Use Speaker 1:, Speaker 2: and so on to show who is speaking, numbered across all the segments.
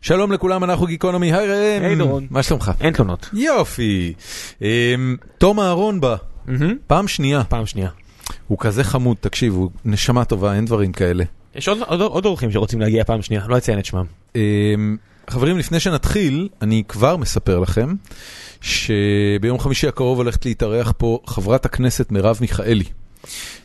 Speaker 1: שלום לכולם, אנחנו גיקונומי, היי ראם.
Speaker 2: היי, דורון.
Speaker 1: מה שלומך?
Speaker 2: אין תלונות.
Speaker 1: יופי. אמ, תום אהרון בא,
Speaker 2: מהמם.
Speaker 1: פעם שנייה.
Speaker 2: פעם שנייה.
Speaker 1: הוא כזה חמוד, תקשיב, הוא נשמה טובה, אין דברים כאלה.
Speaker 2: יש עוד- עוד עוד אורחים שרוצים להגיע פעם שנייה, לא אציין את שמם.
Speaker 1: אמ, חברים, לפני שנתחיל, אני כבר מספר לכם שביום חמישי הקרוב הולכת להתארח פה חברת הכנסת מרב מיכאלי.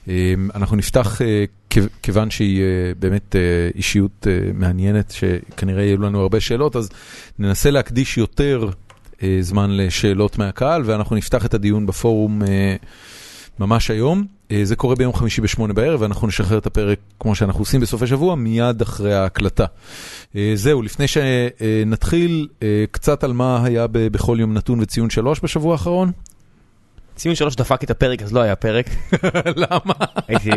Speaker 1: אמ, אנחנו נפתח, אה, כ- כיוון שהיא אה, באמת אה, אישיות אה, מעניינת, שכנראה יהיו לנו הרבה שאלות, אז ננסה להקדיש יותר אה, זמן לשאלות מהקהל, ואנחנו נפתח את הדיון בפורום אה, ממש היום. אה, זה קורה ביום חמישי בשמונה בערב, ואנחנו נשחרר את הפרק, כמו שאנחנו עושים בסופי שבוע, מיד אחרי ההקלטה. אה, זהו, לפני שנתחיל, אה, קצת על מה היה ב- בכל יום נתון וציון שלוש בשבוע האחרון.
Speaker 2: ציון שלוש דפק את הפרק, אז לא היה פרק.
Speaker 1: למה?
Speaker 2: הייתי...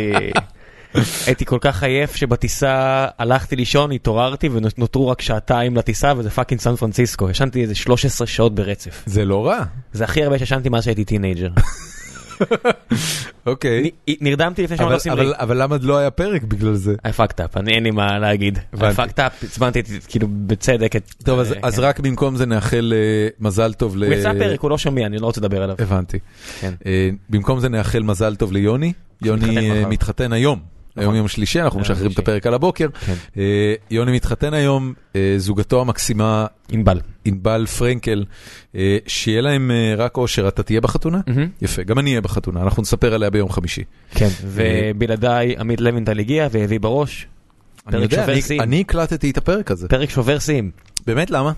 Speaker 2: הייתי כל כך עייף שבטיסה הלכתי לישון, התעוררתי ונותרו רק שעתיים לטיסה וזה פאקינג סן פרנסיסקו. ישנתי איזה 13 שעות ברצף.
Speaker 1: זה לא רע.
Speaker 2: זה הכי הרבה שישנתי מאז שהייתי טינג'ר.
Speaker 1: אוקיי.
Speaker 2: נרדמתי לפני
Speaker 1: אבל-
Speaker 2: שאמרנו עושים לי.
Speaker 1: אבל- אבל למה לא היה פרק בגלל זה?
Speaker 2: I fucked up, אני אין לי מה להגיד. I
Speaker 1: הבנתי.
Speaker 2: fucked up, עצבנתי את- כאילו בצדק את...
Speaker 1: טוב, אז-
Speaker 2: אה,
Speaker 1: אז
Speaker 2: כן.
Speaker 1: רק במקום זה נאחל אה, מזל טוב ל...
Speaker 2: הוא יצא פרק, הוא לא שומע, אני לא רוצה לדבר עליו.
Speaker 1: הבנתי.
Speaker 2: כן.
Speaker 1: אה, במקום זה נאחל מזל טוב ליוני. יוני אה,
Speaker 2: מחר. נכון.
Speaker 1: מתחתן היום. היום יום שלישי, אנחנו
Speaker 2: יום
Speaker 1: משחררים את
Speaker 2: שלישי.
Speaker 1: הפרק על הבוקר.
Speaker 2: כן.
Speaker 1: אה, יוני מתחתן היום, אה, זוגתו המקסימה
Speaker 2: ענבל.
Speaker 1: ענבל פרנקל, אה, שיהיה להם אה, רק אושר, אתה תהיה בחתונה?
Speaker 2: מהמם.
Speaker 1: יפה, גם אני אהיה בחתונה, אנחנו נספר עליה ביום חמישי.
Speaker 2: כן, ובלעדיי עמית לוינטל הגיע והביא בראש
Speaker 1: אני יודע,
Speaker 2: שובר
Speaker 1: אני-
Speaker 2: שיאים.
Speaker 1: אני הקלטתי את הפרק הזה.
Speaker 2: פרק שובר שיאים.
Speaker 1: באמת, למה?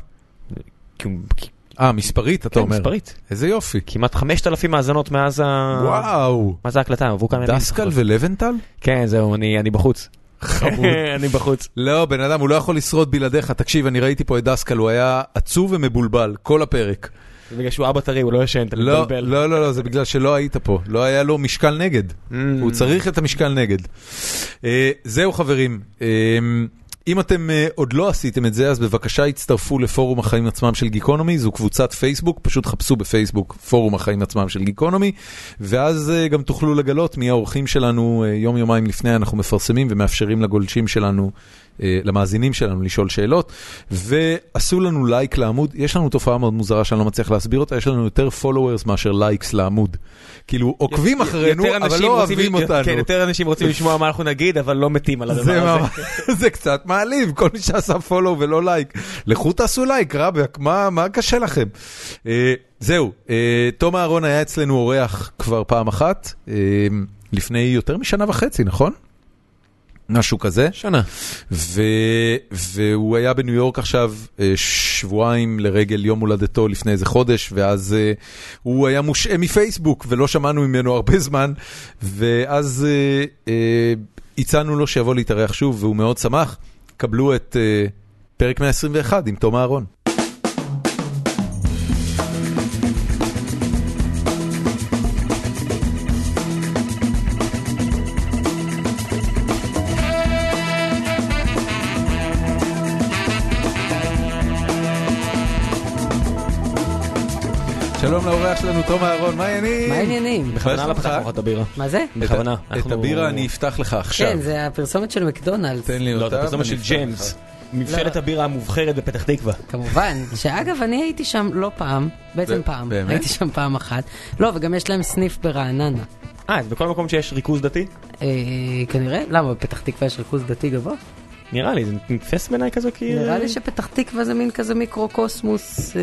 Speaker 2: כי הוא- כי-
Speaker 1: אה, מספרית, אתה
Speaker 2: כן,
Speaker 1: אומר.
Speaker 2: מספרית. אה,
Speaker 1: איזה יופי.
Speaker 2: כמעט 5,0ן האזנות מאז ה...
Speaker 1: וואו.
Speaker 2: מה זה ההקלטה? עברו כמה ימים.
Speaker 1: דסקל
Speaker 2: לפחות.
Speaker 1: ולבנטל?
Speaker 2: כן, זהו, אני אני בחוץ.
Speaker 1: חמוד.
Speaker 2: אני בחוץ.
Speaker 1: לא, בן אדם, הוא לא יכול לשרוד בלעדיך. תקשיב, אני ראיתי פה את דסקל, הוא היה עצוב ומבולבל, כל הפרק.
Speaker 2: בגלל שהוא אבא טרי, הוא לא ישן, אתה
Speaker 1: לא,
Speaker 2: מתבלבל.
Speaker 1: לא, לא, לא, זה בגלל שלא היית פה. לא היה לו משקל נגד.
Speaker 2: Mm.
Speaker 1: הוא צריך את המשקל נגד. אה, זהו חברים, אה, אם אתם אה, עוד לא עשיתם את זה, אז בבקשה הצטרפו לפורום החיים עצמם של גיקונומי, זו קבוצת פייסבוק, פשוט חפשו בפייסבוק פורום החיים עצמם של גיקונומי, ואז אה, גם תוכלו לגלות מי האורחים שלנו אה, יום יומיים לפני, אנחנו מפרסמים ומאפשרים לגולשים שלנו. אה, למאזינים שלנו לשאול שאלות, ועשו לנו לייק לעמוד, יש לנו תופעה מאוד מוזרה שאני לא מצליח להסביר אותה, יש לנו יותר followers מאשר לייקס לעמוד. כאילו עוקבים אחרינו,
Speaker 2: יותר
Speaker 1: אבל
Speaker 2: אנשים
Speaker 1: לא
Speaker 2: רוצים-
Speaker 1: אוהבים אותנו.
Speaker 2: כן, יותר אנשים רוצים לשמוע מה אנחנו נגיד, אבל לא מתים על הדבר
Speaker 1: זה,
Speaker 2: הזה.
Speaker 1: ממש, זה קצת מעליב, כל מי שעשה פולו ולא לייק. לכו תעשו לייק, רבאק, מה, מה קשה לכם? אה, זהו, אה, תום אהרון היה אצלנו אורח כבר פעם אחת, אה, לפני יותר משנה וחצי, נכון? משהו כזה.
Speaker 2: שנה.
Speaker 1: ו... והוא היה בניו יורק עכשיו אה, שבועיים לרגל יום הולדתו לפני איזה חודש, ואז אה, הוא היה מושעה מפייסבוק ולא שמענו ממנו הרבה זמן, ואז אה, אה, הצענו לו שיבוא להתארח שוב, והוא מאוד שמח. קבלו את אה, פרק 121 עם תום אהרון. שלום לאורח שלנו, תום אהרון, מה העניינים?
Speaker 3: מה העניינים?
Speaker 2: בכוונה
Speaker 1: מה
Speaker 2: לא
Speaker 1: שלומך?
Speaker 2: פתחנו לך את הבירה.
Speaker 3: מה זה?
Speaker 1: את ה-
Speaker 2: בכוונה.
Speaker 1: את
Speaker 2: אנחנו-
Speaker 1: הבירה אני אפתח לך עכשיו.
Speaker 3: כן, זה הפרסומת של מקדונלדס.
Speaker 1: תן לי אותה.
Speaker 2: לא, את הפרסומת של
Speaker 1: ואני אפתח
Speaker 2: ג'יימס.
Speaker 1: לך.
Speaker 2: מבשלת
Speaker 3: לא.
Speaker 2: הבירה המובחרת בפתח תקווה.
Speaker 3: כמובן, שאגב, אני הייתי שם לא פעם, בעצם
Speaker 1: ב-
Speaker 3: פעם,
Speaker 1: באמת?
Speaker 3: הייתי שם פעם אחת. לא, וגם יש להם סניף ברעננה.
Speaker 2: אה, אז בכל מקום שיש ריכוז דתי?
Speaker 3: אה, כנראה, למה, בפתח תקווה יש ריכוז דתי גבוה?
Speaker 2: נראה לי, זה נתפס בעיניי כזה כאילו- כי...
Speaker 3: נראה לי שפתח תקווה זה מין כזה מיקרוקוסמוס אה,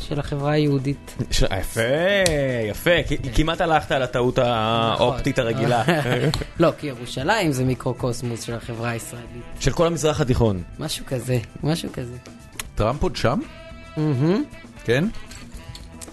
Speaker 3: של החברה היהודית.
Speaker 2: ש... יפה, יפה, כי- כמעט הלכת על הטעות האופטית הרגילה.
Speaker 3: לא, כי ירושלים זה מיקרוקוסמוס של החברה הישראלית.
Speaker 2: של כל המזרח התיכון.
Speaker 3: משהו כזה, משהו כזה.
Speaker 1: טראמפ עוד שם?
Speaker 3: מהמם.
Speaker 1: כן?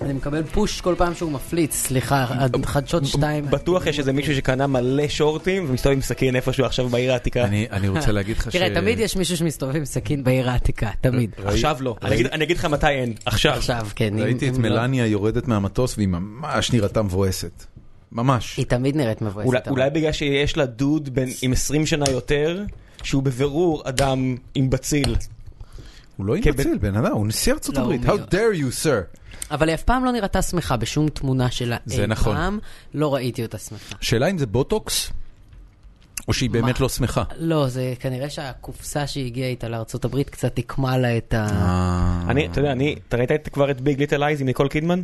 Speaker 3: אני מקבל פוש כל פעם שהוא מפליץ, סליחה, עד חדשות שתיים.
Speaker 2: בטוח יש איזה מישהו שקנה מלא שורטים ומסתובב עם סכין איפשהו עכשיו בעיר העתיקה.
Speaker 1: אני אני רוצה להגיד לך ש...
Speaker 3: תראה, תמיד יש מישהו שמסתובב עם סכין בעיר העתיקה, תמיד.
Speaker 2: עכשיו לא. אני אגיד- אני אגיד לך מתי אין, עכשיו.
Speaker 3: עכשיו, כן. אם-
Speaker 1: ראיתי את
Speaker 3: אם לא-
Speaker 1: מלניה יורדת מהמטוס והיא ממש נראתה מבואסת. ממש.
Speaker 3: היא תמיד נראית מבואסת.
Speaker 2: אולי-
Speaker 3: אבל-
Speaker 2: אולי בגלל שיש לה דוד בן- עם 20 שנה יותר, שהוא בבירור אדם עם בציל.
Speaker 1: הוא לא
Speaker 2: כן,
Speaker 1: התנצל, בן אדם, הוא נשיא ארצות
Speaker 3: לא,
Speaker 1: הברית.
Speaker 3: הוא
Speaker 1: How dare you, sir.
Speaker 3: אבל היא אף פעם לא נראתה שמחה בשום תמונה שלה.
Speaker 1: זה
Speaker 3: אי
Speaker 1: נכון.
Speaker 3: פעם לא ראיתי אותה שמחה.
Speaker 1: שאלה אם זה בוטוקס, או שהיא באמת
Speaker 3: מה?
Speaker 1: לא שמחה.
Speaker 3: לא, זה כנראה שהקופסה שהיא הגיעה איתה לארה"ב קצת תקמה לה את
Speaker 1: אה.
Speaker 3: ה...
Speaker 2: אני, אתה יודע, אני, אתה ראית את- כבר את ביג ליטל אייז עם ניקול קידמן?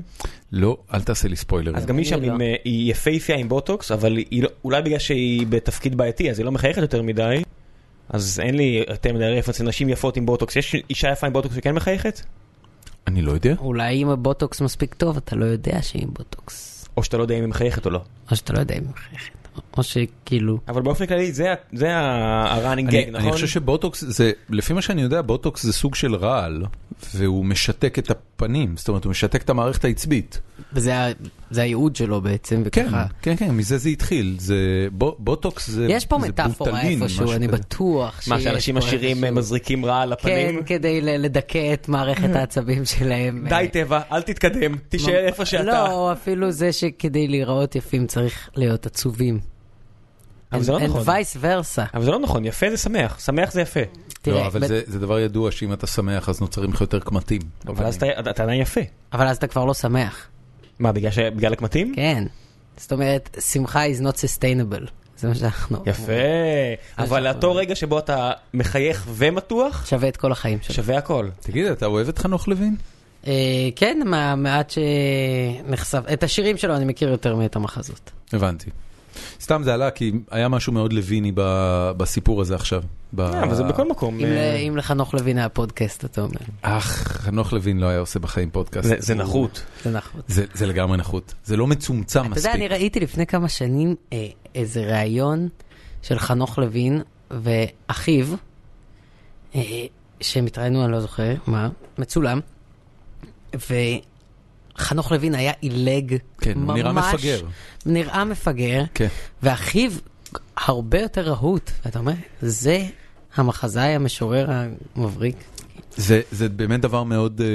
Speaker 1: לא, אל תעשה לי ספוילרים.
Speaker 2: אז גם היא
Speaker 3: אני
Speaker 2: שם
Speaker 3: לא.
Speaker 2: עם, אה, היא יפהפייה עם בוטוקס, אבל היא לא- אולי בגלל שהיא בתפקיד בעייתי, אז היא לא מחייכת יותר מדי. אז אין לי יותר מדי רפרנס לנשים יפות עם בוטוקס. יש אישה יפה עם בוטוקס שכן מחייכת?
Speaker 1: אני לא יודע.
Speaker 3: אולי אם הבוטוקס מספיק טוב, אתה לא יודע שהיא עם בוטוקס.
Speaker 2: או שאתה לא יודע אם היא מחייכת או לא.
Speaker 3: או שאתה לא יודע אם היא מחייכת. או שכאילו...
Speaker 2: אבל באופן כללי זה ה- זה ה-running
Speaker 3: כן,
Speaker 1: אני,
Speaker 2: gag,
Speaker 1: אני
Speaker 2: נכון?
Speaker 1: חושב שבוטוקס זה, לפי מה שאני יודע, בוטוקס זה סוג של רעל, והוא משתק את הפנים, זאת אומרת, הוא משתק את המערכת העצבית.
Speaker 3: זה ה- זה הייעוד שלו בעצם,
Speaker 1: כן,
Speaker 3: וככה...
Speaker 1: כן, כן, מזה זה התחיל. זה, בו, בוטוקס זה
Speaker 3: יש פה
Speaker 1: זה
Speaker 3: מטאפורה
Speaker 1: בוטלין,
Speaker 3: איפשהו,
Speaker 1: משהו
Speaker 3: אני
Speaker 1: כזה.
Speaker 3: בטוח שיש
Speaker 2: מה, שאנשים
Speaker 3: פה
Speaker 2: עשירים
Speaker 3: איפשהו.
Speaker 2: אה, מזריקים רע על
Speaker 3: כן,
Speaker 2: הפנים?
Speaker 3: כדי ל- לדכא את מערכת העצבים שלהם.
Speaker 2: די
Speaker 3: אה,
Speaker 2: טבע, אל תתקדם, תישאר איפה שאתה.
Speaker 3: לא, או אפילו זה שכדי להיראות יפים צריך להיות עצובים.
Speaker 2: אבל זה לא נכון.
Speaker 3: And vice versa.
Speaker 2: אבל זה לא נכון, יפה זה שמח, שמח זה יפה.
Speaker 1: לא,
Speaker 3: תראה,
Speaker 1: אבל
Speaker 3: ב-
Speaker 1: זה, זה דבר ידוע שאם אתה שמח אז נוצרים לך יותר קמטים.
Speaker 2: אבל אז אתה- אתה עדיין יפה.
Speaker 3: אבל אז אתה כבר לא שמח.
Speaker 2: מה, בגלל ש- בגלל הקמטים?
Speaker 3: כן. זאת אומרת, שמחה is not sustainable. זה מה שאנחנו...
Speaker 2: יפה, אבל לאותו רגע שבו אתה מחייך ומתוח,
Speaker 3: שווה את כל החיים שלנו.
Speaker 2: שווה הכל.
Speaker 1: תגיד, אתה אוהב את חנוך לוין?
Speaker 3: אה, כן, מהמעט שנחשף... את השירים שלו אני מכיר יותר מאת המחזות.
Speaker 1: הבנתי. סתם זה עלה כי היה משהו מאוד לויני ב- בסיפור הזה עכשיו. ב-
Speaker 2: אה, אבל זה בכל מקום.
Speaker 3: אם
Speaker 2: אה,
Speaker 3: ל- אם לחנוך לוין היה פודקאסט, אתה אומר.
Speaker 1: אך, חנוך לוין לא היה עושה בחיים פודקאסט.
Speaker 2: זה- זה נחות.
Speaker 3: זה נכון.
Speaker 1: זה, זה לגמרי נחות, זה לא מצומצם
Speaker 3: אתה
Speaker 1: מספיק.
Speaker 3: יודע, אני ראיתי לפני כמה שנים אה, איזה ראיון של חנוך לוין ואחיו, אה, שהם התראיינו, אני לא זוכר, מה, מצולם, וחנוך לוין היה עילג
Speaker 1: כן,
Speaker 3: ממש,
Speaker 1: הוא נראה מפגר.
Speaker 3: נראה מפגר,
Speaker 1: כן.
Speaker 3: ואחיו הרבה יותר רהוט, ואתה אומר, זה המחזאי, המשורר המבריק.
Speaker 1: זה, זה באמת דבר מאוד, אה,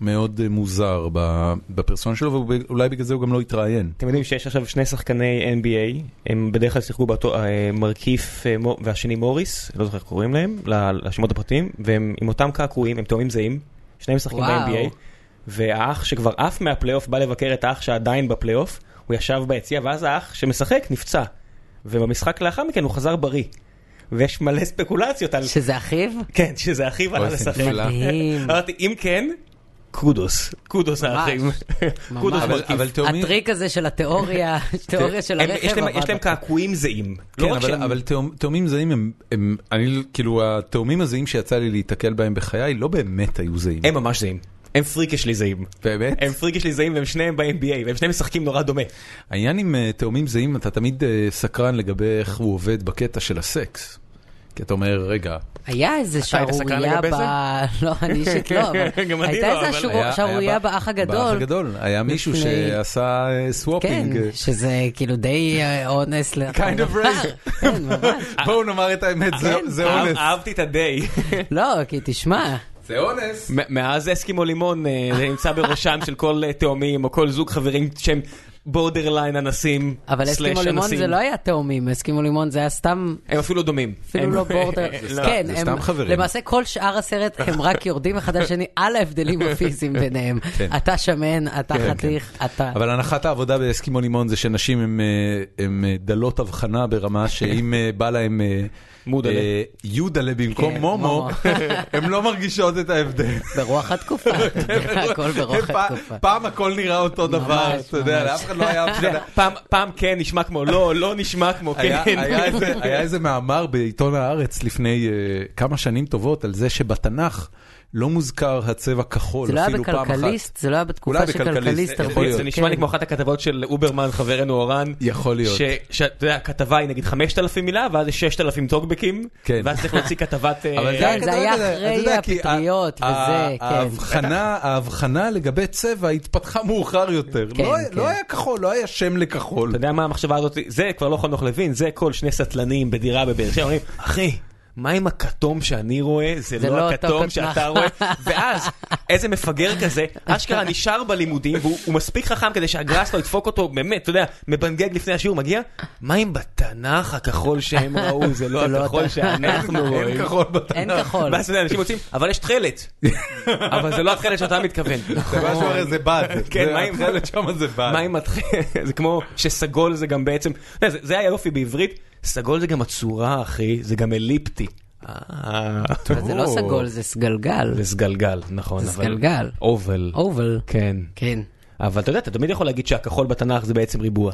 Speaker 1: מאוד אה, מוזר ב- בפרסונה שלו, ואולי בגלל זה הוא גם לא התראיין.
Speaker 2: אתם יודעים שיש עכשיו שני שחקני NBA, הם בדרך כלל שיחקו באותו אה, מרקיף אה, מו- והשני מוריס, לא זוכר איך קוראים להם, ל- לשמות הפרטיים, והם עם אותם קעקועים, הם תאומים זהים, שניהם משחקים
Speaker 3: וואו.
Speaker 2: ב-NBA, והאח שכבר עף מהפלייאוף בא לבקר את האח שעדיין בפלייאוף, הוא ישב ביציע, ואז האח שמשחק נפצע, ובמשחק לאחר מכן הוא חזר בריא, ויש מלא ספקולציות על...
Speaker 3: שזה אחיו?
Speaker 2: כן, שזה אחיו עלה
Speaker 1: אוי, זה
Speaker 2: לשחק.
Speaker 1: נפלא.
Speaker 3: מדהים.
Speaker 1: אה,
Speaker 2: אמרתי, אם כן, קודוס, קודוס האחים,
Speaker 3: ממש.
Speaker 2: קודוס
Speaker 1: אבל,
Speaker 2: מרקיף.
Speaker 1: אבל כן. תאומים,
Speaker 3: הטריק הזה של התיאוריה, התיאוריה של
Speaker 2: הם-
Speaker 3: הרכב.
Speaker 2: יש להם-
Speaker 3: עבד
Speaker 2: יש להם
Speaker 3: לך.
Speaker 2: קעקועים זהים. לא
Speaker 1: כן,
Speaker 2: רק
Speaker 1: אבל,
Speaker 2: שהם-
Speaker 1: אבל תאומ, תאומים זהים הם, הם, אני, כאילו, התאומים הזהים שיצא לי להיתקל בהם בחיי לא באמת היו זהים.
Speaker 2: הם ממש זהים. הם פריק שלי זהים.
Speaker 1: באמת?
Speaker 2: הם פריק שלי זהים והם שניהם ב-NBA, והם שניהם משחקים נורא דומה.
Speaker 1: העניין עם אה, תאומים זהים, אתה תמיד אה, סקרן לגבי איך הוא עובד בקטע של הסקס. כי אתה אומר, רגע,
Speaker 3: היה איזה
Speaker 2: היית סקרן
Speaker 3: שערורייה
Speaker 2: לגבי
Speaker 3: ב... לא, אני אישית
Speaker 1: כן,
Speaker 3: לא, אבל
Speaker 2: גם אני
Speaker 3: הייתה
Speaker 2: לא,
Speaker 3: איזה
Speaker 2: אבל-
Speaker 3: שערו-
Speaker 1: היה- היה
Speaker 3: שערורייה
Speaker 1: ב-
Speaker 3: באח
Speaker 1: באח
Speaker 3: הגדול.
Speaker 1: הגדול, היה מישהו
Speaker 3: לפני-
Speaker 1: שעשה אה,
Speaker 3: כן,
Speaker 1: סוואפינג.
Speaker 3: שזה כאילו די אה, אונס ל...
Speaker 1: Kind of rape.
Speaker 3: כן, ממש. כן.
Speaker 1: בואו נאמר את האמת, זה-
Speaker 2: אה,
Speaker 1: זה
Speaker 2: אה,
Speaker 1: אונס.
Speaker 2: אהבתי את הדי.
Speaker 3: לא, כי תשמע,
Speaker 1: זה אונס.
Speaker 2: מ- מאז אסקימו לימון אה, זה נמצא בראשם של כל אה, תאומים, או כל זוג חברים שהם בורדרליין אנסים,
Speaker 3: אבל
Speaker 2: סלאש
Speaker 3: אסקימו לימון
Speaker 2: אנסים.
Speaker 3: זה לא היה תאומים, אסקימו לימון זה היה סתם...
Speaker 2: הם אפילו דומים.
Speaker 3: אפילו
Speaker 2: הם-
Speaker 3: לא בורדר,
Speaker 1: סתם-
Speaker 3: כן,
Speaker 1: זה
Speaker 3: הם-
Speaker 1: סתם חברים.
Speaker 3: למעשה כל שאר הסרט הם רק יורדים אחד על השני על ההבדלים הפיזיים ביניהם.
Speaker 1: כן.
Speaker 3: אתה שמן, אתה
Speaker 1: כן,
Speaker 3: חתיך, אתה...
Speaker 1: אבל הנחת העבודה באסקימו לימון זה שנשים הן, אה, הן אה, דלות הבחנה ברמה שאם אה, בא להן אה,
Speaker 2: מודלה.
Speaker 1: אה, יודלה במקום
Speaker 3: כן,
Speaker 1: מומו,
Speaker 3: מומו.
Speaker 1: הן לא מרגישות את ההבדל.
Speaker 3: ברוח התקופה, הכל
Speaker 1: פ-
Speaker 3: ברוח התקופה.
Speaker 1: פעם הכל נראה אותו דבר,
Speaker 3: ממש,
Speaker 1: אתה יודע,
Speaker 3: ממש.
Speaker 1: לאף אחד לא היה
Speaker 2: אתה יודע,
Speaker 1: הבחנה.
Speaker 2: פעם- פעם כן נשמע כמו לא, לא נשמע כמו
Speaker 1: היה-
Speaker 2: כן.
Speaker 1: היה איזה- היה איזה מאמר בעיתון הארץ לפני אה, כמה שנים טובות על זה שבתנ"ך לא מוזכר הצבע כחול
Speaker 3: זה לא היה
Speaker 1: אפילו פעם אחת.
Speaker 3: בכלכליסט, זה לא היה
Speaker 1: אולי
Speaker 3: בתקופה
Speaker 1: בכלכליסט,
Speaker 3: שכלכליסט
Speaker 1: יכול
Speaker 3: הרבה
Speaker 1: להיות.
Speaker 2: זה
Speaker 3: יותר-
Speaker 2: נשמע לי
Speaker 3: כן.
Speaker 2: כמו אחת הכתבות של אוברמן, חברנו אורן.
Speaker 1: יכול להיות.
Speaker 2: שאתה יודע, הכתבה היא נגיד 5,000 מילה, ואז יש 6,000 טוקבקים,
Speaker 1: כן.
Speaker 2: ואז צריך להוציא כתבת... אה,
Speaker 1: אבל
Speaker 3: כן, זה
Speaker 1: כתוב
Speaker 3: היה
Speaker 1: כזה, אתה
Speaker 3: אחרי
Speaker 1: יודע, כי
Speaker 3: הפטריות
Speaker 1: ה-
Speaker 3: וזה,
Speaker 1: ה-
Speaker 3: כן.
Speaker 1: ההבחנה, ההבחנה לגבי צבע התפתחה מאוחר יותר.
Speaker 3: כן,
Speaker 1: לא היה-
Speaker 3: כן.
Speaker 1: לא היה כחול, לא היה שם לכחול.
Speaker 2: אתה יודע מה המחשבה הזאת? זה כבר לא חנוך לוין, זה כל שני סטלנים בדירה בבאר שבע, אומרים, אחי... מה עם הכתום שאני רואה, זה,
Speaker 3: זה
Speaker 2: לא,
Speaker 3: לא אותו
Speaker 2: הכתום
Speaker 3: כתום."
Speaker 2: שאתה רואה, ואז איזה מפגר כזה, אשכרה נשאר בלימודים, והוא הוא מספיק חכם כדי שהגראס לא ידפוק אותו, באמת, אתה יודע, מבנגג לפני השיעור, מגיע, מה אם בתנ"ך הכחול שהם ראו, זה לא
Speaker 3: זה לא
Speaker 2: הכחול
Speaker 3: אתה.
Speaker 2: שאנחנו רואים.
Speaker 1: אין כחול
Speaker 3: אין
Speaker 1: בתנ"ך.
Speaker 3: כחול.
Speaker 2: ואז אתה יודע, אנשים רוצים, אבל יש תכלת. אבל זה לא התכלת שאתה מתכוון. נכון.
Speaker 1: זה משהו הרי זה בד.
Speaker 2: כן,
Speaker 1: זה
Speaker 2: מה עם-
Speaker 1: התכלת שם זה בד.
Speaker 2: מה עם התכלת? זה כמו שסגול זה גם בעצם, אתה יודע, זה- זה היופי בעברית, סגול זה גם הצורה, אחי, זה גם אליפטי. אה,
Speaker 3: אבל זה לא סגול, זה סגלגל.
Speaker 2: זה סגלגל, נכון.
Speaker 3: זה
Speaker 2: אבל-
Speaker 3: סגלגל.
Speaker 2: אובל.
Speaker 3: אובל.
Speaker 2: כן.
Speaker 3: כן.
Speaker 2: אבל אתה יודע, אתה תמיד יכול להגיד שהכחול בתנ"ך זה בעצם ריבוע.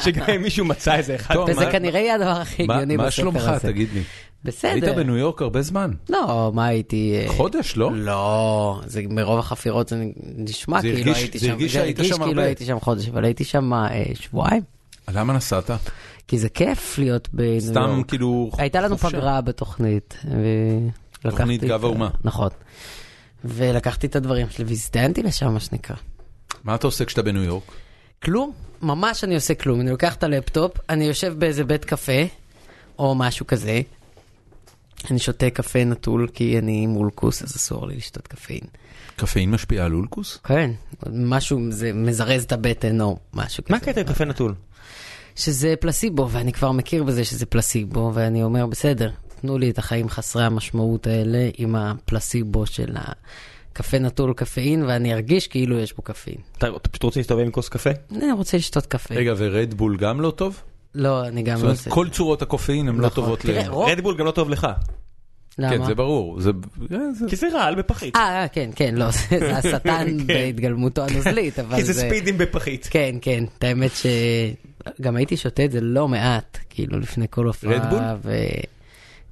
Speaker 2: שגם אם מישהו מצא איזה אחד.
Speaker 1: טוב,
Speaker 3: וזה
Speaker 1: מה-
Speaker 3: כנראה יהיה הדבר הכי
Speaker 1: מה-
Speaker 3: הגיוני בספר הזה.
Speaker 1: מה שלומך, תגיד לי? היית
Speaker 3: בסדר.
Speaker 1: בניו יורק הרבה זמן.
Speaker 3: לא, מה הייתי... אה,
Speaker 1: חודש, לא?
Speaker 3: לא, זה מרוב החפירות זה נשמע
Speaker 1: זה
Speaker 3: כאילו
Speaker 1: הרגיש-
Speaker 3: הייתי
Speaker 1: זה
Speaker 3: שם,
Speaker 1: הרגיש שהיית שם
Speaker 3: כאילו
Speaker 1: הרבה.
Speaker 3: הייתי שם חודש, אבל הייתי שם אה, שבועיים,
Speaker 1: למה נסעת?
Speaker 3: כי זה כיף להיות בניו יורק.
Speaker 1: סתם כאילו...
Speaker 3: הייתה לנו
Speaker 1: חופשה.
Speaker 3: פגרה בתוכנית. ו-
Speaker 1: תוכנית
Speaker 3: לקחתי
Speaker 1: גב
Speaker 3: את ה-
Speaker 1: האומה.
Speaker 3: נכון. ולקחתי את הדברים שלי והזדיינתי לשם, מה שנקרא.
Speaker 1: מה אתה עושה כשאתה בניו יורק?
Speaker 3: כלום, ממש אני עושה כלום. אני לוקח את הלפטופ, אני יושב באיזה בית קפה, או משהו כזה. אני שותה קפה נטול כי אני מולקוס, אז אסור לי לשתות קפאין.
Speaker 1: קפאין משפיע על אולקוס?
Speaker 3: כן, משהו, זה מזרז את הבטן או משהו כזה.
Speaker 2: מה הקטע עם קפה נטול?
Speaker 3: שזה פלסיבו, ואני כבר מכיר בזה שזה פלסיבו, ואני אומר, בסדר, תנו לי את החיים חסרי המשמעות האלה עם הפלסיבו של הקפה נטול קפאין, ואני ארגיש כאילו יש בו קפאין.
Speaker 2: אתה אתה פשוט רוצה להסתובב עם כוס קפה?
Speaker 3: אני רוצה לשתות קפה.
Speaker 1: רגע, ורדבול גם לא טוב?
Speaker 3: לא, אני גם
Speaker 1: זאת
Speaker 3: לא
Speaker 1: אומרת,
Speaker 3: עושה.
Speaker 1: כל צורות הקופאין הן לא
Speaker 3: נכון.
Speaker 1: טובות ל...
Speaker 3: תראה, רוב-
Speaker 2: רדבול גם לא טוב לך.
Speaker 1: כן,
Speaker 3: למה?
Speaker 1: זה ברור. זה- אה, זה-
Speaker 2: כי זה רעל בפחית.
Speaker 3: אה, אה, כן, כן, לא, זה זה
Speaker 1: כן.
Speaker 3: השטן בהתגלמותו הנוזלית, אבל
Speaker 2: כי זה ספידים בפחית.
Speaker 3: כן, כן, את האמת שגם הייתי שותה את זה לא מעט, כאילו לפני כל הופעה.
Speaker 1: רדבול?
Speaker 3: ו...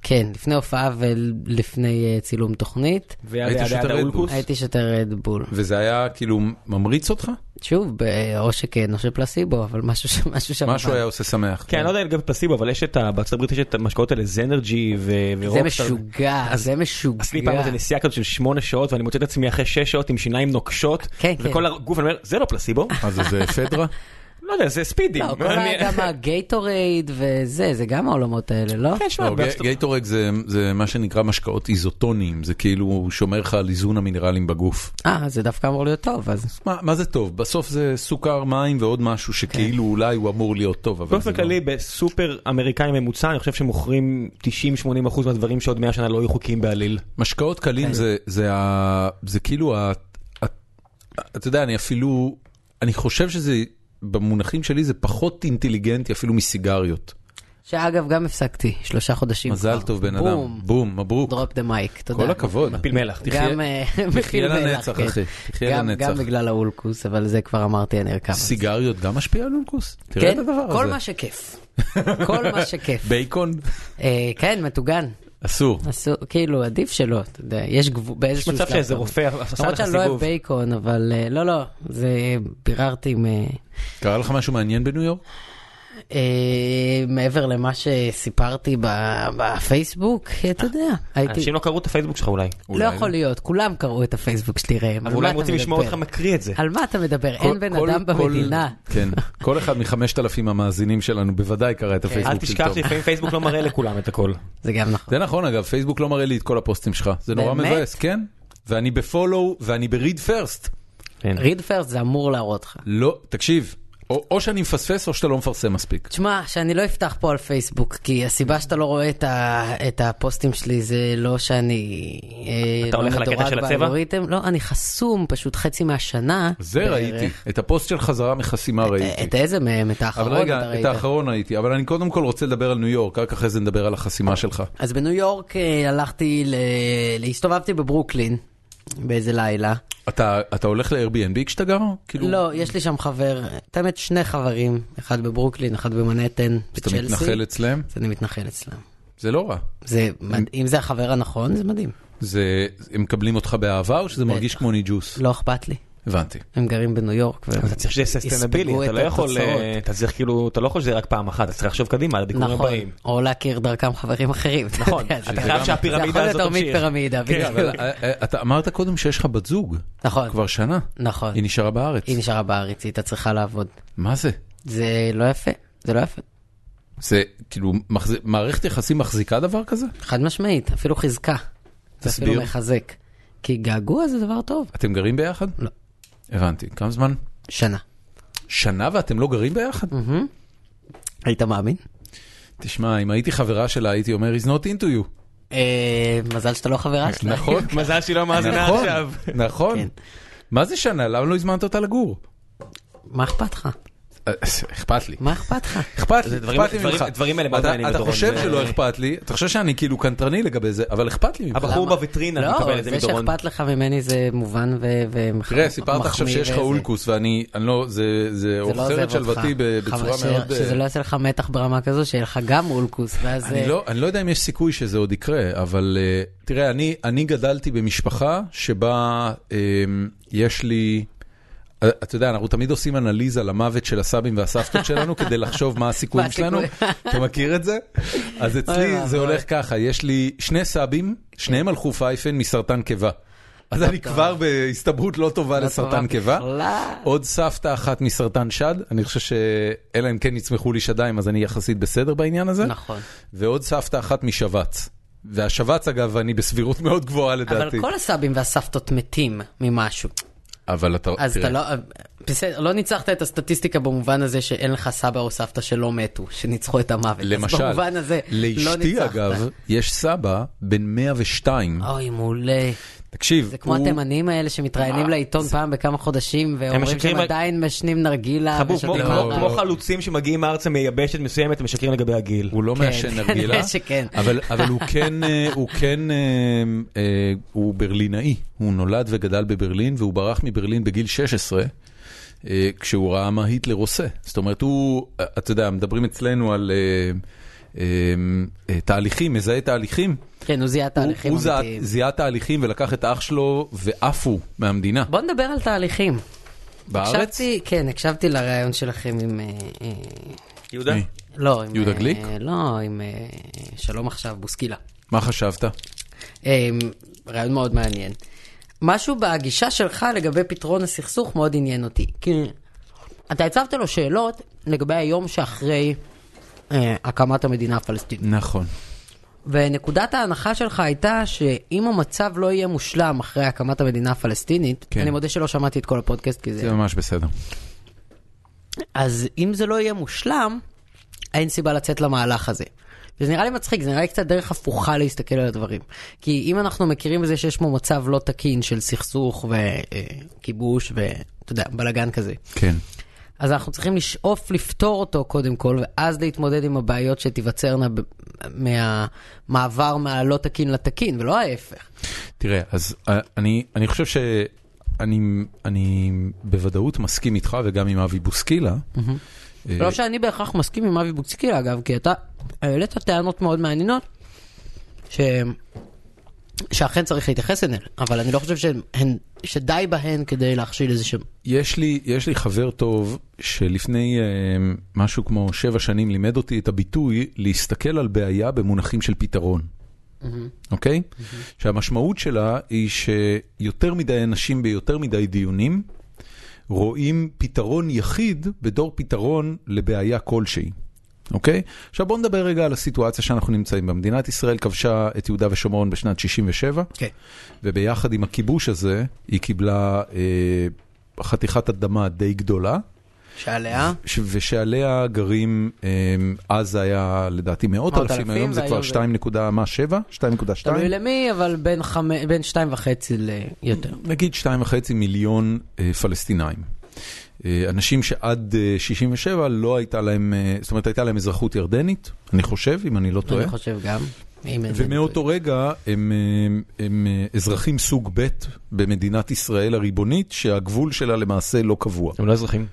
Speaker 3: כן, לפני הופעה ולפני אה, צילום תוכנית,
Speaker 2: ועד
Speaker 1: היית
Speaker 2: עד-
Speaker 1: שותה
Speaker 2: עד
Speaker 1: רדבול.
Speaker 2: האולקוס.
Speaker 3: הייתי שותה רדבול.
Speaker 1: וזה היה כאילו ממריץ אותך?
Speaker 3: שוב, ב- או שכן או שפלסיבו, אבל משהו ש- משהו שם.
Speaker 1: משהו היה עושה שמח.
Speaker 2: כן, אני לא יודע לגבי פלסיבו, אבל יש את ה... בארצות הברית יש את המשקאות האלה, זנרג'י ו- ורוקסטאר.
Speaker 3: זה משוגע,
Speaker 2: אז-
Speaker 3: זה משוגע.
Speaker 2: עשיתי פעם איזה נסיעה כזאת של שמונה שעות, ואני מוצא את עצמי אחרי שש שעות עם שיניים נוקשות,
Speaker 3: כן, כן.
Speaker 2: וכל הגוף, אני אומר, זה לא פלסיבו,
Speaker 1: מה זה, זה פדרה?
Speaker 2: לא יודע, זה ספידים.
Speaker 3: לא, כל
Speaker 2: אני-
Speaker 3: ה- גם הגייטורייד וזה, זה גם העולמות האלה, לא?
Speaker 2: כן, שמע,
Speaker 1: לא,
Speaker 2: בארצות-
Speaker 1: ג- גייטורג זה- זה מה שנקרא משקאות איזוטונים, זה כאילו שומר לך על איזון המינרלים בגוף.
Speaker 3: אה, זה דווקא אמור להיות טוב, אז
Speaker 1: מה, מה זה טוב? בסוף זה סוכר, מים ועוד משהו שכאילו אולי הוא אמור להיות טוב, אבל זה
Speaker 2: כן. באופן
Speaker 1: לא.
Speaker 2: כללי, בסופר אמריקאי ממוצע, אני חושב שמוכרים 90-80% מהדברים שעוד 100 שנה לא יהיו חוקיים בעליל.
Speaker 1: משקאות
Speaker 2: כן.
Speaker 1: קלים זה, זה, ה, זה כאילו, ה, ה, אתה יודע, אני אפילו, אני חושב שזה, במונחים שלי זה פחות אינטליגנטי אפילו מסיגריות.
Speaker 2: נכון.
Speaker 3: שאגב, גם הפסקתי, שלושה חודשים.
Speaker 1: מזל
Speaker 3: כבר.
Speaker 1: טוב בן
Speaker 3: בום.
Speaker 1: אדם, בום, מברוק,
Speaker 3: דרופ דה מייק, תודה.
Speaker 1: כל הכבוד.
Speaker 2: פיל מלח, תחיה.
Speaker 3: גם אה,
Speaker 1: תחיה
Speaker 3: מפיל מלח,
Speaker 1: לנצח,
Speaker 3: כן.
Speaker 1: אחי, תחיה
Speaker 3: גם-
Speaker 1: לנצח.
Speaker 3: גם בגלל האולקוס, אבל זה כבר אמרתי, אני ארכב. על זה.
Speaker 1: סיגריות גם משפיע על אולקוס? תראה
Speaker 3: כן,
Speaker 1: את הדבר
Speaker 3: כל
Speaker 1: הזה.
Speaker 3: מה שכיף. כל מה שכיף.
Speaker 1: בייקון?
Speaker 3: אה, כן, מטוגן.
Speaker 1: אסור.
Speaker 3: אסור, כאילו, עדיף שלא, אתה יודע, יש גבול,
Speaker 2: יש
Speaker 3: באיזשהו
Speaker 2: מצב שאיזה רופא עשה
Speaker 3: למרות
Speaker 2: לך
Speaker 3: שאני לא אוהב
Speaker 2: סיבוב.
Speaker 3: בייקון, אבל אה, לא, לא, זה ביררתי עם... אה,
Speaker 1: קרה לך משהו מעניין בניו יורק?
Speaker 3: אה, מעבר למה שסיפרתי ב- בפייסבוק, אה, אתה יודע, הייתי...
Speaker 2: אנשים לא קראו את הפייסבוק שלך אולי.
Speaker 3: לא יכול להיות, כולם קראו את הפייסבוק שלי, ראם. על
Speaker 2: אבל
Speaker 3: מה
Speaker 2: אולי הם
Speaker 3: אתה
Speaker 2: רוצים לשמוע
Speaker 3: מדבר?
Speaker 2: אותך מקריא את זה.
Speaker 3: על מה אתה מדבר?
Speaker 1: כל-
Speaker 3: אין בן
Speaker 1: כל-
Speaker 3: אדם
Speaker 1: כל-
Speaker 3: במדינה.
Speaker 1: כן, כל אחד מחמשת אלפים המאזינים שלנו בוודאי קרא
Speaker 3: כן.
Speaker 1: את
Speaker 2: אל
Speaker 1: הפייסבוק של
Speaker 2: תשכח
Speaker 1: תום.
Speaker 2: שלפעמים פייסבוק לא מראה לכולם את הכל.
Speaker 3: זה גם נכון.
Speaker 1: זה נכון אגב, פייסבוק לא מראה לי את כל הפוסטים שלך, זה נורא
Speaker 3: באמת?
Speaker 1: מבאס, כן? ואני בפולו ואני בריד פרסט.
Speaker 2: כן.
Speaker 3: ריד פרסט זה אמור להראות לך.
Speaker 1: לא, תקשיב, או, או שאני מפספס או שאתה לא מפרסם מספיק.
Speaker 3: תשמע, שאני לא אפתח פה על פייסבוק, כי הסיבה שאתה לא רואה את, ה, את הפוסטים שלי זה לא שאני... אה,
Speaker 2: אתה
Speaker 3: לא
Speaker 2: הולך על הקטע
Speaker 3: מדורג
Speaker 2: של הצבע?
Speaker 3: באלגוריתם. לא, אני חסום פשוט חצי מהשנה.
Speaker 1: זה
Speaker 3: בערך.
Speaker 1: ראיתי, את הפוסט של חזרה מחסימה ראיתי.
Speaker 3: את איזה מהם? את האחרון
Speaker 1: אבל
Speaker 3: אתה
Speaker 1: רגע,
Speaker 3: ראית.
Speaker 1: את האחרון ראיתי, אבל אני קודם כל רוצה לדבר על ניו יורק, רק אחרי זה נדבר על החסימה
Speaker 3: אוקיי.
Speaker 1: שלך.
Speaker 3: אז בניו יורק אה, הלכתי, ל... הסתובבתי בברוקלין באיזה לילה.
Speaker 1: אתה, אתה הולך ל-Airbnb כשאתה גר? כאילו,
Speaker 3: לא, יש לי שם חבר, את האמת שני חברים, אחד בברוקלין, אחד במנהטן,
Speaker 1: אתה
Speaker 3: בצ'לסי.
Speaker 1: מתנחל אצלם?
Speaker 3: אז אני מתנחל אצלם.
Speaker 1: זה לא רע.
Speaker 3: זה, מד- אם זה החבר הנכון, זה מדהים.
Speaker 1: זה, הם מקבלים אותך באהבה או שזה מרגיש כמו ניג'וס?
Speaker 3: לא אכפת לי.
Speaker 1: הבנתי.
Speaker 3: הם גרים בניו יורק. והם-
Speaker 2: אתה צריך שיהיה ססטנבילי,
Speaker 3: יספגו
Speaker 2: אתה
Speaker 3: את
Speaker 2: לא יכול, אה,
Speaker 3: התוצאות.
Speaker 2: אתה צריך כאילו, אתה לא יכול שזה רק פעם אחת, אתה צריך לחשוב קדימה על הביקורים
Speaker 3: נכון,
Speaker 2: הבאים.
Speaker 3: או להכיר דרכם חברים אחרים. אתה
Speaker 2: נכון,
Speaker 3: יודע,
Speaker 2: אתה
Speaker 3: זה-
Speaker 2: חייב שהפירמידה
Speaker 3: זה יכול להיות
Speaker 2: הזאת
Speaker 3: תרמית
Speaker 2: תמשיך.
Speaker 3: פירמידה,
Speaker 2: כן,
Speaker 3: בדיוק.
Speaker 1: אבל אה, אה, אתה אמרת קודם שיש לך בת זוג,
Speaker 3: נכון,
Speaker 1: כבר שנה.
Speaker 3: נכון.
Speaker 1: היא נשארה בארץ.
Speaker 3: היא נשארה בארץ, היא הייתה צריכה לעבוד.
Speaker 1: מה זה?
Speaker 3: זה לא יפה, זה לא יפה.
Speaker 1: זה כאילו, מחז- מערכת יחסים מחזיקה דבר כזה?
Speaker 3: חד משמעית, אפילו חיזקה. זה
Speaker 1: תסביר.
Speaker 3: אפילו מחזק. כי געגוע זה דבר טוב.
Speaker 1: אתם גרים ביחד?
Speaker 3: לא.
Speaker 1: הבנתי. כמה זמן?
Speaker 3: שנה.
Speaker 1: שנה ואתם לא גרים ביחד?
Speaker 3: היית מאמין?
Speaker 1: תשמע, אם הייתי חברה שלה, הייתי אומר, he's not into you.
Speaker 3: אה, מזל שאתה לא חברה שלה.
Speaker 1: נכון?
Speaker 2: מזל שהיא לא מאזינה
Speaker 1: נכון,
Speaker 2: עכשיו.
Speaker 1: נכון.
Speaker 3: כן.
Speaker 1: מה זה שנה? למה לא הזמנת אותה לגור? אה,
Speaker 3: מה אכפת לך?
Speaker 4: אכפת לי.
Speaker 3: מה אכפת לך?
Speaker 4: אכפת לי,
Speaker 2: זה דברים-
Speaker 4: אכפת לי
Speaker 2: דברים-
Speaker 4: ממך.
Speaker 2: הדברים האלה מאוד
Speaker 1: אתה-
Speaker 2: מעניינים
Speaker 1: אתה
Speaker 2: לדורון, אה,
Speaker 1: חושב
Speaker 2: זה-
Speaker 1: שלא אכפת לי, אתה חושב שאני כאילו קנטרני לגבי זה, אבל אכפת לי ממך.
Speaker 2: הבחור
Speaker 3: למה?
Speaker 2: בוויטרינה מקבל
Speaker 3: לא,
Speaker 2: את זה
Speaker 3: זה
Speaker 2: מדורון.
Speaker 3: שאכפת לך ממני זה מובן ו- ומחמיא.
Speaker 1: תראה, סיפרת עכשיו שיש לך
Speaker 3: וזה.
Speaker 1: אולקוס, ואני, אני לא, זה, זה
Speaker 3: זה לא
Speaker 1: עוכר את
Speaker 3: עוזב אותך.
Speaker 1: שלוותי ב-
Speaker 3: חבל
Speaker 1: אה, בצורה
Speaker 3: ש-
Speaker 1: מאוד...
Speaker 3: שזה לא יעשה לך מתח ברמה כזו, שיהיה לך גם אולקוס, ואז...
Speaker 1: אני
Speaker 3: אה,
Speaker 1: לא, אני לא יודע אם יש סיכוי שזה עוד יקרה, אבל uh, תראה, אני, אני גדלתי במשפחה שבה um, יש לי, אה, אתה יודע, אנחנו תמיד עושים אנליזה למוות של הסבים והסבתות שלנו כדי לחשוב מה הסיכויים
Speaker 3: מה
Speaker 1: שלנו.
Speaker 3: הסיכוי?
Speaker 1: אתה מכיר את זה? אז אצלי
Speaker 3: אוי,
Speaker 1: זה
Speaker 3: אוי.
Speaker 1: הולך ככה, יש לי שני סבים, שניהם הלכו פייפן מסרטן קיבה. אז אני
Speaker 3: לא טוב.
Speaker 1: כבר בהסתברות לא טובה
Speaker 3: לא
Speaker 1: לסרטן
Speaker 3: טובה
Speaker 1: קיבה. אוקיי.
Speaker 3: בכלל.
Speaker 1: עוד סבתא אחת מסרטן שד, אני חושב שאלא אם כן יצמחו לי שדיים, אז אני יחסית בסדר בעניין הזה.
Speaker 3: נכון.
Speaker 1: ועוד סבתא אחת משבץ. והשבץ, אגב, אני בסבירות מאוד גבוהה לדעתי.
Speaker 3: אבל כל הסבים והסבתות מתים ממשהו.
Speaker 1: אבל אתה...
Speaker 3: אז
Speaker 1: תראה,
Speaker 3: אתה לא... בסדר, לא ניצחת את הסטטיסטיקה במובן הזה שאין לך סבא או סבתא שלא מתו, שניצחו את המוות. אז
Speaker 1: למשל,
Speaker 3: במובן הזה לא
Speaker 1: לאשתי,
Speaker 3: ניצחת.
Speaker 1: אגב, יש סבא בן 102.
Speaker 3: אוי, מעולה.
Speaker 1: תקשיב,
Speaker 3: זה כמו התימנים האלה שמתראיינים
Speaker 1: אה,
Speaker 3: לעיתון פעם בכמה חודשים, ואומרים
Speaker 2: משקרים
Speaker 3: שהם
Speaker 2: על-
Speaker 3: עדיין משנים נרגילה
Speaker 2: חבוב, כמו-
Speaker 3: ושותים
Speaker 2: כמו
Speaker 1: לא,
Speaker 2: כמו
Speaker 1: לא.
Speaker 2: חלוצים שמגיעים ארצה מיבשת מסוימת, הם משקרים לגבי הגיל.
Speaker 1: הוא לא
Speaker 3: כן,
Speaker 1: מעשן
Speaker 3: כנראה
Speaker 1: נרגילה,
Speaker 3: שכן.
Speaker 1: אבל אבל הוא כן, אה, הוא כן, אה, אה, הוא ברלינאי. הוא נולד וגדל בברלין, והוא ברח מברלין בגיל 16. אה, כשהוא ראה מה היטלר עושה. זאת אומרת, הוא, אה, אתה יודע, מדברים אצלנו על אה, אה, אה, תהליכים, מזהה תהליכים.
Speaker 3: כן, הוא זיהה תהליכים
Speaker 1: הוא זיהה-
Speaker 3: אמיתיים.
Speaker 1: זיהה תהליכים ולקח את אח שלו ועפו מהמדינה.
Speaker 3: בוא נדבר על תהליכים.
Speaker 1: בארץ?
Speaker 3: הקשבתי, כן, הקשבתי לראיון שלכם עם... אה, אה,
Speaker 2: יהודה?
Speaker 1: מי?
Speaker 3: לא, עם...
Speaker 1: יהודה
Speaker 3: אה,
Speaker 1: גליק?
Speaker 3: לא, עם אה, שלום עכשיו, בוסקילה.
Speaker 1: מה חשבת?
Speaker 3: אה, רעיון מאוד מעניין. משהו בגישה שלך לגבי פתרון הסכסוך מאוד עניין אותי. כי אתה הצבת לו שאלות לגבי היום שאחרי אה, הקמת המדינה הפלסטינית.
Speaker 1: נכון.
Speaker 3: ונקודת ההנחה שלך הייתה שאם המצב לא יהיה מושלם אחרי הקמת המדינה הפלסטינית,
Speaker 1: כן.
Speaker 3: כן. אני מודה שלא שמעתי את כל הפודקאסט כי זה...
Speaker 1: זה ממש בסדר.
Speaker 3: אז אם זה לא יהיה מושלם, אין סיבה לצאת למהלך הזה. וזה נראה לי מצחיק, זה נראה לי קצת דרך הפוכה להסתכל על הדברים. כי אם אנחנו מכירים בזה שיש פה מצב לא תקין של סכסוך אה, וכיבוש ואתה יודע, בלאגן כזה,
Speaker 1: כן.
Speaker 3: אז אנחנו צריכים לשאוף לפתור אותו קודם כל, ואז להתמודד עם הבעיות שתיווצרנה ב- מהמעבר מהלא תקין לתקין, ולא ההפך.
Speaker 1: תראה, אז אה, אני, אני חושב שאני אני בוודאות מסכים איתך וגם עם אבי בוסקילה. אה,
Speaker 3: לא שאני בהכרח מסכים עם אבי בוקצקילה, אגב, כי אתה העלית טענות מאוד מעניינות, ש... שאכן צריך להתייחס אליהן, אבל אני לא חושב שהן, הן- שדי בהן כדי להכשיל איזה שם.
Speaker 1: יש לי, יש לי חבר טוב שלפני אה, משהו כמו שבע שנים לימד אותי את הביטוי להסתכל על בעיה במונחים של פתרון. אוקיי? שהמשמעות שלה היא שיותר מדי אנשים ביותר מדי דיונים רואים פתרון יחיד בתור פתרון לבעיה כלשהי. אוקיי? עכשיו בואו נדבר רגע על הסיטואציה שאנחנו נמצאים בה. מדינת ישראל כבשה את יהודה ושומרון בשנת 67.
Speaker 3: כן.
Speaker 1: וביחד עם הכיבוש הזה, היא קיבלה אה, חתיכת אדמה די גדולה,
Speaker 3: שעליה?
Speaker 1: ש- ושעליה גרים, אה, אז זה היה לדעתי מאות
Speaker 3: מאות
Speaker 1: אלפים,
Speaker 3: אלפים,
Speaker 1: היום זה
Speaker 3: והיום
Speaker 1: כבר
Speaker 3: זה-
Speaker 1: 2.7, 2.2,
Speaker 3: תלוי למי, אבל בין, חמ... בין שתיים וחצי ליותר.
Speaker 1: נגיד 2.5 מיליון אה, פלסטינאים. אה, אנשים שעד אה, 67 לא הייתה להם, אה, זאת אומרת הייתה להם אזרחות ירדנית, אני חושב, אם אני לא טועה.
Speaker 3: אני חושב גם. אם אין-
Speaker 1: ומאותו רגע הם, הם, הם אה, אזרחים סוג ב' במדינת ישראל הריבונית, שהגבול שלה למעשה לא קבוע.
Speaker 2: הם לא אזרחים.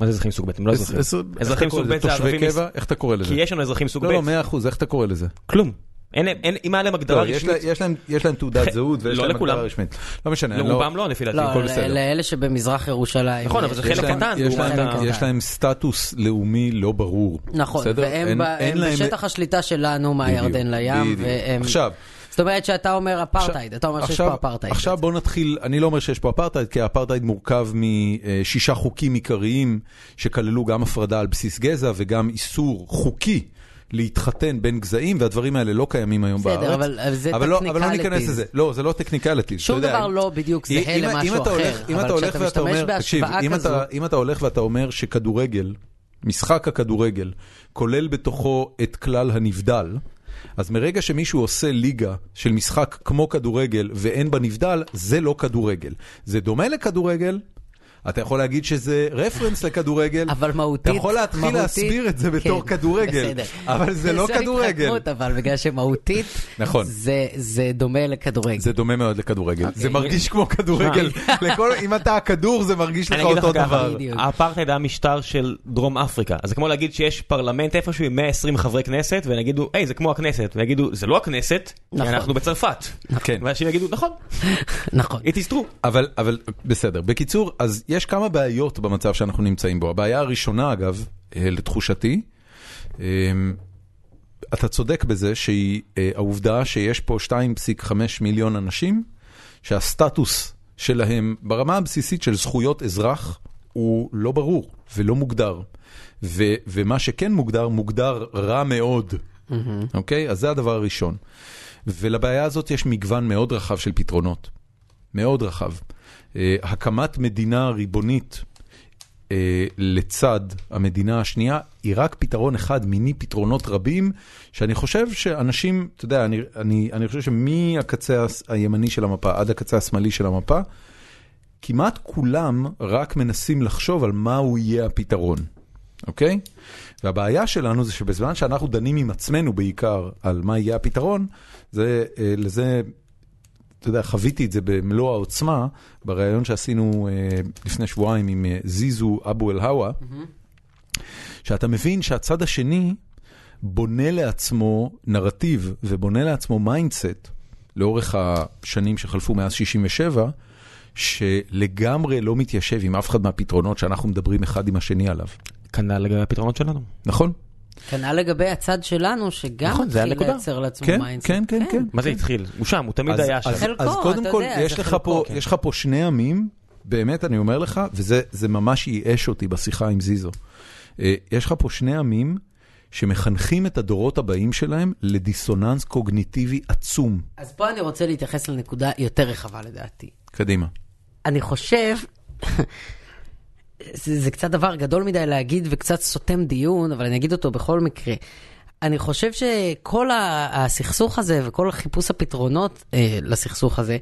Speaker 2: מה זה אזרחים סוג ב'? הם לא אזרחים. אזרחים סוג ב' זה
Speaker 1: תושבי
Speaker 2: ערבים.
Speaker 1: קבע? איך אתה קורא לזה?
Speaker 2: כי יש לנו אזרחים סוג ב'.
Speaker 1: לא, לא, מאה אחוז, איך אתה קורא לזה?
Speaker 2: כלום. אין להם, אין, אם היה להם הגדרה
Speaker 1: לא, יש לה-
Speaker 2: רשמית,
Speaker 1: יש להם- יש להם תעודת זהות ויש
Speaker 2: לא
Speaker 1: להם
Speaker 2: לכולם.
Speaker 1: הגדרה רשמית. לא משנה, אני
Speaker 2: לרובם לא לפי דעתי,
Speaker 3: לא,
Speaker 2: הכל
Speaker 3: ל-
Speaker 2: בסדר.
Speaker 3: לאלה שבמזרח ירושלים.
Speaker 2: נכון, אבל זה
Speaker 3: יש
Speaker 2: חלק
Speaker 3: להם- כן,
Speaker 2: קטן,
Speaker 1: יש
Speaker 2: לעומת
Speaker 1: להם-
Speaker 2: ה-
Speaker 1: יש להם סטטוס לאומי לא ברור.
Speaker 3: נכון,
Speaker 1: בסדר? אין-
Speaker 3: והם ב-
Speaker 1: אין
Speaker 3: הם
Speaker 1: להם-
Speaker 3: בשטח השליטה שלנו מהירדן
Speaker 1: בדיוק,
Speaker 3: לים,
Speaker 1: בדיוק.
Speaker 3: והם...
Speaker 1: עכשיו,
Speaker 3: זאת אומרת שאתה אומר אפרטהייד, אתה אומר שיש
Speaker 1: עכשיו-
Speaker 3: פה אפרטהייד.
Speaker 1: עכשיו בוא נתחיל, אני לא אומר שיש פה אפרטהייד, כי האפרטהייד מורכב משישה חוקים עיקריים, שכללו גם הפרדה על בסיס גזע וגם איסור חוקי. להתחתן בין גזעים, והדברים האלה לא קיימים היום
Speaker 3: בסדר,
Speaker 1: בארץ.
Speaker 3: אבל- אבל זה
Speaker 1: אבל לא- אבל לא
Speaker 3: technicalities.
Speaker 1: ניכנס לזה. לא, זה לא טכניקליטיז.
Speaker 3: שום דבר לא בדיוק זהה למשהו אחר, אבל כשאתה משתמש בהשוואה
Speaker 1: אם
Speaker 3: כזו-
Speaker 1: אתה, אם אתה הולך ואתה אומר שכדורגל, משחק הכדורגל, כולל בתוכו את כלל הנבדל, אז מרגע שמישהו עושה ליגה של משחק כמו כדורגל ואין בה נבדל, זה לא כדורגל. זה דומה לכדורגל, אתה יכול להגיד שזה רפרנס לכדורגל.
Speaker 3: אבל
Speaker 1: אתה
Speaker 3: מהותית,
Speaker 1: יכול להתחיל
Speaker 3: מהותית- כן,
Speaker 1: להסביר את זה בתור כדורגל,
Speaker 3: בסדר.
Speaker 1: אבל זה לא
Speaker 3: זו
Speaker 1: כדורגל.
Speaker 3: התחכמות, אבל בגלל שמהותית,
Speaker 1: נכון.
Speaker 3: זה, זה דומה לכדורגל.
Speaker 1: זה דומה מאוד לכדורגל,
Speaker 3: אוקיי.
Speaker 1: זה מרגיש כמו כדורגל, לכל- אם אתה הכדור זה מרגיש לך
Speaker 2: אני אגיד לך
Speaker 1: אותו
Speaker 2: ככה,
Speaker 1: דבר.
Speaker 3: בדיוק.
Speaker 2: האפרטהייד היה משטר של דרום אפריקה. אז זה כמו להגיד שיש פרלמנט איפשהו עם 120 חברי כנסת, והם יגידו, היי, זה כמו הכנסת. והם יגידו, זה לא הכנסת, כי
Speaker 3: נכון.
Speaker 2: אנחנו בצרפת.
Speaker 1: כן.
Speaker 2: ואנשים יגידו, נכון,
Speaker 3: נכון.
Speaker 2: it is true.
Speaker 1: אבל, אבל בסדר, בקיצור, אז יש כמה בעיות במצב שאנחנו נמצאים בו. הבעיה הראשונה, אגב, אה, לתחושתי, אה, אתה צודק בזה שהיא אה, העובדה שיש פה 2.5 מיליון אנשים, שהסטטוס שלהם ברמה הבסיסית של זכויות אזרח הוא לא ברור ולא מוגדר. ו, ומה שכן מוגדר, מוגדר רע מאוד, אוקיי? אז זה הדבר הראשון. ולבעיה הזאת יש מגוון מאוד רחב של פתרונות. מאוד רחב. אה, הקמת מדינה ריבונית אה, לצד המדינה השנייה היא רק פתרון אחד מיני פתרונות רבים, שאני חושב שאנשים, אתה יודע, אני, אני, אני חושב שמהקצה הס- הימני של המפה עד הקצה השמאלי של המפה, כמעט כולם רק מנסים לחשוב על מהו יהיה הפתרון, אוקיי? והבעיה שלנו זה שבזמן שאנחנו דנים עם עצמנו בעיקר על מה יהיה הפתרון, זה, אה, לזה אתה יודע, חוויתי את זה במלוא העוצמה, בריאיון שעשינו אה, לפני שבועיים עם אה, זיזו אבו אל-הווא, שאתה מבין שהצד השני בונה לעצמו נרטיב ובונה לעצמו מיינדסט לאורך השנים שחלפו מאז 67, שלגמרי לא מתיישב עם אף אחד מהפתרונות שאנחנו מדברים אחד עם השני עליו.
Speaker 2: כנ"ל לגבי הפתרונות שלנו.
Speaker 1: נכון?
Speaker 3: כנ"ל לגבי הצד שלנו, שגם
Speaker 2: נכון, זה
Speaker 3: התחיל
Speaker 2: הנקודה.
Speaker 3: לייצר לעצמו
Speaker 1: כן,
Speaker 3: מיינדסט.
Speaker 1: כן, כן, כן.
Speaker 2: מה זה התחיל? הוא שם, הוא תמיד
Speaker 1: אז-
Speaker 2: היה שם.
Speaker 1: אז-
Speaker 3: חלקו,
Speaker 1: אז קודם
Speaker 3: אתה
Speaker 1: כל,
Speaker 3: יודע,
Speaker 1: יש
Speaker 3: זה
Speaker 1: לך
Speaker 3: חלקו,
Speaker 1: פה,
Speaker 3: כן.
Speaker 1: יש לך פה שני עמים, באמת, אני אומר לך, וזה זה ממש ייאש אותי בשיחה עם זיזו. אה, יש לך פה שני עמים שמחנכים את הדורות הבאים שלהם לדיסוננס קוגניטיבי עצום.
Speaker 3: אז פה אני רוצה להתייחס לנקודה יותר רחבה לדעתי.
Speaker 1: קדימה.
Speaker 3: אני חושב, זה, זה קצת דבר גדול מדי להגיד וקצת סותם דיון, אבל אני אגיד אותו בכל מקרה. אני חושב שכל ה- הסכסוך הזה וכל חיפוש הפתרונות אה, לסכסוך הזה,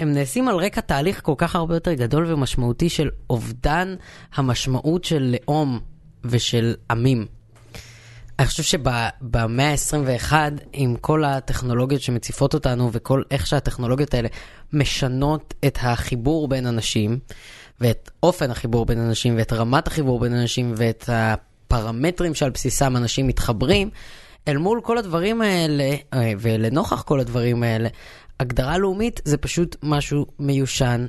Speaker 3: הם נעשים על רקע תהליך כל כך הרבה יותר גדול ומשמעותי של אובדן המשמעות של לאום ושל עמים. אני חושב שבמאה ה-21, עם כל הטכנולוגיות שמציפות אותנו וכל איך שהטכנולוגיות האלה משנות את החיבור בין אנשים, ואת אופן החיבור בין אנשים, ואת רמת החיבור בין אנשים, ואת הפרמטרים שעל בסיסם אנשים מתחברים, אל מול כל הדברים האלה, אה, ולנוכח כל הדברים האלה, הגדרה לאומית זה פשוט משהו מיושן,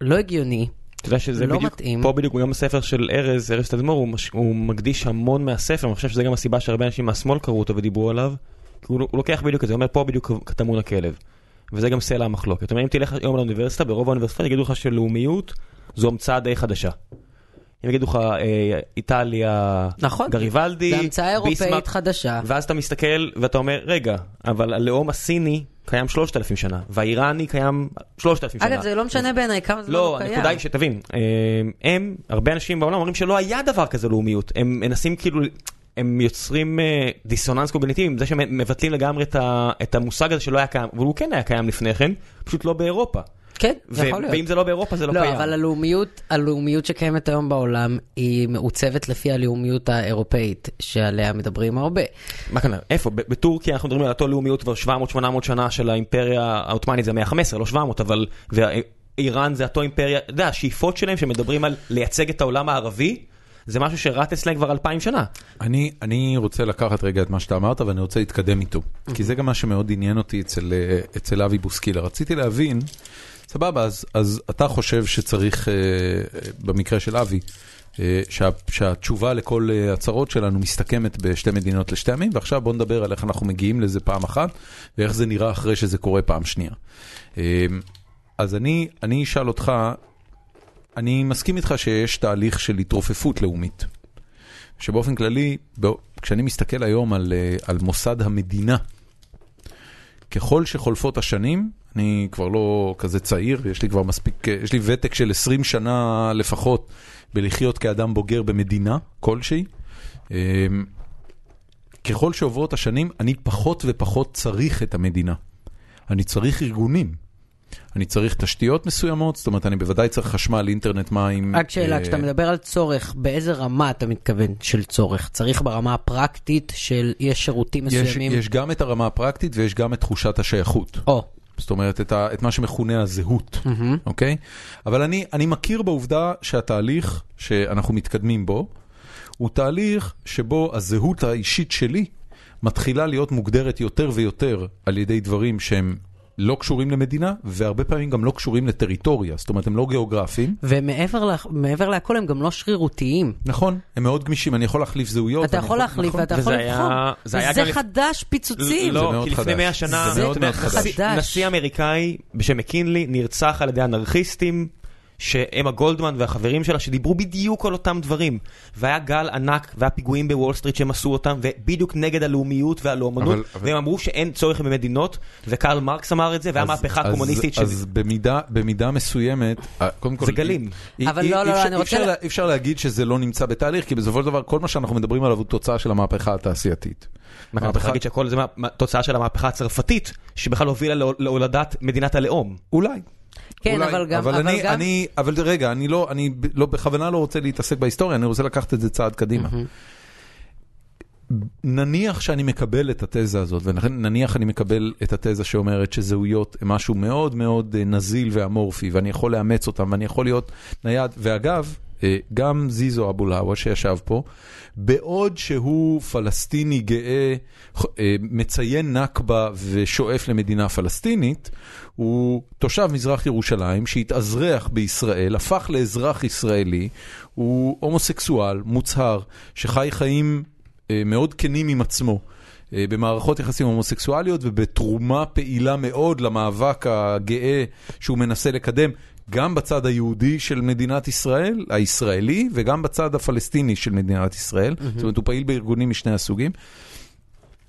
Speaker 3: לא הגיוני.
Speaker 2: אתה יודע שזה
Speaker 3: לא
Speaker 2: בדיוק,
Speaker 3: מתאים.
Speaker 2: פה בדיוק גם הספר של ארז, ארז תדמור, הוא, מש, הוא מקדיש המון מהספר, אני חושב שזה גם הסיבה שהרבה אנשים מהשמאל קראו אותו ודיברו עליו, כי הוא, הוא לוקח בדיוק את זה, הוא אומר פה בדיוק טמון הכלב. וזה גם סלע המחלוקת. זאת אומרת, אם תלך היום לאוניברסיטה, ברוב האוניברסיטאות יגידו לך שלאומיות זו המצאה די חדשה. הם יגידו לך אה, איטליה,
Speaker 3: נכון.
Speaker 2: גריבלדי,
Speaker 3: זו המצאה אירופאית
Speaker 2: ביסמרק,
Speaker 3: חדשה.
Speaker 2: ואז אתה מסתכל ואתה אומר, רגע, אבל הלאום הסיני קיים 3,000 שנה, והאיראני קיים 3,000 שנה.
Speaker 3: אגב, זה לא משנה בעיניי כמה זמן הוא
Speaker 2: לא,
Speaker 3: קיים.
Speaker 2: הנקודה היא שתבין, אה, הם, הרבה אנשים בעולם אומרים שלא היה דבר כזה לאומיות, הם מנסים כאילו, הם יוצרים אה, דיסוננס קוגניטיבי עם זה שהם מבטלים לגמרי את ה- את המושג הזה שלא היה קיים, אבל הוא כן היה קיים לפני כן, פשוט לא באירופה.
Speaker 3: כן,
Speaker 2: ו-
Speaker 3: זה יכול להיות.
Speaker 2: ואם זה לא באירופה זה לא
Speaker 3: לא,
Speaker 2: קיים.
Speaker 3: אבל הלאומיות, הלאומיות שקיימת היום בעולם, היא מעוצבת לפי הלאומיות האירופאית, שעליה מדברים הרבה.
Speaker 2: מה כאן, איפה? ב- בטורקיה אנחנו מדברים על אותו לאומיות כבר 700-800 שנה של האימפריה העות'מאנית, זה 115, לא 700, אבל... וה- איראן זה אותו אימפריה, אתה יודע, השאיפות שלהם שמדברים על לייצג את העולם הערבי, זה משהו שרץ אצלהם כבר אלפיים שנה.
Speaker 1: אני, אני רוצה לקחת רגע את מה שאתה אמרת ואני רוצה להתקדם איתו, כי זה גם מה שמאוד עניין אותי אצל, אה, אצל אבי בוסקילה. רציתי להבין, סבבה, אז, אז אתה חושב שצריך, אה, אה, במקרה של אבי, אה, שה, שהתשובה לכל אה, הצרות שלנו מסתכמת בשתי מדינות לשתי עמים, ועכשיו בוא נדבר על איך אנחנו מגיעים לזה פעם אחת, ואיך זה נראה אחרי שזה קורה פעם שנייה. אה, אז אני, אני אשאל אותך, אני מסכים איתך שיש תהליך של התרופפות לאומית. שבאופן כללי, ב... כשאני מסתכל היום על, אה, על מוסד המדינה, ככל שחולפות השנים, אני כבר לא כזה צעיר, יש לי כבר מספיק, אה, יש לי ותק של 20 שנה לפחות בלחיות כאדם בוגר במדינה כלשהי. אה, ככל שעוברות השנים, אני פחות ופחות צריך את המדינה. אני צריך ארגונים. אני צריך תשתיות מסוימות, זאת אומרת, אני בוודאי צריך חשמל, אינטרנט, מים.
Speaker 3: רק שאלה,
Speaker 1: אה,
Speaker 3: כשאתה מדבר על צורך, באיזה רמה אתה מתכוון של צורך? צריך ברמה הפרקטית של יש שירותים
Speaker 1: יש,
Speaker 3: מסוימים?
Speaker 1: יש גם את הרמה הפרקטית ויש גם את תחושת השייכות.
Speaker 3: או,
Speaker 1: זאת אומרת, את, ה, את מה שמכונה הזהות, אוקיי? אבל אני, אני מכיר בעובדה שהתהליך שאנחנו מתקדמים בו, הוא תהליך שבו הזהות האישית שלי מתחילה להיות מוגדרת יותר ויותר על ידי דברים שהם לא קשורים למדינה, והרבה פעמים גם לא קשורים לטריטוריה, זאת אומרת, הם לא גיאוגרפיים.
Speaker 3: ומעבר לה- מעבר להכל הם גם לא שרירותיים.
Speaker 1: נכון, הם מאוד גמישים, אני יכול להחליף זהויות.
Speaker 3: אתה
Speaker 1: אני
Speaker 3: יכול להחליף
Speaker 1: נכון.
Speaker 3: ואתה
Speaker 2: וזה
Speaker 3: יכול
Speaker 2: היה-
Speaker 3: לבחור.
Speaker 2: זה היה
Speaker 3: זה
Speaker 2: גם-
Speaker 3: חדש פיצוצים.
Speaker 1: זה
Speaker 2: לא,
Speaker 1: מאוד
Speaker 2: כי לפני
Speaker 1: חדש.
Speaker 2: 100 שנה,
Speaker 3: זה
Speaker 2: אתה
Speaker 1: מאוד
Speaker 2: יודע,
Speaker 1: מאוד חדש.
Speaker 2: נשיא-
Speaker 3: חדש.
Speaker 2: נשיא אמריקאי בשם מקינלי נרצח על ידי אנרכיסטים. שהם הגולדמן והחברים שלה שדיברו בדיוק על אותם דברים והיה גל ענק והיה פיגועים בוול סטריט שהם עשו אותם ובדיוק נגד הלאומיות והלאומנות
Speaker 1: אבל- אבל-
Speaker 2: והם אמרו שאין צורך במדינות וקרל מרקס אמר את זה והיה
Speaker 1: אז-
Speaker 2: מהפכה
Speaker 1: אז-
Speaker 2: קומוניסטית של
Speaker 1: אז במידה, במידה מסוימת, אה, קודם כל...
Speaker 2: זה גלים.
Speaker 1: אי-
Speaker 3: אבל
Speaker 1: אי-
Speaker 3: לא,
Speaker 1: אי
Speaker 3: לא, לא,
Speaker 1: אפשר-
Speaker 3: אני
Speaker 1: אי אפשר
Speaker 3: רוצה-
Speaker 1: לה- אי אפשר להגיד שזה לא נמצא בתהליך, כי בסופו של דבר כל מה שאנחנו מדברים עליו הוא תוצאה של המהפכה התעשייתית.
Speaker 2: מה, אתה צריך להגיד שהכל זה מה- מה- תוצאה של המהפכה הצרפתית שבכלל הובילה להול- להולדת מדינת הלאום.
Speaker 1: אולי.
Speaker 3: כן,
Speaker 1: אולי.
Speaker 3: אבל גם...
Speaker 1: אבל אני,
Speaker 3: גם-
Speaker 1: אני, אבל רגע, אני לא, אני ב- לא, בכוונה לא רוצה להתעסק בהיסטוריה, אני רוצה לקחת את זה צעד קדימה. נניח שאני מקבל את התזה הזאת, ונניח אני מקבל את התזה שאומרת שזהויות הן משהו מאוד מאוד אה, נזיל ואמורפי, ואני יכול לאמץ אותן, ואני יכול להיות נייד. ואגב, אה, גם זיזו אבולאווה שישב פה, בעוד שהוא פלסטיני גאה, ח- אה, מציין נכבה ושואף למדינה פלסטינית, הוא תושב מזרח ירושלים שהתאזרח בישראל, הפך לאזרח ישראלי, הוא הומוסקסואל מוצהר, שחי חיים אה, מאוד כנים עם עצמו. אה, במערכות יחסים הומוסקסואליות ובתרומה פעילה מאוד למאבק הגאה שהוא מנסה לקדם, גם בצד היהודי של מדינת ישראל, הישראלי, וגם בצד הפלסטיני של מדינת ישראל. Mm-hmm. זאת אומרת, הוא פעיל בארגונים משני הסוגים.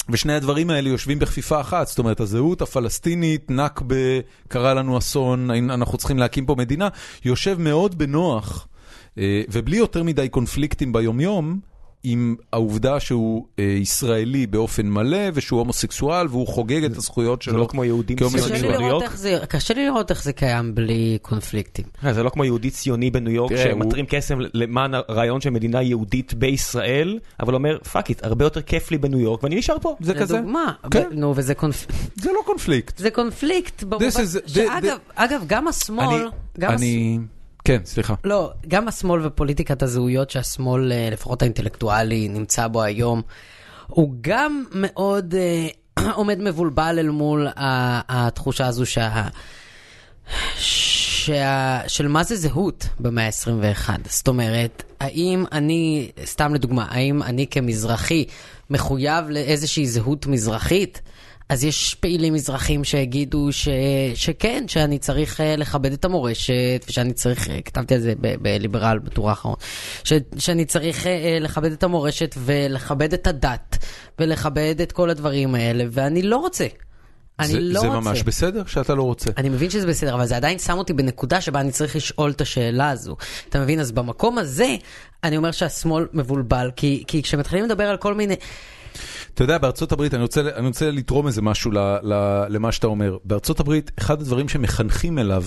Speaker 1: ושני הדברים האלה יושבים בכפיפה אחת, זאת אומרת, הזהות הפלסטינית, נכבה, קרה לנו אסון, אנחנו צריכים להקים פה מדינה, יושב מאוד בנוח, אה, ובלי יותר מדי קונפליקטים ביומיום, עם העובדה שהוא אה, ישראלי באופן מלא, ושהוא הומוסקסואל, והוא חוגג את הזכויות שלו.
Speaker 2: לא כמו יהודים
Speaker 1: כהומוסקסואל.
Speaker 3: קשה לי
Speaker 2: בניו
Speaker 3: לראות
Speaker 2: יורק?
Speaker 3: איך זה- לא- קשה לי לראות איך זה קיים בלי קונפליקטים.
Speaker 2: אה, זה לא כמו יהודי ציוני בניו יורק
Speaker 1: תראה, הוא-
Speaker 2: שמתרים קסם למען הרעיון של מדינה יהודית בישראל, אבל אומר פאק איט, הרבה יותר כיף לי בניו יורק ואני נשאר פה.
Speaker 1: זה כזה?
Speaker 3: לדוגמה, ב-
Speaker 1: כן.
Speaker 3: נו, וזה קונפ-
Speaker 1: זה לא קונפליקט.
Speaker 3: זה קונפליקט במובן...
Speaker 1: is- the-
Speaker 3: שאגב, אגב, גם השמאל... גם הש-
Speaker 1: אני... כן, סליחה.
Speaker 3: לא, גם השמאל ופוליטיקת הזהויות שהשמאל, אה, לפחות האינטלקטואלי, נמצא בו היום, הוא גם מאוד אה, עומד מבולבל אל מול ה- התחושה הזו שה... שה... של מה זה זהות במאה ה-21. זאת אומרת, האם אני, סתם לדוגמה, האם אני כמזרחי מחויב לאיזושהי זהות מזרחית? אז יש פעילים מזרחים שיגידו ש... שכן, שאני צריך אה, לכבד את המורשת, ושאני צריך, אה, כתבתי על זה ב- בליברל בטור האחרון, ש... שאני צריך אה, אה, לכבד את המורשת ולכבד את הדת, ולכבד את כל הדברים האלה, ואני לא רוצה. אני
Speaker 1: זה,
Speaker 3: לא
Speaker 1: זה
Speaker 3: רוצה.
Speaker 1: ממש בסדר שאתה לא רוצה.
Speaker 3: אני מבין שזה בסדר, אבל זה עדיין שם אותי בנקודה שבה אני צריך לשאול את השאלה הזו. אתה מבין? אז במקום הזה, אני אומר שהשמאל מבולבל, כי, כי כשמתחילים לדבר על כל מיני...
Speaker 1: אתה יודע, בארצות הברית, אני רוצה, אני רוצה לתרום איזה משהו ל, ל, למה שאתה אומר. בארצות הברית, אחד הדברים שמחנכים אליו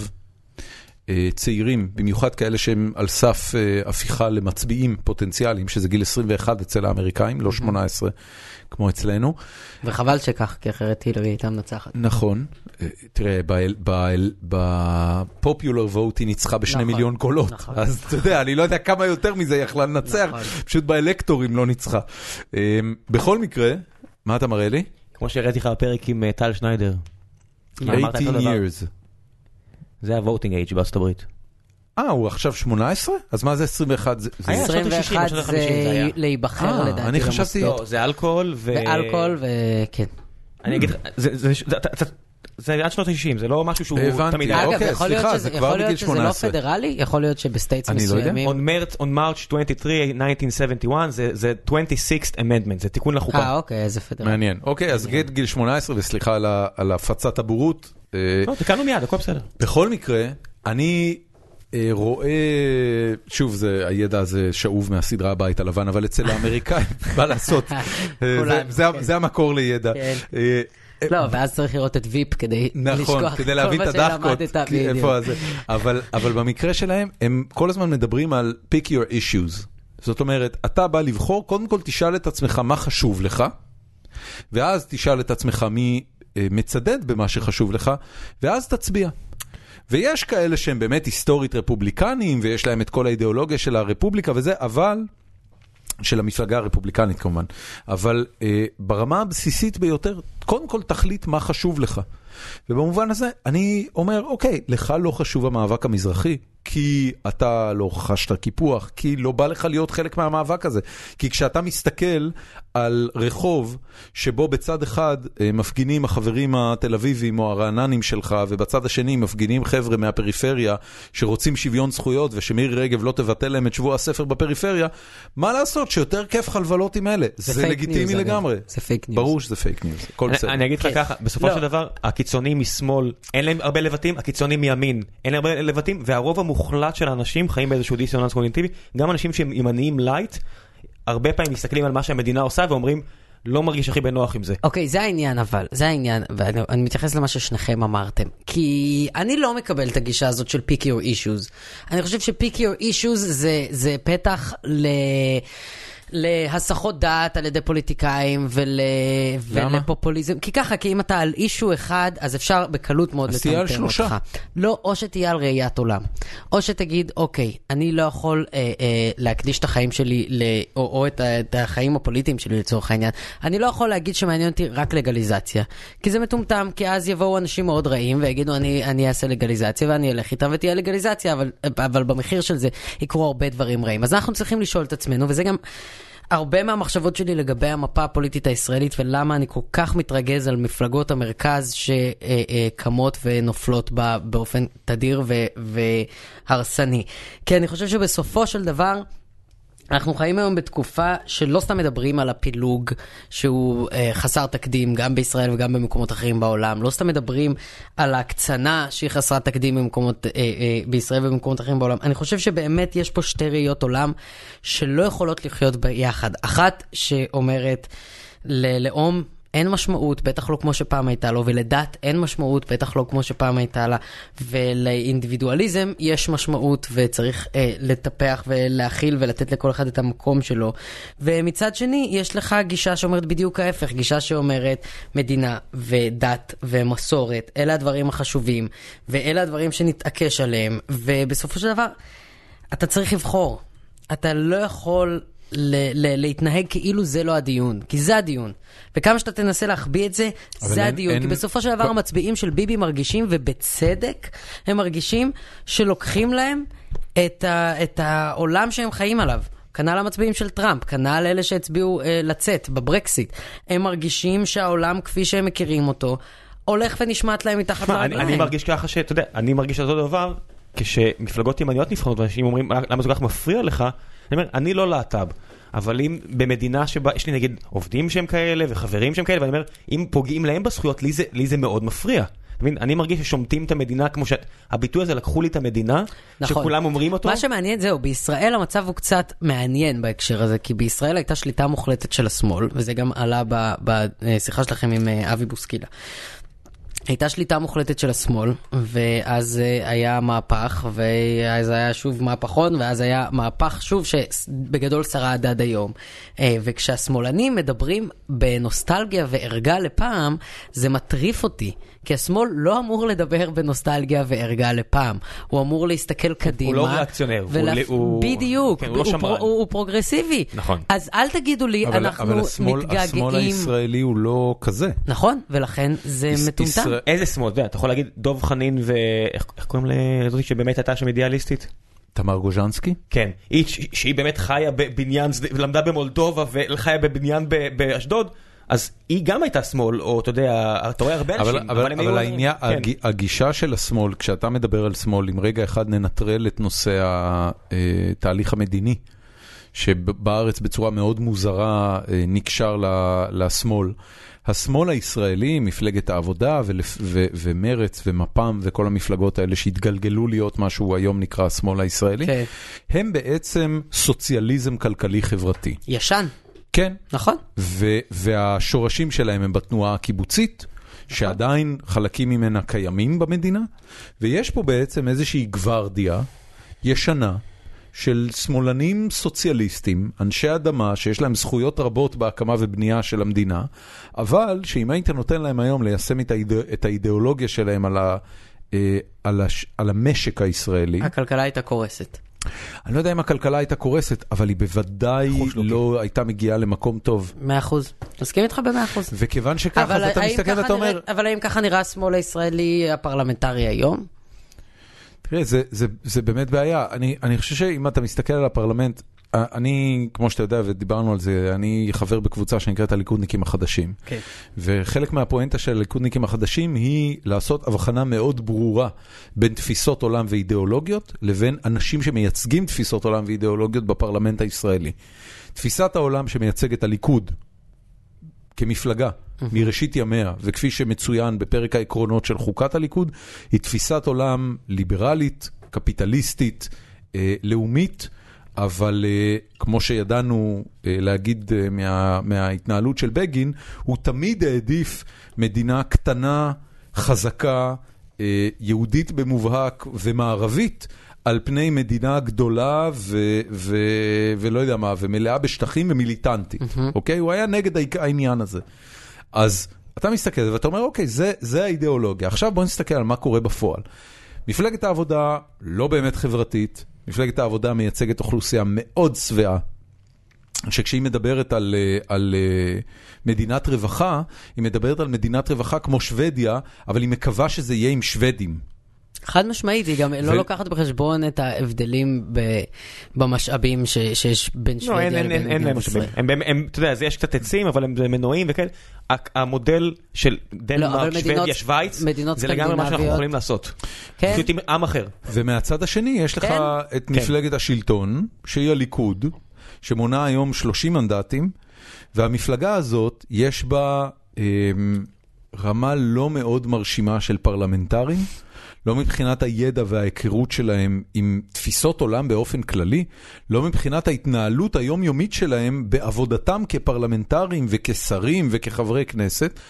Speaker 1: אה, צעירים, במיוחד כאלה שהם על סף אה, הפיכה למצביעים פוטנציאליים, שזה גיל 21 אצל האמריקאים,
Speaker 3: Mm-hmm.
Speaker 1: לא 18 כמו אצלנו.
Speaker 3: וחבל שכך, כי אחרת הילרי הייתה מנצחת.
Speaker 1: נכון. אה, תראה, בפופולר ווט היא ניצחה בשני
Speaker 3: נכון,
Speaker 1: מיליון קולות.
Speaker 3: נכון.
Speaker 1: אז אתה יודע, אני לא יודע כמה יותר מזה יכלה לנצח,
Speaker 3: נכון.
Speaker 1: פשוט באלקטורים לא ניצחה. אה, בכל מקרה, מה אתה מראה לי?
Speaker 2: כמו שהראיתי לך בפרק עם אה, טל שניידר. אמרת
Speaker 1: 18
Speaker 2: אותו דבר.
Speaker 1: years.
Speaker 2: זה ה-voting age בארצות הברית.
Speaker 1: אה, הוא עכשיו 18? אז מה זה 21? זה- זה-
Speaker 2: היה שנות ה-60,
Speaker 3: 21
Speaker 2: שנות ה-50
Speaker 3: זה
Speaker 2: זה היה.
Speaker 3: להיבחר
Speaker 1: אה,
Speaker 3: לדעתי
Speaker 1: אני חשבתי-
Speaker 3: למוסדות. כן.
Speaker 2: לא, זה אלכוהול ו...
Speaker 3: ואלכוהול וכן.
Speaker 2: אני אגיד לך, זה- זה- זה- אתה- אתה- זה עד שנות ה-90, זה לא משהו שהוא
Speaker 1: הבנתי,
Speaker 2: תמיד היה.
Speaker 3: אגב,
Speaker 1: אוקיי,
Speaker 3: יכול להיות
Speaker 1: סליחה,
Speaker 3: שזה-
Speaker 1: זה כבר
Speaker 3: יכול להיות
Speaker 1: בגיל
Speaker 3: שזה לא
Speaker 1: 18.
Speaker 3: פדרלי, יכול להיות שבסטייטס
Speaker 1: אני לא יודע.
Speaker 3: מסוימים...
Speaker 2: On March, on March 23, 1971, זה, זה 26th amendment, זה תיקון לחוקה.
Speaker 3: אה, אוקיי, איזה פדרלי.
Speaker 1: מעניין. אוקיי, אז גט גיל 18, וסליחה על ה- על הפצת הבורות. אה,
Speaker 2: לא, תיקנו מיד, הכל בסדר.
Speaker 1: בכל מקרה, אני אה, רואה, שוב, זה, הידע הזה שאוב מהסדרה הבית הלבן, אבל אצל האמריקאים, מה לעשות, אה, זה,
Speaker 3: כולנו,
Speaker 1: זה,
Speaker 3: כן.
Speaker 1: זה המקור לידע.
Speaker 3: כן.
Speaker 1: אה,
Speaker 3: לא, ואז צריך לראות את ויפ כדי לשכוח
Speaker 1: נכון, כדי להבין את
Speaker 3: כל מה
Speaker 1: הדחקות,
Speaker 3: שלמדת,
Speaker 1: כי-
Speaker 3: בדיוק.
Speaker 1: איפה הזה. אבל, אבל במקרה שלהם, הם כל הזמן מדברים על pick your issues. זאת אומרת, אתה בא לבחור, קודם כל תשאל את עצמך מה חשוב לך, ואז תשאל את עצמך מי אה, מצדד במה שחשוב לך, ואז תצביע. ויש כאלה שהם באמת היסטורית רפובליקנים, ויש להם את כל האידיאולוגיה של הרפובליקה וזה, אבל של המפלגה הרפובליקנית כמובן, אבל אה, ברמה הבסיסית ביותר, קודם כל תחליט מה חשוב לך. ובמובן הזה, אני אומר, אוקיי, לך לא חשוב המאבק המזרחי, כי אתה לא חשת קיפוח, כי לא בא לך להיות חלק מהמאבק הזה. כי כשאתה מסתכל על רחוב שבו בצד אחד אה, מפגינים החברים התל אביבים או הרעננים שלך, ובצד השני מפגינים חבר'ה מהפריפריה שרוצים שוויון זכויות ושמירי רגב לא תבטל להם את שבוע הספר בפריפריה, מה לעשות שיותר כיף לך לבלות עם אלה? זה,
Speaker 3: פייק
Speaker 1: לגיטימי
Speaker 3: ניוז, אגב.
Speaker 1: לגמרי.
Speaker 3: זה פייק ניוז.
Speaker 1: ברור שזה פייק ניוז, הכל
Speaker 2: אני-
Speaker 1: בסדר.
Speaker 2: אני אגיד לך
Speaker 3: כן.
Speaker 2: ככה, בסופו
Speaker 3: לא.
Speaker 2: של דבר, הקיצונים משמאל, אין להם הרבה לבטים, הקיצונים מימין, אין להם הרבה לבטים, והרוב המוחלט של האנשים חיים באיזשהו דיסוננס קוגניטיבי, גם אנשים שהם ימניים לייט, הרבה פעמים מסתכלים על מה שהמדינה עושה ואומרים, לא מרגיש הכי בנוח עם זה.
Speaker 3: אוקיי, זה העניין אבל, זה העניין, ואני אני מתייחס למה ששניכם אמרתם. כי אני לא מקבל את הגישה הזאת של pick your issues. אני חושב ש-pick your issues זה, זה פתח ל... להסחות דעת על ידי פוליטיקאים ול...
Speaker 1: למה?
Speaker 3: ולפופוליזם. כי ככה, כי אם אתה על אישו אחד, אז אפשר בקלות מאוד
Speaker 1: אז תהיה על
Speaker 3: לטמטם
Speaker 1: שלושה.
Speaker 3: אותך. לא, או שתהיה על ראיית עולם. או שתגיד, אוקיי, אני לא יכול אה, אה, להקדיש את החיים שלי, ל... או, או את, ה... את החיים הפוליטיים שלי לצורך העניין. אני לא יכול להגיד שמעניין אותי רק לגליזציה. כי זה מטומטם, כי אז יבואו אנשים מאוד רעים ויגידו, אני, אני אעשה לגליזציה ואני אלך איתם ותהיה לגליזציה, אבל, אבל במחיר של זה יקרו הרבה דברים רעים. אז אנחנו צריכים לשאול את עצמנו, וזה גם... הרבה מהמחשבות שלי לגבי המפה הפוליטית הישראלית ולמה אני כל כך מתרגז על מפלגות המרכז שקמות ונופלות בה באופן תדיר ו- והרסני. כי אני חושב שבסופו של דבר... אנחנו חיים היום בתקופה שלא סתם מדברים על הפילוג שהוא אה, חסר תקדים גם בישראל וגם במקומות אחרים בעולם, לא סתם מדברים על ההקצנה שהיא חסרת תקדים במקומות, אה, אה, בישראל ובמקומות אחרים בעולם. אני חושב שבאמת יש פה שתי ראיות עולם שלא יכולות לחיות ביחד. אחת שאומרת ללאום אין משמעות, בטח לא כמו שפעם הייתה לו, ולדת אין משמעות, בטח לא כמו שפעם הייתה לה, ולאינדיבידואליזם יש משמעות, וצריך אה, לטפח ולהכיל ולתת לכל אחד את המקום שלו. ומצד שני, יש לך גישה שאומרת בדיוק ההפך, גישה שאומרת מדינה ודת ומסורת, אלה הדברים החשובים, ואלה הדברים שנתעקש עליהם, ובסופו של דבר, אתה צריך לבחור. אתה לא יכול ל- ל- להתנהג כאילו זה לא הדיון, כי זה הדיון. וכמה שאתה תנסה להחביא את זה, זה
Speaker 1: אין-
Speaker 3: הדיון.
Speaker 1: אין-
Speaker 3: כי בסופו של דבר
Speaker 1: לא.
Speaker 3: המצביעים של ביבי מרגישים, ובצדק, הם מרגישים שלוקחים להם את, ה- את העולם שהם חיים עליו. כנ"ל המצביעים של טראמפ, כנ"ל אלה שהצביעו אה, לצאת בברקסיט. הם מרגישים שהעולם כפי שהם מכירים אותו, הולך ונשמט להם מתחת
Speaker 2: תשמע, אני,
Speaker 3: לרגליים.
Speaker 2: אני מרגיש ככה שאתה יודע, אני מרגיש אותו דבר כשמפלגות ימניות נבחרות ואנשים אומרים "אה, למה זה כל כך מפריע לך, אני אומר, אני לא להט"ב. אבל אם במדינה שבה יש לי נגיד עובדים שהם כאלה וחברים שהם כאלה ואני אומר אם פוגעים להם בזכויות לי זה, לי זה מאוד מפריע. אתה מבין? אני מרגיש ששומטים את המדינה כמו שהביטוי הזה לקחו לי את המדינה
Speaker 3: נכון.
Speaker 2: שכולם אומרים אותו.
Speaker 3: מה שמעניין זהו, בישראל המצב הוא קצת מעניין בהקשר הזה, כי בישראל הייתה שליטה מוחלטת של השמאל, וזה גם עלה ב- בשיחה שלכם עם אה, אבי בוסקילה. הייתה שליטה מוחלטת של השמאל, ואז אה, היה מהפך, ואז היה שוב מהפכון, ואז היה מהפך שוב שבגדול שרד עד היום. אה, וכשהשמאלנים מדברים בנוסטלגיה וערגה לפעם, זה מטריף אותי. כי השמאל לא אמור לדבר בנוסטלגיה וערגה לפעם. הוא אמור להסתכל קדימה.
Speaker 2: לא ריאקציונר, הוא- הוא-
Speaker 3: בדיוק.
Speaker 2: כן, הוא לא שמרן.
Speaker 3: פרו- הוא, הוא פרוגרסיבי.
Speaker 2: נכון.
Speaker 3: אז אל תגידו לי,
Speaker 1: אבל,
Speaker 3: אנחנו
Speaker 1: אבל השמאל,
Speaker 3: מתגעגעים.
Speaker 1: השמאל הישראלי הוא לא כזה.
Speaker 3: נכון, ולכן זה
Speaker 1: יש-
Speaker 3: מטומטם.
Speaker 1: ישראל-
Speaker 2: איזה שמאל, אתה יודע, אתה יכול להגיד דב חנין ואיך איך קוראים לזאתי שבאמת הייתה שם אידיאליסטית?
Speaker 1: תמר גוז'נסקי?
Speaker 2: כן, היא ש- שהיא באמת חיה בבניין, שדה- למדה במולדובה וחיה בבניין ב- באשדוד, אז היא גם הייתה שמאל, או אתה יודע, אתה רואה הרבה
Speaker 1: אבל,
Speaker 2: אנשים,
Speaker 1: אבל,
Speaker 2: הם
Speaker 1: אבל
Speaker 2: היו-
Speaker 1: העניין,
Speaker 2: כן.
Speaker 1: הג- הגישה של השמאל, כשאתה מדבר על שמאל, אם רגע אחד ננטרל את נושא התהליך המדיני, שבארץ בצורה מאוד מוזרה אה, נקשר ל- לשמאל. השמאל הישראלי, מפלגת העבודה ולפ- ו- ומרץ ומפ"ם וכל המפלגות האלה שהתגלגלו להיות מה שהוא היום נקרא השמאל הישראלי,
Speaker 3: כן.
Speaker 1: הם בעצם סוציאליזם כלכלי-חברתי.
Speaker 3: ישן,
Speaker 1: כן,
Speaker 3: נכון.
Speaker 1: ו- והשורשים שלהם הם בתנועה הקיבוצית, שעדיין חלקים ממנה קיימים במדינה, ויש פה בעצם איזושהי גוורדיה ישנה. של שמאלנים סוציאליסטים, אנשי אדמה, שיש להם זכויות רבות בהקמה ובנייה של המדינה, אבל שאם היית נותן להם היום ליישם את, האיד... את האידיאולוגיה שלהם על, ה... אה, על, הש... על המשק הישראלי,
Speaker 3: הכלכלה הייתה קורסת.
Speaker 1: אני לא יודע אם הכלכלה הייתה קורסת, אבל היא בוודאי לא הייתה מגיעה למקום טוב.
Speaker 3: מאה אחוז. מסכים איתך במאה אחוז.
Speaker 1: וכיוון שככה,
Speaker 3: אבל
Speaker 1: אז אתה
Speaker 3: האם
Speaker 1: מסתכל
Speaker 3: ככה
Speaker 1: ואתה אומר,
Speaker 3: נראית- אבל האם ככה נראה השמאל הישראלי הפרלמנטרי היום?
Speaker 1: תראה, זה, זה, זה באמת בעיה. אני, אני חושב שאם אתה מסתכל על הפרלמנט, אה, אני, כמו שאתה יודע, ודיברנו על זה, אני חבר בקבוצה שנקראת הליכודניקים החדשים.
Speaker 2: כן.
Speaker 1: וחלק מהפואנטה של הליכודניקים החדשים היא לעשות הבחנה מאוד ברורה בין תפיסות עולם ואידיאולוגיות לבין אנשים שמייצגים תפיסות עולם ואידיאולוגיות בפרלמנט הישראלי. תפיסת העולם שמייצג את הליכוד כמפלגה מראשית ימיה, וכפי שמצוין בפרק העקרונות של חוקת הליכוד, היא תפיסת עולם ליברלית, קפיטליסטית, אה, לאומית, אבל אה, כמו שידענו אה, להגיד אה, מה, מההתנהלות של בגין, הוא תמיד העדיף מדינה קטנה, חזקה, אה, יהודית במובהק ומערבית. על פני מדינה גדולה ו- ו- ולא יודע מה, ומלאה בשטחים ומיליטנטית, אוקיי? הוא היה נגד העיק- העניין הזה. אז אתה מסתכל על זה ואתה אומר, אוקיי, זה, זה האידיאולוגיה. עכשיו בוא נסתכל על מה קורה בפועל. מפלגת העבודה לא באמת חברתית, מפלגת העבודה מייצגת אוכלוסייה מאוד שבעה, שכשהיא מדברת על, אה, על אה, מדינת רווחה, היא מדברת על מדינת רווחה כמו שוודיה, אבל היא מקווה שזה יהיה עם שוודים.
Speaker 3: חד משמעית, היא גם לא לוקחת בחשבון את ההבדלים ב- במשאבים ש- שיש בין
Speaker 2: לא,
Speaker 3: שוודיה
Speaker 2: אין, אין, אין,
Speaker 3: לבין
Speaker 2: אין להם
Speaker 3: מדינת
Speaker 2: משאבים.
Speaker 3: ישראל.
Speaker 2: הם, הם, הם, אתה יודע, אז יש קצת עצים, אבל הם זה מנועים וכאלה. ה- המודל של
Speaker 3: אבל
Speaker 2: דנמרק,
Speaker 3: מדינות-
Speaker 2: שוודיה, שווייץ,
Speaker 3: מדינות
Speaker 2: זה לגמרי מה שאנחנו
Speaker 3: סקנדינביות.
Speaker 2: יכולים לעשות.
Speaker 3: כן.
Speaker 2: פשוט עם עם אחר.
Speaker 1: ומהצד השני יש לך
Speaker 3: כן.
Speaker 1: את מפלגת השלטון, שהיא הליכוד, שמונה היום 30 מנדטים, והמפלגה הזאת, יש בה אה, רמה לא מאוד מרשימה של פרלמנטרים, לא מבחינת הידע וההיכרות שלהם עם תפיסות עולם באופן כללי, לא מבחינת ההתנהלות היומיומית שלהם בעבודתם כפרלמנטרים וכשרים וכחברי כנסת.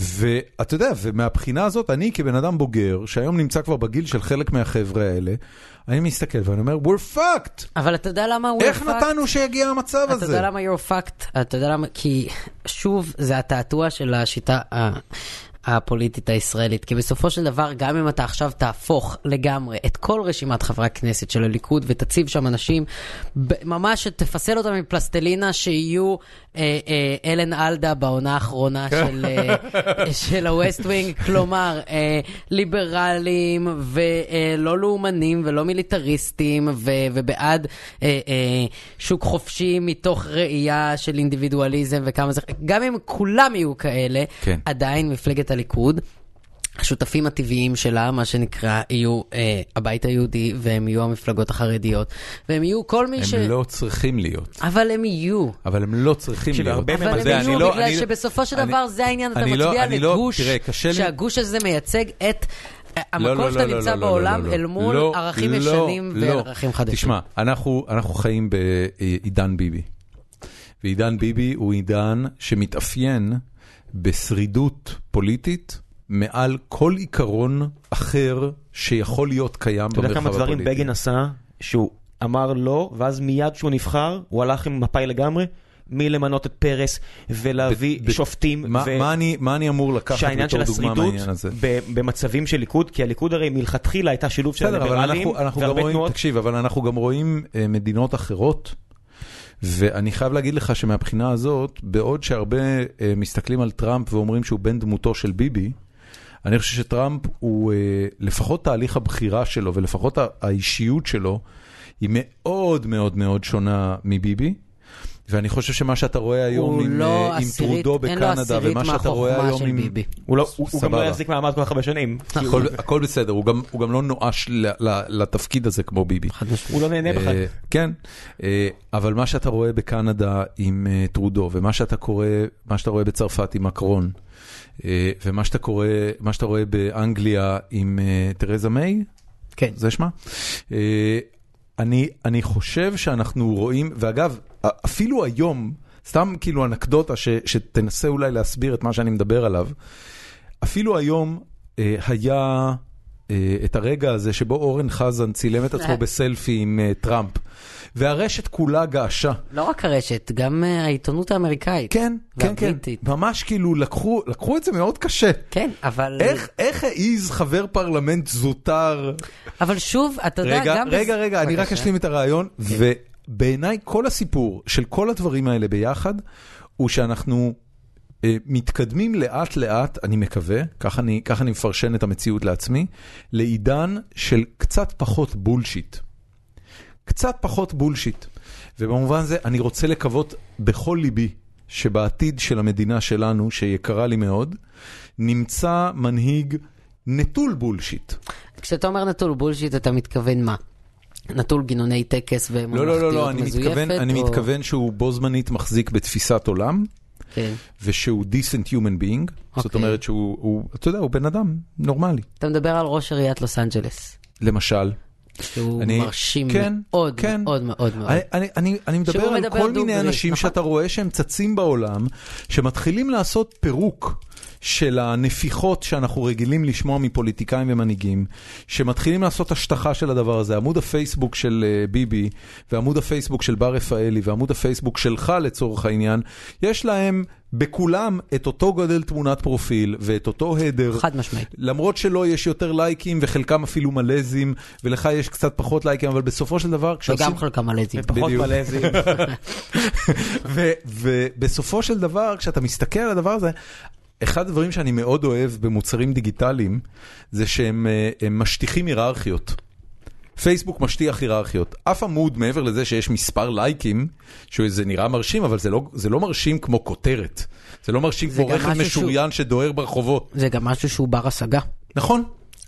Speaker 1: ואתה יודע, ומהבחינה הזאת, אני כבן אדם בוגר, שהיום נמצא כבר בגיל של חלק מהחבר'ה האלה, אני מסתכל ואני אומר, we're fucked!
Speaker 3: אבל אתה יודע למה הוא...
Speaker 1: איך
Speaker 3: הפך-
Speaker 1: נתנו שיגיע המצב
Speaker 3: אתה
Speaker 1: הזה?
Speaker 3: יודע למה you're fucked? אתה יודע למה? כי שוב, זה התעתוע של השיטה ה- הפוליטית הישראלית. כי בסופו של דבר, גם אם אתה עכשיו תהפוך לגמרי את כל רשימת חברי הכנסת של הליכוד ותציב שם אנשים, ב- ממש תפסל אותם מפלסטלינה שיהיו אה, אה, אלן אלדה בעונה האחרונה של, אה, של הווסט ווינג, כלומר, אה, ליברלים ולא לאומנים ולא מיליטריסטים ו, ובעד אה, אה, שוק חופשי מתוך ראייה של אינדיבידואליזם וכמה זה, גם אם כולם יהיו כאלה,
Speaker 1: כן.
Speaker 3: עדיין מפלגת הליכוד. השותפים הטבעיים שלה, מה שנקרא, יהיו אה, הבית היהודי, והם יהיו המפלגות החרדיות, והם יהיו כל מי ש...
Speaker 1: הם לא צריכים להיות,
Speaker 3: אבל הם יהיו.
Speaker 1: אבל הם לא צריכים
Speaker 2: תקשיב,
Speaker 1: להיות.
Speaker 2: הרבה
Speaker 1: אתה
Speaker 2: מהם-
Speaker 3: אבל
Speaker 1: יודע,
Speaker 3: הם
Speaker 1: אני
Speaker 3: יהיו,
Speaker 1: לא-
Speaker 3: בגלל
Speaker 1: אני-
Speaker 3: שבסופו של
Speaker 1: אני-
Speaker 3: דבר זה העניין, אתה
Speaker 1: אני לא-
Speaker 3: מצביע
Speaker 1: אני לא-
Speaker 3: לגוש,
Speaker 1: תראה, קשה לי-
Speaker 3: שהגוש הזה מייצג את אה,
Speaker 1: לא, לא,
Speaker 3: המקום שאתה
Speaker 1: לא, לא,
Speaker 3: נמצא
Speaker 1: לא, לא,
Speaker 3: בעולם
Speaker 1: לא, לא.
Speaker 3: אל מול
Speaker 1: לא,
Speaker 3: ערכים
Speaker 1: לא,
Speaker 3: ישנים
Speaker 1: לא.
Speaker 3: וערכים חדשים.
Speaker 1: תשמע, אנחנו אנחנו חיים בעידן ביבי. ועידן ביבי הוא עידן שמתאפיין בשרידות פוליטית מעל כל עיקרון אחר שיכול להיות קיים
Speaker 2: אתה
Speaker 1: במרחב
Speaker 2: יודע
Speaker 1: הפוליטי.
Speaker 2: כמה דברים בגין עשה, שהוא אמר לא, ואז מיד כשהוא נבחר, הוא הלך עם מפאי לגמרי, מלמנות את פרס ולהביא
Speaker 1: ב- ב-
Speaker 2: שופטים.
Speaker 1: מה,
Speaker 2: ו-
Speaker 1: מה, אני, מה אני אמור לקחת
Speaker 2: שהעניין של
Speaker 1: בתור דוגמה
Speaker 2: השרידות
Speaker 1: מהעניין הזה?
Speaker 2: ב- במצבים של ליכוד, כי הליכוד הרי מלכתחילה הייתה שילוב של
Speaker 1: בסדר, אבל
Speaker 2: הליברלים
Speaker 1: אנחנו, אנחנו גם
Speaker 2: והרבה
Speaker 1: רואים,
Speaker 2: תנועות.
Speaker 1: תקשיב, אבל אנחנו גם רואים אה, מדינות אחרות, ואני חייב להגיד לך שמהבחינה הזאת, בעוד שהרבה אה, מסתכלים על טראמפ ואומרים שהוא בן דמותו של ביבי, אני חושב שטראמפ הוא, אה, לפחות תהליך הבחירה שלו ולפחות ה- האישיות שלו, היא מאוד מאוד מאוד שונה מביבי. ואני חושב שמה שאתה רואה היום
Speaker 3: הוא
Speaker 1: עם,
Speaker 3: לא
Speaker 1: אה, עם
Speaker 3: עשירית,
Speaker 1: טרודו
Speaker 3: אין לו
Speaker 1: בקנדה,
Speaker 3: עשירית
Speaker 1: ומה שאתה רואה
Speaker 3: מהחוכמה
Speaker 1: היום
Speaker 3: של
Speaker 1: עם...
Speaker 3: ביבי.
Speaker 2: הוא לא- הוא הוא גם לא
Speaker 1: סבבה. אה,
Speaker 2: יחזיק מעמד כל כך הרבה שנים. כי הוא-
Speaker 1: הכל, הכל בסדר, הוא גם, הוא גם לא נואש ל- ל- לתפקיד הזה כמו ביבי.
Speaker 2: הוא לא נהנה בכלל.
Speaker 1: אה, כן, אה, אבל מה שאתה רואה בקנדה עם אה, טרודו, ומה שאתה קורא, מה שאתה רואה בצרפת עם מקרון, אה, ומה שאתה קורא, מה שאתה רואה באנגליה עם אה, תרזה מיי,
Speaker 3: כן.
Speaker 1: זה שמה? אה, אני, אני חושב שאנחנו רואים, ואגב, אפילו היום, סתם כאילו אנקדוטה ש, שתנסה אולי להסביר את מה שאני מדבר עליו, אפילו היום אה, היה אה, את הרגע הזה שבו אורן חזן צילם את עצמו בסלפי עם אה, טראמפ, והרשת כולה געשה.
Speaker 3: לא רק הרשת, גם אה, העיתונות האמריקאית.
Speaker 1: כן, כן, כן,
Speaker 3: והבריטית.
Speaker 1: ממש כאילו לקחו, לקחו את זה מאוד קשה.
Speaker 3: כן, אבל...
Speaker 1: איך, איך העז חבר פרלמנט זוטר?
Speaker 3: אבל שוב, אתה יודע,
Speaker 1: רגע,
Speaker 3: גם... בז-
Speaker 1: רגע, רגע, אני רק
Speaker 3: בבקשה. כן.
Speaker 1: אשלים את הרעיון, ובעיניי כל הסיפור של כל הדברים האלה ביחד, הוא שאנחנו אה, מתקדמים לאט לאט, אני מקווה, כך אני, כך אני מפרשן את המציאות לעצמי, לעידן של קצת פחות בולשיט. קצת פחות בולשיט. ובמובן זה, אני רוצה לקוות בכל ליבי שבעתיד של המדינה שלנו, שיקרה לי מאוד, נמצא מנהיג נטול בולשיט.
Speaker 3: כשאתה אומר נטול בולשיט, אתה מתכוון מה? נטול גינוני טקס
Speaker 1: לא,
Speaker 3: וממלכתיות
Speaker 1: לא, לא,
Speaker 3: מזויפת?
Speaker 1: לא, אני מתכוון, אני
Speaker 3: או-
Speaker 1: מתכוון שהוא בו זמנית מחזיק בתפיסת עולם,
Speaker 3: כן.
Speaker 1: ושהוא decent human being, זאת
Speaker 3: אוקיי.
Speaker 1: אומרת שהוא, הוא- אתה יודע, הוא בן אדם נורמלי,
Speaker 3: אתה מדבר על ראש עיריית לוס אנג'לס,
Speaker 1: למשל.
Speaker 3: שהוא
Speaker 1: אני-
Speaker 3: מרשים
Speaker 1: כן,
Speaker 3: מאוד,
Speaker 1: כן.
Speaker 3: מאוד מאוד מאוד.
Speaker 1: אני, אני, אני, אני מדבר
Speaker 3: שהוא
Speaker 1: על
Speaker 3: מדבר
Speaker 1: כל מיני
Speaker 3: דוגרי,
Speaker 1: אנשים
Speaker 3: נכון.
Speaker 1: שאתה רואה שהם צצים בעולם, שמתחילים לעשות פירוק של הנפיחות שאנחנו רגילים לשמוע מפוליטיקאים ומנהיגים, שמתחילים לעשות השטחה של הדבר הזה. עמוד הפייסבוק של אה, ביבי, ועמוד הפייסבוק של בר רפאלי, ועמוד הפייסבוק שלך לצורך העניין, יש להם בכולם את אותו גודל תמונת פרופיל ואת אותו הדר.
Speaker 3: חד משמעית.
Speaker 1: למרות שלא יש יותר לייקים וחלקם אפילו מלזים ולך יש קצת פחות לייקים אבל בסופו של דבר כשעושים...
Speaker 3: וגם חלקם מלזים.
Speaker 2: פחות
Speaker 1: בדיוק.
Speaker 2: מלזים.
Speaker 1: ו- ובסופו של דבר, כשאתה מסתכל על הדבר הזה, אחד הדברים שאני מאוד אוהב במוצרים דיגיטליים, זה שהם אה, הם משטיחים היררכיות. פייסבוק משטיח היררכיות. אף עמוד, מעבר לזה שיש מספר לייקים, שזה נראה מרשים, אבל זה לא, זה לא מרשים כמו כותרת. זה לא מרשים
Speaker 3: זה
Speaker 1: כמו
Speaker 3: גם
Speaker 1: רכב
Speaker 3: משהו שהוא-
Speaker 1: משוריין שדוהר ברחובות.
Speaker 3: זה גם משהו שהוא בר השגה,
Speaker 1: נכון?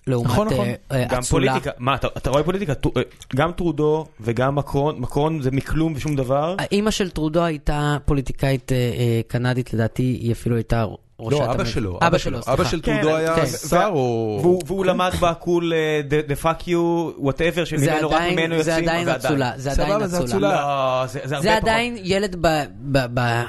Speaker 3: לעומת
Speaker 1: נכון, נכון.
Speaker 3: אה, אה,
Speaker 2: גם
Speaker 3: אצולה.
Speaker 2: פוליטיקה, מה אתה- אתה רואה פוליטיקה? טו- אה, גם טרודו וגם מקרון, מקרון זה מכלום ושום דבר.
Speaker 3: אימא של טרודו הייתה פוליטיקאית אה, אה, קנדית, לדעתי היא אפילו הייתה ראשת...
Speaker 1: לא, אבא
Speaker 3: המדינה.
Speaker 1: שלו.
Speaker 3: אבא שלו, סליחה.
Speaker 1: אבא של
Speaker 2: כן,
Speaker 1: טרודו היה
Speaker 3: כן.
Speaker 1: שר
Speaker 2: והוא-
Speaker 1: או...
Speaker 2: והוא למד בהכול אה, דה פאק יו, וואטאבר,
Speaker 3: זה
Speaker 2: שממנו רק
Speaker 3: עדיין,
Speaker 2: ממנו יוצאים.
Speaker 3: זה עדיין אצולה, זה עדיין
Speaker 1: סבבה, זה
Speaker 3: אצולה.
Speaker 1: אצולה.
Speaker 2: לא, זה זה הרבה
Speaker 3: זה
Speaker 2: פחות.
Speaker 3: עדיין ילד ב... ב, ב...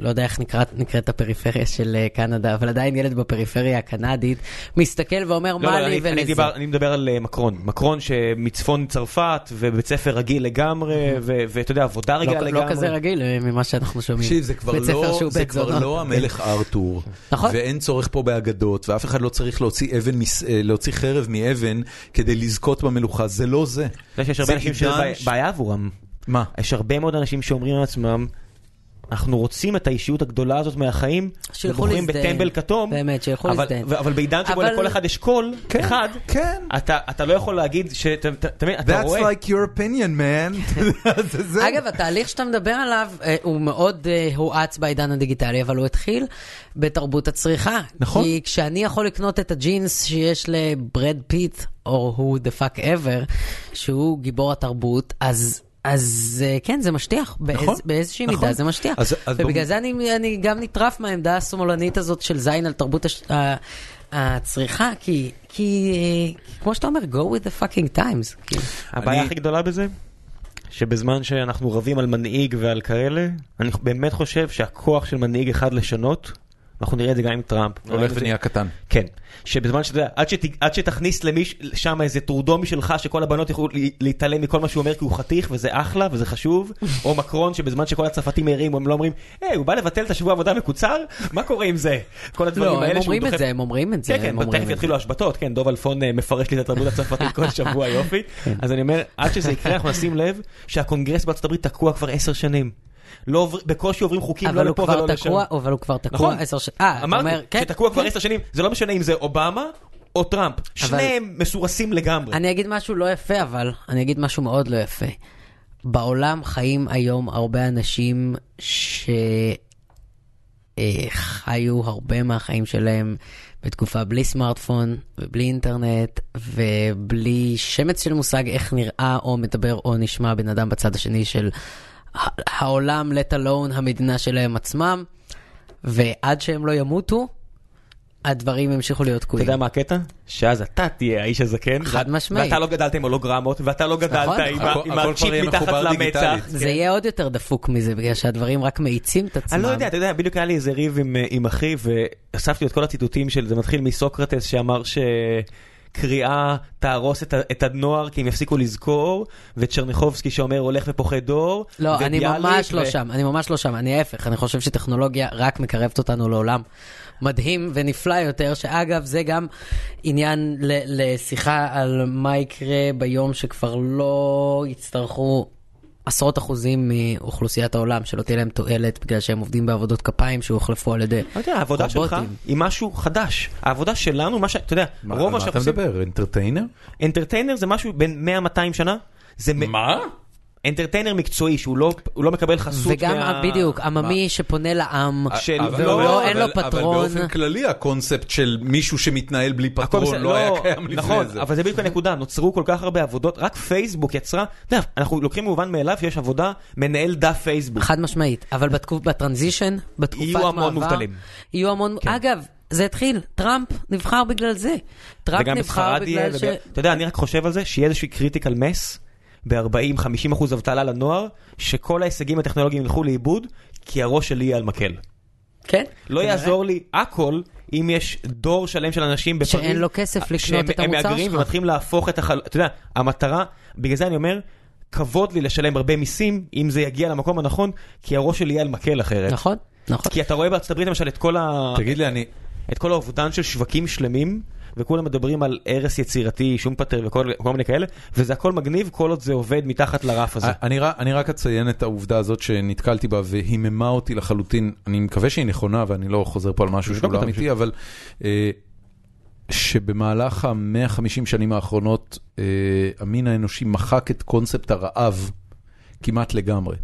Speaker 3: לא יודע איך נקראת, נקראת הפריפריה של אה, קנדה, אבל עדיין ילד בפריפריה הקנדית מסתכל ואומר
Speaker 2: לא,
Speaker 3: מה
Speaker 2: לא,
Speaker 3: לי
Speaker 2: אני- אני
Speaker 3: ולזה.
Speaker 2: דיבר- אני מדבר על אה, מקרון. מקרון שמצפון צרפת, ובית ספר רגיל לגמרי, ו- ואתה יודע, עבודה
Speaker 3: לא-
Speaker 2: רגילה לגמרי.
Speaker 3: לא כזה רגיל אה, ממה שאנחנו שומעים.
Speaker 1: תקשיב, זה כבר
Speaker 3: בית ספר
Speaker 1: לא,
Speaker 3: שהוא
Speaker 1: זה
Speaker 3: בית
Speaker 1: כבר
Speaker 3: זונות.
Speaker 1: לא המלך ארתור,
Speaker 3: נכון.
Speaker 1: ואין צורך פה באגדות, ואף אחד לא צריך להוציא, אבן, מס- אה, להוציא חרב מאבן כדי לזכות במלוכה, זה לא זה.
Speaker 2: אתה יודע שיש
Speaker 1: זה
Speaker 2: הרבה אנשים
Speaker 1: עידן
Speaker 2: שזה
Speaker 1: ש-
Speaker 2: בעיה עבורם.
Speaker 1: מה?
Speaker 2: יש הרבה מאוד אנשים שאומרים לעצמם, אנחנו רוצים את האישיות הגדולה הזאת מהחיים,
Speaker 3: שילכו
Speaker 2: ובוחרים
Speaker 3: להזדהן.
Speaker 2: בטמבל כתום,
Speaker 3: באמת, שילכו
Speaker 2: אבל-
Speaker 3: להזדהן.
Speaker 2: ו- אבל בעידן שבו
Speaker 3: אבל-
Speaker 2: לכל אחד יש קול, אחד,
Speaker 1: כן.
Speaker 2: אתה אתה לא יכול להגיד, ש- אתה- אתה אתה מבין, אתה
Speaker 1: That's
Speaker 2: רואה,
Speaker 1: like your opinion, man. זה זה.
Speaker 3: אגב, התהליך שאתה מדבר עליו אה, הוא מאוד אה, הואץ בעידן הדיגיטלי, אבל הוא התחיל בתרבות הצריכה.
Speaker 1: נכון.
Speaker 3: כי כשאני יכול לקנות את הג'ינס שיש לברד פיט, או הוא דה פאק אבר, שהוא גיבור התרבות, אז... אז אה, כן, זה משטיח, באיז,
Speaker 1: נכון,
Speaker 3: באיזושהי
Speaker 1: נכון.
Speaker 3: מידה זה משטיח.
Speaker 1: אז- אז
Speaker 3: ובגלל
Speaker 1: בוא-
Speaker 3: זה אני, אני גם נטרף מהעמדה השמאלנית הזאת של זין על תרבות הש... ה- הצריכה, כי, כי אה, כמו שאתה אומר, go with the fucking times. כאילו.
Speaker 2: הבעיה
Speaker 1: אני-
Speaker 2: הכי גדולה בזה, שבזמן שאנחנו רבים על מנהיג ועל כאלה, אני באמת חושב שהכוח של מנהיג אחד לשנות, אנחנו נראה את זה גם עם טראמפ.
Speaker 1: הולך ונהיה קטן.
Speaker 2: כן, שבזמן שאתה יודע, עד, שת, עד שתכניס למיש, שם איזה טורדו משלך שכל הבנות יוכלו לה- להתעלם מכל מה שהוא אומר כי הוא חתיך וזה אחלה וזה חשוב, או מקרון שבזמן שכל הצרפתים ערים הם לא אומרים, היי הוא בא לבטל את השבוע עבודה מקוצר, מה קורה עם זה? כל הדברים
Speaker 3: לא,
Speaker 2: האלה
Speaker 3: הם
Speaker 2: שהוא
Speaker 3: אומרים את
Speaker 2: דוחף-
Speaker 3: זה, הם אומרים את זה.
Speaker 2: כן,
Speaker 3: הם
Speaker 2: כן,
Speaker 3: אומרים
Speaker 2: תכף
Speaker 3: את זה.
Speaker 2: יתחילו השבתות, כן, דוב אלפון אה, מפרש לי את התרבות הצרפתית כל שבוע, יופי. אז אני אומר, עד שזה יקרה אנחנו נשים לב שהקונגרס בארצות הברית תקוע כבר עשר שנים. לא עובר- בקושי עוברים חוקים לא
Speaker 3: אבל הוא
Speaker 2: לפה ולא
Speaker 3: כבר
Speaker 2: לשם.
Speaker 3: תקוע, אבל הוא כבר תקוע
Speaker 2: נכון.
Speaker 3: עשר שנים. אה, אתה אומר,
Speaker 2: אמרתי,
Speaker 3: כן.
Speaker 2: שתקוע כבר
Speaker 3: כן.
Speaker 2: עשר שנים, זה לא משנה אם זה אובמה או טראמפ. שניהם מסורסים לגמרי.
Speaker 3: אני אגיד משהו לא יפה, אבל אני אגיד משהו מאוד לא יפה. בעולם חיים היום הרבה אנשים שחיו הרבה מהחיים שלהם בתקופה בלי סמארטפון ובלי אינטרנט ובלי שמץ של מושג איך נראה או מדבר או נשמע בן אדם בצד השני של ה- העולם, let alone המדינה שלהם עצמם. ועד שהם לא ימותו, הדברים המשיכו להיות
Speaker 2: אתה
Speaker 3: תקועים.
Speaker 2: יודע מה הקטע? שאז אתה תהיה האיש הזקן.
Speaker 3: חד
Speaker 2: ואת-
Speaker 3: משמעית.
Speaker 2: ואתה לא גדלת עם הולוגרמות, ואתה לא גדלת
Speaker 3: נכון,
Speaker 2: עם ה-
Speaker 1: הכל-
Speaker 2: עם
Speaker 1: הכל
Speaker 2: הצ'יפ
Speaker 1: כבר יהיה
Speaker 2: מתחת
Speaker 1: מחובר
Speaker 2: למצח.
Speaker 1: דיגיטלית.
Speaker 3: זה יהיה עוד יותר דפוק מזה, בגלל שהדברים רק מאיצים את עצמם.
Speaker 2: כן. אני לא יודע, אתה יודע, בדיוק היה לי איזה ריב עם, אה, עם אחי, ואספתי לו את כל הציטוטים של, זה מתחיל מסוקרטס שאמר שקריאה תהרוס את, ה- את הנוער כי הם יפסיקו לזכור, וצ'רניחובסקי שאומר הולך ופוחד דור,
Speaker 3: לא, אני
Speaker 2: וביאליק,
Speaker 3: ממש
Speaker 2: ו-
Speaker 3: לא שם, אני ממש לא שם, אני ההפך, אני חושב שטכנולוגיה רק מקרבת אותנו לעולם מדהים ונפלא יותר, שאגב, זה גם עניין ל- לשיחה על מה יקרה ביום שכבר לא יצטרכו עשרות אחוזים מאוכלוסיית העולם, שלא תהיה להם תועלת בגלל שהם עובדים בעבודות כפיים שהוחלפו על ידי
Speaker 2: לא יודע, העבודה שלך
Speaker 3: רובוטים.
Speaker 2: היא משהו חדש. העבודה שלנו, מה ש... אתה יודע,
Speaker 1: מה- על
Speaker 2: רוב מה
Speaker 1: מה אתה
Speaker 2: שאנחנו עושים...
Speaker 1: מדבר? אינטרטיינר?
Speaker 2: אנטרטיינר זה משהו בין 100-200 שנה. זה מ-
Speaker 1: מה?
Speaker 2: אנטרטיינר מקצועי, שהוא לא, הוא לא מקבל חסות
Speaker 3: וגם,
Speaker 2: מה...
Speaker 3: בדיוק, עממי שפונה לעם.
Speaker 2: של-
Speaker 1: אבל-
Speaker 2: והוא
Speaker 1: אבל-
Speaker 2: לא-
Speaker 1: אבל-
Speaker 3: אין לו
Speaker 1: אבל
Speaker 3: פטרון.
Speaker 1: באופן כללי הקונספט של מישהו שמתנהל בלי
Speaker 2: הכל
Speaker 1: פטרון
Speaker 2: בסדר,
Speaker 1: לא היה קיים לפני
Speaker 2: נכון,
Speaker 1: זה.
Speaker 2: אבל זה בדיוק הנקודה, נוצרו כל כך הרבה עבודות, רק פייסבוק יצרה, אתה יודע, אנחנו לוקחים מובן מאליו שיש עבודה מנהל דף פייסבוק.
Speaker 3: חד משמעית, אבל בתקופ, בטרנזישן, בתקופת
Speaker 2: יהיו
Speaker 3: מעבר,
Speaker 2: המון מובטלים.
Speaker 3: יהיו המון, כן. אגב, זה התחיל, טראמפ נבחר בגלל זה. טראמפ
Speaker 2: וגם
Speaker 3: נבחר
Speaker 2: בספרד יהיה,
Speaker 3: בגלל ש...
Speaker 2: וגם- אתה יודע, אני רק חושב על זה, שיהיה איזושהי קריטיקל מס. ב-40-50 אחוז אבטלה לנוער, שכל ההישגים הטכנולוגיים ילכו לאיבוד, כי הראש שלי יהיה על מקל.
Speaker 3: כן?
Speaker 2: לא יעזור לי הכל אם יש דור שלם של אנשים בפריז.
Speaker 3: שאין לו כסף לקנות
Speaker 2: שהם-
Speaker 3: את המוצר
Speaker 2: הם מהגרים
Speaker 3: שלך.
Speaker 2: ומתחילים להפוך את החל... אתה יודע, המטרה, בגלל זה אני אומר, כבוד לי לשלם הרבה מיסים, אם זה יגיע למקום הנכון, כי הראש שלי יהיה על מקל אחרת.
Speaker 3: נכון, נכון.
Speaker 2: כי אתה רואה בארצות הברית למשל את כל, ה...
Speaker 1: תגיד לי, אני...
Speaker 2: את כל האובדן של שווקים שלמים, וכולם מדברים על הרס יצירתי, שום פטר וכל כל מיני כאלה, וזה הכל מגניב כל עוד זה עובד מתחת לרף הזה.
Speaker 3: אה,
Speaker 1: אני, ר- אני רק אציין את העובדה הזאת שנתקלתי בה והיממה אותי לחלוטין. אני מקווה שהיא נכונה ואני לא חוזר פה על משהו שהוא
Speaker 2: אותה
Speaker 1: לא אמיתי, אבל אה, שבמהלך ה-150 שנים האחרונות אה, המין האנושי מחק את קונספט הרעב כמעט לגמרי.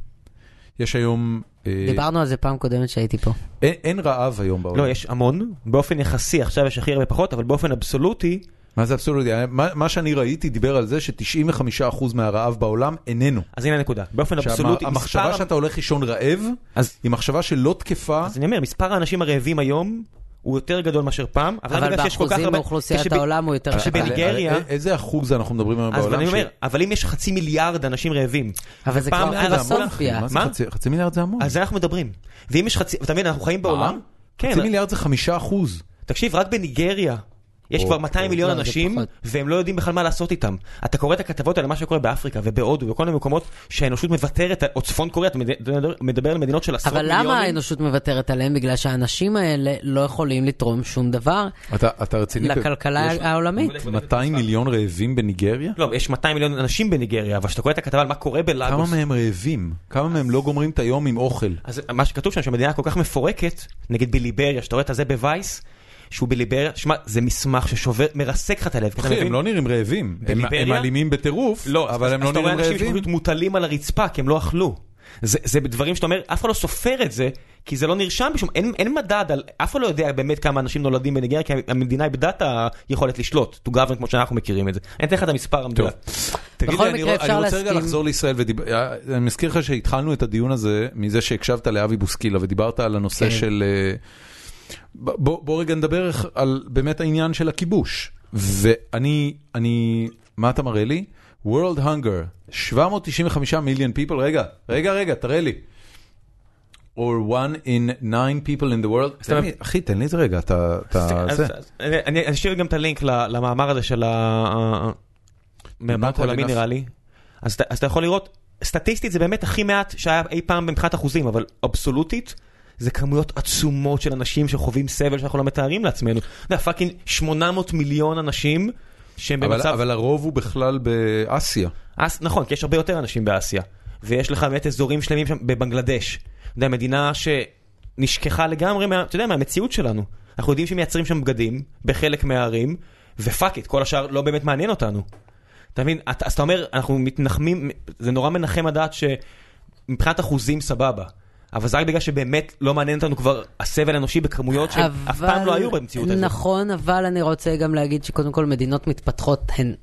Speaker 1: יש היום... אה,
Speaker 3: דיברנו על זה פעם קודמת שהייתי פה.
Speaker 1: אין, אין רעב היום בעולם.
Speaker 2: לא, יש המון, באופן יחסי, עכשיו יש הכי הרבה פחות, אבל באופן אבסולוטי,
Speaker 1: מה זה אבסולוטי? מה, מה שאני ראיתי דיבר על זה ש-95% מהרעב בעולם איננו.
Speaker 2: אז הנה הנקודה, באופן אבסולוטי,
Speaker 1: המחשבה
Speaker 2: מספר-
Speaker 1: שאתה הולך לישון רעב,
Speaker 2: אז-
Speaker 1: היא מחשבה שלא תקפה.
Speaker 2: אז אני אומר, מספר האנשים הרעבים היום הוא יותר גדול מאשר פעם, אבל, רק
Speaker 3: אבל
Speaker 2: בגלל שיש כל כך
Speaker 3: באחוזים
Speaker 2: הרבה...
Speaker 3: מאוכלוסיית
Speaker 2: כשב-
Speaker 3: העולם הוא יותר
Speaker 2: כשבני-
Speaker 3: קטן.
Speaker 2: בניגריה-
Speaker 1: אה, אה, איזה אחוז אנחנו מדברים היום
Speaker 2: אז
Speaker 1: בעולם?
Speaker 2: אני
Speaker 1: ש- אה,
Speaker 2: אומר, אבל אם יש חצי מיליארד אנשים רעבים,
Speaker 3: אבל זה
Speaker 2: פעם
Speaker 3: כבר
Speaker 2: היה
Speaker 1: זה המון,
Speaker 3: פילוסופיה.
Speaker 1: אחי, מה זה
Speaker 2: מה?
Speaker 1: חצי- חצי מיליארד זה המון.
Speaker 2: על זה אנחנו מדברים. ואם יש חצי, אתה מבין, אנחנו חיים בעולם... כן,
Speaker 1: חצי מיליארד זה חמישה אחוז.
Speaker 2: תקשיב, רק בניגריה. יש
Speaker 1: או,
Speaker 2: כבר 200
Speaker 1: או,
Speaker 2: מיליון
Speaker 3: לא, זה
Speaker 2: אנשים,
Speaker 3: פחות.
Speaker 2: והם לא יודעים בכלל מה לעשות איתם. אתה קורא את הכתבות על מה שקורה באפריקה ובהודו ובכל מיני מקומות שהאנושות מוותרת, או צפון קוריאה, אתה מדבר- מדבר על מדינות של עשרות
Speaker 3: אבל
Speaker 2: מיליונים.
Speaker 3: למה האנושות מוותרת עליהם? בגלל שהאנשים האלה לא יכולים לתרום שום דבר
Speaker 1: אתה אתה רציני?
Speaker 3: לכלכלה
Speaker 1: יש
Speaker 3: העולמית.
Speaker 1: 200 מיליון רעבים בניגריה?
Speaker 2: לא, יש 200 מיליון אנשים בניגריה, אבל כשאתה קורא את הכתבה על מה קורה
Speaker 1: כמה
Speaker 2: בלאגוס...
Speaker 1: מהם רעבים? כמה מהם לא גומרים את היום עם אוכל?
Speaker 2: אז מה שכתוב שם, שהמדינה כל כך מפורקת, נגיד בליבריה, שאתה רואה את הזה בווייס, שהוא בליבריה, שמע, זה מסמך ששובר, מרסק לך את הלב, כי אתה
Speaker 1: אחי,
Speaker 2: מבין?
Speaker 1: הם לא נראים רעבים. הם-
Speaker 2: בליבריה?
Speaker 1: הם אלימים בטירוף,
Speaker 2: לא,
Speaker 1: אבל
Speaker 2: אז-
Speaker 1: הם
Speaker 2: אז
Speaker 1: לא
Speaker 2: אתה רואה
Speaker 1: נראים
Speaker 2: אנשים
Speaker 1: רעבים.
Speaker 2: שפשוט מוטלים על הרצפה, כי הם לא אכלו. זה, זה דברים שאתה אומר, אף אחד לא סופר את זה, כי זה לא נרשם בשום, אין, אין מדד על, אף אחד לא יודע באמת כמה אנשים נולדים בניגריה, כי המדינה איבדה את היכולת לשלוט, to govern כמו שאנחנו מכירים את זה. אני אתן לך את המספר המדויק.
Speaker 1: תגיד
Speaker 3: בכל
Speaker 1: לי, אני
Speaker 3: מקרה,
Speaker 1: רוא-
Speaker 3: אפשר
Speaker 1: אני רוצה רגע
Speaker 3: להסכים.
Speaker 1: לחזור לישראל, ודיב- אה, אני מזכיר לך שהתחלנו את הדיון הזה מזה שהקשבת לאבי בוסקילה ודיברת על הנושא
Speaker 3: כן.
Speaker 1: של... אה, ב- בוא בוא רגע נדבר איך- על באמת העניין של הכיבוש. ואני, אני, מה אתה מראה לי? World Hunger, 795 מיליון people, רגע, רגע, רגע, תראה לי. Or one in nine people in the world. תן לי- אחי, תן לי את זה רגע, אתה... אתה-
Speaker 2: אז-
Speaker 1: זה.
Speaker 2: אז- אני אני אשאיר גם את הלינק ל- למאמר הזה של ה... מהבנק
Speaker 1: Not
Speaker 2: העולמי
Speaker 1: enough.
Speaker 2: נראה לי. אז אתה- אז אתה יכול לראות, סטטיסטית זה באמת הכי מעט שהיה אי פעם מבחינת אחוזים, אבל אבסולוטית. זה כמויות עצומות של אנשים שחווים סבל שאנחנו לא מתארים לעצמנו. אתה יודע, פאקינג 800 מיליון אנשים שהם
Speaker 1: אבל-
Speaker 2: במצב...
Speaker 1: אבל הרוב הוא בכלל באסיה.
Speaker 2: אס... נכון, כי יש הרבה יותר אנשים באסיה. ויש לך באמת אזורים שלמים שם בבנגלדש. אתה יודע, מדינה שנשכחה לגמרי, מה... אתה יודע, מהמציאות שלנו. אנחנו יודעים שמייצרים שם בגדים בחלק מהערים, ופאק איט, כל השאר לא באמת מעניין אותנו. אתה מבין? את- אז אתה אומר, אנחנו מתנחמים, זה נורא מנחם הדעת שמבחינת אחוזים סבבה. אבל זה רק בגלל שבאמת לא מעניין אותנו כבר הסבל האנושי בכמויות שאף פעם לא היו במציאות הזאת.
Speaker 3: נכון, אבל אני רוצה גם להגיד שקודם כל מדינות מתפתחות הן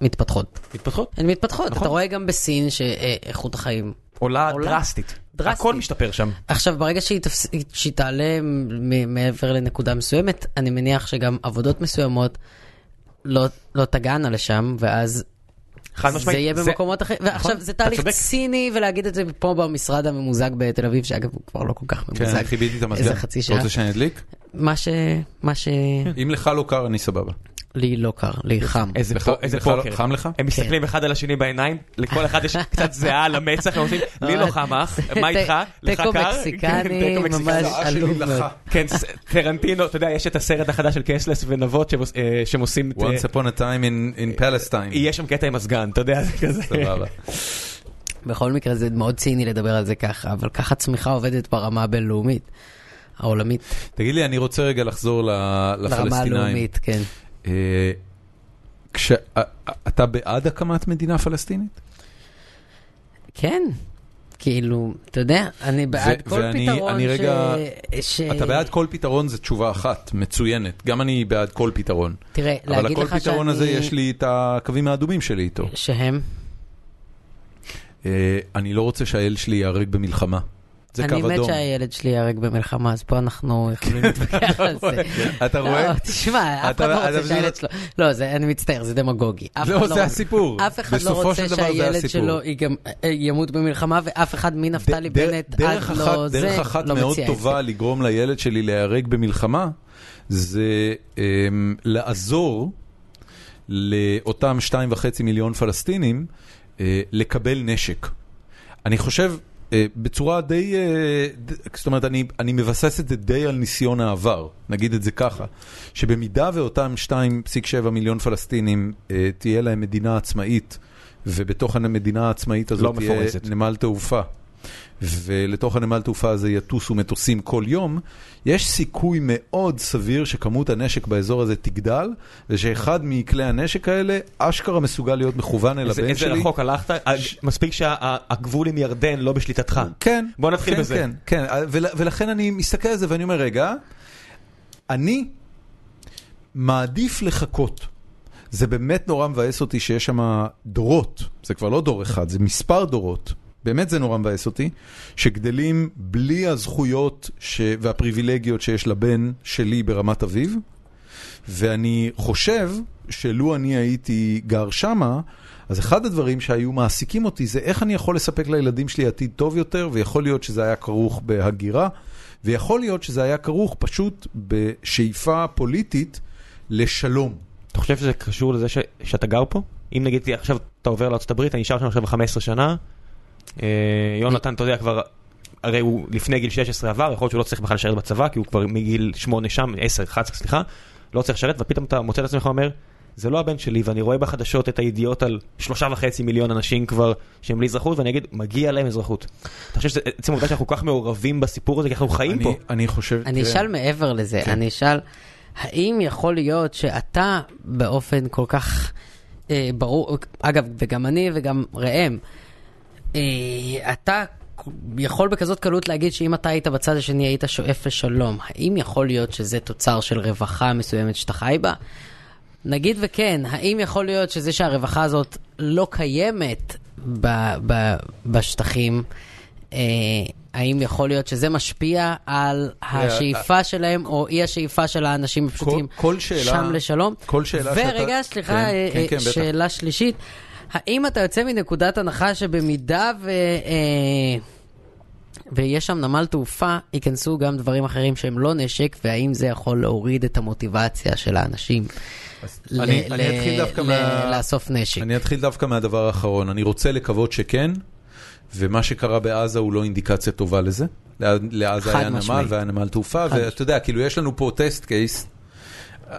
Speaker 3: מתפתחות.
Speaker 2: מתפתחות.
Speaker 3: הן מתפתחות.
Speaker 2: נכון.
Speaker 3: אתה רואה גם בסין שאיכות החיים
Speaker 2: עולה
Speaker 3: עולה.
Speaker 2: דרסטית.
Speaker 3: דרסטית.
Speaker 2: הכל משתפר שם.
Speaker 3: עכשיו, ברגע שהיא, תפס... שהיא תעלה מ- מעבר לנקודה מסוימת, אני מניח שגם עבודות מסוימות לא, לא תגענה לשם, ואז
Speaker 2: חד
Speaker 3: זה
Speaker 2: משמעית.
Speaker 3: יהיה במקומות אחרים. ועכשיו,
Speaker 2: נכון,
Speaker 3: זה
Speaker 2: אתה
Speaker 3: תהליך
Speaker 2: צודק.
Speaker 3: ציני, ולהגיד את זה פה במשרד הממוזג בתל אביב, שאגב, הוא כבר לא כל כך
Speaker 1: כן,
Speaker 3: ממוזג.
Speaker 1: אני חיביתי את המזגן.
Speaker 3: איזה חצי שעה.
Speaker 1: אתה רוצה שאני אדליק?
Speaker 3: מה ש... מה שלי
Speaker 1: אם לך לא קר, אני סבבה.
Speaker 3: לא קר, לי חם.
Speaker 2: איזה
Speaker 1: לך-
Speaker 2: פה- איזה
Speaker 1: לך לא-
Speaker 2: פוקר.
Speaker 1: חם לך?
Speaker 2: הם
Speaker 3: כן.
Speaker 2: מסתכלים אחד על השני בעיניים, לכל אחד יש קצת זיעה על המצח, הם עושים, לי לא חם אח, מה איתך? לך קר?
Speaker 3: תיקו
Speaker 2: כן,
Speaker 3: מקסיקני,
Speaker 2: תיקו מקסיקני.
Speaker 3: ממש
Speaker 1: שעה לא, שלי
Speaker 3: עלוב
Speaker 1: לך.
Speaker 3: מאוד.
Speaker 2: כן, ס- טרנטינו, אתה יודע, יש את הסרט החדש של קסלס ונבות שהם עוש- אה, שהם עושים את... אה,
Speaker 1: once upon a time in- in Palestine.
Speaker 2: יהיה שם קטע עם הסגן, אתה יודע, זה כזה.
Speaker 1: סבבה.
Speaker 3: בכל מקרה זה מאוד ציני לדבר על זה ככה, אבל ככה צמיחה עובדת ברמה הבינלאומית, העולמית,
Speaker 1: תגיד לי, אני רוצה רגע לחזור ל-
Speaker 3: ברמה
Speaker 1: לפלסטינאים.
Speaker 3: הלאומית, כן.
Speaker 1: אה, כש- אה, אה, אתה בעד הקמת מדינה פלסטינית?
Speaker 3: כן, כאילו, אתה יודע, אני בעד כל
Speaker 1: ואני-
Speaker 3: פתרון
Speaker 1: אני
Speaker 3: ש...
Speaker 1: רגע-
Speaker 3: ש...
Speaker 1: אתה בעד כל פתרון זו תשובה אחת, מצוינת. גם אני בעד כל פתרון.
Speaker 3: תראה,
Speaker 1: אבל
Speaker 3: להגיד
Speaker 1: לכל
Speaker 3: לך
Speaker 1: פתרון
Speaker 3: שאני...
Speaker 1: הזה יש לי את הקווים האדומים שלי איתו.
Speaker 3: שהם?
Speaker 1: אה, אני לא רוצה שהאל שלי ייהרג במלחמה. זה קו
Speaker 3: אני מת
Speaker 1: אדום. כן,
Speaker 3: שהילד שלי ייהרג במלחמה, אז פה אנחנו יכולים להתווכח על זה.
Speaker 1: אתה רואה?
Speaker 3: לא, תשמע, אף
Speaker 1: אתה-
Speaker 3: אחד לא
Speaker 1: אתה
Speaker 3: רוצה
Speaker 1: פשוט-
Speaker 3: שהילד שלו... לא, זה- אני מצטער, זה דמגוגי. אף
Speaker 1: לא,
Speaker 3: אחד
Speaker 1: זה
Speaker 3: רוצה-
Speaker 1: הסיפור.
Speaker 3: אף אחד לא
Speaker 1: בסופו
Speaker 3: רוצה
Speaker 1: של דבר זה
Speaker 3: שהילד
Speaker 1: הסיפור.
Speaker 3: שלו ייגמ- אה, ימות במלחמה, ואף אחד מנפתלי
Speaker 1: ד- דר-
Speaker 3: בנט עד
Speaker 1: דרך אחת-
Speaker 3: לא זה,
Speaker 1: דרך אחת
Speaker 3: לא
Speaker 1: מאוד
Speaker 3: מציע את זה.
Speaker 1: טובה לגרום לילד שלי להיהרג במלחמה, זה אמ, לעזור לאותם שתיים וחצי מיליון פלסטינים אה, לקבל נשק. אני חושב... אה, בצורה די, אה, ד- זאת אומרת, אני, אני מבסס את זה די על ניסיון העבר, נגיד את זה ככה, שבמידה ואותם 2.7 מיליון פלסטינים אה, תהיה להם מדינה עצמאית, ובתוך המדינה העצמאית הזאת
Speaker 2: לא
Speaker 1: תהיה
Speaker 2: מפורזת.
Speaker 1: נמל תעופה, ולתוך הנמל תעופה הזה יטוסו מטוסים כל יום, יש סיכוי מאוד סביר שכמות הנשק באזור הזה תגדל, ושאחד מכלי הנשק האלה אשכרה מסוגל להיות מכוון אל
Speaker 2: איזה-
Speaker 1: הבן
Speaker 2: איזה
Speaker 1: שלי.
Speaker 2: רחוק הלכת, אה, מספיק שהגבול עם ירדן לא בשליטתך.
Speaker 1: כן.
Speaker 2: בוא נתחיל
Speaker 1: כן,
Speaker 2: בזה.
Speaker 1: כן, כן, ול, ולכן אני מסתכל על זה ואני אומר, רגע, אני מעדיף לחכות. זה באמת נורא מבאס אותי שיש שם דורות, זה כבר לא דור אחד, זה מספר דורות. באמת זה נורא מבאס אותי, שגדלים בלי הזכויות ש... והפריבילגיות שיש לבן שלי ברמת אביב, ואני חושב שלו אני הייתי גר שמה, אז אחד הדברים שהיו מעסיקים אותי זה איך אני יכול לספק לילדים שלי עתיד טוב יותר, ויכול להיות שזה היה כרוך בהגירה, ויכול להיות שזה היה כרוך פשוט בשאיפה פוליטית לשלום.
Speaker 2: אתה חושב שזה קשור לזה ש- שאתה גר פה? אם נגיד עכשיו אתה עובר לארה"ב, אני נשאר שם עכשיו 15 שנה, אה, יונתן, אתה יודע, כבר, הרי הוא לפני גיל 16 עבר, יכול להיות שהוא לא צריך בכלל לשרת בצבא, כי הוא כבר מגיל 8 שם, 10, 11, סליחה, לא צריך לשרת, ופתאום אתה מוצא את עצמך אומר, זה לא הבן שלי, ואני רואה בחדשות את הידיעות על שלושה וחצי מיליון אנשים כבר שהם בלי אזרחות, ואני אגיד, מגיע להם אזרחות. אתה חושב שזה עצם העובדה שאנחנו כל כך מעורבים בסיפור הזה, כי אנחנו חיים
Speaker 1: אני,
Speaker 2: פה.
Speaker 1: אני חושב... כן.
Speaker 3: אני
Speaker 1: תראה,
Speaker 3: אשאל מעבר לזה, אני אשאל, האם יכול להיות שאתה באופן כל כך אה, ברור, אגב, וגם אני וגם ראם, אה, אתה יכול בכזאת קלות להגיד שאם אתה היית בצד השני היית שואף לשלום, האם יכול להיות שזה תוצר של רווחה מסוימת שאתה חי בה? נגיד וכן, האם יכול להיות שזה שהרווחה הזאת לא קיימת ב, ב, בשטחים, אה, האם יכול להיות שזה משפיע על השאיפה שלהם או אי השאיפה של האנשים הפשוטים
Speaker 1: אה, כל שאלה-
Speaker 3: שם לשלום?
Speaker 1: כל שאלה שאתה-
Speaker 3: ורגע, סליחה,
Speaker 1: כן,
Speaker 3: אה,
Speaker 1: כן,
Speaker 3: אה,
Speaker 1: כן, בטח.
Speaker 3: שאלה שלישית, האם אתה יוצא מנקודת הנחה שבמידה ו... אה, ויש שם נמל תעופה, ייכנסו גם דברים אחרים שהם לא נשק, והאם זה יכול להוריד את המוטיבציה של האנשים ל-
Speaker 1: אני-
Speaker 3: ל-
Speaker 1: אני אתחיל דווקא
Speaker 3: ל-
Speaker 1: מה-
Speaker 3: לאסוף נשק?
Speaker 1: אני אתחיל דווקא מהדבר האחרון, אני רוצה לקוות שכן, ומה שקרה בעזה הוא לא אינדיקציה טובה לזה. לע- לעזה
Speaker 3: חד
Speaker 1: היה נמל
Speaker 3: משמעית.
Speaker 1: והיה נמל תעופה, ואתה יודע, כאילו יש לנו פה טסט קייס.
Speaker 3: לא,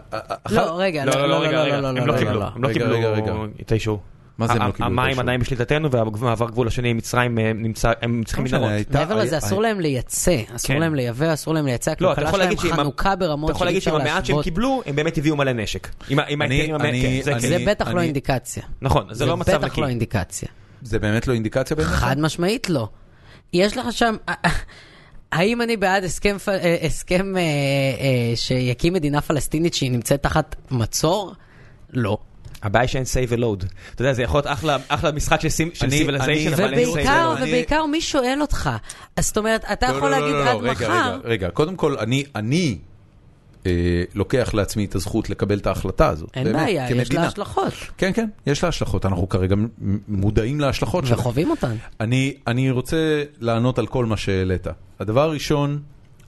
Speaker 3: רגע, לא, לא, לא, לא, לא,
Speaker 2: הם לא
Speaker 3: לא, לא,
Speaker 1: רגע,
Speaker 2: קיבלו,
Speaker 1: לא.
Speaker 2: הם לא
Speaker 1: רגע, רגע,
Speaker 2: קיבלו
Speaker 1: רגע.
Speaker 2: את האישור.
Speaker 1: מה זה הם לא
Speaker 2: ה-
Speaker 1: קיבלו את
Speaker 2: המים
Speaker 1: האישור?
Speaker 2: עדיין בשליטתנו והמעבר גבול השני עם מצרים אה, נמצא, הם צריכים
Speaker 3: לא
Speaker 1: משנה,
Speaker 2: מנהרות.
Speaker 1: הייתה-
Speaker 3: מעבר
Speaker 1: היה-
Speaker 3: לזה, אסור
Speaker 1: היה-
Speaker 3: להם לייצא, אסור
Speaker 2: כן.
Speaker 3: להם לייבא, אסור להם לייצא,
Speaker 2: לא, אתה
Speaker 3: הכלכלה
Speaker 2: יכול
Speaker 3: שלהם
Speaker 2: להגיד שעם ה-
Speaker 3: חנוכה
Speaker 2: אתה
Speaker 3: ברמות
Speaker 2: יכול
Speaker 3: שאי
Speaker 2: להגיד
Speaker 3: אפשר
Speaker 2: שעם המעט שהם
Speaker 3: להשוות.
Speaker 2: קיבלו, הם באמת הביאו מלא נשק. עם ה- עם
Speaker 1: אני-
Speaker 2: ההיתרים, המעט-
Speaker 1: אני-
Speaker 2: כן, זה
Speaker 1: אני-
Speaker 2: כן.
Speaker 3: זה בטח לא
Speaker 1: אני-
Speaker 3: אינדיקציה.
Speaker 2: נכון, זה לא
Speaker 3: זה
Speaker 2: מצב
Speaker 3: בטח
Speaker 2: נקי.
Speaker 3: לא אינדיקציה.
Speaker 1: זה באמת לא אינדיקציה בעיניך?
Speaker 3: חד משמעית לא. יש לך שם... האם אני בעד הסכם, פ- אה, הסכם אה, אה, שיקים מדינה פלסטינית שהיא נמצאת תחת מצור? לא.
Speaker 2: הבעיה שאין save and load. אתה יודע, זה יכול להיות אחלה- אחלה משחק של סים- של
Speaker 1: אני-
Speaker 2: סיביליזיישן,
Speaker 1: אני-
Speaker 2: אבל אין save
Speaker 1: זה
Speaker 3: ובעיקר,
Speaker 1: לא.
Speaker 2: and load.
Speaker 3: ובעיקר מי שואל אותך. אז זאת אומרת, אתה
Speaker 1: לא,
Speaker 3: יכול
Speaker 1: לא, לא,
Speaker 3: להגיד
Speaker 1: לא, לא,
Speaker 3: עד
Speaker 1: רגע,
Speaker 3: מחר,
Speaker 1: רגע, רגע, קודם כל, אני, אני אה, לוקח לעצמי את הזכות לקבל את ההחלטה הזאת.
Speaker 3: אין
Speaker 1: באמת,
Speaker 3: בעיה, יש לה
Speaker 1: כמדינה.
Speaker 3: השלכות.
Speaker 1: כן, כן, יש לה השלכות, אנחנו כרגע מ- מודעים להשלכות שלה.
Speaker 3: וחווים אותן.
Speaker 1: אני, אני רוצה לענות על כל מה שהעלית. הדבר הראשון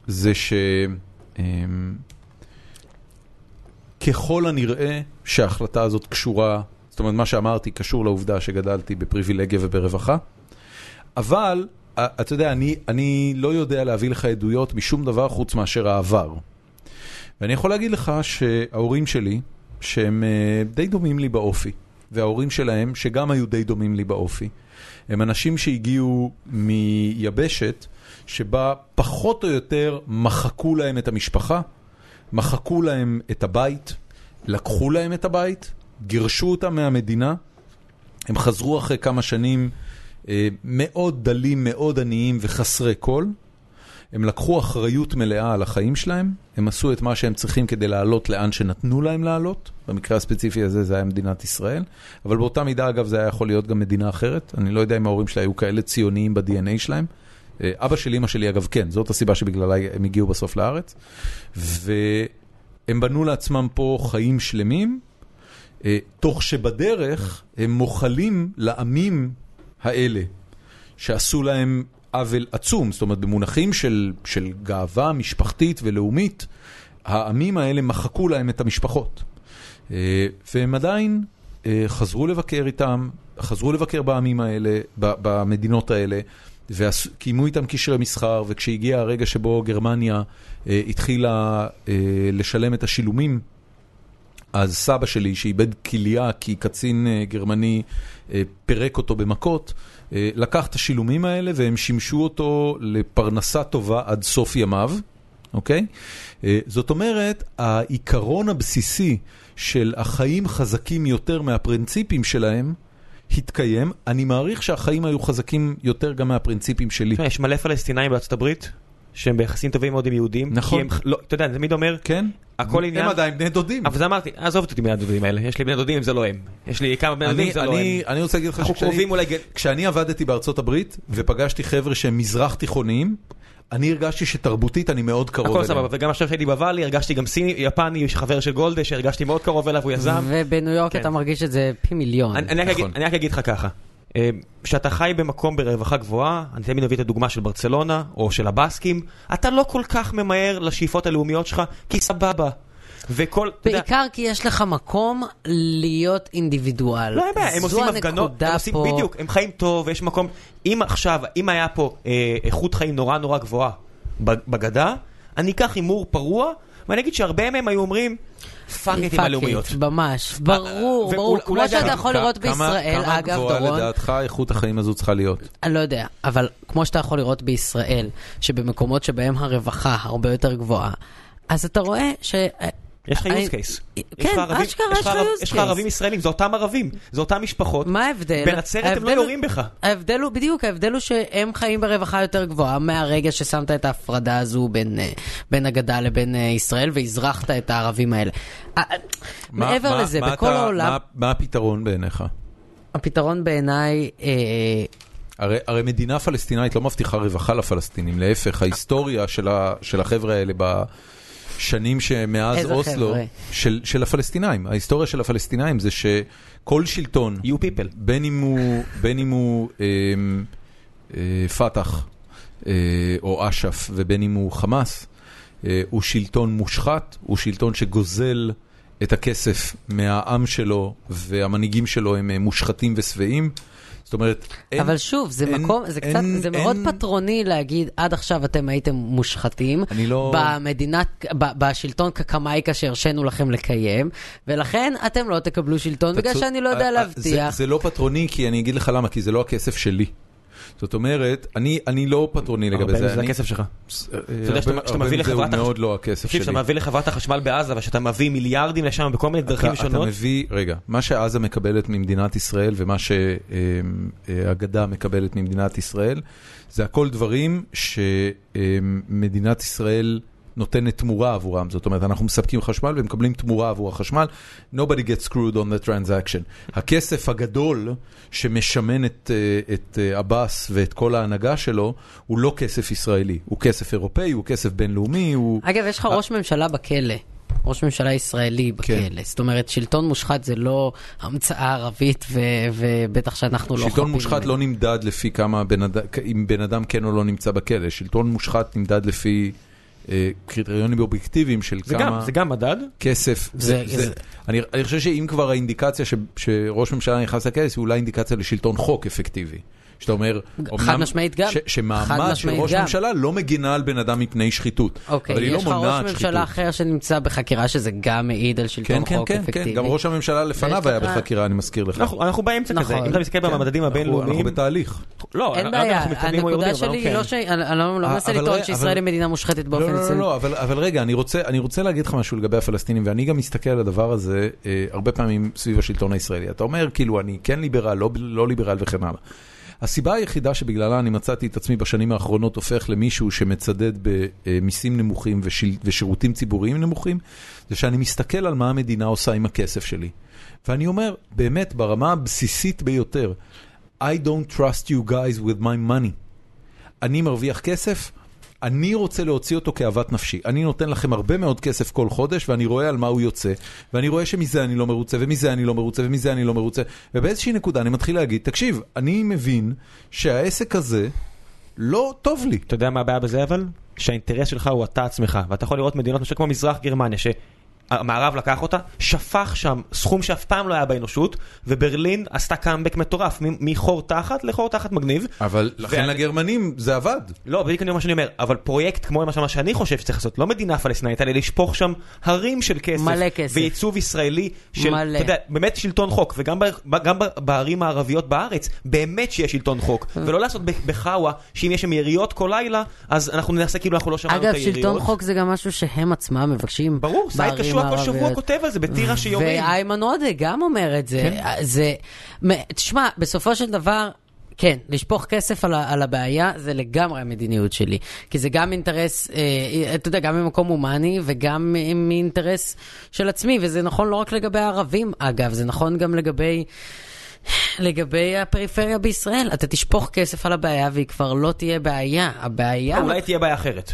Speaker 1: זה ש... אמ, ככל הנראה שההחלטה הזאת קשורה, זאת אומרת, מה שאמרתי קשור לעובדה שגדלתי בפריבילגיה וברווחה, אבל, אה, אתה יודע, אני, אני לא יודע להביא לך עדויות משום דבר חוץ מאשר העבר. ואני יכול להגיד לך שההורים שלי, שהם אה, די דומים לי באופי, וההורים שלהם, שגם היו די דומים לי באופי, הם אנשים שהגיעו מיבשת שבה פחות או יותר מחקו להם את המשפחה, מחקו להם את הבית, לקחו להם את הבית, גירשו אותם מהמדינה, הם חזרו אחרי כמה שנים אה, מאוד דלים, מאוד עניים וחסרי כל. הם לקחו אחריות מלאה על החיים שלהם, הם עשו את מה שהם צריכים כדי לעלות לאן שנתנו להם לעלות, במקרה הספציפי הזה זה היה מדינת ישראל, אבל באותה מידה אגב זה היה יכול להיות גם מדינה אחרת, אני לא יודע אם ההורים שלי היו כאלה ציוניים ב-DNA שלהם. אה, אבא של אימא שלי אגב כן, זאת הסיבה שבגללה הם הגיעו בסוף לארץ, והם בנו לעצמם פה חיים שלמים, אה, תוך שבדרך הם מוחלים לעמים האלה, שעשו להם עוול עצום, זאת אומרת במונחים של, של גאווה משפחתית ולאומית, העמים האלה מחקו להם את המשפחות. אה, והם עדיין אה, חזרו לבקר איתם, חזרו לבקר בעמים האלה, ב- במדינות האלה, וקיימו איתם קשרי מסחר, וכשהגיע הרגע שבו גרמניה אה, התחילה אה, לשלם את השילומים אז סבא שלי, שאיבד כליה כי קצין אה, גרמני אה, פירק אותו במכות, אה, לקח את השילומים האלה והם שימשו אותו לפרנסה טובה עד סוף ימיו, אוקיי? אה, זאת אומרת, העיקרון הבסיסי של החיים חזקים יותר מהפרינציפים שלהם, התקיים. אני מעריך שהחיים היו חזקים יותר גם מהפרינציפים שלי.
Speaker 2: תשמע, יש מלא פלסטינאים בארצות הברית, שהם ביחסים טובים מאוד עם יהודים.
Speaker 1: נכון.
Speaker 2: כי הם- לא, אתה יודע, אני תמיד אומר,
Speaker 1: כן?
Speaker 2: הכל עניין-
Speaker 1: הם עדיין בני דודים.
Speaker 2: אבל זה אמרתי, עזוב אותי מהדודים האלה, יש לי בני דודים זה לא הם. יש לי כמה בני דודים
Speaker 1: אני,
Speaker 2: זה לא הם.
Speaker 1: אני, אני רוצה להגיד לך
Speaker 2: אנחנו
Speaker 1: שכשאני-
Speaker 2: קרובים אולי... גל-
Speaker 1: כשאני עבדתי בארצות הברית ופגשתי חבר'ה שהם מזרח תיכוניים, אני הרגשתי שתרבותית אני מאוד קרוב
Speaker 2: הכל סבבה, וגם עכשיו שהייתי בוואלי, הרגשתי גם סיני, יפני, חבר של גולדה, שהרגשתי מאוד קרוב אליו, הוא יזם.
Speaker 3: ובניו יורק
Speaker 2: כן.
Speaker 3: אתה מרגיש את זה פי מיליון.
Speaker 2: אני- אני רק
Speaker 1: נכון.
Speaker 2: אגיד- אני רק אגיד לך ככה, אה, כשאתה חי במקום ברווחה גבוהה, אני תמיד מביא את הדוגמה של ברצלונה, או של הבאסקים, אתה לא כל כך ממהר לשאיפות הלאומיות שלך, כי סבבה. וכל, אתה יודע,
Speaker 3: בעיקר כי יש לך מקום להיות אינדיבידואל.
Speaker 2: לא, אין בעיה, הם עושים הפגנות,
Speaker 3: זו
Speaker 2: הם
Speaker 3: הנקודה
Speaker 2: עושים,
Speaker 3: פה.
Speaker 2: בדיוק, הם חיים טוב, יש מקום, אם עכשיו, אם היה פה אה, איכות חיים נורא נורא גבוהה בג- בגדה, אני אקח הימור פרוע, ואני אגיד שהרבה מהם היו אומרים, פאק
Speaker 3: Fuck
Speaker 2: את
Speaker 3: it,
Speaker 2: עם הלאומיות.
Speaker 3: ממש, ברור,
Speaker 2: ואול-
Speaker 3: ברור.
Speaker 2: אולי
Speaker 3: כמו שאתה
Speaker 2: גם-
Speaker 3: יכול לראות בישראל, אגב,
Speaker 1: כמה גבוהה
Speaker 3: דורון,
Speaker 1: לדעתך איכות החיים הזו צריכה להיות?
Speaker 3: אני לא יודע, אבל כמו שאתה יכול לראות בישראל, שבמקומות שבהם הרווחה הרבה יותר גבוהה, אז אתה רואה ש...
Speaker 2: יש לך
Speaker 3: אני-
Speaker 2: use case.
Speaker 3: כן,
Speaker 2: יש לך ערבים-
Speaker 3: אשכרה
Speaker 2: יש
Speaker 3: יש לך
Speaker 2: ערב-
Speaker 3: use
Speaker 2: יש לך
Speaker 3: case.
Speaker 2: ערבים ישראלים, זה אותם ערבים, זה אותם משפחות.
Speaker 3: מה ההבדל?
Speaker 2: בנצרת הם לא
Speaker 3: ההבדל הוא-
Speaker 2: יורים בך.
Speaker 3: ההבדל הוא, בדיוק, ההבדל הוא שהם חיים ברווחה יותר גבוהה מהרגע ששמת את ההפרדה הזו בין, אה, בין הגדה לבין אה, ישראל והזרחת את הערבים האלה. אה, אה,
Speaker 1: מה-
Speaker 3: מעבר
Speaker 1: מה-
Speaker 3: לזה,
Speaker 1: מה
Speaker 3: בכל
Speaker 1: אתה-
Speaker 3: העולם,
Speaker 1: מה- מה הפתרון בעיניך?
Speaker 3: הפתרון בעיניי, אה,
Speaker 1: הרי, הרי מדינה פלסטינאית לא מבטיחה רווחה לפלסטינים, להפך, ההיסטוריה של, ה, של החבר'ה האלה בשנים שמאז
Speaker 3: איזה
Speaker 1: אוסלו,
Speaker 3: חבר'ה?
Speaker 1: של, של הפלסטינאים, ההיסטוריה של הפלסטינאים זה שכל שלטון,
Speaker 2: You people.
Speaker 1: בין אם הוא, בין אם הוא אה, אה, פת"ח אה, או אש"ף ובין אם הוא חמאס, אה, הוא שלטון מושחת, הוא שלטון שגוזל את הכסף מהעם שלו והמנהיגים שלו הם אה, מושחתים ושבעים. זאת אומרת, אין...
Speaker 3: אבל שוב, זה
Speaker 1: אין-
Speaker 3: מקום, זה קצת,
Speaker 1: אין-
Speaker 3: זה מאוד
Speaker 1: אין-
Speaker 3: פטרוני להגיד, עד עכשיו אתם הייתם מושחתים.
Speaker 1: אני לא-
Speaker 3: במדינה, ב- בשלטון קקמייקה שהרשינו לכם לקיים, ולכן אתם לא תקבלו שלטון,
Speaker 1: אתה
Speaker 3: בגלל
Speaker 1: צוד-
Speaker 3: שאני לא
Speaker 1: אה,
Speaker 3: יודע
Speaker 1: אה,
Speaker 3: להבטיח.
Speaker 1: זה, זה לא פטרוני, כי אני אגיד לך למה, כי זה לא הכסף שלי. זאת אומרת, אני, אני לא פטרוני לגבי זה.
Speaker 2: זה
Speaker 1: אני-
Speaker 2: הכסף שלך.
Speaker 1: אה,
Speaker 2: יודע שאתה-
Speaker 1: הרבה-
Speaker 2: כשאתה
Speaker 1: הרבה
Speaker 2: מביא
Speaker 1: מזה הוא
Speaker 2: לחברת החש-
Speaker 1: מאוד לא הכסף
Speaker 2: תקשיב,
Speaker 1: שלי.
Speaker 2: שאתה מביא לחברת החשמל בעזה, ושאתה מביא מיליארדים לשם בכל מיני דרכים
Speaker 1: אתה, אתה
Speaker 2: שונות.
Speaker 1: מביא, רגע, מה שעזה מקבלת ממדינת ישראל ומה שהגדה מקבלת ממדינת ישראל, זה הכל דברים שמדינת ישראל נותנת תמורה עבורם. זאת אומרת, אנחנו מספקים חשמל ומקבלים תמורה עבור החשמל. Nobody gets screwed on the transaction. הכסף הגדול שמשמן את, אה, את אה, עבאס ואת כל ההנהגה שלו, הוא לא כסף ישראלי. הוא כסף אירופאי, הוא כסף בינלאומי, הוא...
Speaker 3: אגב, יש לך ראש ממשלה בכלא. ראש ממשלה ישראלי בכלא.
Speaker 1: אה? כן.
Speaker 3: זאת אומרת, שלטון מושחת זה לא המצאה ערבית, ו- ובטח שאנחנו לא
Speaker 1: שלטון
Speaker 3: חפים
Speaker 1: מושחת
Speaker 3: ממנה.
Speaker 1: לא נמדד לפי כמה בן אדם, אם בן אדם כן או לא נמצא בכלא, שלטון מושחת נמדד לפי אה, קריטריונים אובייקטיביים של
Speaker 2: זה
Speaker 1: כמה
Speaker 2: גם, זה גם מדד.
Speaker 1: כסף. זה, זה,
Speaker 3: זה-
Speaker 1: אני, אני חושב שאם כבר האינדיקציה ש, שראש ממשלה נכנס לכלא, זה אולי אינדיקציה לשלטון חוק אפקטיבי. שאתה אומר,
Speaker 3: חד
Speaker 1: אומנם
Speaker 3: משמעית גם.
Speaker 1: ש,
Speaker 3: חד
Speaker 1: שמעמד של
Speaker 3: משמעית
Speaker 1: ראש
Speaker 3: גם.
Speaker 1: ממשלה לא מגינה על בן אדם מפני שחיתות,
Speaker 3: אוקיי,
Speaker 1: אבל היא לא
Speaker 3: יש לך
Speaker 1: מונעת
Speaker 3: ראש
Speaker 1: שחיתות.
Speaker 3: ממשלה אחר שנמצא בחקירה, שזה גם מעיד על
Speaker 1: כן,
Speaker 3: שלטון
Speaker 1: כן,
Speaker 3: חוק
Speaker 1: כן,
Speaker 3: אפקטיבי.
Speaker 1: כן, גם ראש הממשלה לפניו
Speaker 3: ויש
Speaker 1: היה
Speaker 3: לך-
Speaker 1: בחקירה, אני מזכיר לך.
Speaker 2: אנחנו אנחנו באמצע כזה,
Speaker 3: נכון.
Speaker 2: אם אתה מסתכל
Speaker 1: כן,
Speaker 2: במדדים
Speaker 1: אנחנו-
Speaker 2: הבינלאומיים,
Speaker 1: אנחנו בתהליך.
Speaker 2: לא,
Speaker 3: אין
Speaker 2: אני לא יודע אם
Speaker 3: בעיה,
Speaker 2: אנחנו מתקדמים או
Speaker 3: הנקודה
Speaker 2: יורדים, אבל
Speaker 3: שלי היא
Speaker 2: אוקיי.
Speaker 3: לא ש... אני לא לא
Speaker 1: כן. אה,
Speaker 3: מנסה
Speaker 1: אבל
Speaker 3: לטעון
Speaker 1: רגע,
Speaker 3: שישראל
Speaker 1: אבל-
Speaker 3: היא מדינה מושחתת באופן
Speaker 1: לא, לא,
Speaker 3: יוצא-
Speaker 1: לא, לא, אבל, אבל רגע, אני רוצה, אני רוצה להגיד לך משהו לגבי הפלסטינים, ואני גם מסתכל על הדבר הזה אה, הרבה פעמים סביב השלטון הישראלי. אתה אומר, כאילו, אני כן ליברל, לא, לא ליברל וכן הלאה. הסיבה היחידה שבגללה אני מצאתי את עצמי בשנים האחרונות הופך למישהו שמצדד במיסים נמוכים ושיל, ושירותים ציבוריים נמוכים, זה שאני מסתכל על מה המדינה עושה עם הכסף שלי. ואני אומר, באמת, ברמה הבסיסית ביותר, I don't trust you guys with my money. אני מרוויח כסף, אני רוצה להוציא אותו כאוות נפשי. אני נותן לכם הרבה מאוד כסף כל חודש, ואני רואה על מה הוא יוצא, ואני רואה שמזה אני לא מרוצה, ומזה אני לא מרוצה, ומזה אני לא מרוצה, ובאיזושהי נקודה אני מתחיל להגיד, תקשיב, אני מבין שהעסק הזה לא טוב לי.
Speaker 2: אתה יודע מה הבעיה בזה אבל? שהאינטרס שלך הוא אתה עצמך, ואתה יכול לראות מדינות למשל כמו מזרח גרמניה, שהמערב לקח אותה, שפך שם סכום שאף פעם לא היה באנושות, וברלין עשתה קאמבק מטורף, מ- מחור תחת לחור תחת מגניב.
Speaker 1: אבל לכן
Speaker 2: ואני-
Speaker 1: לגרמנים זה עבד.
Speaker 2: לא, בדיוק אני אומר מה שאני אומר, אבל פרויקט כמו למשל מה שאני חושב שצריך לעשות, לא מדינה פלסטינאית, אלא לשפוך שם הרים של כסף.
Speaker 3: מלא כסף.
Speaker 2: ועיצוב ישראלי של,
Speaker 3: מלא.
Speaker 2: אתה יודע, באמת שלטון חוק, וגם ב, ב, גם ב, בערים הערביות בארץ, באמת שיהיה שלטון חוק,
Speaker 3: אה.
Speaker 2: ולא לעשות ב- בחאווה, שאם יש שם יריות כל לילה, אז אנחנו נעשה כאילו אנחנו לא שמענו את
Speaker 3: אגב,
Speaker 2: היריות.
Speaker 3: שלטון חוק זה גם משהו שהם עצמם מבקשים.
Speaker 2: ברור, סעיד
Speaker 3: בערים
Speaker 2: קשוע כל שבוע
Speaker 3: הערביות. אה.
Speaker 2: כותב על זה, בטירה שיורים.
Speaker 3: ואיימן עודה גם אומר את זה. זה... מ- תשמע, בסופו של דבר... כן, לשפוך כסף על, ה- על הבעיה זה לגמרי המדיניות שלי. כי זה גם אינטרס, אה, אתה יודע, גם ממקום הומני וגם מ- מאינטרס של עצמי, וזה נכון לא רק לגבי הערבים, אגב, זה נכון גם לגבי, לגבי הפריפריה בישראל. אתה תשפוך כסף על הבעיה והיא כבר לא תהיה בעיה. הבעיה
Speaker 2: אולי תהיה בעיה אחרת.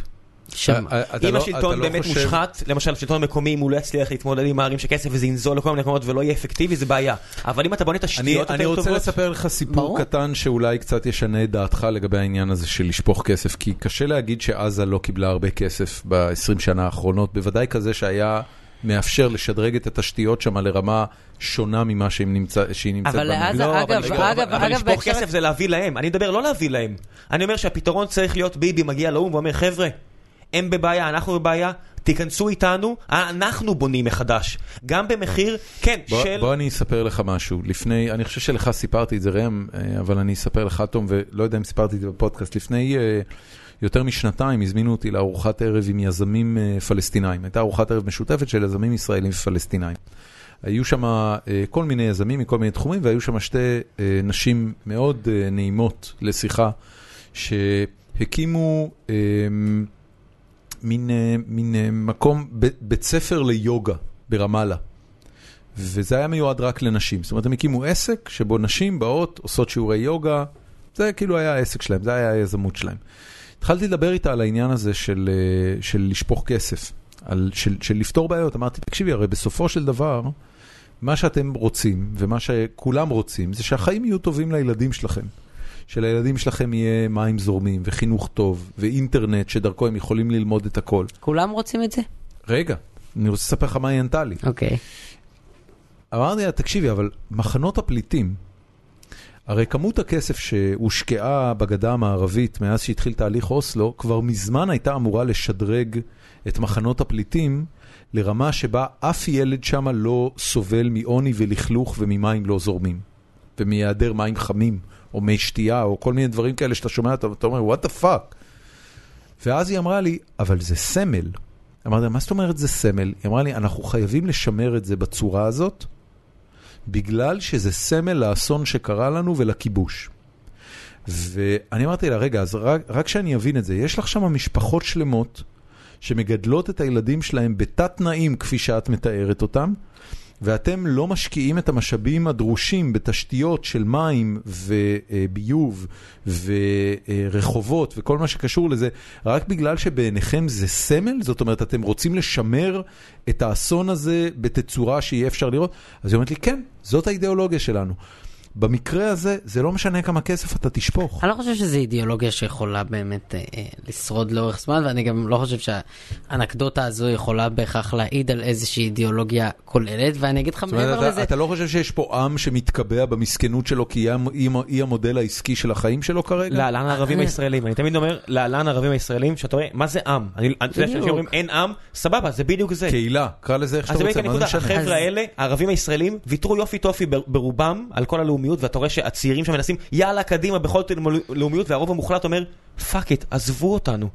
Speaker 3: שם.
Speaker 1: אתה
Speaker 2: אם
Speaker 1: לא-
Speaker 2: השלטון
Speaker 1: אתה לא
Speaker 2: באמת
Speaker 1: חושב-
Speaker 2: מושחת, למשל השלטון המקומי, אם הוא לא יצליח להתמודד עם הערים של כסף וזה ינזול לכל מיני מקומות ולא יהיה אפקטיבי, זה בעיה. אבל אם אתה בונה
Speaker 1: אני,
Speaker 2: תשתיות
Speaker 1: אני
Speaker 2: יותר
Speaker 1: רוצה
Speaker 2: טובות...
Speaker 1: לספר לך סיפור
Speaker 3: ברור.
Speaker 1: קטן שאולי קצת ישנה את דעתך לגבי העניין הזה של לשפוך כסף, כי קשה להגיד שעזה לא קיבלה הרבה כסף ב-20 שנה האחרונות, בוודאי כזה שהיה מאפשר לשדרג את התשתיות שם לרמה שונה ממה שהיא נמצא- שהיא נמצאת
Speaker 3: אבל
Speaker 1: בה.
Speaker 3: לעזה,
Speaker 2: לא, אבל
Speaker 3: אגב,
Speaker 2: לשפוך-
Speaker 3: אגב,
Speaker 2: אבל
Speaker 3: אגב,
Speaker 2: לשפוך
Speaker 3: בהקשר-
Speaker 2: כסף זה להביא להם. אני מדבר לא להביא להם. אני אומר שהפתרון צריך להיות ביבי מגיע לאו"ם ואומר, חבר'ה, הם בבעיה, אנחנו בבעיה, תיכנסו איתנו, אנחנו בונים מחדש. גם במחיר, כן,
Speaker 1: בוא,
Speaker 2: של...
Speaker 1: בוא אני אספר לך משהו. לפני, אני חושב שלך סיפרתי את זה ראם, אה, אבל אני אספר לך תום, ולא יודע אם סיפרתי את זה בפודקאסט. לפני אה, יותר משנתיים הזמינו אותי לארוחת ערב עם יזמים אה, פלסטינאים. הייתה ארוחת ערב משותפת של יזמים ישראלים ופלסטינאים. היו שם אה, כל מיני יזמים מכל מיני תחומים, והיו שם שתי אה, נשים מאוד אה, נעימות לשיחה, שהקימו אה, מין, אה, מין אה, מקום, ב- בית ספר ליוגה ברמאללה. וזה היה מיועד רק לנשים. זאת אומרת, הם הקימו עסק שבו נשים באות, עושות שיעורי יוגה, זה כאילו היה העסק שלהם, זה היה היזמות שלהם. התחלתי לדבר איתה על העניין הזה של, אה, של לשפוך כסף, על, של, של לפתור בעיות. אמרתי, תקשיבי, הרי בסופו של דבר, מה שאתם רוצים, ומה שכולם רוצים, זה שהחיים יהיו טובים לילדים שלכם. שלילדים שלכם יהיה מים זורמים, וחינוך טוב, ואינטרנט שדרכו הם יכולים ללמוד את הכל.
Speaker 3: כולם רוצים את זה?
Speaker 1: רגע, אני רוצה לספר לך מה היא ענתה לי.
Speaker 3: אוקיי.
Speaker 1: אמרתי לה, תקשיבי, אבל מחנות הפליטים, הרי כמות הכסף שהושקעה בגדה המערבית מאז שהתחיל תהליך אוסלו, כבר מזמן הייתה אמורה לשדרג את מחנות הפליטים לרמה שבה אף ילד שם לא סובל מעוני ולכלוך וממים לא זורמים, ומהיעדר מים חמים, או מי שתייה, או כל מיני דברים כאלה שאתה שומע, אתה, אתה אומר, what the fuck? ואז היא אמרה לי, אבל זה סמל. אמרתי לה, מה זאת אומרת זה סמל? היא אמרה לי, אנחנו חייבים לשמר את זה בצורה הזאת, בגלל שזה סמל לאסון שקרה לנו ולכיבוש. ואני אמרתי לה, רגע, אז רק, רק שאני אבין את זה, יש לך שם משפחות שלמות שמגדלות את הילדים שלהם בתת תנאים כפי שאת מתארת אותם, ואתם לא משקיעים את המשאבים הדרושים בתשתיות של מים וביוב ורחובות וכל מה שקשור לזה, רק בגלל שבעיניכם זה סמל? זאת אומרת, אתם רוצים לשמר את האסון הזה בתצורה שיהיה אפשר לראות? אז היא אומרת לי, כן, זאת האידיאולוגיה שלנו. במקרה הזה, זה לא משנה כמה כסף אתה תשפוך.
Speaker 3: אני לא חושב שזו אידיאולוגיה שיכולה באמת אה, אה, לשרוד לאורך זמן, ואני גם לא חושב שהאנקדוטה הזו יכולה בהכרח להעיד על איזושהי אידיאולוגיה כוללת, ואני אגיד לך
Speaker 1: זאת אומרת,
Speaker 3: מעבר
Speaker 1: אתה,
Speaker 3: לזה,
Speaker 1: אתה לא חושב שיש פה עם שמתקבע במסכנות שלו כי היא, המ- היא, המ- היא המודל העסקי של החיים שלו כרגע?
Speaker 2: להלן הערבים הישראלים, אני תמיד אומר להלן הערבים הישראלים, שאתה רואה, מה זה עם? אני, אתה יודע,
Speaker 3: בדיוק.
Speaker 2: שאנשים אומרים אין עם, סבבה, זה בדיוק זה.
Speaker 1: קהילה, קרא לזה איך
Speaker 2: אז
Speaker 1: שאתה
Speaker 2: זה
Speaker 1: רוצה,
Speaker 2: בדיוק
Speaker 1: מה זה
Speaker 2: הנקודה,
Speaker 1: משנה?
Speaker 3: אז-
Speaker 2: החבר'ה האלה, הערבים הישראלים, ויתרו יופי טופי בר- ברובם על כל הלאומיות, ואתה רואה שהצעירים שם מנסים יאללה קדימה בכל לאומיות, והרוב המוחלט אומר פאק איט, עזבו אותנו.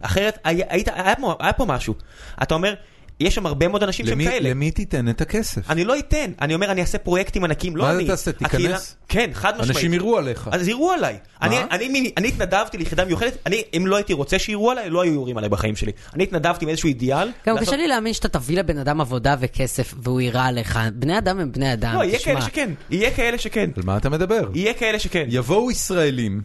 Speaker 2: אחרת היה, היית, היה, פה, היה פה משהו. אתה אומר, יש שם הרבה מאוד אנשים
Speaker 1: למי,
Speaker 2: שהם כאלה.
Speaker 1: למי תיתן את הכסף?
Speaker 2: אני לא אתן, אני אומר אני אעשה פרויקטים ענקים, לא
Speaker 1: מה
Speaker 2: אני.
Speaker 1: אתה תעשה, תיכנס?
Speaker 2: הקהילה- כן, חד משמעית.
Speaker 1: אנשים יראו עליך.
Speaker 2: אז יראו עליי. אני, אני, אני, אני התנדבתי ליחידה מיוחדת, אני, אם לא הייתי רוצה שיראו עליי, לא היו יורים עליי בחיים שלי. אני התנדבתי עם איזשהו אידיאל.
Speaker 3: גם
Speaker 2: לעשות-
Speaker 3: קשה לי להאמין שאתה תביא לבן אדם עבודה וכסף והוא יירה עליך. בני אדם הם בני אדם,
Speaker 2: לא, יהיה
Speaker 3: אה, תשמע.
Speaker 2: כאלה שכן, יהיה כאלה שכן.
Speaker 1: על מה אתה מדבר?
Speaker 2: יהיה כאלה שכן.
Speaker 1: יבואו ישראלים,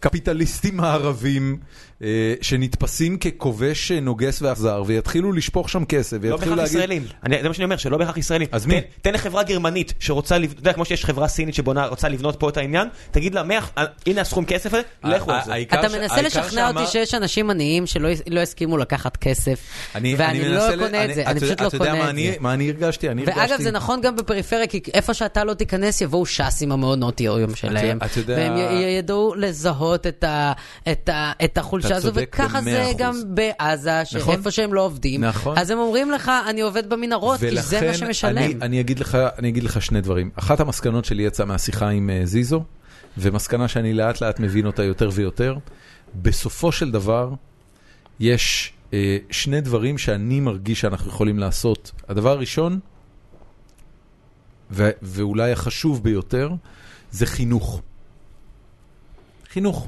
Speaker 1: קפיטליסטים הערבים, אה, שנתפסים ככובש אה, נוגס ואכזר, ויתחילו לשפוך שם כסף,
Speaker 2: לא
Speaker 1: ויתחילו
Speaker 2: בהכרח
Speaker 1: להגיד...
Speaker 2: ישראלים. אני- זה מה שאני אומר, שלא בהכרח ישראלים.
Speaker 1: אז מי?
Speaker 2: תן- תן לחברה גרמנית שרוצה, לב- אתה יודע, כמו שיש חברה סינית שבונה, רוצה לבנות פה את העניין, תגיד לה, "מאה- אה, הנה הסכום כסף הזה, לכו על זה.
Speaker 1: העיקר
Speaker 3: אתה
Speaker 1: ש-
Speaker 3: מנסה
Speaker 1: העיקר
Speaker 3: לשכנע אותי
Speaker 1: שאמר-
Speaker 3: שיש אנשים עניים שלא יס- לא יסכימו לקחת כסף, ואני לא
Speaker 1: מנסה ל-
Speaker 3: קונה את זה, אני
Speaker 1: אתה-
Speaker 3: פשוט לא
Speaker 1: אתה יודע
Speaker 3: קונה
Speaker 1: מה
Speaker 3: את
Speaker 1: אני-
Speaker 3: זה.
Speaker 1: מה אני הרגשתי? אני הרגשתי...
Speaker 3: ואגב, זה נכון גם בפריפריה, כי איפה שאתה לא תיכנס, יבואו ש"ס עם המעונות יום שלהם.
Speaker 1: אתה יודע-
Speaker 3: והם י- י- ידעו לזהות את ה- את ה- את החולשה
Speaker 1: אתה
Speaker 3: הזו,
Speaker 1: צודק
Speaker 3: וככה
Speaker 1: במאה
Speaker 3: זה
Speaker 1: אחוז.
Speaker 3: גם בעזה,
Speaker 1: נכון.
Speaker 3: שאיפה שהם לא עובדים.
Speaker 1: נכון.
Speaker 3: אז הם אומרים לך, אני עובד במנהרות, כי זה מה
Speaker 1: אני,
Speaker 3: שמשלם.
Speaker 1: אני, אגיד לך, אני אגיד לך שני דברים. אחת המסקנות שלי יצאה מהשיחה עם אה, זיזו, ומסקנה שאני לאט לאט מבין אותה יותר ויותר. בסופו של דבר, יש אה, שני דברים שאני מרגיש שאנחנו יכולים לעשות. הדבר הראשון, ו- ואולי החשוב ביותר, זה חינוך. חינוך.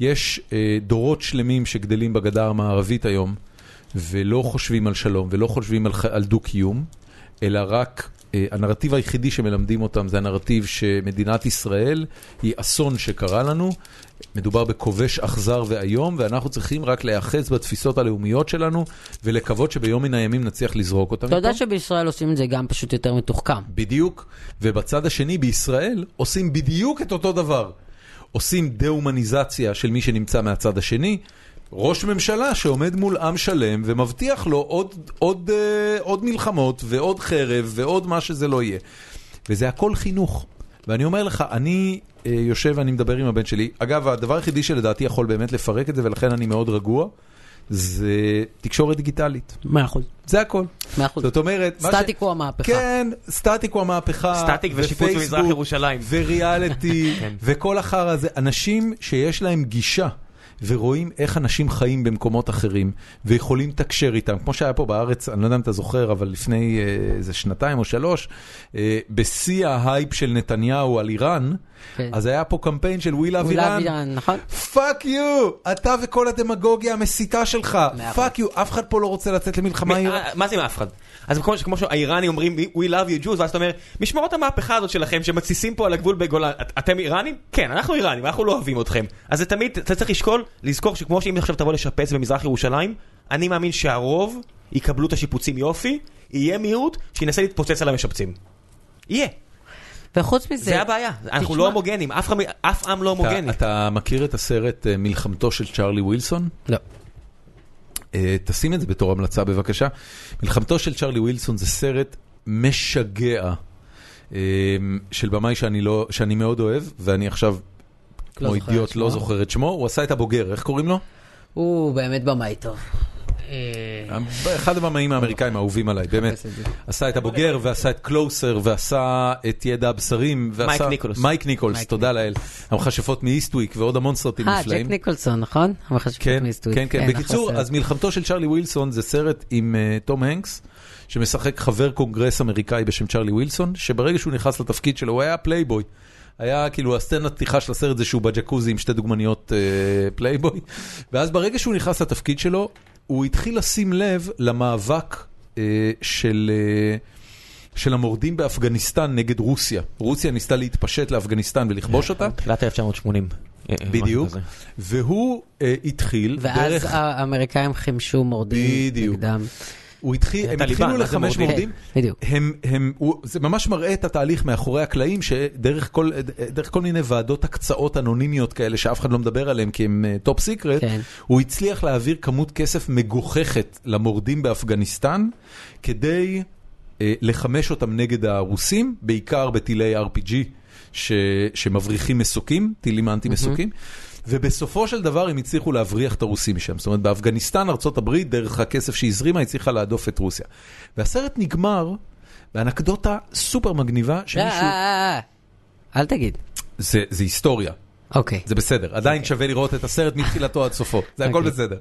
Speaker 1: יש אה, דורות שלמים שגדלים בגדה המערבית היום, ולא חושבים על שלום, ולא חושבים על, ח- על דו-קיום, אלא רק, אה, הנרטיב היחידי שמלמדים אותם זה הנרטיב שמדינת ישראל היא אסון שקרה לנו, מדובר בכובש אכזר ואיום, ואנחנו צריכים רק להיאחז בתפיסות הלאומיות שלנו, ולקוות שביום מן הימים נצליח לזרוק אותם.
Speaker 3: אתה יודע
Speaker 1: מפה.
Speaker 3: שבישראל עושים את זה גם פשוט יותר מתוחכם.
Speaker 1: בדיוק, ובצד השני בישראל עושים בדיוק את אותו דבר. עושים דה-הומניזציה של מי שנמצא מהצד השני. ראש ממשלה שעומד מול עם שלם ומבטיח לו עוד, עוד, אה, עוד מלחמות ועוד חרב ועוד מה שזה לא יהיה. וזה הכל חינוך. ואני אומר לך, אני אה, יושב ואני מדבר עם הבן שלי. אגב, הדבר היחידי שלדעתי יכול באמת לפרק את זה, ולכן אני מאוד רגוע, זה תקשורת דיגיטלית.
Speaker 3: מאה אחוז.
Speaker 1: זה הכל.
Speaker 3: מאה אחוז.
Speaker 1: זאת אומרת, מה ש-
Speaker 3: סטטיק הוא המהפכה.
Speaker 1: כן, סטטיק הוא המהפכה.
Speaker 2: סטטיק ושיפוץ
Speaker 1: ופייסבוק,
Speaker 2: במזרח ירושלים.
Speaker 1: וריאליטי,
Speaker 2: כן.
Speaker 1: וכל אחר הזה. אנשים שיש להם גישה. ורואים איך אנשים חיים במקומות אחרים, ויכולים לתקשר איתם. כמו שהיה פה בארץ, אני לא יודע אם אתה זוכר, אבל לפני אה, איזה שנתיים או שלוש, אה, בשיא ההייפ של נתניהו על איראן,
Speaker 3: כן.
Speaker 1: אז היה פה קמפיין של We Love
Speaker 3: אולי
Speaker 1: איראן,
Speaker 3: אבידן, נכון?
Speaker 1: פאק יו! אתה וכל הדמגוגיה המסיתה שלך,
Speaker 3: מאה אחוז.
Speaker 1: פאק יו! אף אחד פה לא רוצה לצאת למלחמה עם
Speaker 2: מ-
Speaker 1: איראן.
Speaker 2: אה, מה זה עם אף אחד? אז כמו, ש- כמו שהאיראנים אומרים We love you Jews ואז אתה אומר משמרות המהפכה הזאת שלכם שמתסיסים פה על הגבול בגולן את, אתם איראנים? כן אנחנו איראנים אנחנו לא אוהבים אתכם אז זה תמיד אתה צריך לשקול לזכור שכמו שאם עכשיו תבוא לשפץ במזרח ירושלים אני מאמין שהרוב יקבלו את השיפוצים יופי יהיה מיעוט שינסה להתפוצץ על המשפצים. יהיה
Speaker 3: וחוץ מזה...
Speaker 2: זה הבעיה אנחנו
Speaker 3: תשמע,
Speaker 2: לא הומוגנים אף, עם- אף עם לא
Speaker 1: אתה,
Speaker 2: הומוגני.
Speaker 1: אתה מכיר את הסרט אה, מלחמתו של צ'ארלי ווילסון?
Speaker 3: לא.
Speaker 1: אה, תשים את זה בתור המלצה בבקשה. מלחמתו של צ'ארלי ווילסון זה סרט משגע אה, של במאי שאני, לא, שאני מאוד אוהב, ואני עכשיו, כמו
Speaker 3: לא זוכר את
Speaker 1: אידיוט,
Speaker 3: שמו.
Speaker 1: לא זוכר את שמו, הוא עשה את הבוגר, איך קוראים לו?
Speaker 3: הוא באמת במאי טוב. אה,
Speaker 1: אחד הבמאים האמריקאים האהובים עליי, באמת.
Speaker 3: את זה.
Speaker 1: עשה את הבוגר, ועשה את קלוסר, ועשה את ידע הבשרים. ועשה-
Speaker 2: מייק ניקולס.
Speaker 1: מייק ניקולס,
Speaker 3: מייק
Speaker 1: תודה לאל. המכשפות מאיסטוויק ועוד המון סרטים
Speaker 3: אה,
Speaker 1: נפלאים.
Speaker 3: ג'ק ניקולסון, נכון? המכשפות
Speaker 1: כן,
Speaker 3: מאיסטוויק.
Speaker 1: כן, כן. בקיצור,
Speaker 3: החסר.
Speaker 1: אז מלחמתו של צ'רלי ווילסון זה סרט עם אה, תום הנקס, שמשחק חבר קונגרס אמריקאי בשם צ'רלי ווילסון, שברגע שהוא נכנס לתפקיד שלו, הוא היה פלייבוי. היה כאילו הסצנת פתיחה של הסרט זה שהוא בג'קוזי עם שתי דוגמניות אה, פלייבוי, ואז ברגע שהוא נכנס לתפקיד שלו, הוא התחיל לשים לב למאבק אה, של... אה, של המורדים באפגניסטן נגד רוסיה. רוסיה ניסתה להתפשט לאפגניסטן ולכבוש
Speaker 3: נכון.
Speaker 1: אותה,
Speaker 2: תחילת 1980. אה, אה,
Speaker 1: בדיוק,
Speaker 2: משהו כזה.
Speaker 1: והוא אה, התחיל
Speaker 3: ואז
Speaker 1: דרך...
Speaker 3: האמריקאים חימשו מורדים
Speaker 1: בדיוק.
Speaker 3: נגדם.
Speaker 1: הוא התחיל, הם
Speaker 2: טליבן,
Speaker 1: התחילו
Speaker 2: מה זה
Speaker 1: לחמש
Speaker 2: מורדים?
Speaker 1: מורדים,
Speaker 3: כן, בדיוק.
Speaker 1: הם, הם, הוא, זה ממש מראה את התהליך מאחורי הקלעים, שדרך כל, דרך כל מיני ועדות הקצאות אנונימיות כאלה, שאף אחד לא מדבר עליהן כי הם טופ סיקרט,
Speaker 3: כן.
Speaker 1: הוא הצליח להעביר כמות כסף מגוחכת למורדים באפגניסטן, כדי אה, לחמש אותם נגד הרוסים, בעיקר בטילי RPG ש, שמבריחים מסוקים, טילים אנטי-מסוקים. ובסופו של דבר הם הצליחו להבריח את הרוסים משם. זאת אומרת, באפגניסטן, ארה"ב, דרך הכסף שהזרימה, הצליחה להדוף את רוסיה. והסרט נגמר באנקדוטה סופר מגניבה
Speaker 3: אה,
Speaker 1: שמישהו...
Speaker 3: אה, אה. אל תגיד.
Speaker 1: זה, זה היסטוריה,
Speaker 3: אוקיי.
Speaker 1: זה בסדר, עדיין שווה לראות את הסרט מתחילתו עד סופו, זה הכל
Speaker 3: אוקיי.
Speaker 1: בסדר.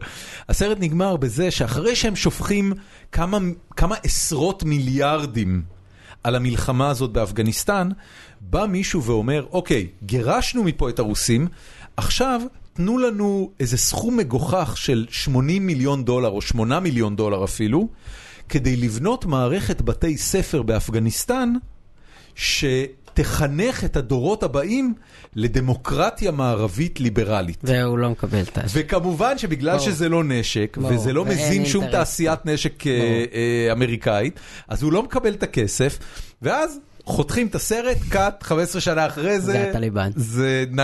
Speaker 1: הסרט נגמר בזה שאחרי שהם שופכים כמה, כמה עשרות מיליארדים על המלחמה הזאת באפגניסטן, בא מישהו ואומר, אוקיי, גירשנו מפה את הרוסים, עכשיו תנו לנו איזה סכום מגוחך של 80 מיליון דולר או 8 מיליון דולר אפילו, כדי לבנות מערכת בתי ספר באפגניסטן שתחנך את הדורות הבאים לדמוקרטיה מערבית ליברלית.
Speaker 3: והוא לא מקבל את ה...
Speaker 1: וכמובן שבגלל
Speaker 3: ברור.
Speaker 1: שזה לא נשק,
Speaker 3: ברור,
Speaker 1: וזה לא
Speaker 3: ואין
Speaker 1: מזין שום
Speaker 3: אינטרס.
Speaker 1: תעשיית נשק אה,
Speaker 3: ברור.
Speaker 1: אה, אמריקאית, אז הוא לא מקבל את הכסף, ואז חותכים את הסרט, קאט, 15 שנה אחרי זה,
Speaker 3: הטליבן.
Speaker 1: זה 9-11,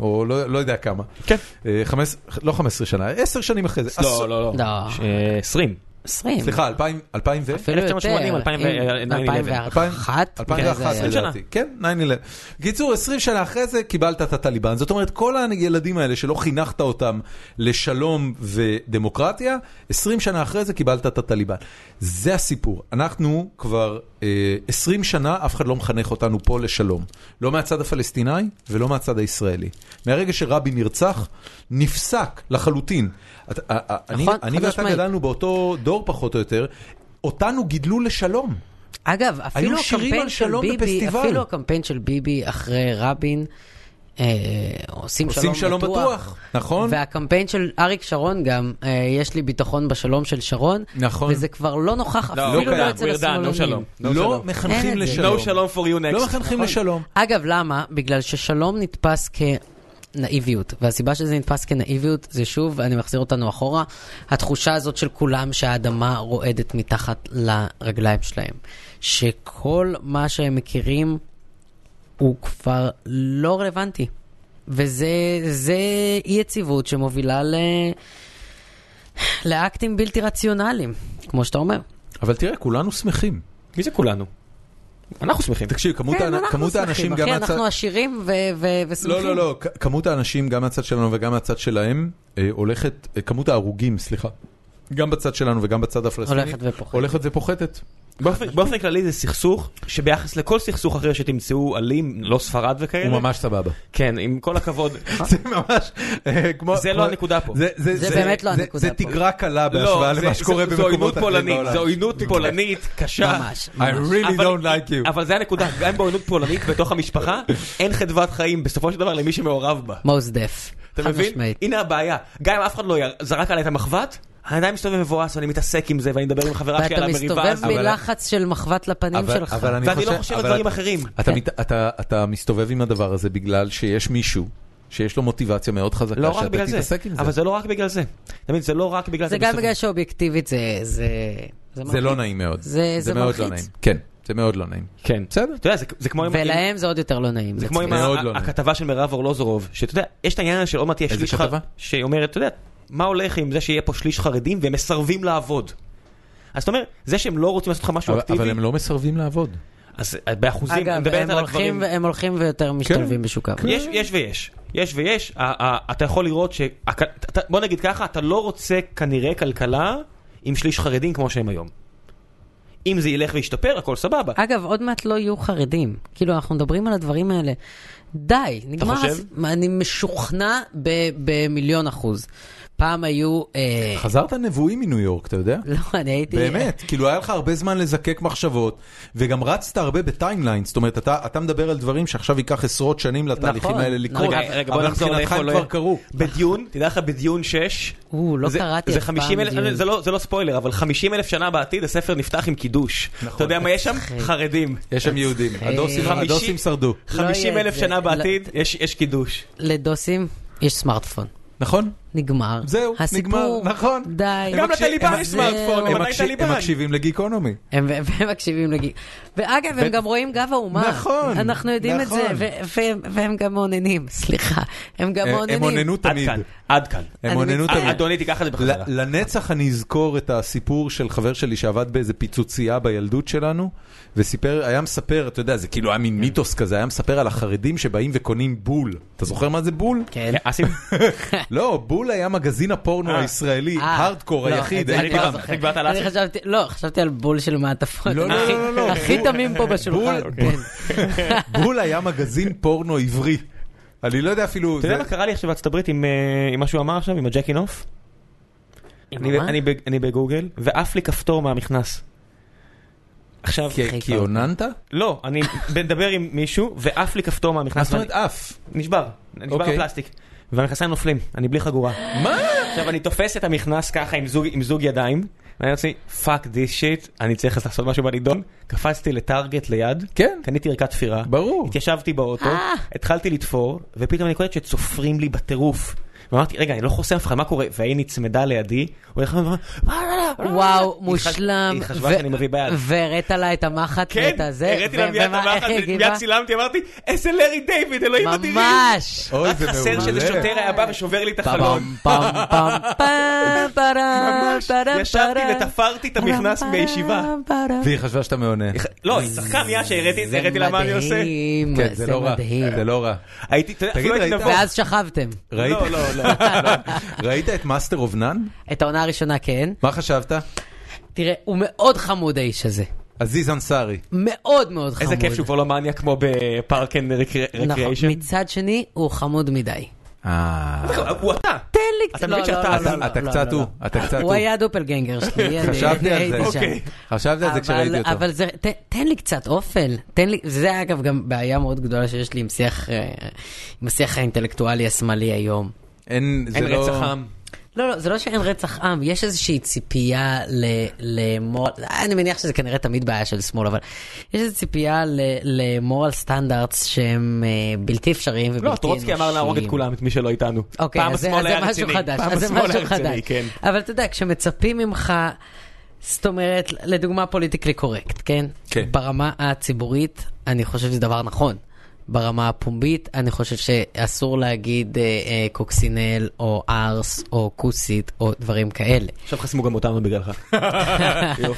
Speaker 1: או לא, לא יודע כמה.
Speaker 2: כן.
Speaker 1: אה, חמש, לא 15 שנה, 10 שנים אחרי זה. עשו-
Speaker 2: לא, לא, לא.
Speaker 3: לא.
Speaker 2: ש- אה, 20.
Speaker 3: 20.
Speaker 1: סליחה, 2000 2000 ו...
Speaker 3: אפילו יותר. אה,
Speaker 2: 1980, 2000,
Speaker 3: אם-
Speaker 2: 2001.
Speaker 3: 2001.
Speaker 1: 2001
Speaker 3: כזה.
Speaker 2: עשרים שנה.
Speaker 1: לדעתי, כן, 9-11. קיצור, 20 שנה אחרי זה קיבלת את הטליבן. זאת אומרת, כל הילדים האלה שלא חינכת אותם לשלום ודמוקרטיה, 20 שנה אחרי זה קיבלת את הטליבן. זה הסיפור. אנחנו כבר אה, 20 שנה, אף אחד לא מחנך אותנו פה לשלום. לא מהצד הפלסטיני ולא מהצד הישראלי. מהרגע שרבין נרצח, נפסק לחלוטין. את- ה- ה- אני-
Speaker 3: נכון,
Speaker 1: אני
Speaker 3: חד
Speaker 1: ואתה
Speaker 3: משמעית.
Speaker 1: גדלנו באותו דור פחות או יותר, אותנו גידלו לשלום.
Speaker 3: אגב, אפילו
Speaker 1: שירים על
Speaker 3: הקמפיין של
Speaker 1: שלום
Speaker 3: ביבי,
Speaker 1: בפסטיבל.
Speaker 3: אפילו הקמפיין של ביבי אחרי רבין, אה, עושים
Speaker 1: עושים
Speaker 3: שלום
Speaker 1: שלום בטוח, נכון?
Speaker 3: והקמפיין של אריק שרון גם, אה, יש לי ביטחון בשלום של שרון,
Speaker 1: נכון.
Speaker 3: וזה כבר לא נוכח
Speaker 2: לא,
Speaker 3: אפילו
Speaker 1: קיים,
Speaker 3: לא אצל
Speaker 2: we're done, no
Speaker 3: השמאלנים.
Speaker 2: שלום.
Speaker 1: לא
Speaker 2: שלום.
Speaker 1: מחנכים
Speaker 3: אין את זה.
Speaker 1: לשלום.
Speaker 2: No שלום for you
Speaker 1: לא
Speaker 2: next.
Speaker 1: מחנכים לשלום.
Speaker 3: אגב, למה? בגלל ששלום נתפס כנאיביות, והסיבה שזה נתפס כנאיביות זה שוב, אני מחזיר אותנו אחורה, התחושה הזאת של כולם שהאדמה רועדת מתחת לרגליים שלהם. שכל מה שהם מכירים הוא כבר לא רלוונטי. וזה זה אי יציבות שמובילה ל... לאקטים בלתי רציונליים, כמו שאתה אומר.
Speaker 1: אבל תראה, כולנו שמחים.
Speaker 2: מי זה כולנו? אנחנו שמחים.
Speaker 1: תקשיב, כמות
Speaker 3: כן,
Speaker 1: האנ-
Speaker 3: אנחנו
Speaker 1: כמות
Speaker 3: שמחים,
Speaker 1: האנשים
Speaker 3: אחי,
Speaker 1: גם מהצד...
Speaker 3: אנחנו עשירים ו- ו-
Speaker 1: לא,
Speaker 3: ושמחים.
Speaker 1: לא, לא, כ- כמות האנשים גם מהצד שלנו וגם מהצד שלהם אה, הולכת, אה, כמות ההרוגים, סליחה, גם בצד שלנו וגם בצד הפלסטיני,
Speaker 3: הולכת ופוחתת.
Speaker 1: הולכת ופוחתת.
Speaker 2: באופן באופן כללי זה סכסוך שביחס לכל סכסוך אחר שתמצאו אלים, לא ספרד וכאלה.
Speaker 1: הוא ממש סבבה.
Speaker 2: כן, עם כל הכבוד.
Speaker 1: זה ממש, אה, כמו...
Speaker 2: זה לא
Speaker 1: כמו-
Speaker 2: הנקודה פה.
Speaker 3: זה באמת לא הנקודה
Speaker 1: זה
Speaker 3: פה.
Speaker 1: תגרה קלה
Speaker 2: לא,
Speaker 1: בהשוואה
Speaker 2: זה-
Speaker 1: למה שקורה
Speaker 2: זה- זו עוינות
Speaker 1: במקומות אחרים
Speaker 2: פולנית,
Speaker 1: בעולם.
Speaker 2: זו עוינות פולנית קשה.
Speaker 3: ממש,
Speaker 1: I really
Speaker 2: אבל-
Speaker 1: don't like you.
Speaker 2: אבל זה הנקודה, גם בעוינות פולנית בתוך המשפחה, אין חדוות חיים בסופו של דבר למי שמעורב בה.
Speaker 3: most deaf.
Speaker 2: אתה
Speaker 3: חד
Speaker 2: מבין?
Speaker 3: משמעית.
Speaker 2: הנה הבעיה. גם אם אף אחד לא יר- זרק עליי את המחבת, אני עדיין מסתובב מבואס ואני מתעסק עם זה ואני מדבר עם חברה שלי על
Speaker 3: ואתה
Speaker 2: המריבה
Speaker 3: מסתובב
Speaker 2: הזאת.
Speaker 1: אבל-
Speaker 3: בלחץ של מחבת לפנים
Speaker 1: אבל-
Speaker 3: שלך.
Speaker 1: אבל אני
Speaker 2: ואני לא חושב על
Speaker 1: אבל
Speaker 2: דברים
Speaker 1: אתה-
Speaker 2: אחרים.
Speaker 1: אתה, מת, אתה, אתה מסתובב עם הדבר הזה בגלל שיש מישהו שיש לו מוטיבציה מאוד חזקה
Speaker 2: לא רק
Speaker 1: שאתה
Speaker 2: בגלל זה,
Speaker 1: תתעסק עם זה.
Speaker 2: אבל זה לא רק בגלל זה. אתה מבין, זה לא רק בגלל זה.
Speaker 3: זה גם
Speaker 2: בסופו-
Speaker 3: בגלל שאובייקטיבית זה... זה-
Speaker 1: זה
Speaker 3: מלחיץ.
Speaker 1: לא נעים מאוד.
Speaker 3: זה- זה
Speaker 1: מאוד
Speaker 3: מלחיץ.
Speaker 1: לא נעים. כן, זה מאוד לא נעים.
Speaker 2: כן.
Speaker 1: בסדר.
Speaker 2: אתה יודע, זה- זה כמו עם...
Speaker 3: ולהם זה עוד יותר לא נעים.
Speaker 2: זה כמו עם
Speaker 1: מאוד
Speaker 2: ה-
Speaker 1: לא נעים.
Speaker 2: הכתבה של מירב אורלוזורוב, שאתה יודע, יש את העניין הזה של עוד מעט יש
Speaker 1: איזה
Speaker 2: שליש
Speaker 1: כתבה?
Speaker 2: חרדים, שהיא אומרת, אתה יודע, מה הולך עם זה שיהיה פה שליש חרדים והם מסרבים לעבוד. אז אתה אומר, זה שהם לא רוצים לעשות לך משהו
Speaker 1: אבל, אבל
Speaker 2: אקטיבי,
Speaker 1: הם לא מסרבים לעבוד.
Speaker 2: אז אה, באחוזים, אני
Speaker 3: אגב,
Speaker 2: מדברת
Speaker 3: הם
Speaker 2: על
Speaker 3: הולכים
Speaker 2: הגברים.
Speaker 3: הם הולכים ויותר משתלבים בשוק העבודה.
Speaker 2: יש, יש ויש, יש ויש, ה- ה- אתה יכול לראות ש... הכ- אתה- בוא נגיד ככה, אתה לא רוצה כנראה כלכלה עם שליש חרדים כמו שהם היום. אם זה ילך וישתפר, הכל סבבה.
Speaker 3: אגב, עוד מעט לא יהיו חרדים. כאילו, אנחנו מדברים על הדברים האלה. די, נגמר.
Speaker 2: חושב?
Speaker 3: הס- מה, אני משוכנע ב- במיליון אחוז. פעם היו... אה,
Speaker 1: חזרת נבואי מניו יורק, אתה יודע?
Speaker 3: לא, אני הייתי...
Speaker 1: באמת, כאילו היה לך הרבה זמן לזקק מחשבות, וגם רצת הרבה בטיימליין, זאת אומרת, אתה, אתה מדבר על דברים שעכשיו ייקח עשרות שנים לתהליכים
Speaker 3: נכון,
Speaker 1: האלה
Speaker 3: נכון.
Speaker 1: לקרות,
Speaker 2: רגע, רגע, בוא
Speaker 1: אבל
Speaker 2: נחזור
Speaker 1: מבחינתך
Speaker 2: לאיפה
Speaker 1: הם
Speaker 2: לא
Speaker 1: כבר
Speaker 2: יהיה.
Speaker 1: קרו.
Speaker 2: בדיון, תדע לך, בדיון 6.
Speaker 3: או, לא
Speaker 2: זה-
Speaker 3: קראתי
Speaker 2: זה
Speaker 3: אף
Speaker 2: 50
Speaker 3: פעם
Speaker 2: אלף,
Speaker 3: דיון.
Speaker 2: זה לא- זה לא ספוילר, אבל 50 אלף שנה בעתיד הספר נפתח עם קידוש.
Speaker 3: נכון.
Speaker 2: אתה יודע מה יש שם? חרדים.
Speaker 1: יש שם יהודים, הדוסים,
Speaker 2: אה, חמישי-
Speaker 1: הדוסים שרדו,
Speaker 3: לא יהיה
Speaker 2: 50 אלף
Speaker 3: זה.
Speaker 2: שנה
Speaker 3: לא-
Speaker 2: בעתיד יש יש קידוש.
Speaker 3: לדוסים יש סמארטפון.
Speaker 1: נכון?
Speaker 3: נגמר.
Speaker 1: זהו,
Speaker 3: הסיפור,
Speaker 1: נגמר, נכון.
Speaker 3: די.
Speaker 2: גם
Speaker 1: מקשיב-
Speaker 2: לטליבן
Speaker 1: הם-
Speaker 2: יש
Speaker 1: זהו.
Speaker 2: סמארטפון,
Speaker 1: הם
Speaker 2: ממתי
Speaker 1: מקשיב-
Speaker 2: טליבן?
Speaker 1: הם מקשיבים לגיקונומי.
Speaker 3: הם, והם מקשיבים לגיל. ואגב, הם
Speaker 1: ו-
Speaker 3: גם רואים גב האומה.
Speaker 1: נכון,
Speaker 3: אנחנו יודעים
Speaker 1: נכון. אה,
Speaker 3: את זה, ו- ו- והם גם מאוננים, סליחה. הם גם
Speaker 1: הם-
Speaker 3: מאוננים.
Speaker 1: הם אוננו
Speaker 2: עד
Speaker 1: תמיד.
Speaker 2: כאן, עד כאן.
Speaker 1: הם
Speaker 3: אני
Speaker 1: אוננו
Speaker 3: מצטערת.
Speaker 1: תמיד. לא.
Speaker 2: אדוני, תיקח את זה בחזרה.
Speaker 1: ל- לנצח אני אזכור את הסיפור של חבר שלי שעבד באיזה פיצוצייה בילדות שלנו, וסיפר, היה מספר, אתה יודע, זה כאילו היה מין מיתוס כזה, היה מספר על החרדים שבאים וקונים בול. אתה זוכר מה זה בול?
Speaker 3: כן.
Speaker 2: אסי,
Speaker 1: לא, בול היה מגזין הפורנו
Speaker 2: אה.
Speaker 1: הישראלי,
Speaker 3: אה,
Speaker 1: הארדקור
Speaker 3: לא,
Speaker 1: היחיד
Speaker 3: את זה
Speaker 1: אי
Speaker 3: אני לא
Speaker 1: פעם.
Speaker 3: זוכר.
Speaker 2: דיברת על
Speaker 3: אני
Speaker 2: אסי?
Speaker 3: חשבתי, לא, חשבתי על בול של מעטפות.
Speaker 1: לא, לא,
Speaker 3: הכי-
Speaker 1: לא, לא, לא.
Speaker 3: הכי תמים פה בשולחן.
Speaker 1: בול.
Speaker 3: כן.
Speaker 1: בול היה מגזין פורנו עברי. אני לא יודע אפילו...
Speaker 2: אתה יודע
Speaker 1: זה-
Speaker 2: מה קרה לי עכשיו בארצות הברית עם אה, עם מה שהוא אמר עכשיו, עם הג'קי נוף? אני ב-
Speaker 3: מה?
Speaker 2: אני ב- אני בגוגל, ועף לי כפתור מהמכנס. עכשיו,
Speaker 1: כי- כי אוננת?
Speaker 2: לא, אני מדבר עם מישהו, ועף לי כפתור מהמכנס.
Speaker 1: מה זאת אומרת אף?
Speaker 2: נשבר, נשבר
Speaker 1: אוקיי.
Speaker 2: הפלסטיק. והמכנסיים נופלים, אני בלי חגורה.
Speaker 1: מה?
Speaker 2: עכשיו אני תופס את המכנס ככה עם זוג, עם זוג ידיים, ואני אומר פאק דיס שיט, אני צריך לעשות משהו בנידון. קפצתי לטארגט ליד,
Speaker 1: כן.
Speaker 2: קניתי ערכת תפירה,
Speaker 1: ברור.
Speaker 2: התיישבתי באוטו,
Speaker 3: אה.
Speaker 2: התחלתי לתפור, ופתאום אני קולט שצופרים לי בטירוף. ואמרתי, רגע, אני לא חוסם אף אחד, מה קורה? והיא נצמדה לידי, הוא הולך ואומר,
Speaker 3: וואו,
Speaker 2: היא חש-
Speaker 3: מושלם.
Speaker 2: היא חשבה
Speaker 3: ו-
Speaker 2: שאני מביא ביד.
Speaker 3: והראית לה את המחט
Speaker 2: כן,
Speaker 3: ואת הזה.
Speaker 2: הראיתי לה
Speaker 3: ו-
Speaker 2: מיד את
Speaker 3: ומה- איך
Speaker 2: המחט,
Speaker 3: היא
Speaker 2: מיד
Speaker 3: הגיבה?
Speaker 2: צילמתי, אמרתי, איזה לארי דיוויד, אלוהים אדירים.
Speaker 3: ממש.
Speaker 1: אוי,
Speaker 2: רק
Speaker 1: זה
Speaker 2: חסר
Speaker 1: מעולה.
Speaker 2: שאיזה שוטר היה בא ושובר לי את החלום.
Speaker 3: פעם פעם פעם פעם פעם
Speaker 2: ממש, ישבתי ותפרתי את המכנס בישיבה.
Speaker 1: והיא חשבה שאתה מעונה.
Speaker 2: לא, היא צחקה מיד שהראיתי הראיתי לה מה אני עושה.
Speaker 1: כן, זה
Speaker 3: זה
Speaker 1: לא רע.
Speaker 3: מדהים.
Speaker 1: זה לא רע.
Speaker 2: הייתי, אתה יודע,
Speaker 1: תגיד,
Speaker 2: אפילו הייתי
Speaker 1: ראית?
Speaker 2: נבוך.
Speaker 3: ואז שכבתם.
Speaker 1: ראית?
Speaker 2: לא, לא, לא.
Speaker 1: ראית את מאסטר אוף נאן?
Speaker 3: את העונה הראשונה כן.
Speaker 1: מה חשבת?
Speaker 3: תראה, הוא מאוד חמוד האיש הזה.
Speaker 1: עזיז אנסארי.
Speaker 3: מאוד מאוד חמוד.
Speaker 2: איזה כיף שהוא כבר לא מניאק כמו בפארק אנד
Speaker 3: נכון.
Speaker 2: רקריאיישן.
Speaker 3: מצד שני, הוא חמוד מדי.
Speaker 1: אה.
Speaker 2: הוא אתה.
Speaker 3: תן לי...
Speaker 2: אתה
Speaker 3: לא,
Speaker 2: מבין
Speaker 3: לא,
Speaker 2: שאתה-
Speaker 3: לא,
Speaker 2: אתה-
Speaker 3: לא,
Speaker 1: אתה
Speaker 3: לא,
Speaker 1: קצת
Speaker 3: לא,
Speaker 1: הוא,
Speaker 3: לא.
Speaker 1: אתה קצת הוא.
Speaker 3: הוא היה הדופלגנגר שלי. אני-
Speaker 1: חשבתי על
Speaker 3: אני
Speaker 1: זה.
Speaker 3: הייתי שם.
Speaker 2: אוקיי.
Speaker 1: חשבתי על זה כשראיתי אותו.
Speaker 3: אבל זה, ת, תן לי קצת אופל, תן לי, זה אגב גם בעיה מאוד גדולה שיש לי עם שיח, אה, עם השיח האינטלקטואלי השמאלי היום.
Speaker 1: אין, זה
Speaker 2: אין
Speaker 1: לא...
Speaker 2: רצח עם.
Speaker 3: לא, לא, זה לא שאין רצח עם, יש איזושהי ציפייה ל- לאמור, אני מניח שזה כנראה תמיד בעיה של שמאל, אבל יש איזו ציפייה ל- לאמור על סטנדרטס שהם אה, בלתי אפשריים ובלתי
Speaker 2: לא,
Speaker 3: אנושיים.
Speaker 2: טרוצקי אמר להרוג את כולם, את מי שלא איתנו.
Speaker 3: אוקיי,
Speaker 2: פעם
Speaker 3: אז זה
Speaker 2: השמאל
Speaker 3: אז זה
Speaker 2: היה
Speaker 3: משהו
Speaker 2: רציני.
Speaker 3: חדש,
Speaker 2: פעם
Speaker 3: אז זה
Speaker 2: השמאל
Speaker 3: משהו
Speaker 2: היה
Speaker 3: חדש.
Speaker 2: רציני, כן.
Speaker 3: אבל אתה יודע, כשמצפים ממך, זאת אומרת, לדוגמה פוליטיקלי קורקט, כן?
Speaker 1: כן.
Speaker 3: ברמה הציבורית, אני חושב שזה דבר נכון. ברמה הפומבית, אני חושב שאסור להגיד אה, אה, קוקסינל או ארס או כוסית או דברים כאלה.
Speaker 2: עכשיו חסמו גם אותנו בגללך.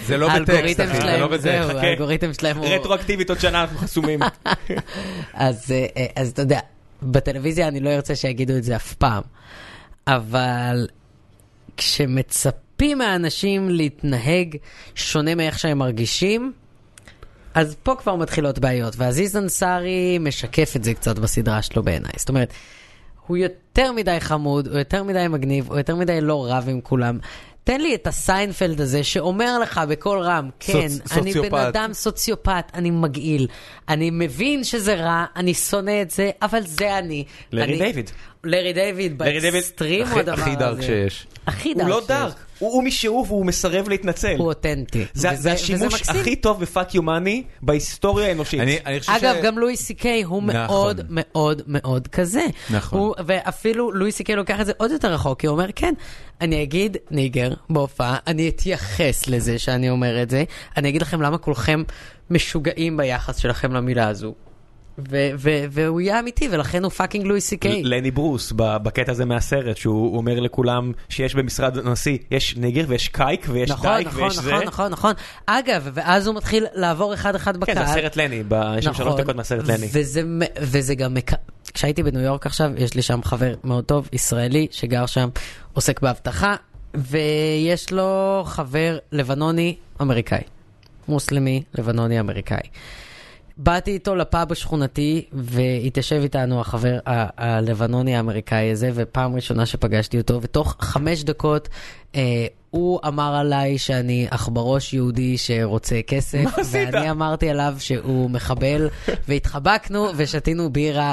Speaker 1: זה לא בטקסט,
Speaker 3: האלגוריתם
Speaker 1: אחי, זה
Speaker 3: שלהם,
Speaker 1: לא בטקסט.
Speaker 3: זהו,
Speaker 2: חכה.
Speaker 3: האלגוריתם שלהם הוא...
Speaker 2: רטרואקטיבית עוד שנה אנחנו חסומים.
Speaker 3: אז, אה, אה, אז אתה יודע, בטלוויזיה אני לא ארצה שיגידו את זה אף פעם, אבל כשמצפים מהאנשים להתנהג שונה מאיך שהם מרגישים, אז פה כבר מתחילות בעיות, ועזיז אנסארי משקף את זה קצת בסדרה שלו בעיניי. זאת אומרת, הוא יותר מדי חמוד, הוא יותר מדי מגניב, הוא יותר מדי לא רב עם כולם. תן לי את הסיינפלד הזה שאומר לך בקול רם, כן,
Speaker 1: סוצ-
Speaker 3: אני בן
Speaker 1: סוציופט."
Speaker 3: אדם סוציופט, אני מגעיל, אני מבין שזה רע, אני שונא את זה, אבל זה אני.
Speaker 2: לארי
Speaker 3: אני-
Speaker 2: דיוויד.
Speaker 3: לארי דיוויד,
Speaker 2: לארי דיוויד,
Speaker 3: באקסטרים הוא
Speaker 1: הכי-
Speaker 3: הדבר הזה.
Speaker 1: הכי דארק שיש.
Speaker 3: הכי דארק
Speaker 2: הוא לא
Speaker 3: שיש.
Speaker 2: דארק, הוא הוא משהוא והוא מסרב להתנצל.
Speaker 3: הוא אותנטי.
Speaker 2: זה-
Speaker 3: וזה-
Speaker 2: זה
Speaker 3: וזה
Speaker 2: השימוש
Speaker 3: מקסים.
Speaker 2: הכי טוב בפאק יו מאני בהיסטוריה האנושית.
Speaker 1: אני אני חושב ש...
Speaker 3: אגב, גם לואי סי קיי הוא
Speaker 1: נכון.
Speaker 3: מאוד מאוד מאוד כזה.
Speaker 1: נכון.
Speaker 3: הוא, ואפילו לואי סי קיי לוקח את זה עוד יותר רחוק, כי הוא אומר, כן, אני אגיד ניגר בהופעה, אני אתייחס לזה שאני אומר את זה, אני אגיד לכם למה כולכם משוגעים ביחס שלכם למילה הזו. ו- ו- והוא יהיה אמיתי, ולכן הוא פאקינג לואי סי קיי.
Speaker 2: לני ברוס ב- בקטע הזה מהסרט שהוא אומר לכולם שיש במשרד הנשיא יש ניגר ויש קייק ויש
Speaker 3: נכון,
Speaker 2: דייק
Speaker 3: נכון,
Speaker 2: ויש זה.
Speaker 3: נכון, נכון, נכון. אגב, ואז הוא מתחיל לעבור אחד-אחד בקהל. נכון.
Speaker 2: כן זה הסרט לני, ב- יש שם שלוש דקות מהסרט לני.
Speaker 3: וזה, מ- וזה גם, מק- כשהייתי בניו יורק עכשיו, יש לי שם חבר מאוד טוב, ישראלי, שגר שם, עוסק באבטחה, ויש לו חבר לבנוני אמריקאי. מוסלמי, לבנוני אמריקאי. באתי איתו לפאב השכונתי, והתיישב איתנו החבר ה- הלבנוני האמריקאי הזה, ופעם ראשונה שפגשתי אותו, ותוך חמש דקות אה, הוא אמר עליי שאני עכברוש יהודי שרוצה כסף,
Speaker 2: מה עשית?
Speaker 3: ואני אמרתי עליו שהוא מחבל, והתחבקנו ושתינו בירה,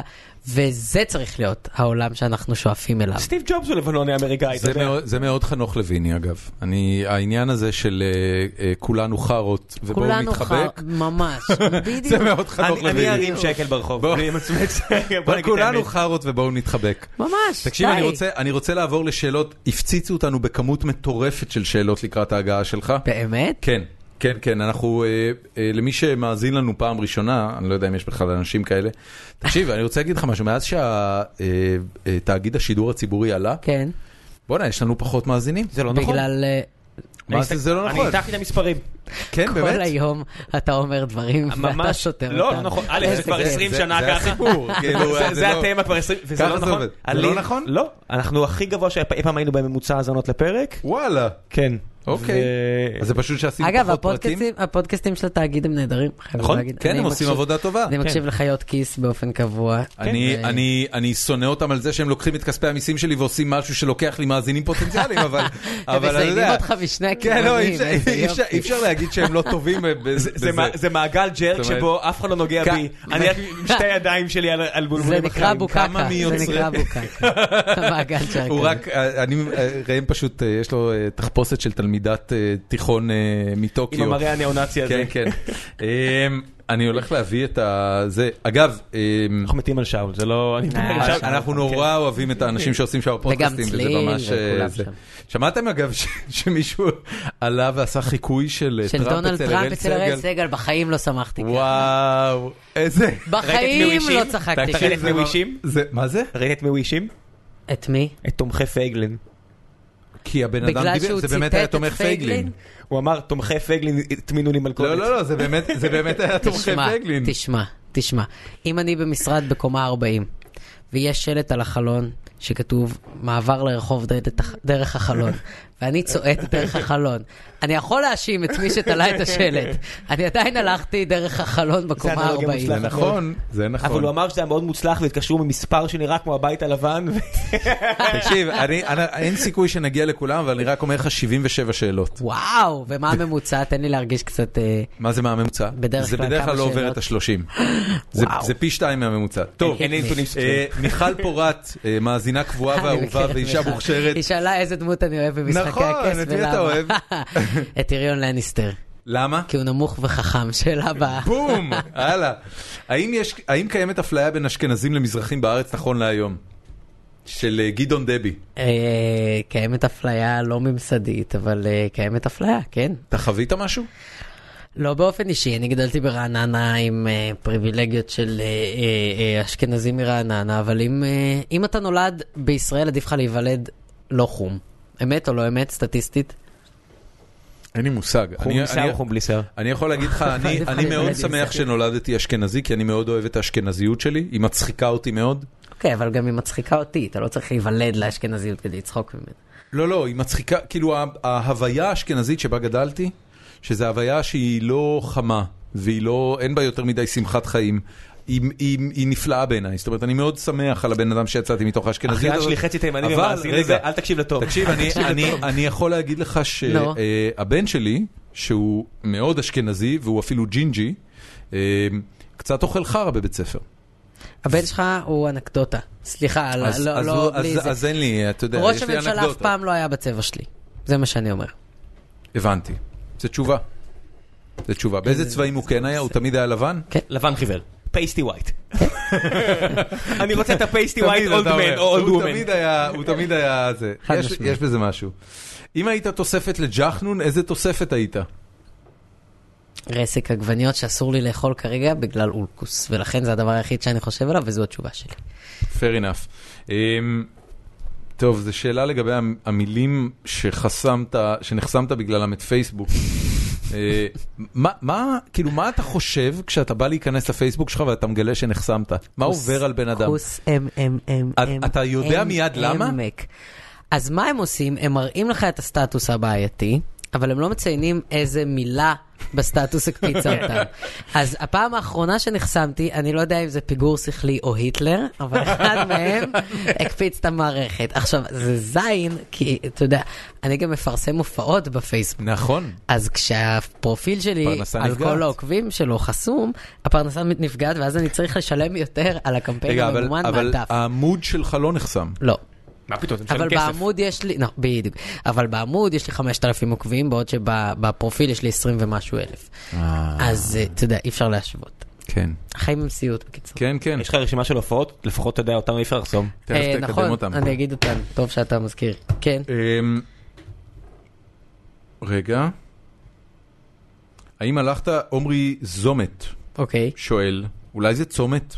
Speaker 3: וזה צריך להיות העולם שאנחנו שואפים אליו.
Speaker 2: סטיב ג'ובס הוא לבנוני אמריקאי, אתה
Speaker 1: זה
Speaker 2: יודע.
Speaker 1: מאוד- זה מאוד חנוך לויני אגב. אני, העניין הזה של אה, אה, כולנו חארות ובואו
Speaker 3: כולנו
Speaker 1: נתחבק,
Speaker 3: ח- ממש, בדיוק.
Speaker 1: זה מאוד חנוך
Speaker 2: אני- אני
Speaker 1: לויני.
Speaker 2: ארים שקל ברחוב,
Speaker 1: בוא.
Speaker 2: אני מצמץ. בוא
Speaker 1: אבל
Speaker 2: נגיד את
Speaker 1: כולנו
Speaker 2: האמת.
Speaker 1: חארות ובואו נתחבק.
Speaker 3: ממש,
Speaker 1: תקשיב, אני
Speaker 3: די.
Speaker 1: רוצה, אני רוצה לעבור לשאלות, הפציצו אותנו בכמות מטורפת של שאלות לקראת ההגעה שלך.
Speaker 3: באמת?
Speaker 1: כן, כן, כן, אנחנו, אה, אה, למי שמאזין לנו פעם ראשונה, אני לא יודע אם יש בכלל אנשים כאלה, תקשיב, אני רוצה להגיד לך משהו, מאז שהתאגיד השידור הציבורי עלה,
Speaker 3: כן.
Speaker 1: בואנה, יש לנו פחות מאזינים.
Speaker 2: זה לא נכון.
Speaker 3: בגלל... אה,
Speaker 1: מה זה, זה לא
Speaker 2: אני
Speaker 1: נכון.
Speaker 2: ניתחתי את המספרים.
Speaker 1: כן,
Speaker 3: כל היום אתה אומר דברים ואתה
Speaker 2: ממש-
Speaker 3: סותר אותם.
Speaker 2: לא, לא נכון. א', זה
Speaker 3: איזה
Speaker 2: כבר
Speaker 3: כיף.
Speaker 2: 20
Speaker 1: זה-
Speaker 2: שנה
Speaker 1: זה
Speaker 2: ככה.
Speaker 1: הסיפור, כאילו,
Speaker 2: זה-
Speaker 1: זה
Speaker 2: זה
Speaker 1: לא-
Speaker 2: התמה כבר 20, וזה
Speaker 1: ככה
Speaker 2: לא
Speaker 1: זה
Speaker 2: נכון.
Speaker 1: עובד. זה
Speaker 2: עלי-
Speaker 1: לא נכון?
Speaker 2: לא. אנחנו הכי גבוה שאי פעם היינו בממוצע האזנות לפרק.
Speaker 1: וואלה.
Speaker 2: כן.
Speaker 1: אוקיי.
Speaker 2: ו-
Speaker 1: אז זה פשוט שעשינו
Speaker 3: אגב,
Speaker 1: פחות פרטים.
Speaker 3: הפודקאסטים, הפודקאסטים של התאגיד הם נהדרים, חייב
Speaker 2: נכון?
Speaker 3: להגיד.
Speaker 1: כן,
Speaker 3: אני
Speaker 1: הם עושים
Speaker 3: מקשיב-
Speaker 1: עבודה טובה. כן.
Speaker 3: אני מקשיב לחיות כיס באופן קבוע.
Speaker 2: כן.
Speaker 3: אה,
Speaker 1: אני,
Speaker 2: אה.
Speaker 3: ו-
Speaker 1: אני, אני שונא אותם על זה שהם לוקחים את כספי המיסים שלי ועושים משהו שלוקח לי מאזינים פוטנציאליים, אבל,
Speaker 3: הם
Speaker 1: אבל אני יודע...
Speaker 3: מזיינים אותך משני
Speaker 1: כן,
Speaker 3: הכיוונים.
Speaker 1: לא, אי אפשר-
Speaker 3: איזה
Speaker 1: אי אפשר-
Speaker 3: יופי.
Speaker 1: אי אפשר להגיד שהם לא טובים אה, בזה.
Speaker 2: זה מה- זה מעגל ג'רק
Speaker 1: זאת אומרת-
Speaker 2: שבו אף אחד לא נוגע
Speaker 1: כ-
Speaker 2: בי. אני רק עם שתי ידיים שלי על- על
Speaker 3: זה
Speaker 2: בולבולים
Speaker 3: נקרא
Speaker 2: אחרים.
Speaker 1: כמה
Speaker 3: בוקקה,
Speaker 1: מי
Speaker 3: זה
Speaker 1: יוצרי-
Speaker 3: נקרא בוקקה. מעגל צ'רקל.
Speaker 1: הוא רק, אה, אני, אה, ראם פשוט, אה, יש לו אה, תחפושת של תלמידת אה, תיכון אה, מטוקיו.
Speaker 2: עם המראה הניאו-נאצי הזה.
Speaker 1: כן, כן. אמ, אני הולך להביא את ה... זה, אגב, אמ,
Speaker 2: אנחנו מתים על שאול, זה לא... אני
Speaker 3: אה,
Speaker 2: על שאול.
Speaker 1: אנחנו נורא אוהבים את האנשים שעושים שם פודקאסטים, וזה
Speaker 3: צליל,
Speaker 1: ממש... אה,
Speaker 3: וכולם
Speaker 1: זה.
Speaker 3: שם.
Speaker 1: שמעתם אגב ש- שמישהו עלה ועשה חיקוי של אה,
Speaker 3: של דונלד טראמפ
Speaker 1: אראל
Speaker 3: אצל אראל סגל, בחיים לא שמחתי.
Speaker 1: וואו, איזה...
Speaker 3: בחיים
Speaker 2: ראית את מי הוא
Speaker 3: לא
Speaker 2: האשים?
Speaker 3: צחקתי.
Speaker 2: תקשיב,
Speaker 3: ככה.
Speaker 2: זה הוא האשים?
Speaker 1: זה- לא- מה זה?
Speaker 2: ראית את מי הוא האשים?
Speaker 3: את מי?
Speaker 2: את תומכי פייגלין.
Speaker 1: כי הבן אדם
Speaker 3: בגלל
Speaker 1: דיבר,
Speaker 3: שהוא
Speaker 1: זה באמת
Speaker 3: ציטט
Speaker 1: היה
Speaker 3: את
Speaker 1: תומך פייגלין.
Speaker 3: פייגלין?
Speaker 2: הוא אמר, תומכי פייגלין הטמינו לי מלכודת.
Speaker 1: לא, לא, לא, זה באמת- זה באמת היה תומכי
Speaker 3: תשמע,
Speaker 1: פייגלין.
Speaker 3: תשמע, תשמע. אם אני במשרד בקומה 40, ויש שלט על החלון שכתוב מעבר לרחוב דרך- דרך החלון, ואני צועט דרך החלון, אני יכול להאשים את מי שתלה את השלט. אני עדיין הלכתי דרך החלון בקומה
Speaker 2: אנלוגיה
Speaker 3: 40.
Speaker 1: זה
Speaker 2: מוצלחת.
Speaker 1: נכון, זה נכון.
Speaker 2: אבל הוא אמר שזה היה מאוד מוצלח והתקשרו ממספר שנראה כמו הבית הלבן. ו-
Speaker 1: תקשיב, אני- אני- אין סיכוי שנגיע לכולם, אבל אני רק אומר לך 77 שאלות.
Speaker 3: וואו, ומה הממוצע? תן לי להרגיש קצת... אה,
Speaker 1: מה זה מהממוצע?
Speaker 3: בדרך
Speaker 1: זה
Speaker 3: כלל
Speaker 1: בדרך כלל
Speaker 3: כמה
Speaker 1: לא עובר
Speaker 3: שאלות?
Speaker 1: את השלושים. זה-
Speaker 3: וואו.
Speaker 1: זה פי שתיים מהממוצע. טוב,
Speaker 3: אין לי נתונים
Speaker 1: אה, מיכל פורט, אה, מאזינה קבועה
Speaker 3: אני
Speaker 1: ואהובה
Speaker 3: מכיר את
Speaker 1: ואישה
Speaker 3: מיכל.
Speaker 1: מוכשרת.
Speaker 3: היא שאלה איזה דמות אני אוהב במשחקי
Speaker 1: נכון,
Speaker 3: הכס
Speaker 1: את מי אתה
Speaker 3: ולמה.
Speaker 1: אוהב?
Speaker 3: את טיריון לניסטר,
Speaker 1: למה?
Speaker 3: כי הוא נמוך וחכם, שאלה הבאה.
Speaker 1: בום! הלאה. האם יש- האם קיימת אפליה בין אשכנזים למזרחים בארץ נכון להיום? של אה, גדעון דבי.
Speaker 3: אה, קיימת אפליה לא ממסדית, אבל אה, קיימת אפליה, כן.
Speaker 1: אתה חווית משהו?
Speaker 3: לא באופן אישי, אני גדלתי ברעננה עם אה, פריבילגיות של אה, אה, אה, אשכנזים מרעננה, אבל אם, אה, אם אתה נולד בישראל, עדיף לך להיוולד לא חום. אמת או לא אמת, סטטיסטית?
Speaker 1: אין לי מושג.
Speaker 2: חום
Speaker 1: אני-
Speaker 2: בלי שיער
Speaker 1: אני-
Speaker 2: או לא? חום בלי שיער?
Speaker 1: אני יכול להגיד לך, אני,
Speaker 3: עדיף לך
Speaker 1: אני מאוד
Speaker 3: להיוולד
Speaker 1: שמח
Speaker 3: מזרחי.
Speaker 1: שנולדתי אשכנזי, כי אני מאוד אוהב את האשכנזיות שלי, היא מצחיקה אותי מאוד.
Speaker 3: אוקיי, אבל גם היא מצחיקה אותי, אתה לא צריך להיוולד לאשכנזיות כדי לצחוק ממנה.
Speaker 1: לא, לא, היא מצחיקה, כאילו ה- ההוויה האשכנזית שבה גדלתי, שזו הוויה שהיא לא חמה, והיא לא, אין בה יותר מדי שמחת חיים. היא, היא, היא נפלאה בעיניי, זאת אומרת, אני מאוד שמח על הבן אדם שיצאתי מתוך האשכנזיות.
Speaker 2: אחיין
Speaker 1: הזאת.
Speaker 2: שלי חצי תימני
Speaker 1: אבל,
Speaker 2: ומאזין
Speaker 1: רגע,
Speaker 2: לזה, אל תקשיב לטוב.
Speaker 1: תקשיב, אני, אני, אני יכול להגיד לך
Speaker 3: נו.
Speaker 1: שהבן שלי, שהוא מאוד אשכנזי, והוא אפילו ג'ינג'י, אה, קצת אוכל חרא בבית ספר.
Speaker 3: הבן שלך הוא אנקדוטה. סליחה, לא,
Speaker 1: אז-
Speaker 3: לא,
Speaker 1: אז
Speaker 3: לא,
Speaker 1: הוא-
Speaker 3: בלי
Speaker 1: אז-
Speaker 3: זה.
Speaker 1: אז אין לי, אתה יודע,
Speaker 3: ראש
Speaker 1: יש לי
Speaker 3: הממשלה אף
Speaker 1: אנקדוטה.
Speaker 3: פעם לא היה בצבע שלי. זה מה שאני אומר.
Speaker 1: הבנתי. זו תשובה. זו תשובה. באיזה צבעים הוא כן היה? הוא תמיד היה לבן?
Speaker 2: לבן חיוור. פייסטי ווייט. אני רוצה את הפייסטי
Speaker 1: תמיד,
Speaker 2: ווייט אולד
Speaker 1: אתה
Speaker 2: מן
Speaker 1: אומר.
Speaker 2: או אולד
Speaker 1: הוא
Speaker 2: וומן.
Speaker 1: תמיד היה- הוא תמיד היה זה.
Speaker 3: חד
Speaker 1: יש-
Speaker 3: משמעית.
Speaker 1: יש בזה משהו. אם היית תוספת לג'חנון, איזה תוספת היית?
Speaker 3: רסק עגבניות שאסור לי לאכול כרגע בגלל אולקוס, ולכן זה הדבר היחיד שאני חושב עליו, וזו התשובה שלי.
Speaker 1: Fair enough. אמ, טוב, זו שאלה לגבי המ- המילים שחסמת, שנחסמת בגללם את פייסבוק. אה, מה- מה, כאילו, מה אתה חושב כשאתה בא להיכנס לפייסבוק שלך ואתה מגלה שנחסמת? מה עובר על בן אדם?
Speaker 3: כוס אמ אמ אמ
Speaker 1: את-
Speaker 3: אמ.
Speaker 1: אתה יודע
Speaker 3: אמ,
Speaker 1: מיד למה?
Speaker 3: אמק. אז מה הם עושים? הם מראים לך את הסטטוס הבעייתי, אבל הם לא מציינים איזה מילה בסטטוס הקפיצה אותם. אז הפעם האחרונה שנחסמתי, אני לא יודע אם זה פיגור שכלי או היטלר, אבל אחד מהם הקפיץ את המערכת. עכשיו, זה זין, כי אתה יודע, אני גם מפרסם הופעות בפייסבוק.
Speaker 1: נכון.
Speaker 3: אז כשהפרופיל שלי,
Speaker 1: הפרנסה
Speaker 3: על
Speaker 1: נפגעת.
Speaker 3: כל העוקבים שלו חסום, הפרנסה נפגעת, ואז אני צריך לשלם יותר על הקמפיין
Speaker 1: רגע, אבל-
Speaker 3: הממומן
Speaker 1: אבל
Speaker 3: מהדף.
Speaker 1: העמוד שלך לא נחסם.
Speaker 3: לא.
Speaker 2: מה פתאום, אתה
Speaker 3: אבל
Speaker 2: משלם כסף.
Speaker 3: בעמוד יש לי, לא, בדיוק, אבל בעמוד יש לי 5,000 עוקבים, בעוד שבפרופיל יש לי 20 ומשהו אלף. אז אה, אתה יודע, אי אפשר להשוות.
Speaker 1: כן.
Speaker 3: החיים הם סיוט, בקיצור.
Speaker 1: כן, כן.
Speaker 2: יש לך רשימה של הופעות, לפחות אתה יודע אותם אי אפשר לחסום.
Speaker 1: תכף
Speaker 3: אה,
Speaker 1: תקדם
Speaker 3: נכון,
Speaker 1: אותם.
Speaker 3: אני אגיד אותן, טוב שאתה מזכיר. כן,
Speaker 1: אמ, רגע. האם הלכת, עומרי זומת
Speaker 3: אוקיי.
Speaker 1: שואל, אולי זה צומת?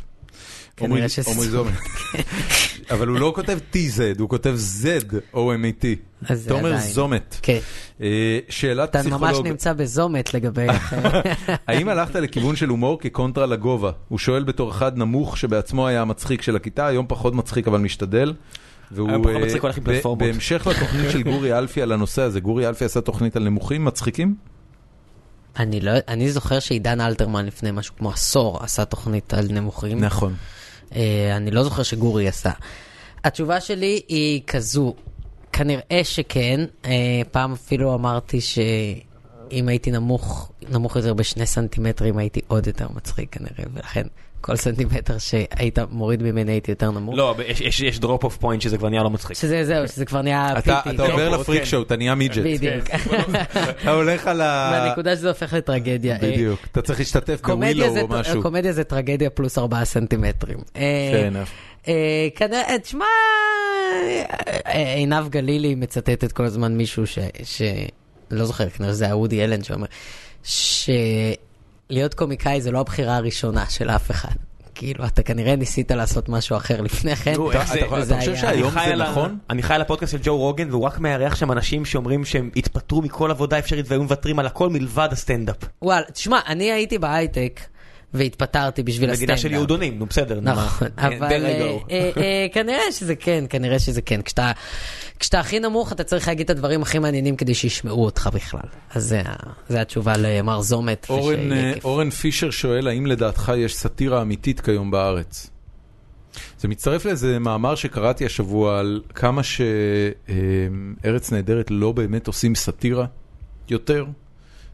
Speaker 3: כנראה
Speaker 1: עומרי-
Speaker 3: שזה
Speaker 1: עומרי
Speaker 3: צומת.
Speaker 1: זומת. אבל הוא לא כותב TZ, הוא כותב Z-O-M-A-T.
Speaker 3: אז זה
Speaker 1: E תומר
Speaker 3: עדיין.
Speaker 1: זומת.
Speaker 3: כן,
Speaker 1: אה, שאלת
Speaker 3: אתה ממש
Speaker 1: פסיכולוג,
Speaker 3: נמצא בזומת לגבי...
Speaker 1: האם הלכת לכיוון של הומור כקונטרה לגובה? הוא שואל בתור אחד נמוך שבעצמו היה המצחיק של הכיתה, היום פחות מצחיק אבל משתדל. והוא,
Speaker 2: היום פחות
Speaker 1: אה,
Speaker 2: מצחיק, הוא הולך עם
Speaker 1: ב-
Speaker 2: פלטפורמות.
Speaker 1: בהמשך לתוכנית של גורי אלפי על הנושא הזה, גורי אלפי עשה תוכנית על נמוכים מצחיקים?
Speaker 3: אני לא, אני זוכר שעידן אלתרמן לפני משהו כמו עשור עשה תוכנית על נמוכים.
Speaker 1: נכון.
Speaker 3: אה, אני לא זוכר שגורי עשה. התשובה שלי היא כזו, כנראה שכן, אה, פעם אפילו אמרתי שאם הייתי נמוך, נמוך יותר בשני סנטימטרים הייתי עוד יותר מצחיק כנראה, ולכן כל סנטימטר שהיית מוריד ממני הייתי יותר נמוך.
Speaker 2: לא, אבל יש- יש- יש דרופ אוף פוינט שזה כבר נהיה לא מצחיק.
Speaker 3: שזה זהו, שזה כבר נהיה
Speaker 1: אתה
Speaker 3: פיפי.
Speaker 1: אתה עובר
Speaker 2: כן.
Speaker 1: לפריק שואו, אתה נהיה מידג'ט.
Speaker 3: לא, בדיוק.
Speaker 1: אתה הולך על ה...
Speaker 3: והנקודה שזה הופך לטרגדיה. אה,
Speaker 1: בדיוק. אתה צריך להשתתף
Speaker 3: קומדיה
Speaker 1: בווילו
Speaker 3: זה-
Speaker 1: או משהו.
Speaker 3: קומדיה זה טרגדיה פלוס ארבעה סנטימטרים. אה,
Speaker 1: Fair enough.
Speaker 3: אה, כנראה, תשמע, אה, עינב גלילי מצטטת כל הזמן מישהו ש... ש- לא זוכר, כנראה זה היה וודי אלן שאומר, שלהיות קומיקאי זה לא הבחירה הראשונה של אף אחד. כאילו, אתה כנראה ניסית לעשות משהו אחר לפני כן,
Speaker 2: נו, איך זה-
Speaker 1: אתה חושב
Speaker 2: אני
Speaker 1: שהיום
Speaker 2: חי
Speaker 1: זה
Speaker 2: על ה-
Speaker 1: נכון?
Speaker 2: אני חי על הפודקאסט של ג'ו רוגן והוא רק מארח שם אנשים שאומרים שהם התפטרו מכל עבודה אפשרית והיו מוותרים על הכל מלבד הסטנדאפ.
Speaker 3: וואלה, תשמע, אני הייתי בהייטק והתפטרתי בשביל הסטנדאפ.
Speaker 2: מדינה של יהודונים, נו בסדר. נו,
Speaker 3: נכון,
Speaker 2: מה.
Speaker 3: אבל
Speaker 2: There
Speaker 3: אה,
Speaker 2: you go.
Speaker 3: אה, אה, כנראה שזה כן, כנראה שזה כן. כשאתה- כשאתה הכי נמוך, אתה צריך להגיד את הדברים הכי מעניינים כדי שישמעו אותך בכלל. אז זה ה- זה התשובה למר זומת.
Speaker 1: אורן,
Speaker 3: ושיהיה
Speaker 1: אה,
Speaker 3: כיף.
Speaker 1: אורן פישר שואל, האם לדעתך יש סאטירה אמיתית כיום בארץ? זה מצטרף לאיזה מאמר שקראתי השבוע על כמה שארץ נהדרת לא באמת עושים סאטירה יותר,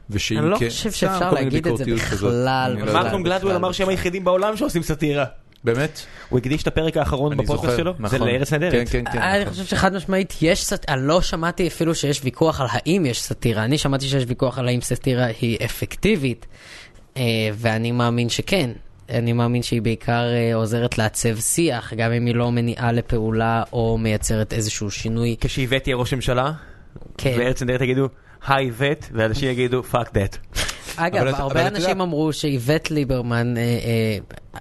Speaker 1: ושאם
Speaker 3: אני לא
Speaker 1: כן,
Speaker 3: חושב
Speaker 1: סתם
Speaker 3: שאפשר
Speaker 1: כל מיני
Speaker 3: להגיד את זה
Speaker 1: ביקורתיות כזאת.
Speaker 3: בכלל,
Speaker 1: אני לא
Speaker 3: בכלל.
Speaker 1: יודע.
Speaker 2: מרקום
Speaker 3: אה,
Speaker 2: גלדוול אמר שהם היחידים בעולם שעושים סאטירה.
Speaker 1: באמת?
Speaker 2: הוא הקדיש את הפרק האחרון
Speaker 1: אני
Speaker 2: בפודקאסט
Speaker 1: זוכר,
Speaker 2: שלו, זה
Speaker 1: נכון.
Speaker 2: לארץ נהדרת.
Speaker 1: כן, כן, כן.
Speaker 3: אה, אני
Speaker 1: נכון.
Speaker 3: חושב שחד משמעית יש סאטירה, אני לא שמעתי אפילו שיש ויכוח על האם יש סאטירה, אני שמעתי שיש ויכוח על האם סאטירה היא אפקטיבית, אה, ואני מאמין שכן. אני מאמין שהיא בעיקר אה, עוזרת לעצב שיח, גם אם היא לא מניעה לפעולה או מייצרת איזשהו שינוי.
Speaker 2: כשאיווט תהיה ראש ממשלה,
Speaker 3: כן.
Speaker 2: וארץ נהדרת יגידו, היי איווט, ואנשים יגידו, פאק דאט.
Speaker 3: אגב,
Speaker 1: אבל את- אבל
Speaker 3: הרבה
Speaker 1: את יודעת-
Speaker 3: אנשים אמרו שאיווט ליברמן אה, אה,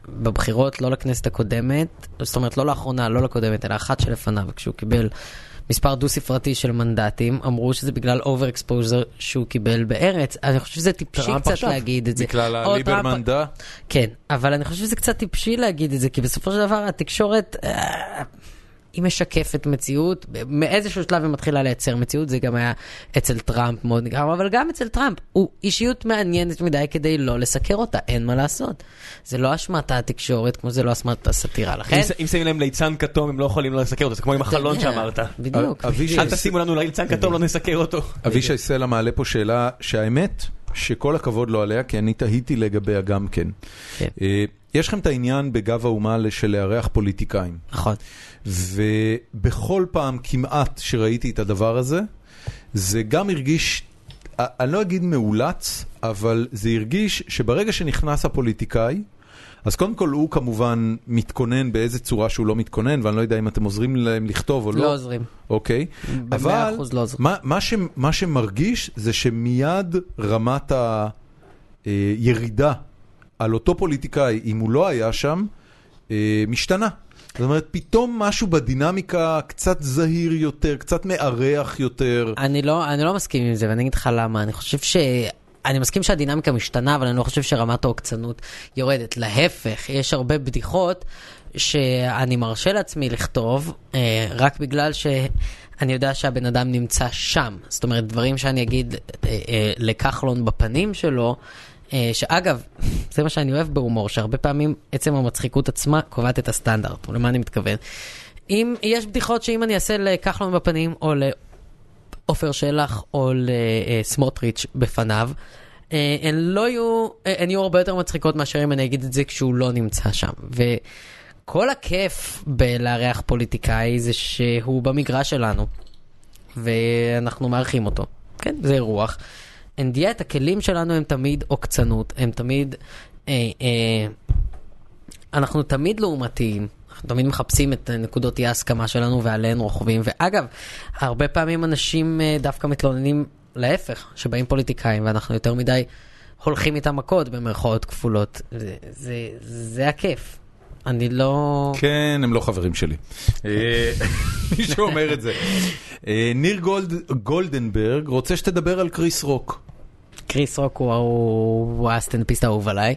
Speaker 3: בבחירות, לא לכנסת הקודמת, זאת אומרת, לא לאחרונה, לא לקודמת, אלא אחת שלפניו, כשהוא קיבל מספר דו-ספרתי של מנדטים, אמרו שזה בגלל אובר אקספוזר שהוא קיבל בארץ. אני חושב שזה טיפשי
Speaker 1: טראמפ
Speaker 3: קצת
Speaker 1: עכשיו.
Speaker 3: להגיד את זה.
Speaker 1: בגלל
Speaker 3: או
Speaker 1: הליברמן
Speaker 3: טראמפ-
Speaker 1: דה?
Speaker 3: כן, אבל אני חושב שזה קצת טיפשי להגיד את זה, כי בסופו של דבר התקשורת... אה, היא משקפת מציאות, מאיזשהו שלב היא מתחילה לייצר מציאות, זה גם היה אצל טראמפ מאוד נגרם, אבל גם אצל טראמפ, הוא אישיות מעניינת מדי כדי לא לסקר אותה, אין מה לעשות. זה לא אשמת התקשורת, כמו זה לא אשמת הסאטירה, לכן...
Speaker 2: אם ש- אם שמים להם ליצן כתום, הם לא יכולים לא לסקר אותו, זה כמו עם החלון
Speaker 3: אתה יודע,
Speaker 2: שאמרת.
Speaker 3: בדיוק.
Speaker 1: אבישי-
Speaker 2: אל תשימו לנו ליצן כתום, לא נסקר אותו.
Speaker 1: אבישי סלע מעלה פה שאלה שהאמת, שכל הכבוד לו עליה, כי אני תהיתי לגביה גם כן.
Speaker 3: כן.
Speaker 1: אה, יש לכם את העניין בגב האומה של לארח פוליטיקאים,
Speaker 3: נכון.
Speaker 1: ובכל פעם כמעט שראיתי את הדבר הזה, זה גם הרגיש, אה, אני לא אגיד מאולץ, אבל זה הרגיש שברגע שנכנס הפוליטיקאי, אז קודם כל הוא כמובן מתכונן באיזה צורה שהוא לא מתכונן, ואני לא יודע אם אתם עוזרים להם לכתוב או לא.
Speaker 3: לא עוזרים.
Speaker 1: אוקיי.
Speaker 3: במאה
Speaker 1: אבל
Speaker 3: אחוז לא עוזר.
Speaker 1: מה, מה, ש, מה שמרגיש זה שמיד רמת הירידה על אותו פוליטיקאי, אם הוא לא היה שם, אה, משתנה. זאת אומרת, פתאום משהו בדינמיקה קצת זהיר יותר, קצת מארח יותר.
Speaker 3: אני לא, אני לא מסכים עם זה, ואני אגיד לך למה. אני חושב אני מסכים שהדינמיקה משתנה, אבל אני לא חושב שרמת העוקצנות יורדת. להפך, יש הרבה בדיחות שאני מרשה לעצמי לכתוב, אה, רק בגלל שאני יודע שהבן אדם נמצא שם. זאת אומרת, דברים שאני אגיד אה, אה, לכחלון בפנים שלו, אה, שאגב, זה מה שאני אוהב בהומור, שהרבה פעמים עצם המצחיקות עצמה קובעת את הסטנדרט, ולמה אני מתכוון? אם יש בדיחות שאם אני אעשה לכחלון בפנים, או ל... עופר שלח או לסמוטריץ' בפניו, אה, הן לא יהיו, אה, הן יהיו הרבה יותר מצחיקות מאשר אם אני אגיד את זה כשהוא לא נמצא שם. וכל הכיף בלארח פוליטיקאי זה שהוא במגרש שלנו, ואנחנו מארחים אותו. כן, זה אירוח. אנדיאט, הכלים שלנו הם תמיד עוקצנות, הם תמיד... אה, אה, אנחנו תמיד לעומתיים, אנחנו תמיד מחפשים את אה, נקודות אי ההסכמה שלנו ועליהן רוכבים. ואגב, הרבה פעמים אנשים אה, דווקא מתלוננים להפך, שבאים פוליטיקאים ואנחנו יותר מדי הולכים איתם מכות במרכאות כפולות. זה, זה, זה הכיף. אני לא...
Speaker 1: כן, הם לא חברים שלי. אה, מי שאומר את זה. אה, ניר גולד- גולדנברג רוצה שתדבר על קריס רוק.
Speaker 3: קריס רוק הוא, הוא, הוא הסטנדאפיסט האהוב עליי.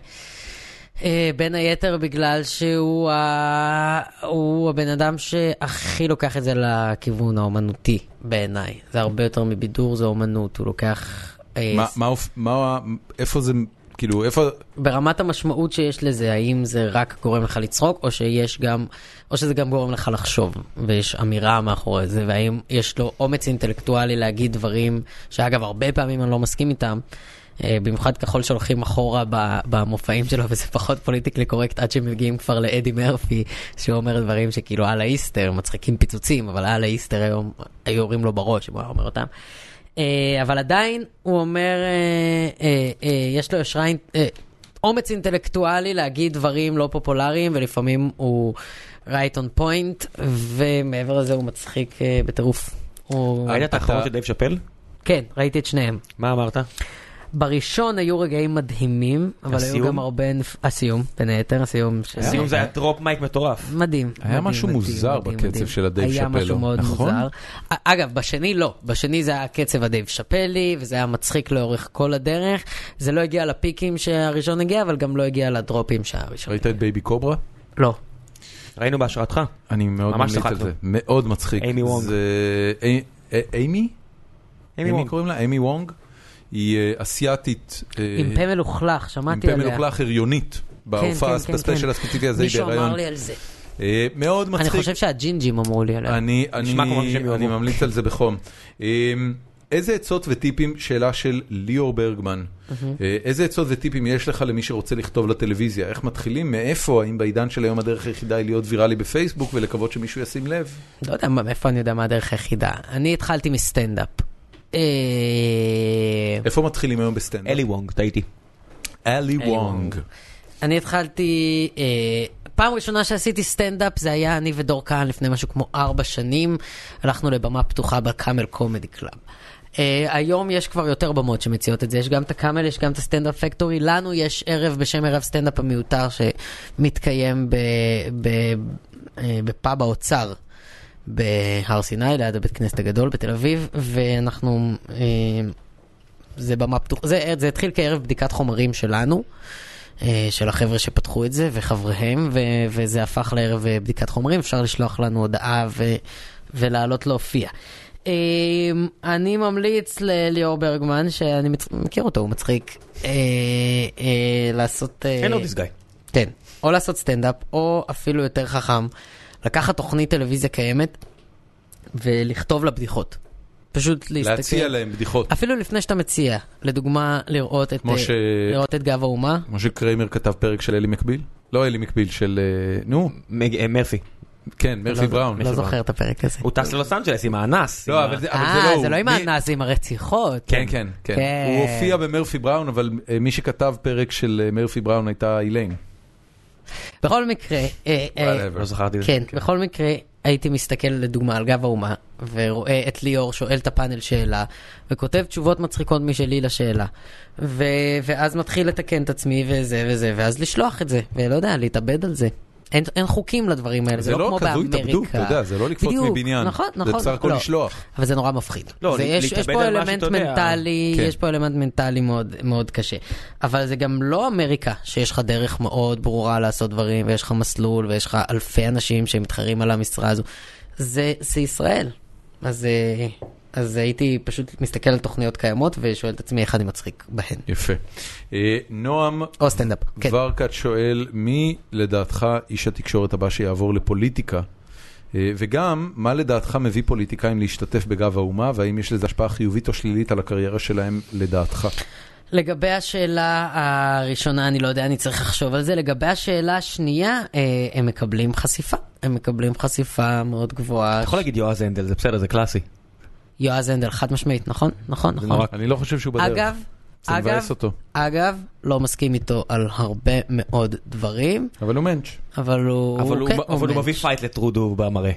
Speaker 3: אה, בין היתר בגלל שהוא ה... הוא הבן אדם שהכי לוקח את זה לכיוון האומנותי בעיניי. זה הרבה יותר מבידור, זה אומנות, הוא לוקח... אה,
Speaker 1: מה- מה אופ- מה, איפה זה, כאילו, איפה...
Speaker 3: ברמת המשמעות שיש לזה, האם זה רק גורם לך לצחוק, או שיש גם, או שזה גם גורם לך לחשוב, ויש אמירה מאחורי זה, והאם יש לו אומץ אינטלקטואלי להגיד דברים, שאגב, הרבה פעמים אני לא מסכים איתם, אה, במיוחד ככל שהולכים אחורה ב- במופעים שלו, וזה פחות פוליטיקלי קורקט, עד שמגיעים כבר לאדי מרפי, שהוא אומר דברים שכאילו על האיסטר, מצחיקים פיצוצים, אבל על האיסטר היום היו יורים לו בראש, אם הוא היה אומר אותם. אה, אבל עדיין הוא אומר, אה, אה, אה, יש לו יושרה, אינ- אה, אומץ אינטלקטואלי להגיד דברים לא פופולריים, ולפעמים הוא right on point, ומעבר לזה הוא מצחיק אה, בטירוף. הוא...
Speaker 2: ראית את
Speaker 1: אתה-
Speaker 2: האחרון של דייב שאפל?
Speaker 3: כן, ראיתי את שניהם.
Speaker 2: מה אמרת?
Speaker 3: בראשון היו רגעים מדהימים, אבל היו
Speaker 2: הסיום?
Speaker 3: גם הרבה... נפ- הסיום, בין היתר, הסיום. ש-
Speaker 2: הסיום זה היה טרופ מייק מטורף.
Speaker 3: מדהים.
Speaker 1: היה
Speaker 3: מדהים,
Speaker 1: משהו
Speaker 3: מדהים,
Speaker 1: מוזר
Speaker 3: מדהים,
Speaker 1: בקצב
Speaker 3: מדהים.
Speaker 1: של הדייב
Speaker 3: היה
Speaker 1: שאפל,
Speaker 3: משהו
Speaker 1: לא?
Speaker 3: מאוד
Speaker 1: נכון?
Speaker 3: מוזר. א- אגב, בשני לא. בשני זה היה קצב הדייב שאפלי, וזה היה מצחיק לאורך כל הדרך. זה לא הגיע לפיקים שהראשון הגיע, אבל גם לא הגיע לדרופים שהראשון
Speaker 1: ראית
Speaker 3: הגיע.
Speaker 1: את בייבי קוברה?
Speaker 3: לא.
Speaker 2: ראינו בהשראתך.
Speaker 1: אני מאוד
Speaker 2: ממש
Speaker 1: ממליץ על
Speaker 2: צחקנו.
Speaker 1: זה. מאוד מצחיק.
Speaker 2: אימי וונג.
Speaker 1: זה- אי- אה, אימי?
Speaker 2: אימי וונג.
Speaker 1: קוראים לה? אימי וונג. היא אה, אסיאתית. אה,
Speaker 3: עם פה מלוכלך, שמעתי
Speaker 1: עם פה
Speaker 3: עליה.
Speaker 1: מלוכלך הריונית. בהופעה,
Speaker 3: כן, כן,
Speaker 1: בספיישל
Speaker 3: כן.
Speaker 1: הספציפי הזה, היא
Speaker 3: מישהו אמר
Speaker 1: בהיריון.
Speaker 3: לי על זה.
Speaker 1: אה, מאוד
Speaker 3: אני
Speaker 1: מצחיק.
Speaker 3: חושב שהג'ינג'ים אמרו לי עליה.
Speaker 1: אני, אני,
Speaker 2: נשמע כמו שהם
Speaker 1: אני
Speaker 2: יאהבו.
Speaker 1: ממליץ על זה בחום. אמ, איזה עצות וטיפים, שאלה של ליאור ברגמן, אה, איזה עצות וטיפים יש לך למי שרוצה לכתוב לטלוויזיה? איך מתחילים? מאיפה? האם בעידן של היום הדרך היחידה היא להיות ויראלי בפייסבוק ולקוות שמישהו ישים לב?
Speaker 3: לא יודע מה- מאיפה אני יודע מה הדרך היחידה. אני התחלתי מסטנדאפ. אה,
Speaker 1: איפה מתחילים היום בסטנדאפ?
Speaker 2: אלי וונג, טעיתי.
Speaker 1: אלי
Speaker 3: אלי
Speaker 1: וונג.
Speaker 3: וונג. אני התחלתי, אה, פעם ראשונה שעשיתי סטנדאפ זה היה אני ודור כהן לפני משהו כמו ארבע שנים, הלכנו לבמה פתוחה בקאמל קומדי קלאב. Uh, היום יש כבר יותר במות שמציעות את זה, יש גם את הקאמל, יש גם את הסטנדאפ פקטורי, לנו יש ערב בשם ערב סטנדאפ המיותר שמתקיים ב, ב, uh, בפאב האוצר בהר סיני, ליד הבית כנסת הגדול בתל אביב, ואנחנו, uh, זה במה פתוחה, זה, זה התחיל כערב בדיקת חומרים שלנו, אה, של החבר'ה שפתחו את זה וחבריהם, ו- וזה הפך לערב אה, בדיקת חומרים, אפשר לשלוח לנו הודעה ו- ולעלות להופיע. אה, אני ממליץ לליאור ברגמן, שאני מצ- מכיר אותו, הוא מצחיק, אה, אה, לעשות... אה,
Speaker 2: אין עוד דיס גיא.
Speaker 3: כן, או לעשות סטנדאפ, או אפילו יותר חכם, לקחת תוכנית טלוויזיה קיימת ולכתוב לה בדיחות. פשוט להסתכל. אה.
Speaker 1: להציע להם בדיחות.
Speaker 3: אפילו לפני שאתה מציע, לדוגמה, לראות את,
Speaker 1: כמו
Speaker 3: אה,
Speaker 1: ש-
Speaker 3: לראות את גב האומה.
Speaker 1: כמו שקריימר כתב פרק של אלי מקביל? לא אלי מקביל, של... אה, נו,
Speaker 2: מרפי.
Speaker 1: כן, מרפי
Speaker 3: לא-
Speaker 1: בראון.
Speaker 3: לא זוכר את הפרק הזה.
Speaker 2: הוא טס ללוס אנג'לס עם האנס.
Speaker 1: לא,
Speaker 2: עם
Speaker 1: אבל
Speaker 2: ה-
Speaker 1: זה אבל זה לא
Speaker 3: אה,
Speaker 1: הוא.
Speaker 3: זה לא עם
Speaker 1: מי-
Speaker 3: האנס, עם הרציחות.
Speaker 1: כן, כן, כן.
Speaker 3: כן.
Speaker 1: הוא הופיע במרפי בראון, אבל אה, מי שכתב פרק של אה, מרפי בראון הייתה איליין.
Speaker 3: בכל מקרה, אה, אה,
Speaker 1: Whatever.
Speaker 2: לא זכרתי את זה.
Speaker 3: כן, בכל מקרה, הייתי מסתכל לדוגמה על גב האומה, ורואה את ליאור שואל את הפאנל שאלה, וכותב תשובות מצחיקות משלי לשאלה. ו- ואז מתחיל לתקן את עצמי וזה וזה, ואז לשלוח את זה, ולא יודע, להתאבד על זה. אין, אין חוקים לדברים האלה, זה, לא, כמו
Speaker 1: כזוי
Speaker 3: באמריקה.
Speaker 1: תבדוק, אתה יודע, זה לא לקפוץ
Speaker 3: בדיוק,
Speaker 1: מבניין.
Speaker 3: נכון,
Speaker 1: זה
Speaker 3: נכון.
Speaker 1: בסך הכל
Speaker 3: לא.
Speaker 1: לשלוח.
Speaker 3: אבל זה נורא מפחיד.
Speaker 2: לא,
Speaker 3: זה,
Speaker 2: ל-
Speaker 3: יש,
Speaker 2: להתאבד
Speaker 3: יש פה
Speaker 2: על מה
Speaker 3: אלמנט
Speaker 2: שאתה יודע.
Speaker 3: מנטלי,
Speaker 1: כן.
Speaker 3: יש פה אלמנט מנטלי מאוד, מאוד קשה. אבל זה גם לא אמריקה, שיש לך דרך מאוד ברורה לעשות דברים, ויש לך מסלול, ויש לך אלפי אנשים שמתחרים על המשרה הזו. זה, זה ישראל. אז, אה, אז הייתי פשוט מסתכל על תוכניות קיימות ושואל את עצמי איך אני מצחיק בהן.
Speaker 1: יפה. אה, נועם
Speaker 3: או סטנדאפ, כן.
Speaker 1: ורקת שואל, מי לדעתך איש התקשורת הבא שיעבור לפוליטיקה? אה, וגם, מה לדעתך מביא פוליטיקאים להשתתף בגב האומה, והאם יש לזה השפעה חיובית או שלילית על הקריירה שלהם לדעתך?
Speaker 3: נכון. לגבי השאלה הראשונה, אני לא יודע, אני צריך לחשוב על זה. לגבי השאלה השנייה, אה, הם מקבלים חשיפה. הם מקבלים חשיפה מאוד גבוהה.
Speaker 2: אתה יכול להגיד יועז הנדל, זה בסדר, זה קלאסי.
Speaker 3: יועז הנדל, חד משמעית, נכון? נכון, נכון.
Speaker 1: אני לא חושב שהוא בדרך.
Speaker 3: אגב,
Speaker 1: זה מבאס
Speaker 3: אגב,
Speaker 1: אותו,
Speaker 3: אגב, לא מסכים איתו על הרבה מאוד דברים,
Speaker 1: אבל הוא מענץ'.
Speaker 3: אבל הוא...
Speaker 2: אבל הוא
Speaker 3: כן,
Speaker 2: אבל הוא
Speaker 3: מענטש.
Speaker 2: מביא פייט לטרודו במראה.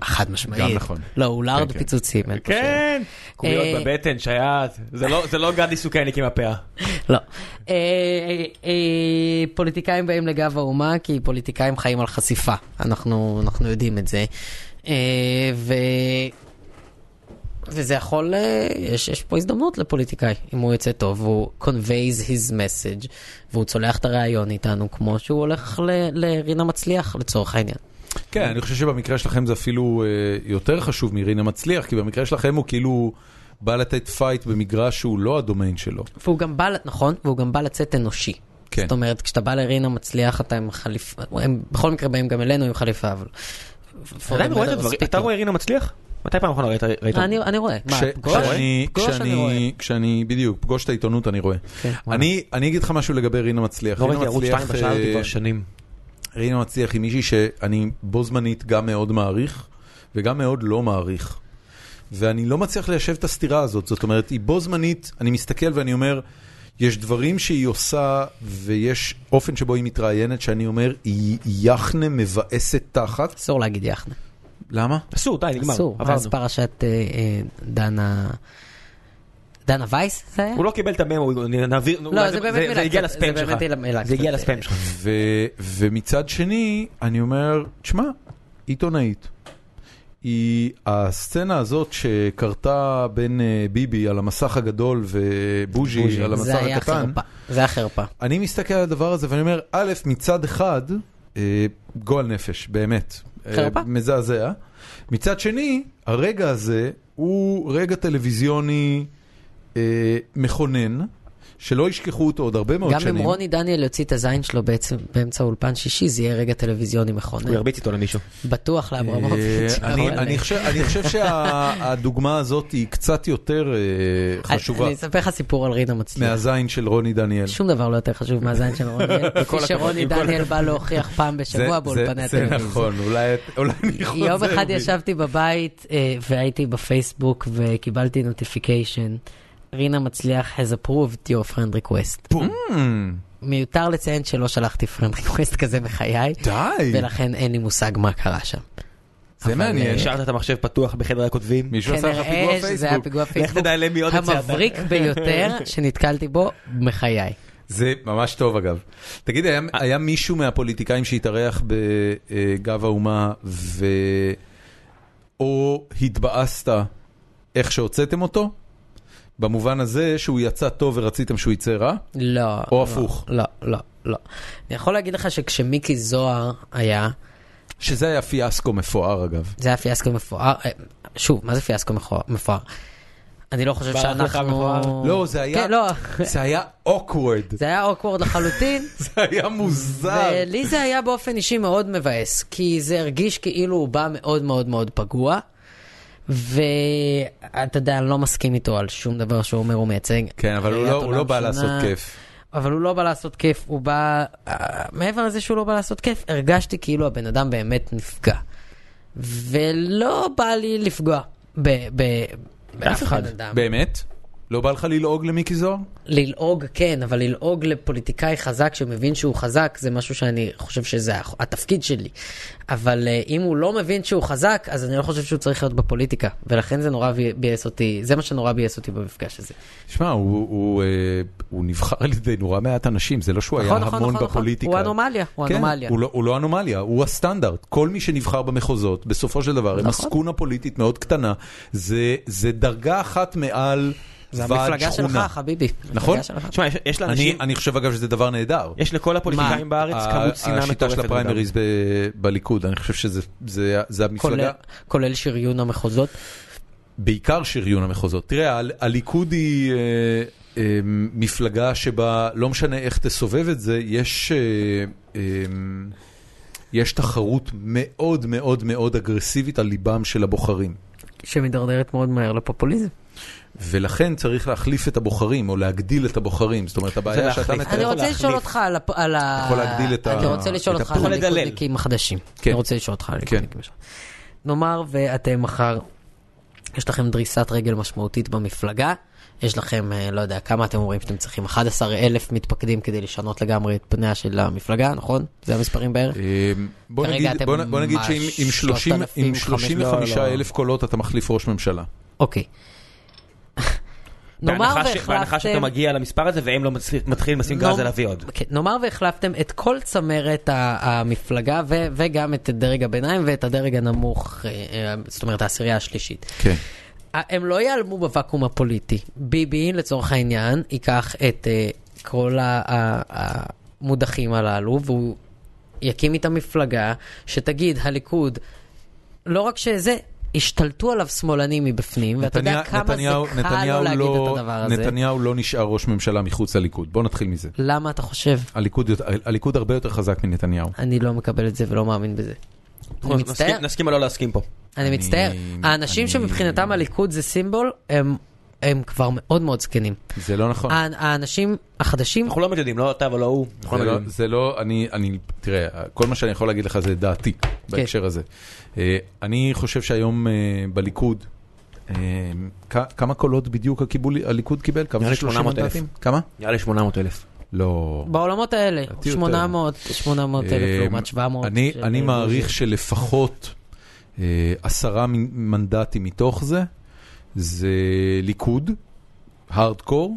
Speaker 3: חד משמעית.
Speaker 1: גם נכון.
Speaker 3: לא, הוא לארד
Speaker 1: כן.
Speaker 3: פיצוצים. אין פה שאלה.
Speaker 2: קוביות
Speaker 3: אה,
Speaker 2: בבטן, שייט. זה לא- זה לא גדי סוכניק עם הפאה.
Speaker 3: לא. אה, אה, אה, פוליטיקאים באים לגב האומה כי פוליטיקאים חיים על חשיפה. אנחנו, אנחנו יודעים את זה. אה, ו... וזה יכול, אה, יש, יש פה הזדמנות לפוליטיקאי, אם הוא יוצא טוב, הוא conveys his message, והוא צולח את הרעיון איתנו, כמו שהוא הולך ל- לרינה מצליח לצורך העניין.
Speaker 1: כן, אני חושב שבמקרה שלכם זה אפילו אה, יותר חשוב מרינה מצליח, כי במקרה שלכם הוא כאילו בא לתת פייט במגרש שהוא לא הדומיין שלו.
Speaker 3: והוא גם בא, ל- נכון, והוא גם בא לצאת אנושי.
Speaker 1: כן.
Speaker 3: זאת אומרת, כשאתה בא לרינה מצליח, אתה עם חליפה, הם בכל מקרה באים גם אלינו עם חליפה, אבל...
Speaker 2: אתה עדיין רואה את הדברים? אתה רואה רינה מצליח? מתי פעם אחרונה ראית? ראית-
Speaker 3: אני, אני רואה, מה,
Speaker 1: כש-
Speaker 3: פגוש?
Speaker 1: כשאני-
Speaker 3: פגוש אני רואה.
Speaker 1: כשאני, כשאני, בדיוק, פגוש את העיתונות אני רואה.
Speaker 3: כן, וואלה.
Speaker 1: אני אני אגיד לך משהו לגבי רינה מצליח.
Speaker 2: לא
Speaker 1: רינה
Speaker 2: ראיתי ערוץ
Speaker 1: מצליח,
Speaker 2: 2 בשעה הזאת
Speaker 1: אה,
Speaker 2: כבר שנים.
Speaker 1: רינה מצליח היא מישהי שאני בו זמנית גם מאוד מעריך וגם מאוד לא מעריך. ואני לא מצליח ליישב את הסתירה הזאת, זאת אומרת, היא בו זמנית, אני מסתכל ואני אומר, יש דברים שהיא עושה ויש אופן שבו היא מתראיינת, שאני אומר, היא יחנה מבאסת תחת.
Speaker 3: אסור להגיד יחנה.
Speaker 1: למה?
Speaker 2: אסור, די, נגמר.
Speaker 3: אסור.
Speaker 2: עברנו.
Speaker 3: אז פרשת אה, אה, דנה... דנה וייס זה היה?
Speaker 2: הוא לא קיבל את הממו, הוא- נעביר,
Speaker 3: לא,
Speaker 2: אולי
Speaker 3: זה באמת מילה.
Speaker 2: זה הגיע
Speaker 3: קצת-
Speaker 2: לספאם
Speaker 3: זה
Speaker 2: שלך.
Speaker 3: באמת אה, מילה.
Speaker 2: זה הגיע
Speaker 3: קצת,
Speaker 2: לספאם שלך.
Speaker 1: ו, ומצד שני, אני אומר, תשמע, עיתונאית. היא הסצנה הזאת שקרתה בין אה, ביבי על המסך הגדול ובוז'י
Speaker 2: בוז'י.
Speaker 1: על
Speaker 3: אה,
Speaker 1: המסך
Speaker 3: זה היה
Speaker 1: לא, הקטן.
Speaker 3: חרפה. זה היה חרפה.
Speaker 1: אני מסתכל על הדבר הזה ואני אומר, א', מצד אחד, אה, גועל נפש, באמת. אה,
Speaker 3: חרפה.
Speaker 1: מזעזע. מצד שני, הרגע הזה הוא רגע טלוויזיוני אה, מכונן, שלא ישכחו אותו עוד הרבה מאוד
Speaker 3: גם
Speaker 1: שנים.
Speaker 3: אם רוני דניאל יוציא את הזין שלו בעצם באמצע אולפן שישי, זה יהיה רגע טלוויזיוני
Speaker 2: הוא
Speaker 3: מכונן.
Speaker 2: ירביץ איתו למישהו.
Speaker 3: בטוח לאברמוביץ'.
Speaker 1: אה, אני- אני חושב- אני חושב שהדוגמה הזאת היא קצת יותר אה, חשובה
Speaker 3: אני אספר לך סיפור על רינה מצליח.
Speaker 1: מהזין של רוני דניאל.
Speaker 3: שום דבר לא יותר חשוב מהזין של רוני דניאל, כפי שרוני דניאל בא להוכיח פעם
Speaker 1: זה-
Speaker 3: בשבוע
Speaker 1: זה-
Speaker 3: באולפני
Speaker 1: זה
Speaker 3: הטלוויזיה.
Speaker 1: נכון, אולי אולי אני חוזר.
Speaker 3: יום אחד
Speaker 1: בי.
Speaker 3: ישבתי בבית אה, והייתי בפייסבוק וקיבלתי נוטיפיקיישן. רינה מצליח has approved your friend request.
Speaker 1: בום.
Speaker 3: מיותר לציין שלא שלחתי friend request כזה בחיי,
Speaker 1: די,
Speaker 3: ולכן אין לי מושג מה קרה שם.
Speaker 1: זה מעניין.
Speaker 2: השארת אה, את המחשב פתוח בחדר הכותבים.
Speaker 1: מישהו עשה לך
Speaker 3: כנראה
Speaker 1: פיגוע
Speaker 3: שזה היה
Speaker 1: פייסבוק.
Speaker 3: פיגוע
Speaker 2: לך
Speaker 3: פייסבוק
Speaker 2: תדע למי עוד יצאת.
Speaker 3: המבריק ביותר שנתקלתי בו מחיי.
Speaker 1: זה ממש טוב אגב. תגיד, היה- היה מישהו מהפוליטיקאים שהתארח בגב האומה ו... או התבאסת איך שהוצאתם אותו? במובן הזה שהוא יצא טוב ורציתם שהוא יצא רע?
Speaker 3: לא.
Speaker 1: או
Speaker 3: לא,
Speaker 1: הפוך.
Speaker 3: לא, לא, לא. אני יכול להגיד לך שכשמיקי זוהר היה,
Speaker 1: שזה היה פיאסקו מפואר אגב.
Speaker 3: זה היה פיאסקו מפואר. אה, שוב, מה זה פיאסקו מכוע- מפואר? אני לא חושב
Speaker 2: ברח לך
Speaker 3: שאנחנו...
Speaker 2: מכוער?
Speaker 1: לא, זה היה-
Speaker 3: כן, לא.
Speaker 1: זה היה אוקוורד,
Speaker 3: זה היה אוקוורד לחלוטין,
Speaker 1: זה היה מוזר.
Speaker 3: ולי זה היה באופן אישי מאוד מבאס, כי זה הרגיש כאילו הוא בא מאוד מאוד מאוד פגוע, ואתה יודע, אני לא מסכים איתו על שום דבר שהוא אומר הוא מייצג.
Speaker 1: כן, אבל הוא
Speaker 3: ראיית
Speaker 1: לא- הוא
Speaker 3: עולם
Speaker 1: לא בא
Speaker 3: שונה.
Speaker 1: לעשות כיף.
Speaker 3: אבל הוא לא בא לעשות כיף, הוא בא... אה, מעבר לזה שהוא לא בא לעשות כיף, הרגשתי כאילו הבן אדם באמת נפגע. ולא בא לי לפגוע. ב... ב... באף
Speaker 2: אחד.
Speaker 3: בן אדם.
Speaker 1: באמת? לא בא לך ללעוג למיקי זוהר?
Speaker 3: ללעוג, כן, אבל ללעוג לפוליטיקאי חזק שמבין שהוא חזק, זה משהו שאני חושב שזה הח- התפקיד שלי. אבל אה, אם הוא לא מבין שהוא חזק, אז אני לא חושב שהוא צריך להיות בפוליטיקה. ולכן זה נורא בי- ביאס אותי, זה מה שנורא ביאס אותי במפגש הזה.
Speaker 1: שמע, הוא, הוא, אה, הוא נבחר על ידי נורא מעט אנשים, זה לא שהוא
Speaker 3: נכון,
Speaker 1: היה
Speaker 3: נכון,
Speaker 1: המון
Speaker 3: נכון, נכון.
Speaker 1: בפוליטיקה.
Speaker 3: הוא אנומליה, הוא
Speaker 1: כן,
Speaker 3: אנומליה.
Speaker 1: הוא לא, הוא לא אנומליה, הוא הסטנדרט. כל מי שנבחר במחוזות, בסופו של דבר, הם
Speaker 3: נכון.
Speaker 1: עסקונה פוליטית מאוד קטנה, זה, זה דרגה אחת מעל
Speaker 3: זה
Speaker 1: ועד
Speaker 3: המפלגה שלך,
Speaker 1: שכונה.
Speaker 3: חביבי.
Speaker 1: נכון?
Speaker 3: המפלגה שלך.
Speaker 2: תשמע, יש- יש
Speaker 1: אני,
Speaker 2: לאנשים,
Speaker 1: אני חושב אגב שזה דבר נהדר.
Speaker 2: יש לכל הפוליטיקאים בארץ
Speaker 1: ה-
Speaker 2: כמות שנאה מטורפת.
Speaker 1: השיטה של
Speaker 2: בדם.
Speaker 1: הפריימריז ב, בליכוד, אני חושב שזה זה, זה המפלגה,
Speaker 3: כולל- כולל שריון המחוזות.
Speaker 1: בעיקר שריון המחוזות. תראה, ה- הליכוד היא אה, אה, מפלגה שבה, לא משנה איך תסובב את זה, יש, אה, אה, יש תחרות מאוד מאוד מאוד אגרסיבית על ליבם של הבוחרים.
Speaker 3: שמידרדרת מאוד מהר לפופוליזם.
Speaker 1: ולכן צריך להחליף את הבוחרים, או להגדיל את הבוחרים. זאת אומרת, הבעיה שאתה
Speaker 2: להחליף.
Speaker 1: מתאר...
Speaker 3: אני
Speaker 2: יכול
Speaker 3: רוצה
Speaker 2: להחליף.
Speaker 3: לשאול אותך על הפ- על ה...
Speaker 1: יכול להגדיל את ה-
Speaker 3: אני רוצה לשאול
Speaker 1: את
Speaker 3: אותך
Speaker 1: הפול.
Speaker 3: על
Speaker 2: יכול לדלל.
Speaker 3: הליכודניקים החדשים.
Speaker 1: כן.
Speaker 3: אני רוצה לשאול אותך על
Speaker 1: כן.
Speaker 3: הליכודניקים החדשים. נאמר ואתם מחר, יש לכם דריסת רגל משמעותית במפלגה, יש לכם, אה, לא יודע, כמה אתם אומרים שאתם צריכים? 11 אלף מתפקדים כדי לשנות לגמרי את פניה של המפלגה, נכון? זה המספרים בערך?
Speaker 1: אה, בוא
Speaker 3: כרגע
Speaker 1: נגיד,
Speaker 3: אתם
Speaker 1: בוא, נ- בוא נגיד
Speaker 3: ממש
Speaker 1: שאם עם 30 עם 35
Speaker 3: לא, לא.
Speaker 1: אלף קולות אתה מחליף ראש ממשלה.
Speaker 3: אוקיי. נאמר
Speaker 2: בהנחה ש- בהנחה שאתה
Speaker 3: והחלפתם...
Speaker 2: מגיע למספר הזה והם לא מצליח- מתחילים לשים גז
Speaker 3: נו,
Speaker 2: על אבי עוד.
Speaker 3: כן, נאמר והחלפתם את כל צמרת ה- המפלגה ו- וגם את דרג הביניים ואת הדרג הנמוך, אה, אה, זאת אומרת העשירייה השלישית.
Speaker 1: כן.
Speaker 3: אה, הם לא ייעלמו בוואקום הפוליטי. ביבי, לצורך העניין, ייקח את אה, כל ה- ה- המודחים הללו והוא יקים איתם מפלגה שתגיד, הליכוד, לא רק שזה... השתלטו עליו שמאלנים מבפנים, ואתה יודע
Speaker 1: נתניה-
Speaker 3: כמה זה
Speaker 1: נתניהו-
Speaker 3: קל
Speaker 1: נתניהו
Speaker 3: לא להגיד
Speaker 1: לא-
Speaker 3: את הדבר הזה.
Speaker 1: נתניהו לא נשאר ראש ממשלה מחוץ לליכוד, בוא נתחיל מזה.
Speaker 3: למה אתה חושב?
Speaker 1: הליכוד, הליכוד הרבה יותר חזק מנתניהו.
Speaker 3: אני לא מקבל את זה ולא מאמין בזה. אני
Speaker 2: נסכים-
Speaker 3: מצטער,
Speaker 2: נסכים או לא להסכים פה.
Speaker 3: אני מצטער.
Speaker 1: אני-
Speaker 3: האנשים
Speaker 1: אני-
Speaker 3: שמבחינתם הליכוד זה סימבול, הם- הם כבר מאוד מאוד זקנים.
Speaker 1: זה לא נכון.
Speaker 3: האנ- האנשים החדשים,
Speaker 2: אנחנו לא מדדים, לא אתה ולא הוא. אנחנו
Speaker 1: זה
Speaker 2: לא
Speaker 1: לא,
Speaker 2: מדדים.
Speaker 1: זה לא, אני, אני, תראה, כל מה שאני יכול להגיד לך זה דעתי
Speaker 3: כן.
Speaker 1: בהקשר הזה. אה, אני חושב שהיום אה, בליכוד, אה, כ- כמה קולות בדיוק הקיבול- הליכוד קיבל? כמה
Speaker 2: נראה
Speaker 1: זה
Speaker 2: לי
Speaker 1: 30
Speaker 2: 800,000.
Speaker 1: מנדטים? כמה?
Speaker 2: נראה לי 800 אלף.
Speaker 1: לא.
Speaker 3: בעולמות האלה,
Speaker 1: יותר.
Speaker 3: 800, 800 אלף
Speaker 1: אה,
Speaker 3: לעומת 700.
Speaker 1: אני,
Speaker 3: של- אה,
Speaker 1: אני מעריך שלפחות אה, עשרה מ- מנדטים מתוך זה, זה ליכוד, הארדקור,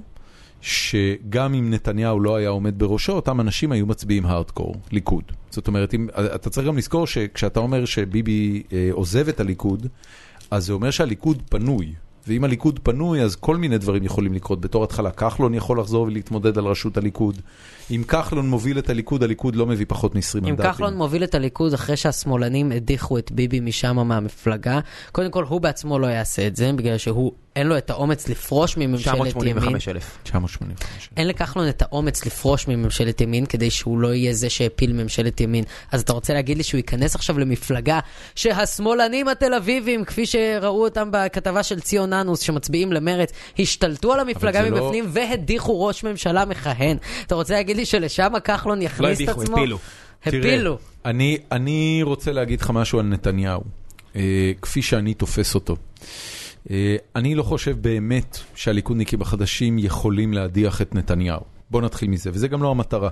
Speaker 1: שגם אם נתניהו לא היה עומד בראשו, אותם אנשים היו מצביעים הארדקור, ליכוד. זאת אומרת, אם, אה, אתה צריך גם לזכור שכשאתה אומר שביבי אה, עוזב את הליכוד, אז זה אומר שהליכוד פנוי. ואם הליכוד פנוי, אז כל מיני דברים יכולים לקרות. בתור התחלה, כחלון יכול לחזור ולהתמודד על ראשות הליכוד. אם כחלון מוביל את הליכוד, הליכוד לא מביא פחות מ-20
Speaker 3: אם
Speaker 1: מנדטים.
Speaker 3: כחלון מוביל את הליכוד אחרי שהשמאלנים הדיחו את ביבי משם מהמפלגה, קודם כל הוא בעצמו לא יעשה את זה, בגלל שהוא, אין לו את האומץ לפרוש מממשלת ימין.
Speaker 2: 985 אלף.
Speaker 1: 985.
Speaker 3: אין לכחלון את האומץ לפרוש מממשלת ימין כדי שהוא לא יהיה זה שהפיל ממשלת ימין. אז אתה רוצה להגיד לי שהוא ייכנס עכשיו למפלגה שהשמאלנים התל אביבים, כפי שראו אותם בכתבה של ציון אנוס, שמצביעים למרץ, השתלטו על המפלגה
Speaker 1: זה לא-
Speaker 3: מבפנים והדיחו ראש ממשלה מכהן. אתה רוצה להגיד לי שלשם כחלון
Speaker 2: לא
Speaker 3: יכניס את
Speaker 2: הדיחו,
Speaker 3: עצמו?
Speaker 2: הפילו.
Speaker 1: תראה,
Speaker 3: הפילו.
Speaker 1: אני, אני רוצה להגיד לך משהו על נתניהו, אה, כפי שאני תופס אותו. אה, אני לא חושב באמת שהליכודניקים החדשים יכולים להדיח את נתניהו. בוא נתחיל מזה, וזה גם לא המטרה.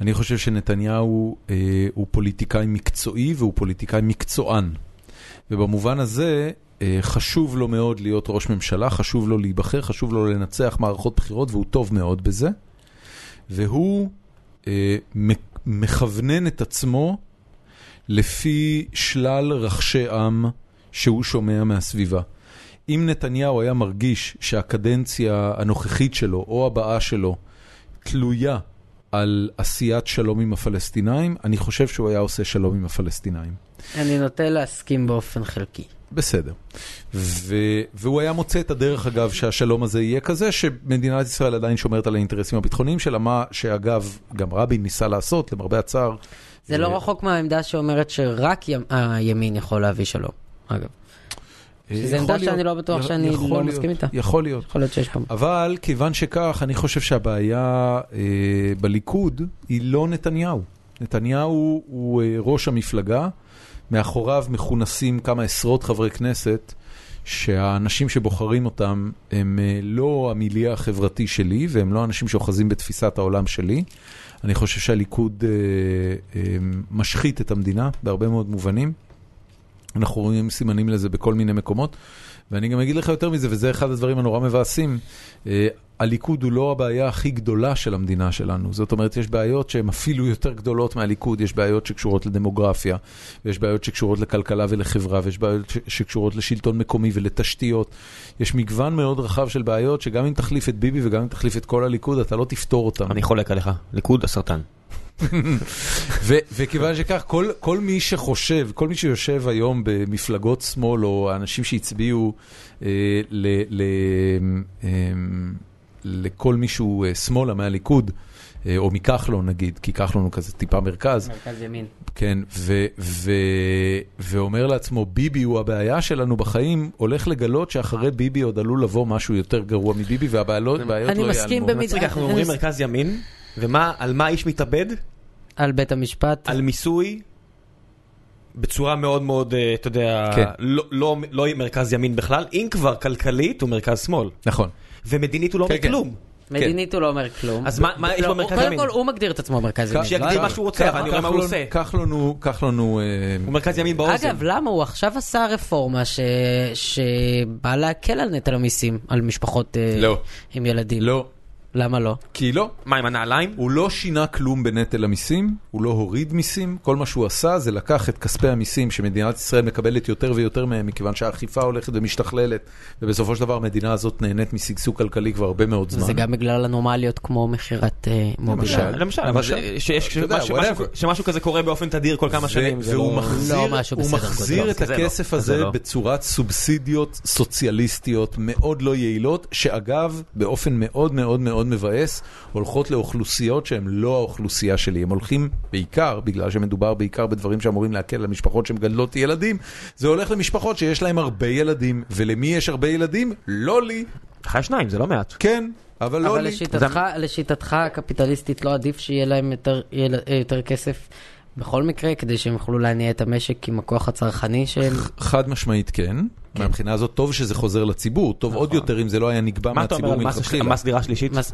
Speaker 1: אני חושב שנתניהו אה, הוא פוליטיקאי מקצועי והוא פוליטיקאי מקצוען. ובמובן הזה, אה, חשוב לו מאוד להיות ראש ממשלה, חשוב לו להיבחר, חשוב לו לנצח מערכות בחירות, והוא טוב מאוד בזה. והוא אה, מ- מכוונן את עצמו לפי שלל רחשי עם שהוא שומע מהסביבה. אם נתניהו היה מרגיש שהקדנציה הנוכחית שלו או הבאה שלו תלויה על עשיית שלום עם הפלסטינאים, אני חושב שהוא היה עושה שלום עם הפלסטינאים.
Speaker 3: אני נוטה להסכים באופן חלקי.
Speaker 1: בסדר. ו... והוא היה מוצא את הדרך, אגב, שהשלום הזה יהיה כזה, שמדינת ישראל עדיין שומרת על האינטרסים הביטחוניים שלה, מה שאגב, גם רבין ניסה לעשות, למרבה הצער.
Speaker 3: זה לא
Speaker 1: אה,
Speaker 3: רחוק מהעמדה שאומרת שרק ימ- הימין יכול להביא שלום, אגב.
Speaker 1: אה,
Speaker 3: שזו
Speaker 1: יכול
Speaker 3: עמדה שאני
Speaker 1: להיות.
Speaker 3: לא בטוח
Speaker 1: י-
Speaker 3: שאני
Speaker 1: יכול
Speaker 3: לא
Speaker 1: להיות,
Speaker 3: מסכים איתה.
Speaker 1: יכול להיות.
Speaker 3: יכול להיות שיש פה...
Speaker 1: אבל כיוון שכך, אני חושב שהבעיה אה, בליכוד היא לא נתניהו. נתניהו הוא אה, ראש המפלגה, מאחוריו מכונסים כמה עשרות חברי כנסת שהאנשים שבוחרים אותם הם אה, לא המיליה החברתי שלי, והם לא אנשים שאוחזים בתפיסת העולם שלי. אני חושב שהליכוד אה, אה, משחית את המדינה בהרבה מאוד מובנים. אנחנו רואים סימנים לזה בכל מיני מקומות. ואני גם אגיד לך יותר מזה, וזה אחד הדברים הנורא מבאסים, אה, הליכוד הוא לא הבעיה הכי גדולה של המדינה שלנו. זאת אומרת, יש בעיות שהן אפילו יותר גדולות מהליכוד, יש בעיות שקשורות לדמוגרפיה, ויש בעיות שקשורות לכלכלה ולחברה, ויש בעיות ש- שקשורות לשלטון מקומי ולתשתיות. יש מגוון מאוד רחב של בעיות, שגם אם תחליף את ביבי וגם אם תחליף את כל הליכוד, אתה לא תפתור אותן.
Speaker 2: אני חולק עליך, ליכוד הסרטן.
Speaker 3: אה,
Speaker 1: ו- וכיוון שכך, כל, כל מי שחושב, כל מי שיושב היום במפלגות שמאל, או האנשים שהצביעו אה, ל, ל, אה, לכל מישהו אה, שמאלה מהליכוד, אה, או מכחלון נגיד, כי כחלון הוא כזה טיפה מרכז,
Speaker 3: מרכז ימין.
Speaker 1: כן, ו, ו, ואומר לעצמו, ביבי הוא הבעיה שלנו בחיים, הולך לגלות שאחרי ביבי עוד עלול לבוא משהו יותר גרוע מביבי, והבעיות לא ייעלמו.
Speaker 3: אני מסכים במיד-
Speaker 2: רגע, אנחנו
Speaker 3: אה,
Speaker 2: אומרים מרכז ימין, ומה, על מה האיש מתאבד?
Speaker 3: על בית המשפט.
Speaker 2: על מיסוי בצורה מאוד מאוד, אה, אתה יודע,
Speaker 1: כן.
Speaker 2: לא- לא- לא מרכז ימין בכלל, אם כבר כלכלית הוא מרכז שמאל,
Speaker 1: נכון.
Speaker 2: ומדינית הוא לא אומר
Speaker 1: כן, כן.
Speaker 2: כלום.
Speaker 3: מדינית הוא לא אומר כלום.
Speaker 2: אז מה- מה יש
Speaker 3: לא,
Speaker 2: במרכז כן.
Speaker 3: קודם
Speaker 2: ימין?
Speaker 3: כל הוא מגדיר את עצמו מרכז ימין.
Speaker 2: שיגדיר מה שהוא רוצה, אבל אני רואה מה הוא
Speaker 1: כחלון-
Speaker 2: עושה.
Speaker 1: כחלון הוא, כחלון הוא... אה,
Speaker 2: הוא מרכז ימין באוזן.
Speaker 3: אגב, למה הוא עכשיו עשה רפורמה ש- שבאה להקל על נטל המיסים, על משפחות אה,
Speaker 1: לא.
Speaker 3: עם ילדים?
Speaker 1: לא,
Speaker 3: למה לא?
Speaker 1: כי לא.
Speaker 2: מה, עם הנעליים?
Speaker 1: הוא לא שינה כלום בנטל המיסים, הוא לא הוריד מיסים, כל מה שהוא עשה זה לקח את כספי המיסים שמדינת ישראל מקבלת יותר ויותר מהם, מכיוון שהאכיפה הולכת ומשתכללת, ובסופו של דבר המדינה הזאת נהנית משגשוג כלכלי כבר הרבה מאוד זמן.
Speaker 3: זה גם בגלל אנומליות כמו מכירת אה, מובילאיי.
Speaker 1: למשל.
Speaker 2: למשל, אבל זה- שיש-
Speaker 1: אתה יודע,
Speaker 2: שמשהו-
Speaker 1: whatever.
Speaker 2: שמשהו כזה קורה באופן תדיר כל כמה שנים. זה
Speaker 1: והוא
Speaker 2: לא-
Speaker 1: מחזיר,
Speaker 3: לא משהו
Speaker 1: הוא
Speaker 3: בסדר
Speaker 1: מחזיר
Speaker 3: גודל.
Speaker 1: את
Speaker 2: זה לא.
Speaker 1: הכסף
Speaker 2: זה
Speaker 1: הזה
Speaker 2: לא.
Speaker 1: בצורת סובסידיות סוציאליסטיות מאוד לא יעילות, שאגב, באופן מאוד מאוד מאוד מבאס, הולכות לאוכלוסיות שהן לא האוכלוסייה שלי. הם הולכים בעיקר, בגלל שמדובר בעיקר בדברים שאמורים להקל על משפחות שמגדלות ילדים, זה הולך למשפחות שיש להן הרבה ילדים, ולמי יש הרבה ילדים? לא לי.
Speaker 2: לך יש שניים, זה לא מעט.
Speaker 1: כן, אבל לא
Speaker 3: אבל
Speaker 1: לי.
Speaker 3: לשיטתך, לשיטתך הקפיטליסטית לא עדיף שיהיה להם יותר, יל- אה, יותר כסף בכל מקרה, כדי שהם יוכלו להניע את המשק עם הכוח הצרכני שהם...
Speaker 1: חד משמעית כן, מהבחינה הזאת טוב שזה חוזר לציבור, טוב עוד יותר אם זה לא היה נגבה
Speaker 2: נכון. מה אתה אומר
Speaker 1: מהציבור
Speaker 2: על מס-
Speaker 1: מלכתחילה.
Speaker 2: מס דירה שלישית?
Speaker 3: מס-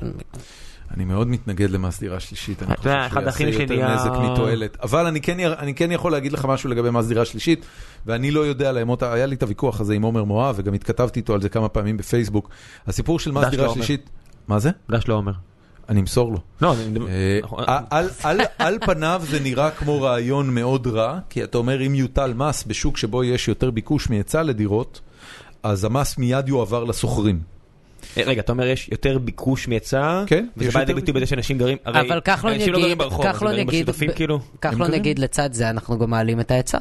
Speaker 1: אני מאוד מתנגד למס דירה שלישית, אני
Speaker 2: אתה יודע,
Speaker 1: חושב שהוא
Speaker 2: אחד
Speaker 1: יעשה
Speaker 2: האחים שלי
Speaker 1: יותר
Speaker 2: ה-
Speaker 1: נזק מתועלת. אבל אני כן, יר- אני כן יכול להגיד לך משהו לגבי מס דירה שלישית, ואני לא יודע לאמות, היה לי את הוויכוח הזה עם עומר מואב, וגם התכתבתי איתו על זה כמה פעמים בפייסבוק. הסיפור של מס
Speaker 2: דש
Speaker 1: דירה
Speaker 2: לעומר.
Speaker 1: שלישית, מה זה?
Speaker 2: דש לא אומר.
Speaker 1: אני אמסור לו.
Speaker 2: לא, אני-
Speaker 1: אה,
Speaker 2: נכון.
Speaker 1: על- על- על פניו זה נראה כמו רעיון מאוד רע, כי אתה אומר אם יוטל מס בשוק שבו יש יותר ביקוש מהיצע לדירות, אז המס מיד יועבר לשוכרים.
Speaker 2: אה, רגע, אתה אומר יש יותר ביקוש מהיצע,
Speaker 1: כן,
Speaker 2: וזה
Speaker 1: יש
Speaker 2: בא
Speaker 1: יותר
Speaker 2: לידי ביטוי
Speaker 1: ביקוש.
Speaker 2: בזה שאנשים גרים, הרי
Speaker 3: אבל כחלון
Speaker 2: אנשים לא גרים
Speaker 3: יגיד,
Speaker 2: ברחוב, הם
Speaker 3: כחלון
Speaker 2: גרים
Speaker 3: יגיד,
Speaker 2: בשיתופים
Speaker 3: ב-
Speaker 2: כאילו.
Speaker 3: כחלון
Speaker 1: גרים?
Speaker 3: יגיד לא לצד זה אנחנו גם מעלים את ההיצע.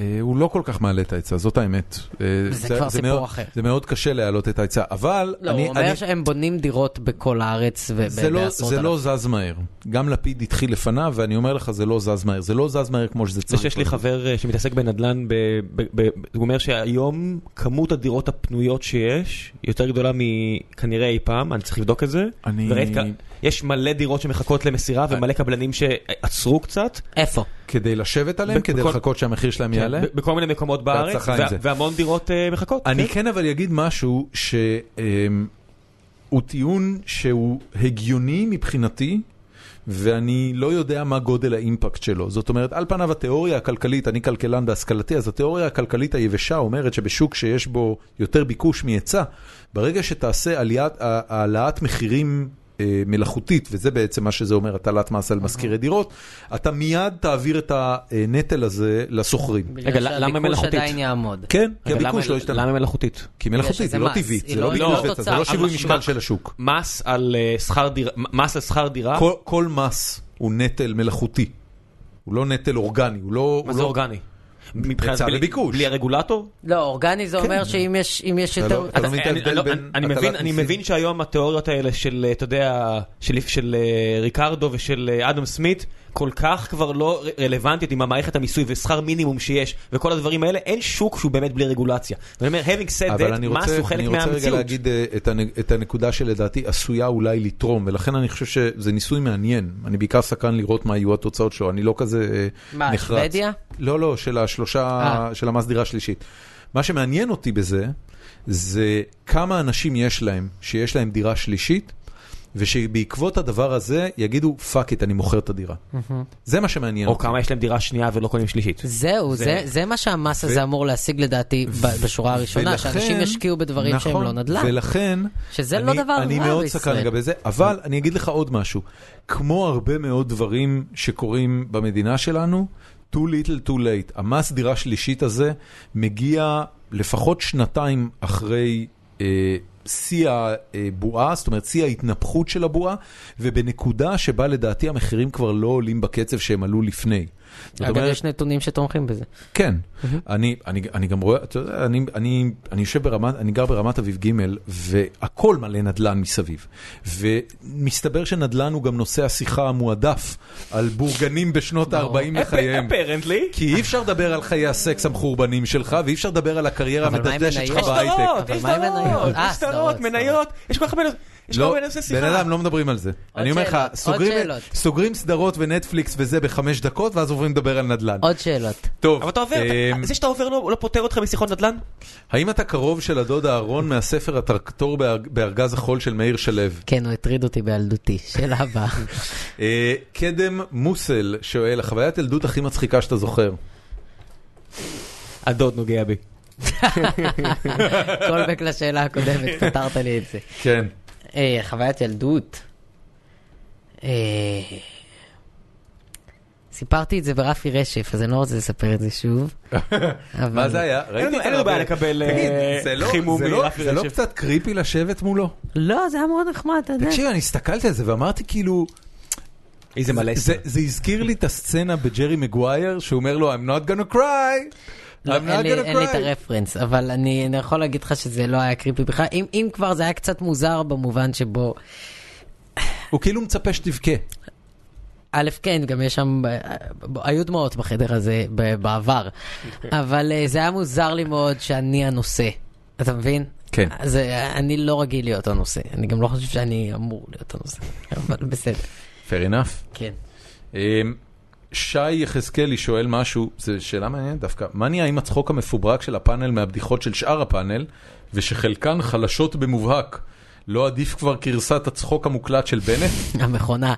Speaker 1: אה, הוא לא כל כך מעלה את ההיצע, זאת האמת. אה,
Speaker 3: זה כבר סיפור
Speaker 1: מאוד,
Speaker 3: אחר.
Speaker 1: זה מאוד קשה להעלות את ההיצע, אבל
Speaker 3: לא,
Speaker 1: אני,
Speaker 3: הוא אומר
Speaker 1: אני,
Speaker 3: שהם בונים דירות בכל הארץ
Speaker 1: זה, לא,
Speaker 3: ובעשרות
Speaker 1: זה לא זז מהר. גם לפיד התחיל לפניו, ואני אומר לך, זה לא זז מהר. זה לא זז מהר כמו שזה
Speaker 2: זה
Speaker 1: צריך.
Speaker 2: שיש לי חבר אה, שמתעסק בנדל"ן, ב- ב- ב- הוא אומר שהיום כמות הדירות הפנויות שיש היא יותר גדולה מכנראה אי פעם, אני צריך לבדוק את זה.
Speaker 1: אני-
Speaker 2: וראית כ- יש מלא דירות שמחכות למסירה
Speaker 1: אה.
Speaker 2: ומלא קבלנים שעצרו קצת.
Speaker 3: איפה?
Speaker 1: כדי לשבת עליהם,
Speaker 2: ב-
Speaker 1: כדי
Speaker 2: בכל- כן,
Speaker 1: לחכות שהמחיר שלהם יעלה.
Speaker 2: ב- בכל מיני מקומות בארץ,
Speaker 1: בהצלחה עם
Speaker 2: וה-
Speaker 1: זה.
Speaker 2: והמון דירות אה, מחכות.
Speaker 1: אני
Speaker 2: כן.
Speaker 1: כן אבל אגיד משהו שהוא טיעון שהוא הגיוני מבחינתי. ואני לא יודע מה גודל האימפקט שלו. זאת אומרת, על פניו התיאוריה הכלכלית, אני כלכלן בהשכלתי, אז התיאוריה הכלכלית היבשה אומרת שבשוק שיש בו יותר ביקוש מהיצע, ברגע שתעשה עליית, ה- העלאת מחירים אה, מלאכותית, וזה בעצם מה שזה אומר, הטלת מס על משכירי דירות, אתה מיד תעביר את הנטל הזה לשוכרים.
Speaker 2: רגע, למה מלאכותית?
Speaker 3: שהביקוש עדיין יעמוד.
Speaker 1: כן, כי
Speaker 2: רגע,
Speaker 1: הביקוש
Speaker 2: למה-
Speaker 1: לא השתנה.
Speaker 2: למה היא מלאכותית?
Speaker 1: כי היא מלאכותית,
Speaker 3: שזה
Speaker 1: היא לא
Speaker 3: מס,
Speaker 1: טבעית,
Speaker 3: היא
Speaker 1: זה לא
Speaker 3: לא-
Speaker 1: בגלל
Speaker 3: לא
Speaker 1: וטו, זה
Speaker 3: תוצאה,
Speaker 1: לא שיווי
Speaker 3: אבל-
Speaker 1: משקל של השוק.
Speaker 2: מס על אה, שכר דירה, מס על שכר דירה,
Speaker 1: כל- כל מס הוא נטל מלאכותי. הוא לא נטל אורגני, הוא לא...
Speaker 2: מה
Speaker 1: הוא
Speaker 2: זה
Speaker 1: לא-
Speaker 2: אורגני? מבחינת-
Speaker 1: היצע
Speaker 2: בלי-
Speaker 1: וביקוש.
Speaker 2: בלי הרגולטור?
Speaker 3: לא, אורגני זה אומר שאם יש אם יש
Speaker 1: אתה
Speaker 3: יותר...
Speaker 1: כן. לא- אתה לא
Speaker 2: אז
Speaker 1: מבין את
Speaker 2: אני-
Speaker 1: ההבדל
Speaker 2: אני לא-
Speaker 1: בין
Speaker 2: אני- אני
Speaker 1: הטלת
Speaker 2: מבין- אני
Speaker 1: מיסים?
Speaker 2: מבין שהיום התיאוריות האלה של, אה, אתה יודע, של- של אה, ריקרדו ושל אה, אדם סמית, כל כך כבר לא ר- רלוונטיות עם המערכת המיסוי ושכר מינימום שיש, וכל הדברים האלה, אין שוק שהוא באמת בלי רגולציה. ואני אומר, having said
Speaker 1: אבל אני
Speaker 2: that, מס
Speaker 1: רוצה,
Speaker 2: הוא חלק
Speaker 1: אני רוצה רגע
Speaker 2: מהמציאות.
Speaker 1: להגיד אה, את, הנ, את הנקודה שלדעתי עשויה אולי לתרום, ולכן אני חושב שזה ניסוי מעניין. אני בעיקר סקרן לראות מה יהיו התוצאות שלו, אני לא כזה אה,
Speaker 3: מה,
Speaker 1: נחרץ.
Speaker 3: שוודיה?
Speaker 1: לא, לא, של השלושה,
Speaker 3: אה.
Speaker 1: של המס דירה שלישית. מה שמעניין אותי בזה, זה כמה אנשים יש להם, שיש להם דירה שלישית, ושבעקבות הדבר הזה יגידו, פאק איט, אני מוכר את הדירה. זה מה שמעניין
Speaker 2: או
Speaker 1: אותי.
Speaker 2: כמה יש להם דירה שנייה ולא קונים שלישית.
Speaker 3: זהו,
Speaker 2: זה-
Speaker 3: זה, זה מה שהמס הזה אמור להשיג לדעתי ב- בשורה הראשונה,
Speaker 1: ולכן-
Speaker 3: שאנשים ישקיעו בדברים שהם
Speaker 1: נכון,
Speaker 3: לא נדל"ן.
Speaker 1: ולכן,
Speaker 3: שזה
Speaker 1: אני,
Speaker 3: לא דבר
Speaker 1: אני
Speaker 3: רע
Speaker 1: מאוד
Speaker 3: בישראל.
Speaker 1: סקרן לגבי זה, אבל אני אגיד לך עוד משהו. כמו הרבה מאוד דברים שקורים במדינה שלנו, too little too late. המס דירה שלישית הזה מגיע לפחות שנתיים אחרי... אה, שיא הבועה, זאת אומרת שיא ההתנפחות של הבועה, ובנקודה שבה לדעתי המחירים כבר לא עולים בקצב שהם עלו לפני. זאת
Speaker 3: אגב,
Speaker 1: אומרת-
Speaker 3: יש נתונים שתומכים בזה.
Speaker 1: כן, אני, אני, אני גם רואה, אתה יודע, אני, אני, אני יושב ברמת, אני גר ברמת אביב ג' והכל מלא נדל"ן מסביב. ומסתבר שנדל"ן הוא גם נושא השיחה המועדף על בורגנים בשנות
Speaker 2: אוקיי.
Speaker 1: ה-40 לחייהם.
Speaker 2: אפרנטלי.
Speaker 1: כי אי אפשר לדבר על חיי הסקס המחורבנים שלך, ואי אפשר לדבר על הקריירה
Speaker 3: אבל מה עם
Speaker 1: המדשדשת שלך
Speaker 3: מניות?
Speaker 1: בהייטק.
Speaker 2: יש
Speaker 3: אבל מה עם
Speaker 2: שטרות,
Speaker 3: מניות? אה,
Speaker 2: יש שטרות,
Speaker 3: שטרות,
Speaker 2: מניות, יש כל כך הרבה יש כל
Speaker 1: לא,
Speaker 2: כך הרבה נושאי
Speaker 1: בן
Speaker 2: שיחה.
Speaker 1: אדם, לא מדברים על זה. אני אומר לך,
Speaker 3: שאלות, עוד
Speaker 1: סוגרים-
Speaker 3: שאלות.
Speaker 1: סוגרים סדרות ונטפליקס וזה בחמש דקות, ואז עוברים לדבר על נדל"ן.
Speaker 3: עוד שאלות.
Speaker 1: טוב,
Speaker 2: אבל אתה עובר, אתה-
Speaker 1: אמ,
Speaker 2: זה שאתה עובר לא לא פוטר אותך משיחות נדל"ן?
Speaker 1: האם אתה קרוב של הדוד אהרון מהספר הטרקטור בארג- בארגז החול של מאיר שלו?
Speaker 3: כן, הוא הטריד אותי בילדותי. שאלה הבאה.
Speaker 1: אה, קדם מוסל שואל, החוויית ילדות הכי מצחיקה שאתה זוכר.
Speaker 2: הדוד נוגע בי.
Speaker 3: קולבק לשאלה הקודמת, פתרת לי את זה.
Speaker 1: כן.
Speaker 3: אה, חוויית ילדות. אה, סיפרתי את זה ברפי רשף, אז אני לא רוצה לספר את זה שוב. אבל-
Speaker 1: מה זה היה?
Speaker 2: אין
Speaker 1: ראיתי את
Speaker 2: לנו אין לנו בעיה
Speaker 1: הרבה.
Speaker 2: לקבל
Speaker 1: תגיד,
Speaker 2: אה,
Speaker 1: זה לא-
Speaker 2: חימום
Speaker 1: זה לא-
Speaker 2: מרפי
Speaker 1: זה לא
Speaker 2: רשף.
Speaker 1: קצת קריפי לשבת מולו?
Speaker 3: לא, זה היה מאוד נחמד, אתה יודע.
Speaker 1: תקשיב, אני הסתכלתי על זה ואמרתי כאילו...
Speaker 2: איזה מלא
Speaker 1: זה- זה הזכיר לי את הסצנה בג'רי מגווייר, שהוא אומר לו, I'm not gonna cry. I'm
Speaker 3: לא, אין
Speaker 1: not
Speaker 3: לי-
Speaker 1: gonna
Speaker 3: אין לי את
Speaker 1: cry."
Speaker 3: הרפרנס, אבל אני אני יכול להגיד לך שזה לא היה קריפי בכלל. אם- אם כבר, זה היה קצת מוזר במובן שבו...
Speaker 1: הוא כאילו מצפה שתבכה.
Speaker 3: א', כן, גם יש שם, היו דמעות בחדר הזה ב- בעבר, אבל אה, זה היה מוזר לי מאוד שאני הנושא, אתה מבין?
Speaker 1: כן.
Speaker 3: זה, אני לא רגיל להיות הנושא, אני גם לא חושב שאני אמור להיות הנושא, אבל בסדר,
Speaker 1: Fair enough.
Speaker 3: כן.
Speaker 1: אמ, שי יחזקאלי שואל משהו, זו שאלה מעניינת דווקא, מה נהיה עם הצחוק המפוברק של הפאנל מהבדיחות של שאר הפאנל, ושחלקן חלשות במובהק? לא עדיף כבר גרסת הצחוק המוקלט של בנט?
Speaker 3: המכונה,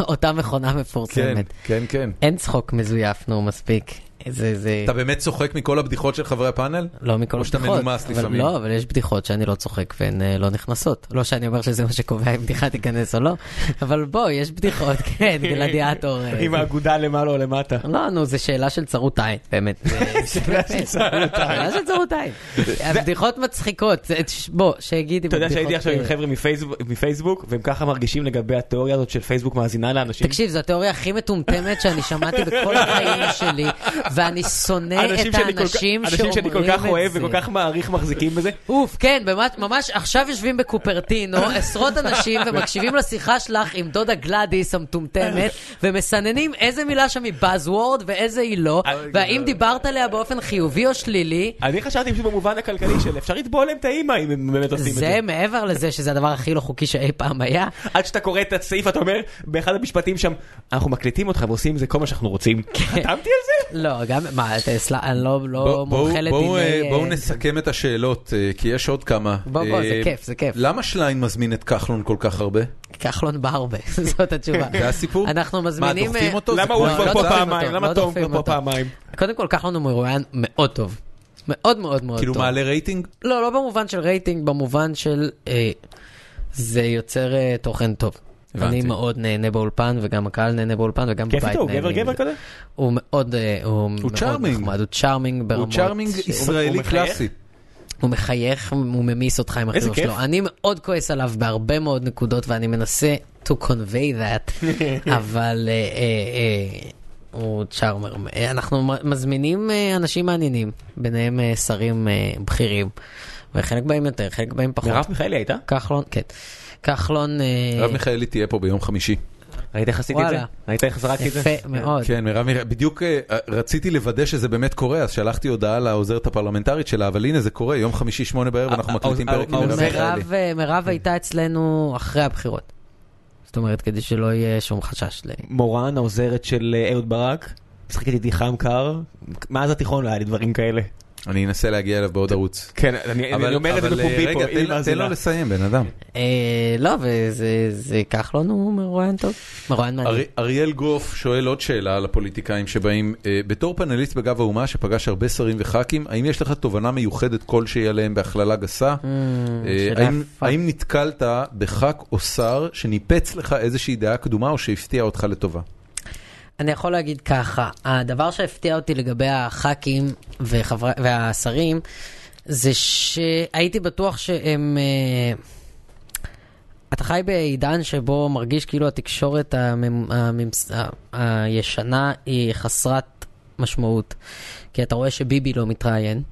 Speaker 3: אותה מכונה מפורסמת.
Speaker 1: כן, כן.
Speaker 3: אין צחוק מזויף, נו, מספיק. זה, זה,
Speaker 1: אתה באמת צוחק מכל הבדיחות של חברי הפאנל?
Speaker 3: לא מכל
Speaker 1: או שאתה
Speaker 3: הבדיחות.
Speaker 1: מנומס
Speaker 3: אבל
Speaker 1: לפעמים.
Speaker 3: לא, אבל יש בדיחות שאני לא צוחק והן אה, לא נכנסות. לא שאני אומר שזה מה שקובע אם בדיחה תיכנס או לא, אבל בוא, יש בדיחות, כן, גלדיאטור. אה,
Speaker 2: עם האגודה למעלה או למטה.
Speaker 3: לא, נו, זו שאלה של צרות עין, באמת.
Speaker 2: שאלה של צרות
Speaker 3: שאלה של צרות עין. הבדיחות מצחיקות, זה- ש- בוא, שיגיד אם
Speaker 2: אתה יודע שהייתי עכשיו עם
Speaker 3: אה,
Speaker 2: חבר'ה מפייסבוק- מפייסבוק, והם ככה מרגישים לגבי התיאוריה הזאת של פייסבוק מאזינה לאנשים.
Speaker 3: תקשיב, זו התיאוריה הכי מטומטמת שאני שמעתי בכל החיים שלי, ואני שונא את
Speaker 2: שאני כל כך-
Speaker 3: האנשים שאומרים את זה.
Speaker 2: אנשים שאני כל כך אוהב וכל כך מעריך מחזיקים בזה.
Speaker 3: אוף, כן, ממש, ממש עכשיו יושבים בקופרטינו עשרות אנשים ומקשיבים לשיחה שלך עם דודה גלדיס המטומטמת, ומסננים איזה מילה שם היא buzzword ואיזה היא לא,
Speaker 2: אה,
Speaker 3: והאם דיברת עליה באופן חיובי או שלילי.
Speaker 2: אני חשבתי פשוט במובן הכלכלי של אפשר לתבוע להם את האימא אם הם באמת עושים את זה.
Speaker 3: זה מעבר לזה שזה הדבר הכי לא חוקי שאי פעם היה.
Speaker 2: עד שאתה קורא את הסעיף אתה אומר באחד המשפטים שם אנחנו מקליטים אותך ועושים עם זה כל מה שאנחנו רוצים.
Speaker 3: כן.
Speaker 2: חתמתי על זה?
Speaker 3: לא, גם, מה, אתה סל- אני לא- לא
Speaker 1: בואו- בואו-
Speaker 3: מומחה
Speaker 1: בואו, אה,
Speaker 3: לדיני...
Speaker 1: בואו
Speaker 3: אה,
Speaker 1: נסכם את השאלות, אה, כי יש עוד כמה.
Speaker 3: בוא, בוא, זה
Speaker 1: אה,
Speaker 3: כיף, זה כיף.
Speaker 1: למה שליין מזמין את כחלון כל כך הרבה?
Speaker 3: אה, כחלון בא הרבה, זאת התשובה.
Speaker 1: זה הסיפור?
Speaker 3: אנחנו
Speaker 1: מה,
Speaker 3: מזמינים...
Speaker 1: דוחפים
Speaker 3: אה,
Speaker 1: אותו? זה
Speaker 2: למה הוא
Speaker 1: כמו
Speaker 2: כבר
Speaker 1: לא
Speaker 2: פה
Speaker 1: דוחפים
Speaker 2: פעמיים?
Speaker 3: אותו,
Speaker 2: למה
Speaker 3: לא
Speaker 2: תום
Speaker 3: דוחפים
Speaker 2: כבר פה
Speaker 3: אותו.
Speaker 2: פעמיים?
Speaker 3: קודם כל, כחלון הוא מרואיין מאוד טוב. מאוד מאוד מאוד
Speaker 1: כאילו
Speaker 3: טוב.
Speaker 1: מעלה רייטינג?
Speaker 3: לא, לא במובן של רייטינג, במובן של אה, זה יוצר אה, תוכן טוב.
Speaker 1: הבנתי.
Speaker 3: אני מאוד נהנה באולפן, וגם הקהל נהנה באולפן, וגם בבית
Speaker 2: כיף
Speaker 3: נהנה.
Speaker 2: איתו, הוא גבר גבר כזה?
Speaker 3: הוא מאוד, אה, הוא, מאוד
Speaker 1: צ'ארמינג.
Speaker 3: נחמד, הוא צ'ארמינג ברמות.
Speaker 1: הוא צ'ארמינג
Speaker 3: ש-
Speaker 2: הוא
Speaker 1: ישראלי
Speaker 2: מחייך?
Speaker 1: קלאסי.
Speaker 3: הוא מחייך, הוא ממיס אותך עם
Speaker 2: איזה
Speaker 3: החיוך שלו.
Speaker 2: כיף.
Speaker 3: אני מאוד כועס עליו בהרבה מאוד נקודות, ואני מנסה to convey that, אבל אה, אה, אה, הוא צ'ארמר. אה, אנחנו מ- מזמינים אה, אנשים מעניינים, ביניהם אה, שרים אה, בכירים, וחלק באים יותר, חלק באים פחות.
Speaker 2: מרב מיכאלי הייתה?
Speaker 3: כחלון, כן. כחלון, אה,
Speaker 1: הרב מיכאלי תהיה פה ביום חמישי.
Speaker 2: ראית איך עשיתי את זה?
Speaker 3: וואלה.
Speaker 2: ראית איך זרקתי את זה?
Speaker 3: יפה מאוד.
Speaker 1: כן, מרב מיכאלי, בדיוק אה, רציתי לוודא שזה באמת קורה, אז שלחתי הודעה לעוזרת הפרלמנטרית שלה, אבל הנה זה קורה, יום חמישי שמונה בערב אנחנו
Speaker 2: הא-
Speaker 1: מקליטים
Speaker 2: הא-
Speaker 1: פרק עם מרב
Speaker 2: העוזרת-
Speaker 1: מיכאלי.
Speaker 3: מירב, אה, מירב הייתה אצלנו אחרי הבחירות. זאת אומרת, כדי שלא יהיה שום חשש ל...
Speaker 2: מורן העוזרת של אה, אהוד ברק. משחקת איתי חם קר, מאז התיכון לא היה לי דברים כאלה.
Speaker 1: אני אנסה להגיע אליו בעוד ערוץ.
Speaker 2: כן, אני אני אומר את זה
Speaker 1: אבל, אה,
Speaker 2: בפומבי פה,
Speaker 1: רגע, תן
Speaker 2: אם
Speaker 1: לו- תן לו
Speaker 2: מאזינה.
Speaker 1: לסיים, בן אדם.
Speaker 3: אה, לא, וזה זה ייקח לנו מרואיין טוב, מרואיין מעניין.
Speaker 1: ארי- אריאל גרוף שואל עוד שאלה על הפוליטיקאים שבאים, אה, בתור פאנליסט בגב האומה שפגש הרבה שרים וח"כים, האם יש לך תובנה מיוחדת כלשהי עליהם בהכללה גסה? אה,
Speaker 3: Mm, שאלה
Speaker 1: האם-
Speaker 3: יפה.
Speaker 1: האם נתקלת בח"כ או שר שניפץ לך איזושהי דעה קדומה או שהפתיע אותך לטובה?
Speaker 3: אני יכול להגיד ככה, הדבר שהפתיע אותי לגבי הח"כים וחברי- והשרים, זה שהייתי בטוח שהם... אה, אתה חי בעידן שבו מרגיש כאילו התקשורת הממ... הממס... ה- הישנה היא חסרת משמעות. כי אתה רואה שביבי לא מתראיין,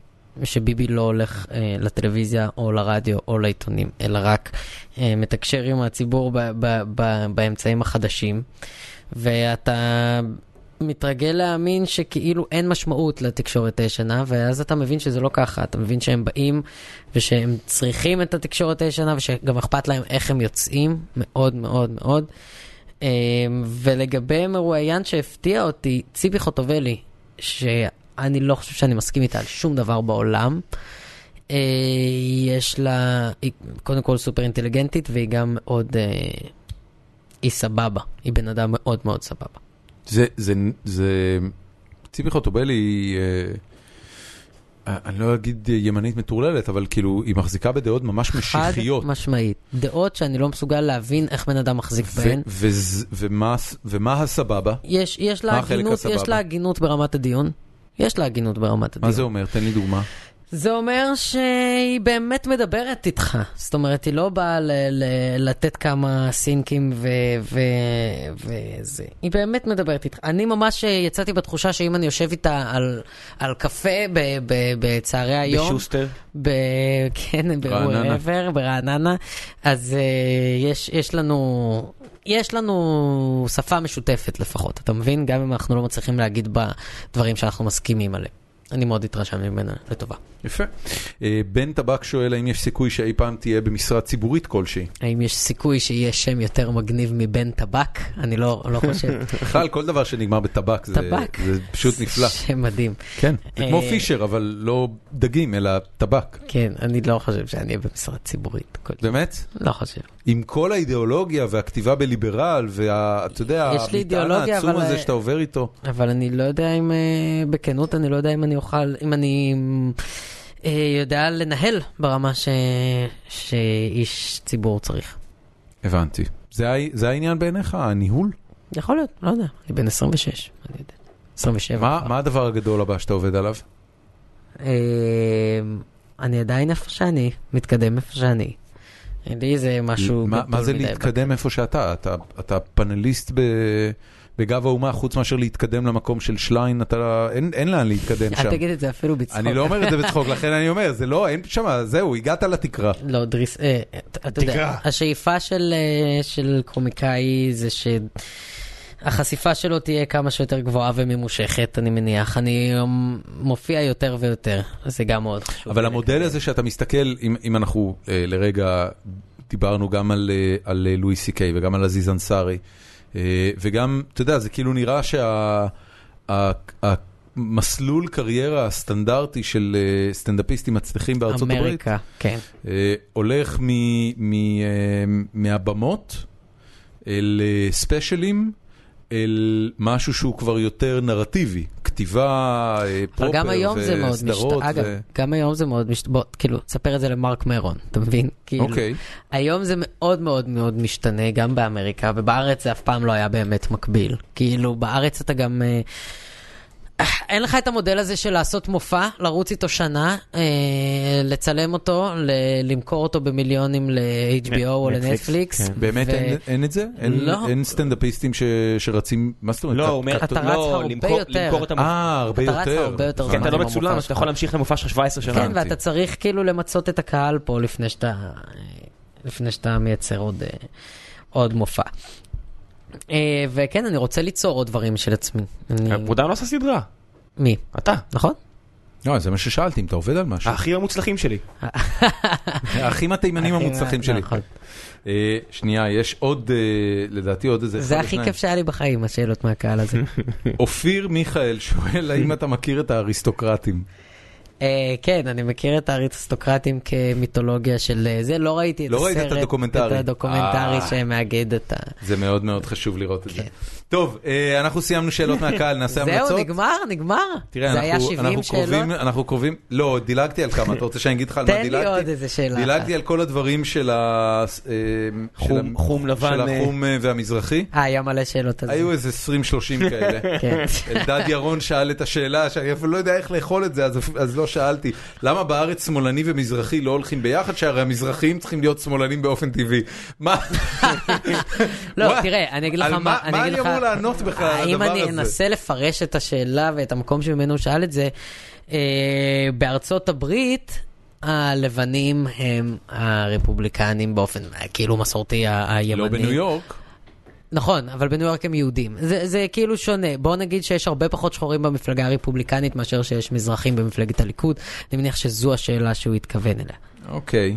Speaker 3: שביבי לא הולך אה, לטלוויזיה או לרדיו או לעיתונים, אלא רק אה, מתקשר עם הציבור ב- ב- ב- באמצעים החדשים. ואתה מתרגל להאמין שכאילו אין משמעות לתקשורת הישנה, ואז אתה מבין שזה לא ככה, אתה מבין שהם באים ושהם צריכים את התקשורת הישנה, ושגם אכפת להם איך הם יוצאים, מאוד מאוד מאוד. אמ, ולגבי מרואיין שהפתיע אותי, ציפי חוטובלי, שאני לא חושב שאני מסכים איתה על שום דבר בעולם. אה, יש לה, היא קודם כל סופר אינטליגנטית והיא גם מאוד אה, היא סבבה, היא בן אדם מאוד מאוד סבבה.
Speaker 1: זה, זה, זה, ציפי חוטובלי היא, אה, אני לא אגיד אה, ימנית מטורללת, אבל כאילו, היא מחזיקה בדעות ממש משיחיות.
Speaker 3: חד משמעית. דעות שאני לא מסוגל להבין איך בן אדם מחזיק
Speaker 1: ו-
Speaker 3: בהן.
Speaker 1: וז- ומה- ומה הסבבה?
Speaker 3: יש, יש,
Speaker 1: מה
Speaker 3: לה
Speaker 1: החלק
Speaker 3: הגינות,
Speaker 1: הסבבה?
Speaker 3: יש לה הגינות ברמת הדיון. יש לה הגינות ברמת הדיון.
Speaker 1: מה זה אומר? תן לי דוגמה.
Speaker 3: זה אומר שהיא באמת מדברת איתך. זאת אומרת, היא לא באה ל- ל- לתת כמה סינקים ו... ו... וזה. היא באמת מדברת איתך. אני ממש אה, יצאתי בתחושה שאם אני יושב איתה על, על קפה ב- ב- בצהרי היום...
Speaker 2: בשוסטר.
Speaker 3: ב... כן,
Speaker 1: רעננה.
Speaker 3: ברעננה. ברעננה. אז uh, יש, יש לנו... יש לנו שפה משותפת לפחות, אתה מבין? גם אם אנחנו לא מצליחים להגיד בדברים שאנחנו מסכימים עליהם. אני מאוד התרשם ממנה, לטובה.
Speaker 1: יפה. אה, בן טבק שואל האם יש סיכוי שאי פעם תהיה במשרה ציבורית כלשהי.
Speaker 3: האם יש סיכוי שיהיה שם יותר מגניב מבן טבק? אני לא, לא חושב.
Speaker 1: בכלל, כל דבר שנגמר בטבק זה-
Speaker 3: טבק.
Speaker 1: זה פשוט נפלא.
Speaker 3: שם מדהים.
Speaker 1: כן, זה כמו
Speaker 3: אה,
Speaker 1: פישר, אבל לא דגים, אלא טבק.
Speaker 3: כן, אני לא חושב שאני אהיה במשרד ציבורית. כל-
Speaker 1: באמת?
Speaker 3: לא חושב.
Speaker 1: עם כל האידיאולוגיה והכתיבה בליברל, ואתה יודע,
Speaker 3: יש
Speaker 1: המטען
Speaker 3: לי אידיאולוגיה,
Speaker 1: העצום
Speaker 3: אבל- אה,
Speaker 1: הזה שאתה עובר איתו.
Speaker 3: אבל אני לא יודע אם, אה, בכנות, אני לא יודע אם אני אוכל, אם אני אה, יודע לנהל ברמה ש, שאיש ציבור צריך.
Speaker 1: הבנתי. זה, ה- זה העניין בעיניך, הניהול?
Speaker 3: יכול להיות, לא יודע, אני בן 26, אני יודע. 27.
Speaker 1: מה,
Speaker 3: כבר.
Speaker 1: מה הדבר הגדול הבא שאתה עובד עליו?
Speaker 3: אה, אני עדיין איפה שאני, מתקדם איפה שאני. לי זה משהו
Speaker 1: מה,
Speaker 3: גדול
Speaker 1: מה זה
Speaker 3: מדי.
Speaker 1: להתקדם איפה שאתה? אתה, אתה פאנליסט ב, בגב האומה, חוץ מאשר להתקדם למקום של שליין, אתה, אין, אין לאן להתקדם שם.
Speaker 3: אל תגיד את זה אפילו בצחוק.
Speaker 1: אני לא אומר את זה בצחוק, לכן אני אומר, זה לא, אין שם, זהו, הגעת לתקרה.
Speaker 3: לא, דריס, אה, אתה אתה יודע,
Speaker 2: תקרא.
Speaker 3: השאיפה של, אה, של קומיקאי זה שהחשיפה שלו תהיה כמה שיותר גבוהה וממושכת, אני מניח. אני אמ, מופיע יותר ויותר, זה גם מאוד חשוב.
Speaker 1: אבל המודל הזה שאתה מסתכל, אם, אם אנחנו אה, לרגע דיברנו גם על, אה, על אה, לואי סי קיי וגם על עזיז אנסארי, אה, וגם, אתה יודע, זה כאילו נראה שה... ה- ה- מסלול קריירה הסטנדרטי של אה, סטנדאפיסטים מצליחים בארצות הברית
Speaker 3: אמריקה, כן.
Speaker 1: אה, הולך מ, מ, אה, מהבמות אל אה, ספיישלים, אל משהו שהוא כבר יותר נרטיבי, כתיבה אה,
Speaker 3: אבל
Speaker 1: פרופר
Speaker 3: גם היום זה מאוד
Speaker 1: וסדרות
Speaker 3: משתנה, אגב,
Speaker 1: ו-
Speaker 3: גם היום זה מאוד משתנה, בוא, כאילו, תספר את זה למרק מרון, אתה מבין? כאילו,
Speaker 1: אוקיי.
Speaker 3: היום זה מאוד מאוד מאוד משתנה, גם באמריקה, ובארץ זה אף פעם לא היה באמת מקביל. כאילו, בארץ אתה גם... אה, אין לך את המודל הזה של לעשות מופע, לרוץ איתו שנה, אה, לצלם אותו, ל- למכור אותו במיליונים ל-HBO או
Speaker 2: נטפליקס,
Speaker 3: לנטפליקס.
Speaker 2: כן.
Speaker 1: באמת
Speaker 3: ו-
Speaker 1: אין, אין את זה? אין,
Speaker 3: לא.
Speaker 1: אין סטנדאפיסטים ש, שרצים, מה זאת אומרת?
Speaker 2: לא,
Speaker 1: אתה-
Speaker 2: הוא אומר,
Speaker 3: אתה רץ
Speaker 2: לא,
Speaker 3: הרבה
Speaker 2: למכור-
Speaker 3: יותר.
Speaker 2: למכור את המופע.
Speaker 1: אה, הרבה
Speaker 3: אתה
Speaker 1: יותר. אה,
Speaker 3: רץ הרבה יותר
Speaker 1: הבנתי.
Speaker 2: כן, אתה לא
Speaker 3: עם
Speaker 2: מצולם,
Speaker 3: המופע
Speaker 2: אז אתה
Speaker 3: שלך.
Speaker 2: יכול להמשיך למופע שלך 17 שנה.
Speaker 3: כן,
Speaker 1: הבנתי.
Speaker 3: ואתה צריך כאילו למצות את הקהל פה לפני שאתה, לפני שאתה מייצר עוד, אה, עוד מופע. אה, וכן, אני רוצה ליצור עוד דברים של עצמי. אני...
Speaker 2: מודע לא עושה סדרה.
Speaker 3: מי?
Speaker 2: אתה.
Speaker 3: נכון?
Speaker 1: לא, זה מה ששאלתי, אם אתה עובד על משהו.
Speaker 2: האחים המוצלחים שלי.
Speaker 1: האחים התימנים המוצלחים שלי.
Speaker 3: אה, נכון.
Speaker 1: אה, שנייה, יש עוד, אה, לדעתי עוד איזה...
Speaker 3: זה
Speaker 1: אחד או
Speaker 3: הכי
Speaker 1: שניים.
Speaker 3: כיף שהיה לי בחיים, השאלות מהקהל הזה.
Speaker 1: אופיר מיכאל שואל האם אתה מכיר את האריסטוקרטים.
Speaker 3: אה, כן, אני מכיר את האריסטוקרטים כמיתולוגיה של אה, זה, לא ראיתי את
Speaker 1: לא
Speaker 3: הסרט.
Speaker 1: ראית את הדוקומנטרי.
Speaker 3: את הדוקומנטרי
Speaker 1: אה.
Speaker 3: שמאגד את ה...
Speaker 1: זה מאוד מאוד חשוב לראות את זה.
Speaker 3: כן.
Speaker 1: טוב, אה, אנחנו סיימנו שאלות מהקהל, נעשה המלצות.
Speaker 3: זהו, נגמר, נגמר.
Speaker 1: תראה,
Speaker 3: זה היה
Speaker 1: אנחנו,
Speaker 3: 70
Speaker 1: אנחנו
Speaker 3: שאלות.
Speaker 1: קרובים, אנחנו קרובים, לא, דילגתי על כמה, אתה רוצה שאני אגיד לך על מה
Speaker 3: תן לי
Speaker 1: דילגתי?
Speaker 3: עוד איזה שאלה
Speaker 1: דילגתי
Speaker 3: אחת.
Speaker 1: על כל הדברים של ה... אה,
Speaker 2: חום-
Speaker 1: של ה-
Speaker 2: חום לבן,
Speaker 1: של
Speaker 2: אה.
Speaker 1: החום אה, והמזרחי.
Speaker 3: אה, היה מלא שאלות על זה.
Speaker 1: היו איזה 20-30 כאלה.
Speaker 3: כן.
Speaker 1: אלדד ירון שאל את השאלה, שאני אפילו לא יודע איך לאכול את זה, אז, אז לא שאלתי. למה בארץ שמאלני ומזרחי לא הולכים ביחד, שהרי המזרחים צריכים להיות שמאלנים באופן טבעי? מה?
Speaker 3: לא,
Speaker 1: וואט?
Speaker 3: תראה, אני אגיד לך
Speaker 1: על
Speaker 3: מה...
Speaker 1: מה
Speaker 3: אגיד
Speaker 1: אני
Speaker 3: לך-
Speaker 1: אמור לענות בכלל על הדבר
Speaker 3: האם
Speaker 1: הזה?
Speaker 3: אני אנסה לפרש את השאלה ואת המקום שממנו הוא שאל את זה? אה, בארצות הברית, הלבנים הם הרפובליקנים באופן אה, כאילו מסורתי ה- הימני.
Speaker 1: לא בניו יורק.
Speaker 3: נכון, אבל בניו יורק הם יהודים. זה, זה כאילו שונה. בואו נגיד שיש הרבה פחות שחורים במפלגה הרפובליקנית מאשר שיש מזרחים במפלגת הליכוד. אני מניח שזו השאלה שהוא התכוון אליה.
Speaker 1: אוקיי.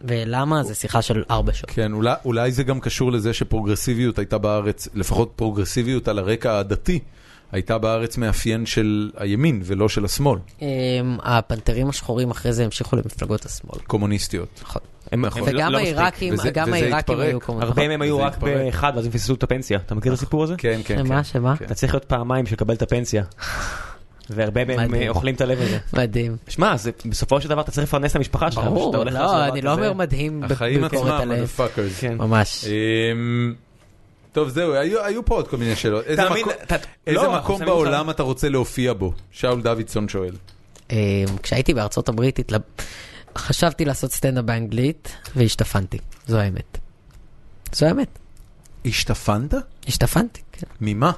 Speaker 3: ולמה? זו שיחה של ארבע שעות.
Speaker 1: כן, אולי, אולי זה גם קשור לזה שפרוגרסיביות הייתה בארץ, לפחות פרוגרסיביות על הרקע הדתי, הייתה בארץ מאפיין של הימין ולא של השמאל,
Speaker 3: אמ, הפנתרים השחורים אחרי זה המשיכו למפלגות השמאל.
Speaker 1: קומוניסטיות.
Speaker 3: נכון.
Speaker 2: הם-
Speaker 1: נכון.
Speaker 2: הם- לא-
Speaker 3: וגם
Speaker 2: לא מספיק.
Speaker 3: העיראקים,
Speaker 1: וזה-
Speaker 3: גם
Speaker 1: וזה
Speaker 3: העיראקים
Speaker 1: התפרק.
Speaker 3: היו קומוניסטים.
Speaker 2: הרבה מהם היו
Speaker 1: זה
Speaker 2: רק
Speaker 1: התפרק.
Speaker 2: באחד, ואז הם פספסו את הפנסיה. אתה מכיר את הסיפור הזה?
Speaker 1: כן, כן,
Speaker 3: שמה,
Speaker 1: כן.
Speaker 3: שמה?
Speaker 1: כן.
Speaker 2: אתה צריך להיות פעמיים שקבל את הפנסיה. והרבה מהם
Speaker 3: מדהים.
Speaker 2: אה, אוכלים את הלב הזה.
Speaker 3: מדהים.
Speaker 2: שמע, זה- בסופו של דבר אתה צריך לפרנס את המשפחה שלך. כשאתה
Speaker 3: ברור,
Speaker 2: הולך לעשות
Speaker 3: לא,
Speaker 2: דבר
Speaker 3: אני לא
Speaker 2: כזה.
Speaker 3: אומר מדהים
Speaker 1: החיים
Speaker 3: בביקורת
Speaker 1: עצמם,
Speaker 3: עליהם.
Speaker 1: מודפאקרס.
Speaker 2: כן.
Speaker 3: ממש.
Speaker 1: אמ, טוב, זהו, היו, היו פה עוד כל מיני שאלות. איזה,
Speaker 2: תאמין,
Speaker 1: מקום,
Speaker 2: אתה-
Speaker 1: איזה
Speaker 2: לא, אנחנו
Speaker 1: מקום
Speaker 2: שמים לך-
Speaker 1: בעולם אתה רוצה להופיע בו? שאול דוידסון שואל.
Speaker 3: אמ, כשהייתי בארצות הברית, התלב- חשבתי לעשות סטנדאפ באנגלית, והשתפנתי. זו האמת. זו האמת.
Speaker 1: השתפנת?
Speaker 3: השתפנתי, כן.
Speaker 1: ממה?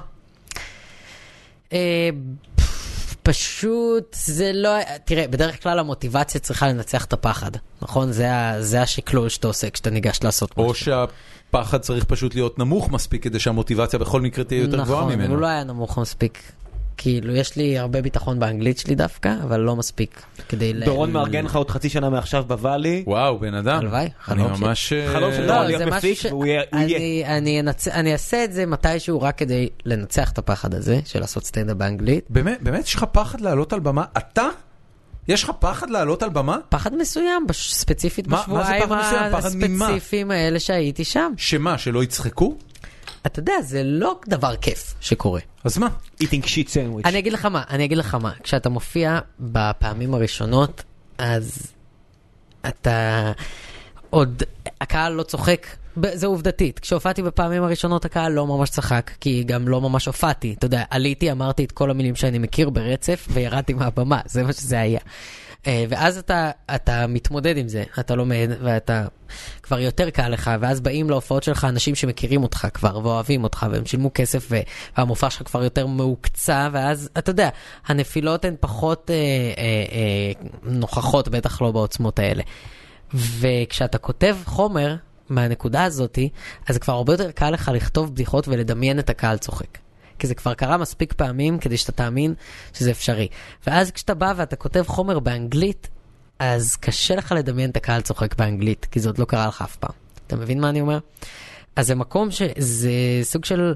Speaker 3: אה, פ- פשוט זה לא... תראה, בדרך כלל המוטיבציה צריכה לנצח את הפחד, נכון? זה, ה- זה השקלול שאתה עושה כשאתה ניגש לעשות משהו.
Speaker 1: או שהפחד צריך פשוט להיות נמוך מספיק כדי שהמוטיבציה בכל מקרה תהיה יותר גבוהה
Speaker 3: נכון, הוא
Speaker 1: ממנו.
Speaker 3: לא היה נמוך מספיק. כאילו, יש לי הרבה ביטחון באנגלית שלי דווקא, אבל לא מספיק כדי... ל-
Speaker 2: דורון
Speaker 3: ל-
Speaker 2: מארגן לך עוד חצי שנה מעכשיו בוואלי.
Speaker 1: וואו, בן אדם.
Speaker 3: הלוואי,
Speaker 1: אני
Speaker 3: חלום שלי.
Speaker 1: ממש... אה,
Speaker 2: חלום של
Speaker 3: לא,
Speaker 2: דורון
Speaker 3: זה
Speaker 2: להיות
Speaker 3: משהו
Speaker 2: מפיק,
Speaker 3: ש-
Speaker 2: והוא יהיה- הוא
Speaker 3: אני-
Speaker 2: יהיה.
Speaker 3: אני אנצ- אני אעשה את זה מתישהו רק כדי לנצח את הפחד הזה של לעשות סטנדאפ באנגלית.
Speaker 1: באמת, באמת יש לך פחד לעלות על במה? אתה? יש לך פחד לעלות על במה?
Speaker 3: פחד מסוים, בש- ספציפית
Speaker 1: מה- מה זה
Speaker 3: בשבועיים
Speaker 1: פחד מסוים? פחד ממה?
Speaker 3: הספציפיים האלה שהייתי שם.
Speaker 1: שמה, שלא יצחקו?
Speaker 3: אתה יודע, זה לא דבר כיף שקורה.
Speaker 1: אז מה?
Speaker 2: eating shit sandwich.
Speaker 3: אני אגיד לך מה, אני אגיד לך מה, כשאתה מופיע בפעמים הראשונות, אז אתה עוד, הקהל לא צוחק. ב- זה עובדתית, כשהופעתי בפעמים הראשונות הקהל לא ממש צחק, כי גם לא ממש הופעתי, אתה יודע, עליתי, אמרתי את כל המילים שאני מכיר ברצף, וירדתי מהבמה, זה מה שזה היה. אה, ואז אתה, אתה מתמודד עם זה, אתה לומד, ואתה כבר יותר קל לך, ואז באים להופעות שלך אנשים שמכירים אותך כבר, ואוהבים אותך, והם שילמו כסף, ו- והמופע שלך כבר יותר מהוקצע, ואז, אתה יודע, הנפילות הן פחות אה, אה, אה, נוכחות, בטח לא בעוצמות האלה. וכשאתה כותב חומר מהנקודה הזאתי, אז כבר הרבה יותר קל לך לכתוב בדיחות ולדמיין את הקהל צוחק. כי זה כבר קרה מספיק פעמים כדי שאתה תאמין שזה אפשרי. ואז כשאתה בא ואתה כותב חומר באנגלית, אז קשה לך לדמיין את הקהל צוחק באנגלית, כי זה עוד לא קרה לך אף פעם. אתה מבין מה אני אומר? אז זה מקום ש... זה סוג של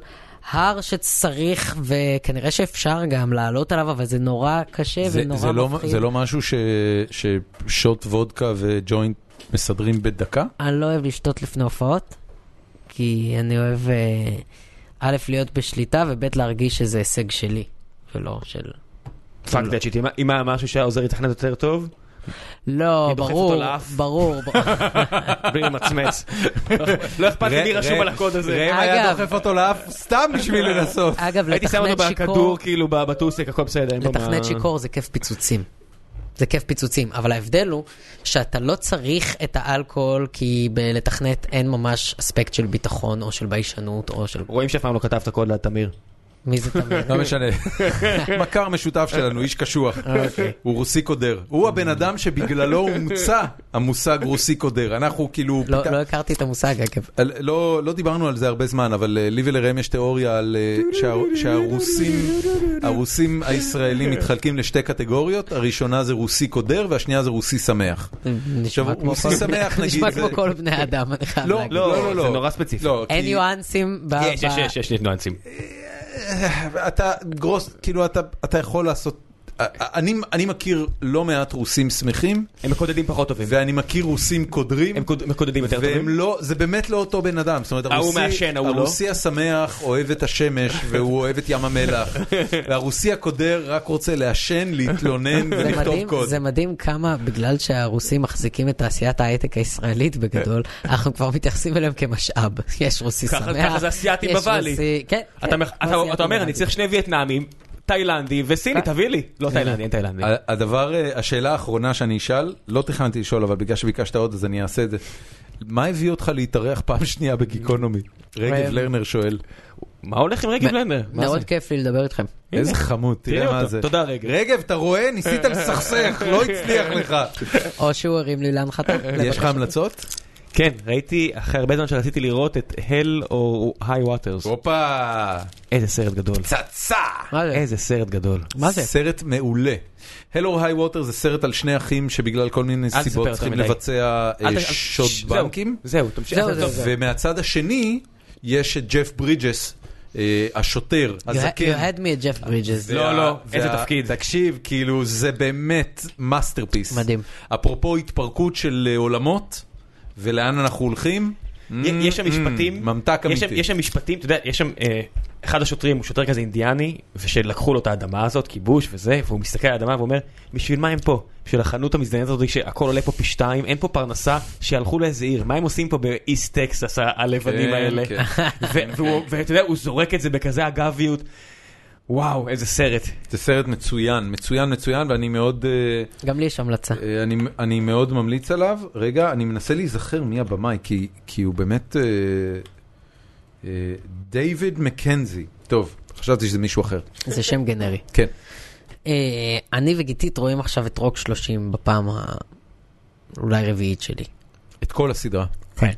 Speaker 3: הר שצריך, וכנראה שאפשר גם לעלות עליו, אבל זה נורא קשה
Speaker 1: זה-
Speaker 3: ונורא
Speaker 1: זה לא-
Speaker 3: מפחיד.
Speaker 1: זה לא משהו ש- ששוט וודקה וג'וינט מסדרים בדקה?
Speaker 3: אני לא אוהב לשתות לפני הופעות, כי אני אוהב, אה, א', להיות בשליטה, וב', להרגיש שזה הישג שלי, ולא של...
Speaker 2: פאק דאט שיט. אם היה משהו שהיה עוזר לתכנת יותר טוב,
Speaker 3: לא,
Speaker 2: אני דוחף
Speaker 3: ברור,
Speaker 2: אותו לאף.
Speaker 3: ברור. ברור.
Speaker 2: בלי למצמץ. לא אכפת לי מי רשום על הקוד הזה.
Speaker 1: ראם היה
Speaker 3: אגב-
Speaker 1: דוחף אותו לאף סתם בשביל לנסות.
Speaker 3: אגב,
Speaker 2: הייתי שם אותו
Speaker 3: לתכנת
Speaker 2: בכדור,
Speaker 3: שיכור,
Speaker 2: כאילו, בטוסיק, הכל בסדר. אין פה
Speaker 3: לתכנת
Speaker 2: מה-
Speaker 3: שיכור זה כיף פיצוצים. זה כיף פיצוצים, אבל ההבדל הוא שאתה לא צריך את האלכוהול, כי בלתכנת אין ממש אספקט של ביטחון, או של ביישנות, או של...
Speaker 2: רואים שאף פעם לא כתבת קוד לתמיר.
Speaker 3: מי זה תמיד?
Speaker 1: לא משנה. מכר משותף שלנו, איש קשוח. הוא רוסי קודר. הוא הבן אדם שבגללו הומצא המושג רוסי קודר. אנחנו כאילו...
Speaker 3: לא
Speaker 1: פיתח-
Speaker 3: לא הכרתי את המושג, אגב.
Speaker 1: על- לא, לא דיברנו על זה הרבה זמן, אבל אה, לי ולראם יש תיאוריה על אה, שה- שהרוסים, הרוסים הישראלים מתחלקים לשתי קטגוריות, הראשונה זה רוסי קודר והשנייה זה רוסי שמח. עכשיו,
Speaker 3: נשמע כמו
Speaker 1: רוסי
Speaker 3: כל-
Speaker 1: שמח, נגיד,
Speaker 3: נשמע
Speaker 1: זה-
Speaker 3: כמו כל בני אדם, אני חייב
Speaker 1: לא,
Speaker 3: להגיד.
Speaker 1: לא, לא, לא.
Speaker 2: זה נורא ספציפי.
Speaker 1: לא,
Speaker 3: אין
Speaker 1: כי-
Speaker 3: ניואנסים ב...
Speaker 2: יש,
Speaker 3: ב-
Speaker 2: יש, יש, יש ניואנסים.
Speaker 1: אתה גרוס, כאילו אתה, אתה יכול לעשות אני, אני מכיר לא מעט רוסים שמחים,
Speaker 2: הם מקודדים פחות טובים.
Speaker 1: ואני מכיר רוסים קודרים,
Speaker 2: כן. הם קוד- מקודדים יותר
Speaker 1: והם
Speaker 2: טובים.
Speaker 1: לא, זה באמת לא אותו בן אדם. זאת אומרת,
Speaker 2: ההוא
Speaker 1: הרוסי,
Speaker 2: מעשן, ההוא לא.
Speaker 1: הרוסי השמח אוהב את השמש, והוא אוהב את ים המלח. והרוסי הקודר רק רוצה לעשן, להתלונן
Speaker 3: זה
Speaker 1: ולכתוב
Speaker 3: מדהים,
Speaker 1: קוד.
Speaker 3: זה מדהים כמה בגלל שהרוסים מחזיקים את תעשיית ההייטק הישראלית בגדול, אנחנו כבר מתייחסים אליהם כמשאב. יש רוסי
Speaker 2: ככה-
Speaker 3: שמח,
Speaker 2: ככה זה אסיאתים
Speaker 3: יש
Speaker 2: בוואלי.
Speaker 3: רוסי- כן.
Speaker 1: לא-
Speaker 2: אתה
Speaker 3: כן,
Speaker 2: מח-
Speaker 3: כמו
Speaker 2: אתה
Speaker 3: אסיאתים
Speaker 2: אתה אומר, אני
Speaker 3: בוואלי.
Speaker 2: צריך שני וייטנאמים, תאילנדי וסיני, תביא לי. לא תאילנדי, אין תאילנדי.
Speaker 1: ה- הדבר, אה, השאלה האחרונה שאני אשאל, לא תכננתי לשאול, אבל בגלל שביקשת עוד אז אני אעשה את זה. מה הביא אותך להתארח פעם שנייה בגיקונומי? רגב
Speaker 3: אה,
Speaker 1: לרנר שואל.
Speaker 2: מה הולך עם רגב לנר? מה
Speaker 3: מאוד
Speaker 2: זה?
Speaker 3: כיף לי לדבר איתכם.
Speaker 2: הנה.
Speaker 1: איזה חמוד, תראה מה
Speaker 2: אותו.
Speaker 1: זה.
Speaker 2: תודה, רגב.
Speaker 1: רגב, אתה רואה? ניסית לסכסך, לא הצליח לך.
Speaker 3: או שהוא הרים לי להנחתה.
Speaker 1: יש לך המלצות?
Speaker 2: כן, ראיתי אחרי הרבה זמן שרציתי לראות את הל או היי ווטרס.
Speaker 1: הופה,
Speaker 2: איזה סרט גדול.
Speaker 1: פצצה!
Speaker 3: מה זה?
Speaker 2: איזה סרט גדול.
Speaker 1: אה,
Speaker 3: מה זה?
Speaker 1: סרט מעולה. Hell or High Water זה סרט על שני אחים שבגלל כל מיני
Speaker 2: תספר
Speaker 1: סיבות
Speaker 2: יותר
Speaker 1: צריכים
Speaker 2: מדי.
Speaker 1: לבצע אה,
Speaker 2: אל ת- ש-
Speaker 1: שוד
Speaker 2: זהו,
Speaker 1: בנקים.
Speaker 2: זהו, תמשיך.
Speaker 3: זהו,
Speaker 2: אז
Speaker 3: זהו,
Speaker 2: טוב.
Speaker 3: זהו.
Speaker 1: ומהצד השני יש את ג'ף ברידג'ס, אה, השוטר,
Speaker 3: You
Speaker 1: הזקן.
Speaker 3: had me at Jeff Bridges.
Speaker 2: לא, לא,
Speaker 1: וה-
Speaker 2: איזה
Speaker 1: וה-
Speaker 2: תפקיד.
Speaker 1: תקשיב, כאילו, זה באמת מאסטרפיס.
Speaker 3: מדהים.
Speaker 1: אפרופו התפרקות של אה, עולמות, ולאן אנחנו הולכים.
Speaker 2: י- יש שם
Speaker 1: Mm,
Speaker 2: משפטים,
Speaker 1: ממתק
Speaker 2: יש שם-
Speaker 1: אמיתי.
Speaker 2: יש שם משפטים, אתה יודע, יש שם, אה, אחד השוטרים הוא שוטר כזה אינדיאני, ושלקחו לו את האדמה הזאת, כיבוש וזה, והוא מסתכל על האדמה ואומר, בשביל מה הם פה? בשביל החנות המזדיינת הזאת שהכל עולה פה פי שתיים, אין פה פרנסה, שהלכו לאיזה עיר, מה הם עושים פה באיסט טקסס, ה- הלבנים
Speaker 1: כן,
Speaker 2: האלה?
Speaker 1: כן.
Speaker 2: ו- והוא- ואתה יודע, הוא זורק את זה בכזה אגביות, וואו, איזה סרט.
Speaker 1: זה סרט מצוין, מצוין, מצוין, ואני מאוד... אה,
Speaker 3: גם לי יש המלצה.
Speaker 1: אה, אני, אני מאוד ממליץ עליו. רגע, אני מנסה להיזכר מי הבמאי, כי, כי הוא באמת... אה, אה, דיוויד מקנזי. טוב, חשבתי שזה מישהו אחר.
Speaker 3: זה שם גנרי.
Speaker 1: כן.
Speaker 3: אה, אני וגיתית רואים עכשיו את רוק 30 בפעם ה... אולי רביעית שלי.
Speaker 1: את כל הסדרה.
Speaker 3: כן.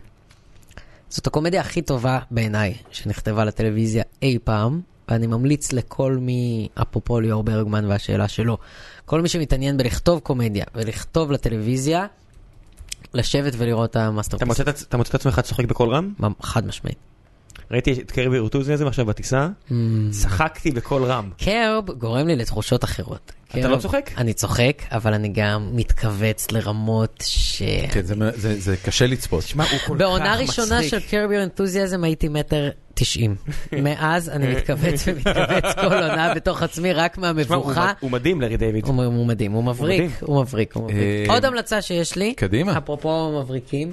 Speaker 3: זאת הקומדיה הכי טובה בעיניי שנכתבה לטלוויזיה אי פעם, ואני ממליץ לכל מי, אפרופו ליאור ברגמן והשאלה שלו, כל מי שמתעניין בלכתוב קומדיה ולכתוב לטלוויזיה, לשבת ולראות את
Speaker 2: אתה
Speaker 3: המאסטרפיס.
Speaker 2: מוצא את עצ- אתה מוצא את עצמך צוחק בקול רם?
Speaker 3: ממ- חד משמעית.
Speaker 2: ראיתי את קרבי אורטוזיאזם עכשיו בטיסה,
Speaker 1: Mm.
Speaker 2: צחקתי בקול רם.
Speaker 3: קרב גורם לי לתחושות אחרות.
Speaker 2: אתה לא צוחק?
Speaker 3: אני צוחק, אבל אני גם מתכווץ לרמות ש...
Speaker 1: כן, זה, זה, זה קשה לצפות.
Speaker 2: תשמע, הוא כל כך מצחיק.
Speaker 3: בעונה ראשונה של קרביו אנתוזיאזם הייתי מטר תשעים. מאז אני מתכווץ ומתכווץ כל עונה בתוך עצמי רק
Speaker 2: תשמע, הוא
Speaker 3: מהמבוכה.
Speaker 2: מד- הוא מדהים לארי דיוויד.
Speaker 3: הוא הוא מדהים, הוא מבריק,
Speaker 2: מדהים.
Speaker 3: הוא מבריק, הוא מבריק.
Speaker 1: אה,
Speaker 3: עוד המלצה שיש לי,
Speaker 1: קדימה.
Speaker 3: אפרופו מבריקים,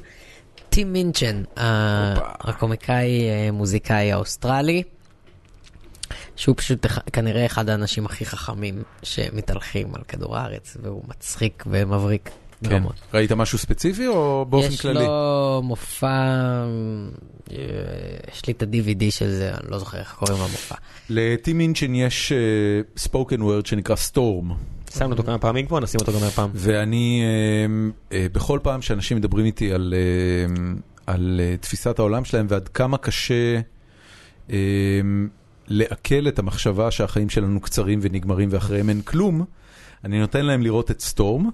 Speaker 3: טים מינצ'ן, ה- הקומיקאי אה, מוזיקאי האוסטרלי, שהוא פשוט אח- כנראה אחד האנשים הכי חכמים שמתהלכים על כדור הארץ, והוא מצחיק ומבריק.
Speaker 1: כן.
Speaker 3: ברמות.
Speaker 1: ראית משהו ספציפי או באופן
Speaker 3: יש
Speaker 1: כללי?
Speaker 3: לו מופע, אה, יש לי את ה-DVD של זה, אני לא זוכר איך קוראים למופע.
Speaker 1: לטים אינצ'ן יש ספוקן וורד שנקרא סטורם,
Speaker 2: שמנו אותו כמה פעמים כבר, נשים אותו גם מהפעם.
Speaker 1: ואני אה, אה, בכל פעם שאנשים מדברים איתי על, אה, על אה, תפיסת העולם שלהם ועד כמה קשה אה, לעכל את המחשבה שהחיים שלנו קצרים ונגמרים ואחריהם אין כלום, אני נותן להם לראות את סטורם.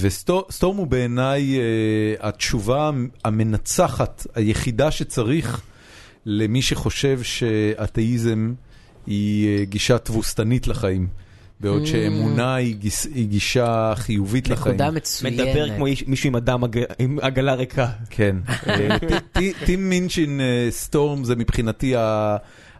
Speaker 1: וסטורם הוא בעיניי אה, התשובה המנצחת, היחידה שצריך למי שחושב שאתאיזם היא אה, גישה תבוסתנית לחיים, בעוד שאמונה היא, גיס, היא גישה חיובית לחיים.
Speaker 3: נקודה מצוינת.
Speaker 2: מדבר כמו איש- מישהו עם אדם עג- עם עגלה ריקה.
Speaker 1: כן. אה, ט- ט- טים מינצ'ין אה, סטורם זה מבחינתי ה-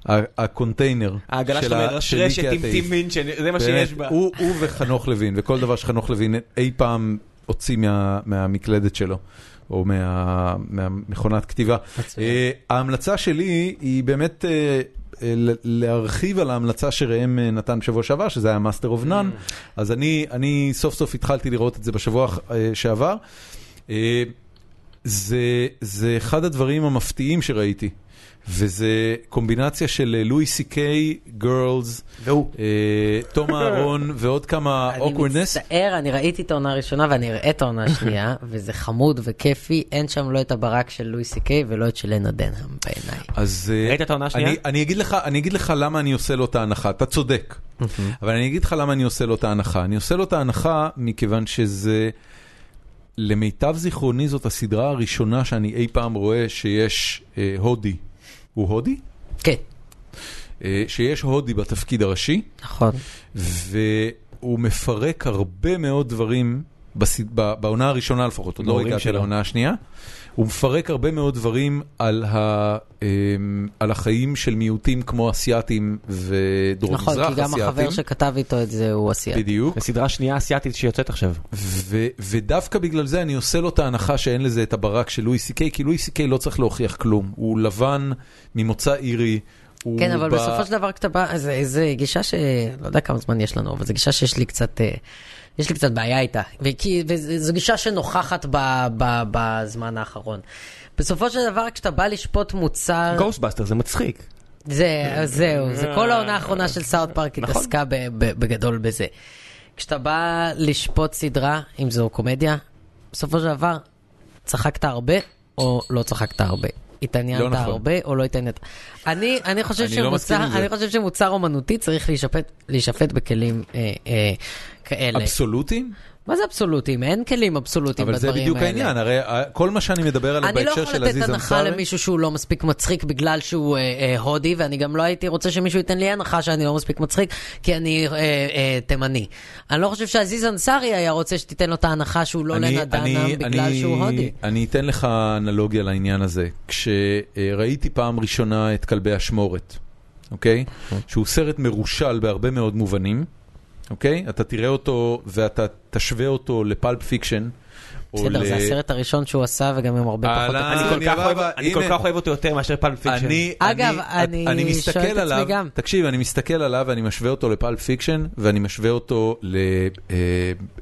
Speaker 1: ה- הקונטיינר.
Speaker 2: העגלה
Speaker 1: של
Speaker 2: שלו
Speaker 1: ה- שלי
Speaker 2: מרשרשת עם
Speaker 1: כאתאיסט.
Speaker 2: טים מינצ'ן, זה מה
Speaker 1: באמת,
Speaker 2: שיש בה.
Speaker 1: הוא הוא וחנוך לוין, וכל דבר שחנוך לוין אי פעם הוציא מה- מהמקלדת שלו, או מה- מהמכונת כתיבה.
Speaker 3: מצוין.
Speaker 1: אה, ההמלצה שלי היא באמת אה, אה, ל- להרחיב על ההמלצה שראם אה, נתן בשבוע שעבר, שזה היה מאסטר אוף נאן,
Speaker 3: Mm.
Speaker 1: אז אני אני סוף סוף התחלתי לראות את זה בשבוע אה, שעבר. אה, זה, זה אחד הדברים המפתיעים שראיתי, וזה קומבינציה של אה, לואי סי קיי, גרלס,
Speaker 2: והוא.
Speaker 1: אה, תום אהרון ועוד כמה
Speaker 3: אני
Speaker 1: אה, awkwardness.
Speaker 3: מצטער, אני ראיתי את העונה הראשונה ואני אראה את העונה השנייה, וזה חמוד וכיפי, אין שם לא את הברק של לואי סי קיי ולא את של לנה דנהם בעיניי.
Speaker 1: אז אה,
Speaker 2: ראית את העונה השנייה?
Speaker 1: אני, אני, אגיד לך, אני אגיד לך למה אני עושה לו את ההנחה, אתה צודק. אבל אני אגיד לך למה אני עושה לו את ההנחה. אני עושה לו את ההנחה מכיוון שזה, למיטב זיכרוני זאת הסדרה הראשונה שאני אי פעם רואה שיש אה, הודי. הוא הודי?
Speaker 3: כן,
Speaker 1: אה, שיש הודי בתפקיד הראשי,
Speaker 3: נכון.
Speaker 1: והוא הוא מפרק הרבה מאוד דברים, בסד... ב... בעונה הראשונה לפחות, עוד לא
Speaker 2: בהורים
Speaker 1: הגעתי
Speaker 2: שלו.
Speaker 1: לעונה השנייה, הוא מפרק הרבה מאוד דברים על, ה... אמ, על החיים של מיעוטים כמו אסיאתים ודרום מזרח
Speaker 3: נכון,
Speaker 1: אסיאתים.
Speaker 3: כי גם החבר שכתב איתו את זה הוא אסיאתי.
Speaker 1: בדיוק.
Speaker 2: הסדרה השנייה האסייתית שיוצאת עכשיו.
Speaker 1: ו- ודווקא בגלל זה אני עושה לו את ההנחה שאין לזה את הברק של לואי סי קיי, כי לואי סי קיי לא צריך להוכיח כלום. הוא לבן, ממוצא אירי. הוא
Speaker 3: כן, אבל
Speaker 1: ב-
Speaker 3: בסופו של דבר כשאתה בא, זה, זה גישה ש... לא יודע כמה זמן יש לנו, אבל זו גישה שיש לי קצת... אה, יש לי קצת בעיה איתה, וכי, וזו גישה שנוכחת ב, ב, בזמן האחרון. בסופו של דבר, כשאתה בא לשפוט
Speaker 1: אה.
Speaker 3: מוצר,
Speaker 2: גוסטבאסטר זה מצחיק.
Speaker 3: זה, אז זהו, זה כל העונה האחרונה של סאוט פארק
Speaker 2: נכון.
Speaker 3: התעסקה ב- ב- בגדול בזה. כשאתה בא לשפוט סדרה, אם זו קומדיה, בסופו של דבר, צחקת הרבה או לא צחקת הרבה.
Speaker 1: לא
Speaker 3: התעניינת
Speaker 1: נכון.
Speaker 3: הרבה או לא התעניינת. אני, אני, חושב
Speaker 1: אני לא מסכים
Speaker 3: שמוצר,
Speaker 1: עם זה.
Speaker 3: אני חושב שמוצר אומנותי צריך להישפט, להישפט בכלים אה, אה, כאלה.
Speaker 1: אבסולוטים?
Speaker 3: מה זה אבסולוטים? אין כלים אבסולוטים
Speaker 1: אבל
Speaker 3: בדברים
Speaker 1: זה
Speaker 3: האלה.
Speaker 1: בדיוק העניין, הרי אה, כל מה שאני מדבר עליו
Speaker 3: אני לא
Speaker 1: בהקשר
Speaker 3: יכול
Speaker 1: של
Speaker 3: לתת
Speaker 1: עזיז
Speaker 3: הנחה
Speaker 1: אמסלם,
Speaker 3: למישהו שהוא לא מספיק מצחיק בגלל שהוא אה, אה, הודי, ואני גם לא הייתי רוצה שמישהו ייתן לי הנחה שאני לא מספיק מצחיק, כי אני אה, אה, תימני. אני לא חושב שעזיז אנסארי היה רוצה שתיתן לו את ההנחה שהוא לא
Speaker 1: אני-
Speaker 3: לנה דנאם
Speaker 1: אני-
Speaker 3: בגלל
Speaker 1: אני-
Speaker 3: שהוא הודי.
Speaker 1: אני אתן לך אנלוגיה לעניין הזה. כשראיתי פעם ראשונה את כלבי אשמורת, אוקיי? שהוא סרט מרושל בהרבה מאוד מובנים, אוקיי? אתה תראה אותו ואתה תשווה אותו לפלפ פיקשן. או
Speaker 3: בסדר,
Speaker 1: ל-
Speaker 3: זה הסרט הראשון שהוא עשה וגם עם הרבה פחות...
Speaker 1: אהלן.
Speaker 2: אני
Speaker 1: אה,
Speaker 2: כל כך
Speaker 1: אני
Speaker 2: אוהב-
Speaker 1: בא-
Speaker 2: אני כל
Speaker 1: הנה.
Speaker 2: כך אוהב אותו יותר מאשר פלם פיקשן.
Speaker 1: אני,
Speaker 3: אגב,
Speaker 1: אני,
Speaker 3: אני
Speaker 1: אני מסתכל
Speaker 3: שואל את עצמי
Speaker 1: עליו,
Speaker 3: גם.
Speaker 1: תקשיב, אני מסתכל עליו ואני משווה אותו לפלפ פיקשן, ואני משווה אותו ל... אה,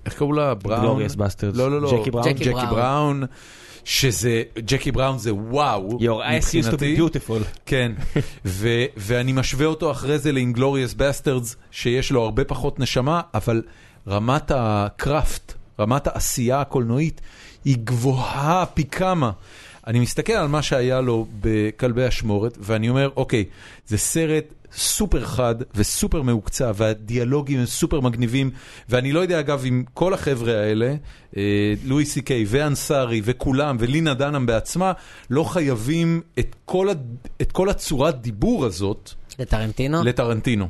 Speaker 1: איך קראו לה? בראון?
Speaker 2: Glorious Bastards.
Speaker 1: לא, לא, לא.
Speaker 2: ג'קי בראון?
Speaker 3: ג'קי
Speaker 1: ג'קי
Speaker 3: בראון.
Speaker 1: בראון. שזה, ג'קי בראון זה וואו,
Speaker 2: Your ass used to be beautiful.
Speaker 1: כן, ו, ואני משווה אותו אחרי זה לאינגלוריאס בסטרדס, שיש לו הרבה פחות נשמה, אבל רמת הקראפט, רמת העשייה הקולנועית, היא גבוהה פי כמה. אני מסתכל על מה שהיה לו בכלבי אשמורת, ואני אומר, אוקיי, זה סרט סופר חד וסופר מהוקצע, והדיאלוגים הם סופר מגניבים, ואני לא יודע, אגב, אם כל החבר'ה האלה, אה, לואי סי קיי ואנסארי וכולם, ולינה דנאם בעצמה, לא חייבים את כל, ה, את כל הצורת דיבור הזאת
Speaker 3: לטרנטינו,
Speaker 1: לטרנטינו,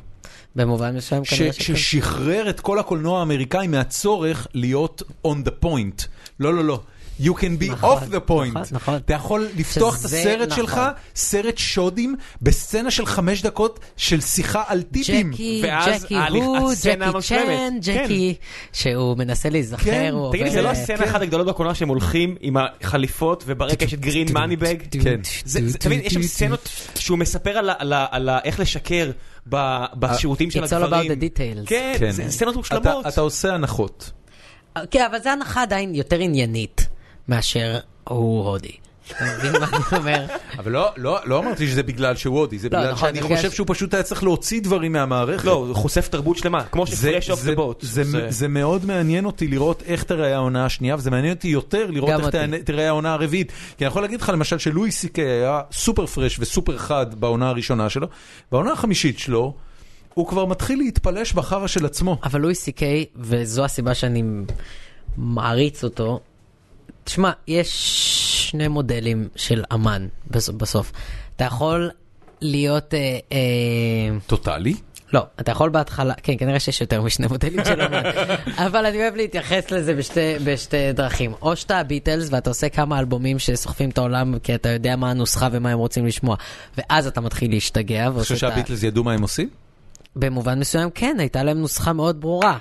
Speaker 3: במובן מסוים
Speaker 1: ש,
Speaker 3: כנראה שכן.
Speaker 1: ששחרר את כל הקולנוע האמריקאי מהצורך להיות on the point. לא, לא, לא. You can be
Speaker 3: נכון,
Speaker 1: off the point.
Speaker 3: נכון, נכון.
Speaker 1: אתה יכול לפתוח את
Speaker 3: שזה
Speaker 1: הסרט
Speaker 3: נכון.
Speaker 1: שלך, סרט שודים, בסצנה של חמש דקות של שיחה על טיפים.
Speaker 3: ג'קי,
Speaker 2: ואז
Speaker 3: ג'קי
Speaker 2: ההליך-
Speaker 3: הוא,
Speaker 2: הסצנה
Speaker 3: ג'קי צ'ן,
Speaker 2: המשממת.
Speaker 3: ג'קי, שהוא מנסה
Speaker 1: כן,
Speaker 3: להיזכר, הוא עובר...
Speaker 2: תגיד לי, זה לא
Speaker 3: אה,
Speaker 2: הסצנה אחת הגדולות בקולנוע שהם הולכים עם החליפות וברקע יש את גרין מאניבג?
Speaker 1: כן.
Speaker 2: זה, זה, אתה מבין, יש שם סצנות שהוא מספר על, ה- על, ה- על ה- איך לשקר ב, בשירותים של
Speaker 3: It's all
Speaker 2: הגברים.
Speaker 3: about the details.
Speaker 2: כן,
Speaker 1: כן.
Speaker 2: זה סצנות מושלמות.
Speaker 1: אתה, אתה עושה הנחות.
Speaker 3: כן, אבל זו הנחה עדיין יותר עניינית מאשר הוא הודי. אתה מבין מה אני אומר?
Speaker 1: אבל לא, לא, לא אמרתי שזה בגלל שהוא הודי, זה
Speaker 3: לא,
Speaker 1: בגלל
Speaker 3: נכון,
Speaker 1: שאני
Speaker 3: בגלל
Speaker 1: חושב
Speaker 3: ש-
Speaker 1: שהוא פשוט היה צריך להוציא דברים מהמערכת.
Speaker 2: לא, הוא חושף תרבות שלמה, כמו
Speaker 1: זה,
Speaker 2: שפרש אוף
Speaker 1: זה,
Speaker 2: דה בוט.
Speaker 1: זה, זה... זה מאוד מעניין אותי לראות איך תראה העונה השנייה, וזה מעניין אותי יותר לראות
Speaker 3: גם
Speaker 1: איך
Speaker 3: אותי.
Speaker 1: תענה- תראה העונה הרביעית. כי אני יכול להגיד לך למשל שלואי סי קיי היה סופר פרש וסופר חד בעונה הראשונה שלו, בעונה החמישית שלו, הוא כבר מתחיל להתפלש בחרא של עצמו.
Speaker 3: אבל לואי סי קיי, וזו הסיבה שאני מעריץ אותו, תשמע, יש שני מודלים של אמן בס- בסוף. אתה יכול להיות... אה, אה,
Speaker 1: טוטאלי?
Speaker 3: לא, אתה יכול בהתחלה, כן, כנראה שיש יותר משני מודלים של אמן, אבל אני אוהב להתייחס לזה בשתי, בשתי דרכים. או שאתה הביטלס ואתה עושה כמה אלבומים שסוחפים את העולם, כי אתה יודע מה הנוסחה ומה הם רוצים לשמוע, ואז אתה מתחיל להשתגע.
Speaker 1: אני חושב שהביטלס ידעו מה הם עושים?
Speaker 3: במובן מסוים כן, הייתה להם נוסחה מאוד ברורה.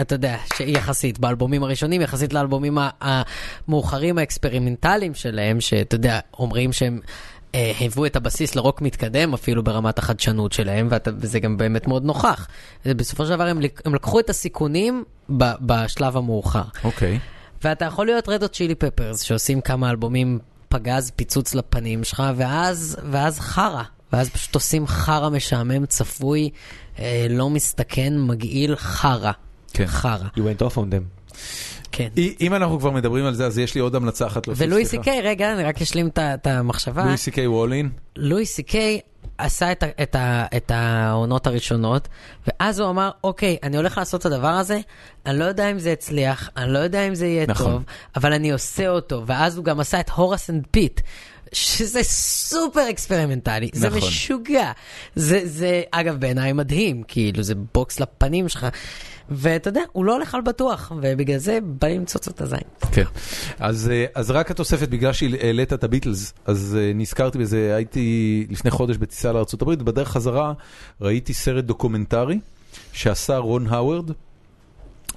Speaker 3: אתה יודע, שיחסית, באלבומים הראשונים, יחסית לאלבומים ה- המאוחרים האקספרימנטליים שלהם, שאתה יודע, אומרים שהם אה, היוו את הבסיס לרוק מתקדם אפילו ברמת החדשנות שלהם, ואתה, וזה גם באמת מאוד נוכח. זה בסופו של דבר הם, לק- הם לקחו את הסיכונים ב, בשלב המאוחר.
Speaker 1: אוקיי.
Speaker 3: ואתה יכול להיות רד אוט צ'ילי פפרס, שעושים כמה אלבומים פגז פיצוץ לפנים שלך, ואז, ואז חרא. ואז פשוט עושים חרא משעמם, צפוי, אה, לא מסתכן, מגעיל, חרא.
Speaker 1: כן.
Speaker 3: חרא,
Speaker 2: You went off on them.
Speaker 3: כן.
Speaker 1: אם אנחנו כבר מדברים על זה, אז יש לי עוד המלצה אחת להוסיף,
Speaker 3: ולואי סי
Speaker 1: סליחה.
Speaker 3: קיי, רגע, אני רק אשלים את ה- את המחשבה.
Speaker 1: לואי סי קיי וולין.
Speaker 3: לואי סי קיי עשה את, ה- את, ה- את העונות הראשונות, ואז הוא אמר, אוקיי, אני הולך לעשות את הדבר הזה, אני לא יודע אם זה יצליח, אני לא יודע אם זה יהיה
Speaker 1: נכון.
Speaker 3: נכון. טוב, אבל אני עושה אותו. ואז הוא גם עשה את הורס אנד פיט. שזה סופר אקספרימנטלי, זה
Speaker 1: נכון.
Speaker 3: משוגע. זה, זה, אגב, בעיניי מדהים, כאילו, זה בוקס לפנים שלך. ואתה יודע, הוא לא הולך על בטוח, ובגלל זה בא למצוץ את הזין.
Speaker 1: כן. אז, אה, אז רק התוספת, בגלל שהעלית את הביטלס, אז אה, נזכרתי בזה, הייתי לפני חודש בטיסה לארה"ב, בדרך חזרה ראיתי סרט דוקומנטרי שעשה רון האוורד,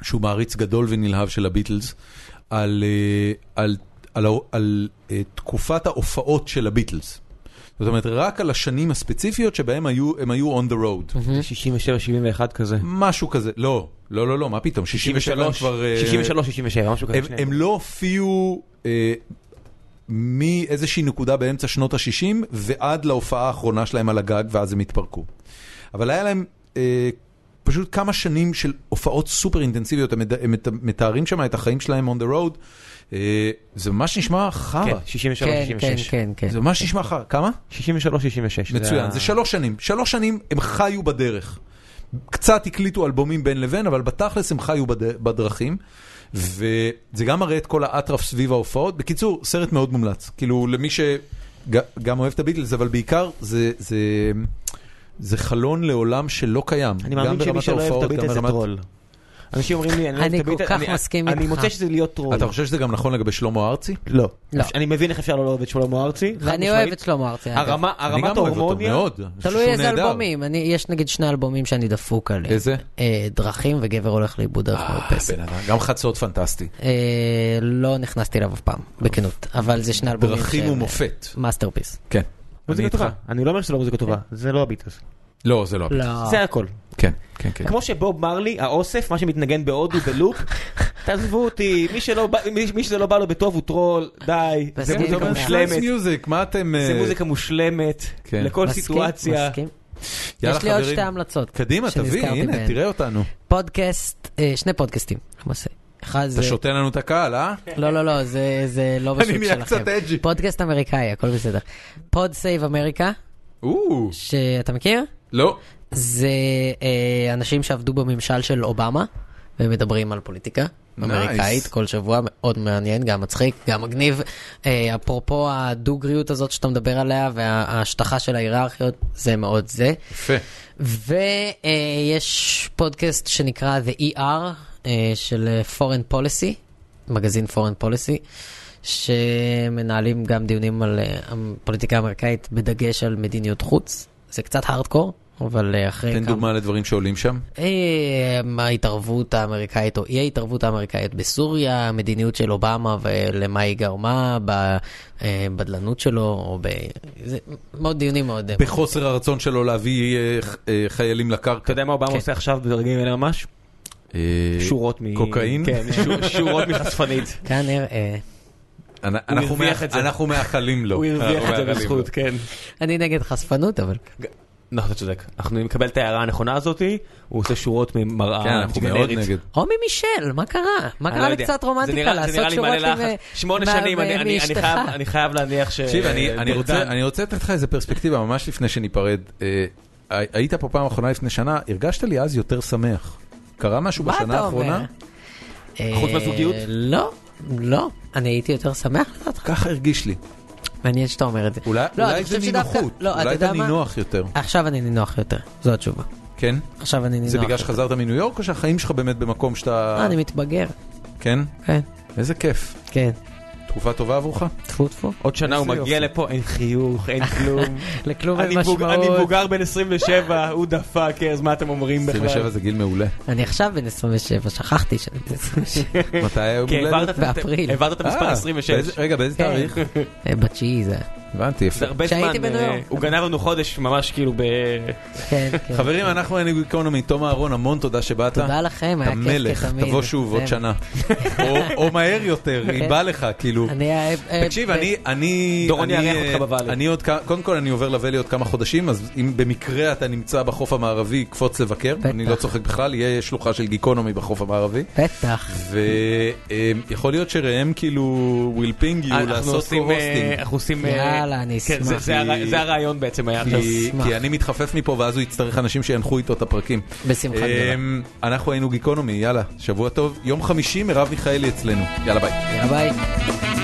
Speaker 1: שהוא מעריץ גדול ונלהב של הביטלס, על, אה, על, על, על, על אה, תקופת ההופעות של הביטלס. זאת אומרת, רק על השנים הספציפיות שבהם היו, הם היו on the road.
Speaker 2: אוקיי. 67, 71 כזה.
Speaker 1: משהו כזה, לא, לא, לא, לא, מה פתאום, 67 הם כבר... אה,
Speaker 2: 63, 67, משהו כזה.
Speaker 1: הם,
Speaker 2: שניהם.
Speaker 1: הם לא הופיעו אה, מאיזושהי נקודה באמצע שנות ה-60 ועד להופעה האחרונה שלהם על הגג, ואז הם התפרקו. אבל היה להם אה, פשוט כמה שנים של הופעות סופר אינטנסיביות, הם, מד- הם מת- מתארים שם את החיים שלהם on the road. אה, זה ממש נשמע חרא.
Speaker 2: כן, 63,
Speaker 3: כן, כן,
Speaker 2: 66.
Speaker 3: כן, כן.
Speaker 1: זה ממש נשמע חרא. כמה?
Speaker 2: 63, 66.
Speaker 1: מצוין,
Speaker 2: ה-
Speaker 1: זה שלוש שנים. שלוש שנים הם חיו בדרך. קצת הקליטו אלבומים בין לבין, אבל בתכלס הם חיו בד- בדרכים. וזה גם מראה את כל האטרף סביב ההופעות. בקיצור, סרט מאוד מומלץ. כאילו, למי שגם אוהב את הביטלס, אבל בעיקר זה... זה... זה חלון לעולם שלא קיים,
Speaker 2: אני מאמין שמי שלא אוהב את הביטלס זה
Speaker 1: ברמת-
Speaker 2: טרול. אנשים אומרים לי, אני לא אוהב
Speaker 3: אני
Speaker 2: את הביטלס.
Speaker 3: כל כך מסכים
Speaker 2: אני
Speaker 3: איתך.
Speaker 2: מוצא שזה להיות טרול.
Speaker 1: אתה חושב שזה גם נכון לגבי שלמה ארצי?
Speaker 2: לא.
Speaker 3: לא.
Speaker 2: אני מבין איך אפשר לא לאהוב את שלמה ארצי. חד
Speaker 3: ואני
Speaker 2: משמעית.
Speaker 3: אוהב את שלמה ארצי. אגב.
Speaker 2: הרמה-
Speaker 1: אני גם
Speaker 2: הרמת
Speaker 1: אוהב אותו
Speaker 2: ההורמוניה,
Speaker 1: מאוד. אני חושב
Speaker 3: תלוי
Speaker 1: שהוא
Speaker 3: איזה
Speaker 1: נהדר.
Speaker 3: אלבומים. אני, יש נגיד שני אלבומים שאני דפוק עליהם.
Speaker 1: איזה?
Speaker 3: אה, דרכים וגבר הולך לאיבוד דרך
Speaker 1: אה,
Speaker 3: מרפסת.
Speaker 1: בן אדם, גם חצות פנטסטי.
Speaker 3: אה, לא נכנסתי אליו אף פעם, בכנות. אבל זה שני אלבומים אה,
Speaker 1: דרכים ומופת.
Speaker 3: מאסטרפיס.
Speaker 1: כן. אני
Speaker 2: מוזיקה
Speaker 1: איתך.
Speaker 2: טובה. אני לא אומר שזה לא מוזיקה טובה, זה לא הביטלס.
Speaker 1: לא, זה לא.
Speaker 3: לא.
Speaker 2: זה הכל.
Speaker 1: כן, כן, כן.
Speaker 2: כמו שבוב מרלי, האוסף, מה שמתנגן בהודו בלופ, תעזבו אותי, מי שלא בא- מי- מי שזה לא בא לו בטוב הוא טרול, די, זה
Speaker 3: מסכים.
Speaker 2: מוזיקה
Speaker 3: אומר,
Speaker 2: מושלמת,
Speaker 1: מיוזיק, מה אתם... אה,
Speaker 2: זה מוזיקה מושלמת,
Speaker 1: כן.
Speaker 2: לכל
Speaker 3: מסכים,
Speaker 2: סיטואציה.
Speaker 3: מסכים. יש לי עוד שתי המלצות.
Speaker 1: קדימה, תביא,
Speaker 3: שנזכרתי
Speaker 1: הנה,
Speaker 3: בהן.
Speaker 1: תראה אותנו.
Speaker 3: פודקאסט, אה, שני פודקאסטים. למעשה. אחד
Speaker 1: אתה
Speaker 3: זה...
Speaker 1: שותה לנו את הקהל, אה?
Speaker 3: לא, לא, לא, זה- זה לא בשוק שלכם.
Speaker 1: נהיה קצת edgy.
Speaker 3: פודקאסט אמריקאי, הכל בסדר. פוד סייב אמריקה,
Speaker 1: או,
Speaker 3: שאתה מכיר?
Speaker 1: לא.
Speaker 3: זה אה, אנשים שעבדו בממשל של אובמה, ומדברים על פוליטיקה.
Speaker 1: Nice.
Speaker 3: אמריקאית כל שבוע, מאוד מעניין, גם מצחיק, גם מגניב. אה, אפרופו הדוגריות הזאת שאתה מדבר עליה וההשטחה של ההיררכיות, זה מאוד זה.
Speaker 1: יפה.
Speaker 3: ויש פודקאסט שנקרא The ER אה, של אה, Foreign Policy, מגזין Foreign Policy, שמנהלים גם דיונים על אה, הפוליטיקה האמריקאית בדגש על מדיניות חוץ. זה קצת הארדקור, אבל אה, אחרי
Speaker 1: תן דוגמה לדברים שעולים שם.
Speaker 3: אה, ההתערבות האמריקאית או אי ההתערבות האמריקאית בסוריה, המדיניות של אובמה ולמה היא גרמה בבדלנות שלו, או ב... זה מאוד דיונים מאוד... אה,
Speaker 1: בחוסר הרצון שלו להביא אה, ח- אה, חיילים
Speaker 2: אתה
Speaker 1: לקרקע.
Speaker 2: יודע מה אובמה
Speaker 3: כן.
Speaker 2: עושה עכשיו בדרגים האלה ממש?
Speaker 1: אה,
Speaker 2: שורות מ...
Speaker 1: קוקאין?
Speaker 2: כן, שור- שורות מחשפנית.
Speaker 3: כאן אה,
Speaker 1: אנ- אנחנו
Speaker 2: הרוויח
Speaker 1: מאח-
Speaker 2: את זה.
Speaker 1: אנחנו מאחלים לו.
Speaker 2: אה, הוא הרוויח
Speaker 1: אנחנו
Speaker 2: את זה
Speaker 1: מאחלים לו.
Speaker 2: בזכות, כן.
Speaker 3: אני נגד חשפנות, אבל...
Speaker 2: נכון, אתה צודק. אנחנו נקבל את ההערה הנכונה הזאתי, הוא עושה שורות ממראה
Speaker 1: כן, אנחנו מאוד
Speaker 2: אה, גנרית.
Speaker 1: נגד.
Speaker 3: רומי מישל, מה קרה? מה
Speaker 2: אני
Speaker 3: קרה
Speaker 2: לא יודע.
Speaker 3: לקצת
Speaker 2: זה
Speaker 3: רומנטיקה?
Speaker 2: נראה- זה נראה
Speaker 3: לעשות
Speaker 2: לי
Speaker 3: שורות
Speaker 2: מלא
Speaker 3: עם... אה,
Speaker 2: לחץ. שמונה
Speaker 3: מה-
Speaker 2: שנים, אני- אני- אני
Speaker 3: מאשתך.
Speaker 2: חייב- אני חייב להניח ש...
Speaker 1: תקשיב, אני- אני
Speaker 2: אה,
Speaker 1: רוצה-
Speaker 2: נרדם.
Speaker 1: אני רוצה לתת לך איזה פרספקטיבה ממש לפני שניפרד. אה, הי- היית פה פעם אחרונה לפני שנה, הרגשת לי אז יותר שמח. קרה משהו
Speaker 3: מה
Speaker 1: בשנה
Speaker 3: אתה
Speaker 1: האחרונה?
Speaker 3: אומר? אה,
Speaker 2: חוץ מהזוגיות?
Speaker 3: לא, לא. אני הייתי יותר שמח לדעתך.
Speaker 1: ככה הרגיש לי.
Speaker 3: מעניין שאתה אומר את זה.
Speaker 1: אולי,
Speaker 3: לא,
Speaker 1: לא,
Speaker 3: אני
Speaker 1: אולי זה
Speaker 3: חושב שדווקא-
Speaker 1: נינוחות,
Speaker 3: לא, אתה
Speaker 1: אולי
Speaker 3: יודע
Speaker 1: אתה
Speaker 3: מה?
Speaker 1: נינוח יותר,
Speaker 3: עכשיו אני נינוח יותר, זו התשובה.
Speaker 1: כן?
Speaker 3: עכשיו אני נינוח.
Speaker 1: זה בגלל
Speaker 3: יותר.
Speaker 1: שחזרת מניו יורק או שהחיים שלך באמת במקום
Speaker 3: אה,
Speaker 1: שאתה...
Speaker 3: אני מתבגר.
Speaker 1: כן?
Speaker 3: כן,
Speaker 1: איזה כיף.
Speaker 3: כן.
Speaker 1: תקופה טובה עבורך?
Speaker 3: טפו טפו.
Speaker 2: עוד שנה הוא
Speaker 1: איזה
Speaker 2: מגיע
Speaker 1: יופי.
Speaker 2: לפה, אין חיוך, אין כלום.
Speaker 3: לכלום
Speaker 2: אני
Speaker 3: אין
Speaker 2: מבוג- אני
Speaker 3: משמעות.
Speaker 2: מבוגר בן 27, הוא דפק, אז מה אתם אומרים בכלל?
Speaker 1: 27 זה גיל מעולה.
Speaker 3: אני עכשיו בן 27, שכחתי שאני בן 27.
Speaker 1: מתי היום
Speaker 2: כן, העברת
Speaker 1: הולדת?
Speaker 2: את-
Speaker 3: באפריל.
Speaker 2: העברת את המספר
Speaker 1: אה,
Speaker 2: 26.
Speaker 1: באיזה- רגע, באיזה
Speaker 3: כן.
Speaker 1: תאריך?
Speaker 3: אה, בתשיעי זה.
Speaker 1: הבנתי, יפה.
Speaker 2: זה הרבה זמן,
Speaker 3: כשהייתי בניו
Speaker 2: אה,
Speaker 3: יורק.
Speaker 2: הוא גנב לנו חודש ממש כאילו ב...
Speaker 3: כן, כן.
Speaker 1: חברים, אנחנו היינו גיקונומי, תום אהרון, המון תודה שבאת.
Speaker 3: תודה
Speaker 1: אתה
Speaker 3: לכם, היה כיף כתמיד.
Speaker 1: מלך, תבוא שוב עוד
Speaker 3: כן.
Speaker 1: שנה. או- או מהר יותר, אם
Speaker 3: כן.
Speaker 1: בא לך, כאילו.
Speaker 3: אני... אה, אה,
Speaker 1: תקשיב,
Speaker 3: אה,
Speaker 1: אני, אני,
Speaker 2: דורון
Speaker 1: אני,
Speaker 2: יארח
Speaker 1: אה,
Speaker 2: אותך בוואלי.
Speaker 1: אני עוד, כ- קודם כל אני עובר לוואלי עוד כמה חודשים, אז אם במקרה אתה נמצא בחוף המערבי, קפוץ לבקר,
Speaker 3: בטח.
Speaker 1: אני לא צוחק בכלל, יהיה שלוחה של גיקונומי בחוף המערבי.
Speaker 3: בטח.
Speaker 1: ויכול להיות שראם כאילו will ping you
Speaker 2: אנחנו
Speaker 1: לעשות
Speaker 2: עושים, אה,
Speaker 1: co-hosting.
Speaker 2: אנחנו עושים... אה,
Speaker 3: יאללה, אני
Speaker 2: כן, זה-
Speaker 3: אשמח.
Speaker 2: זה הר- זה הרעיון בעצם היה עכשיו.
Speaker 1: כי-
Speaker 3: אשמח.
Speaker 1: כי אני מתחפף מפה ואז הוא יצטרך אנשים שינחו איתו את הפרקים.
Speaker 3: בשמחה גדולה.
Speaker 1: אמ, אנחנו היינו גיקונומי, יאללה, שבוע טוב. יום חמישי, מרב מיכאלי אצלנו. יאללה ביי.
Speaker 3: יאללה ביי.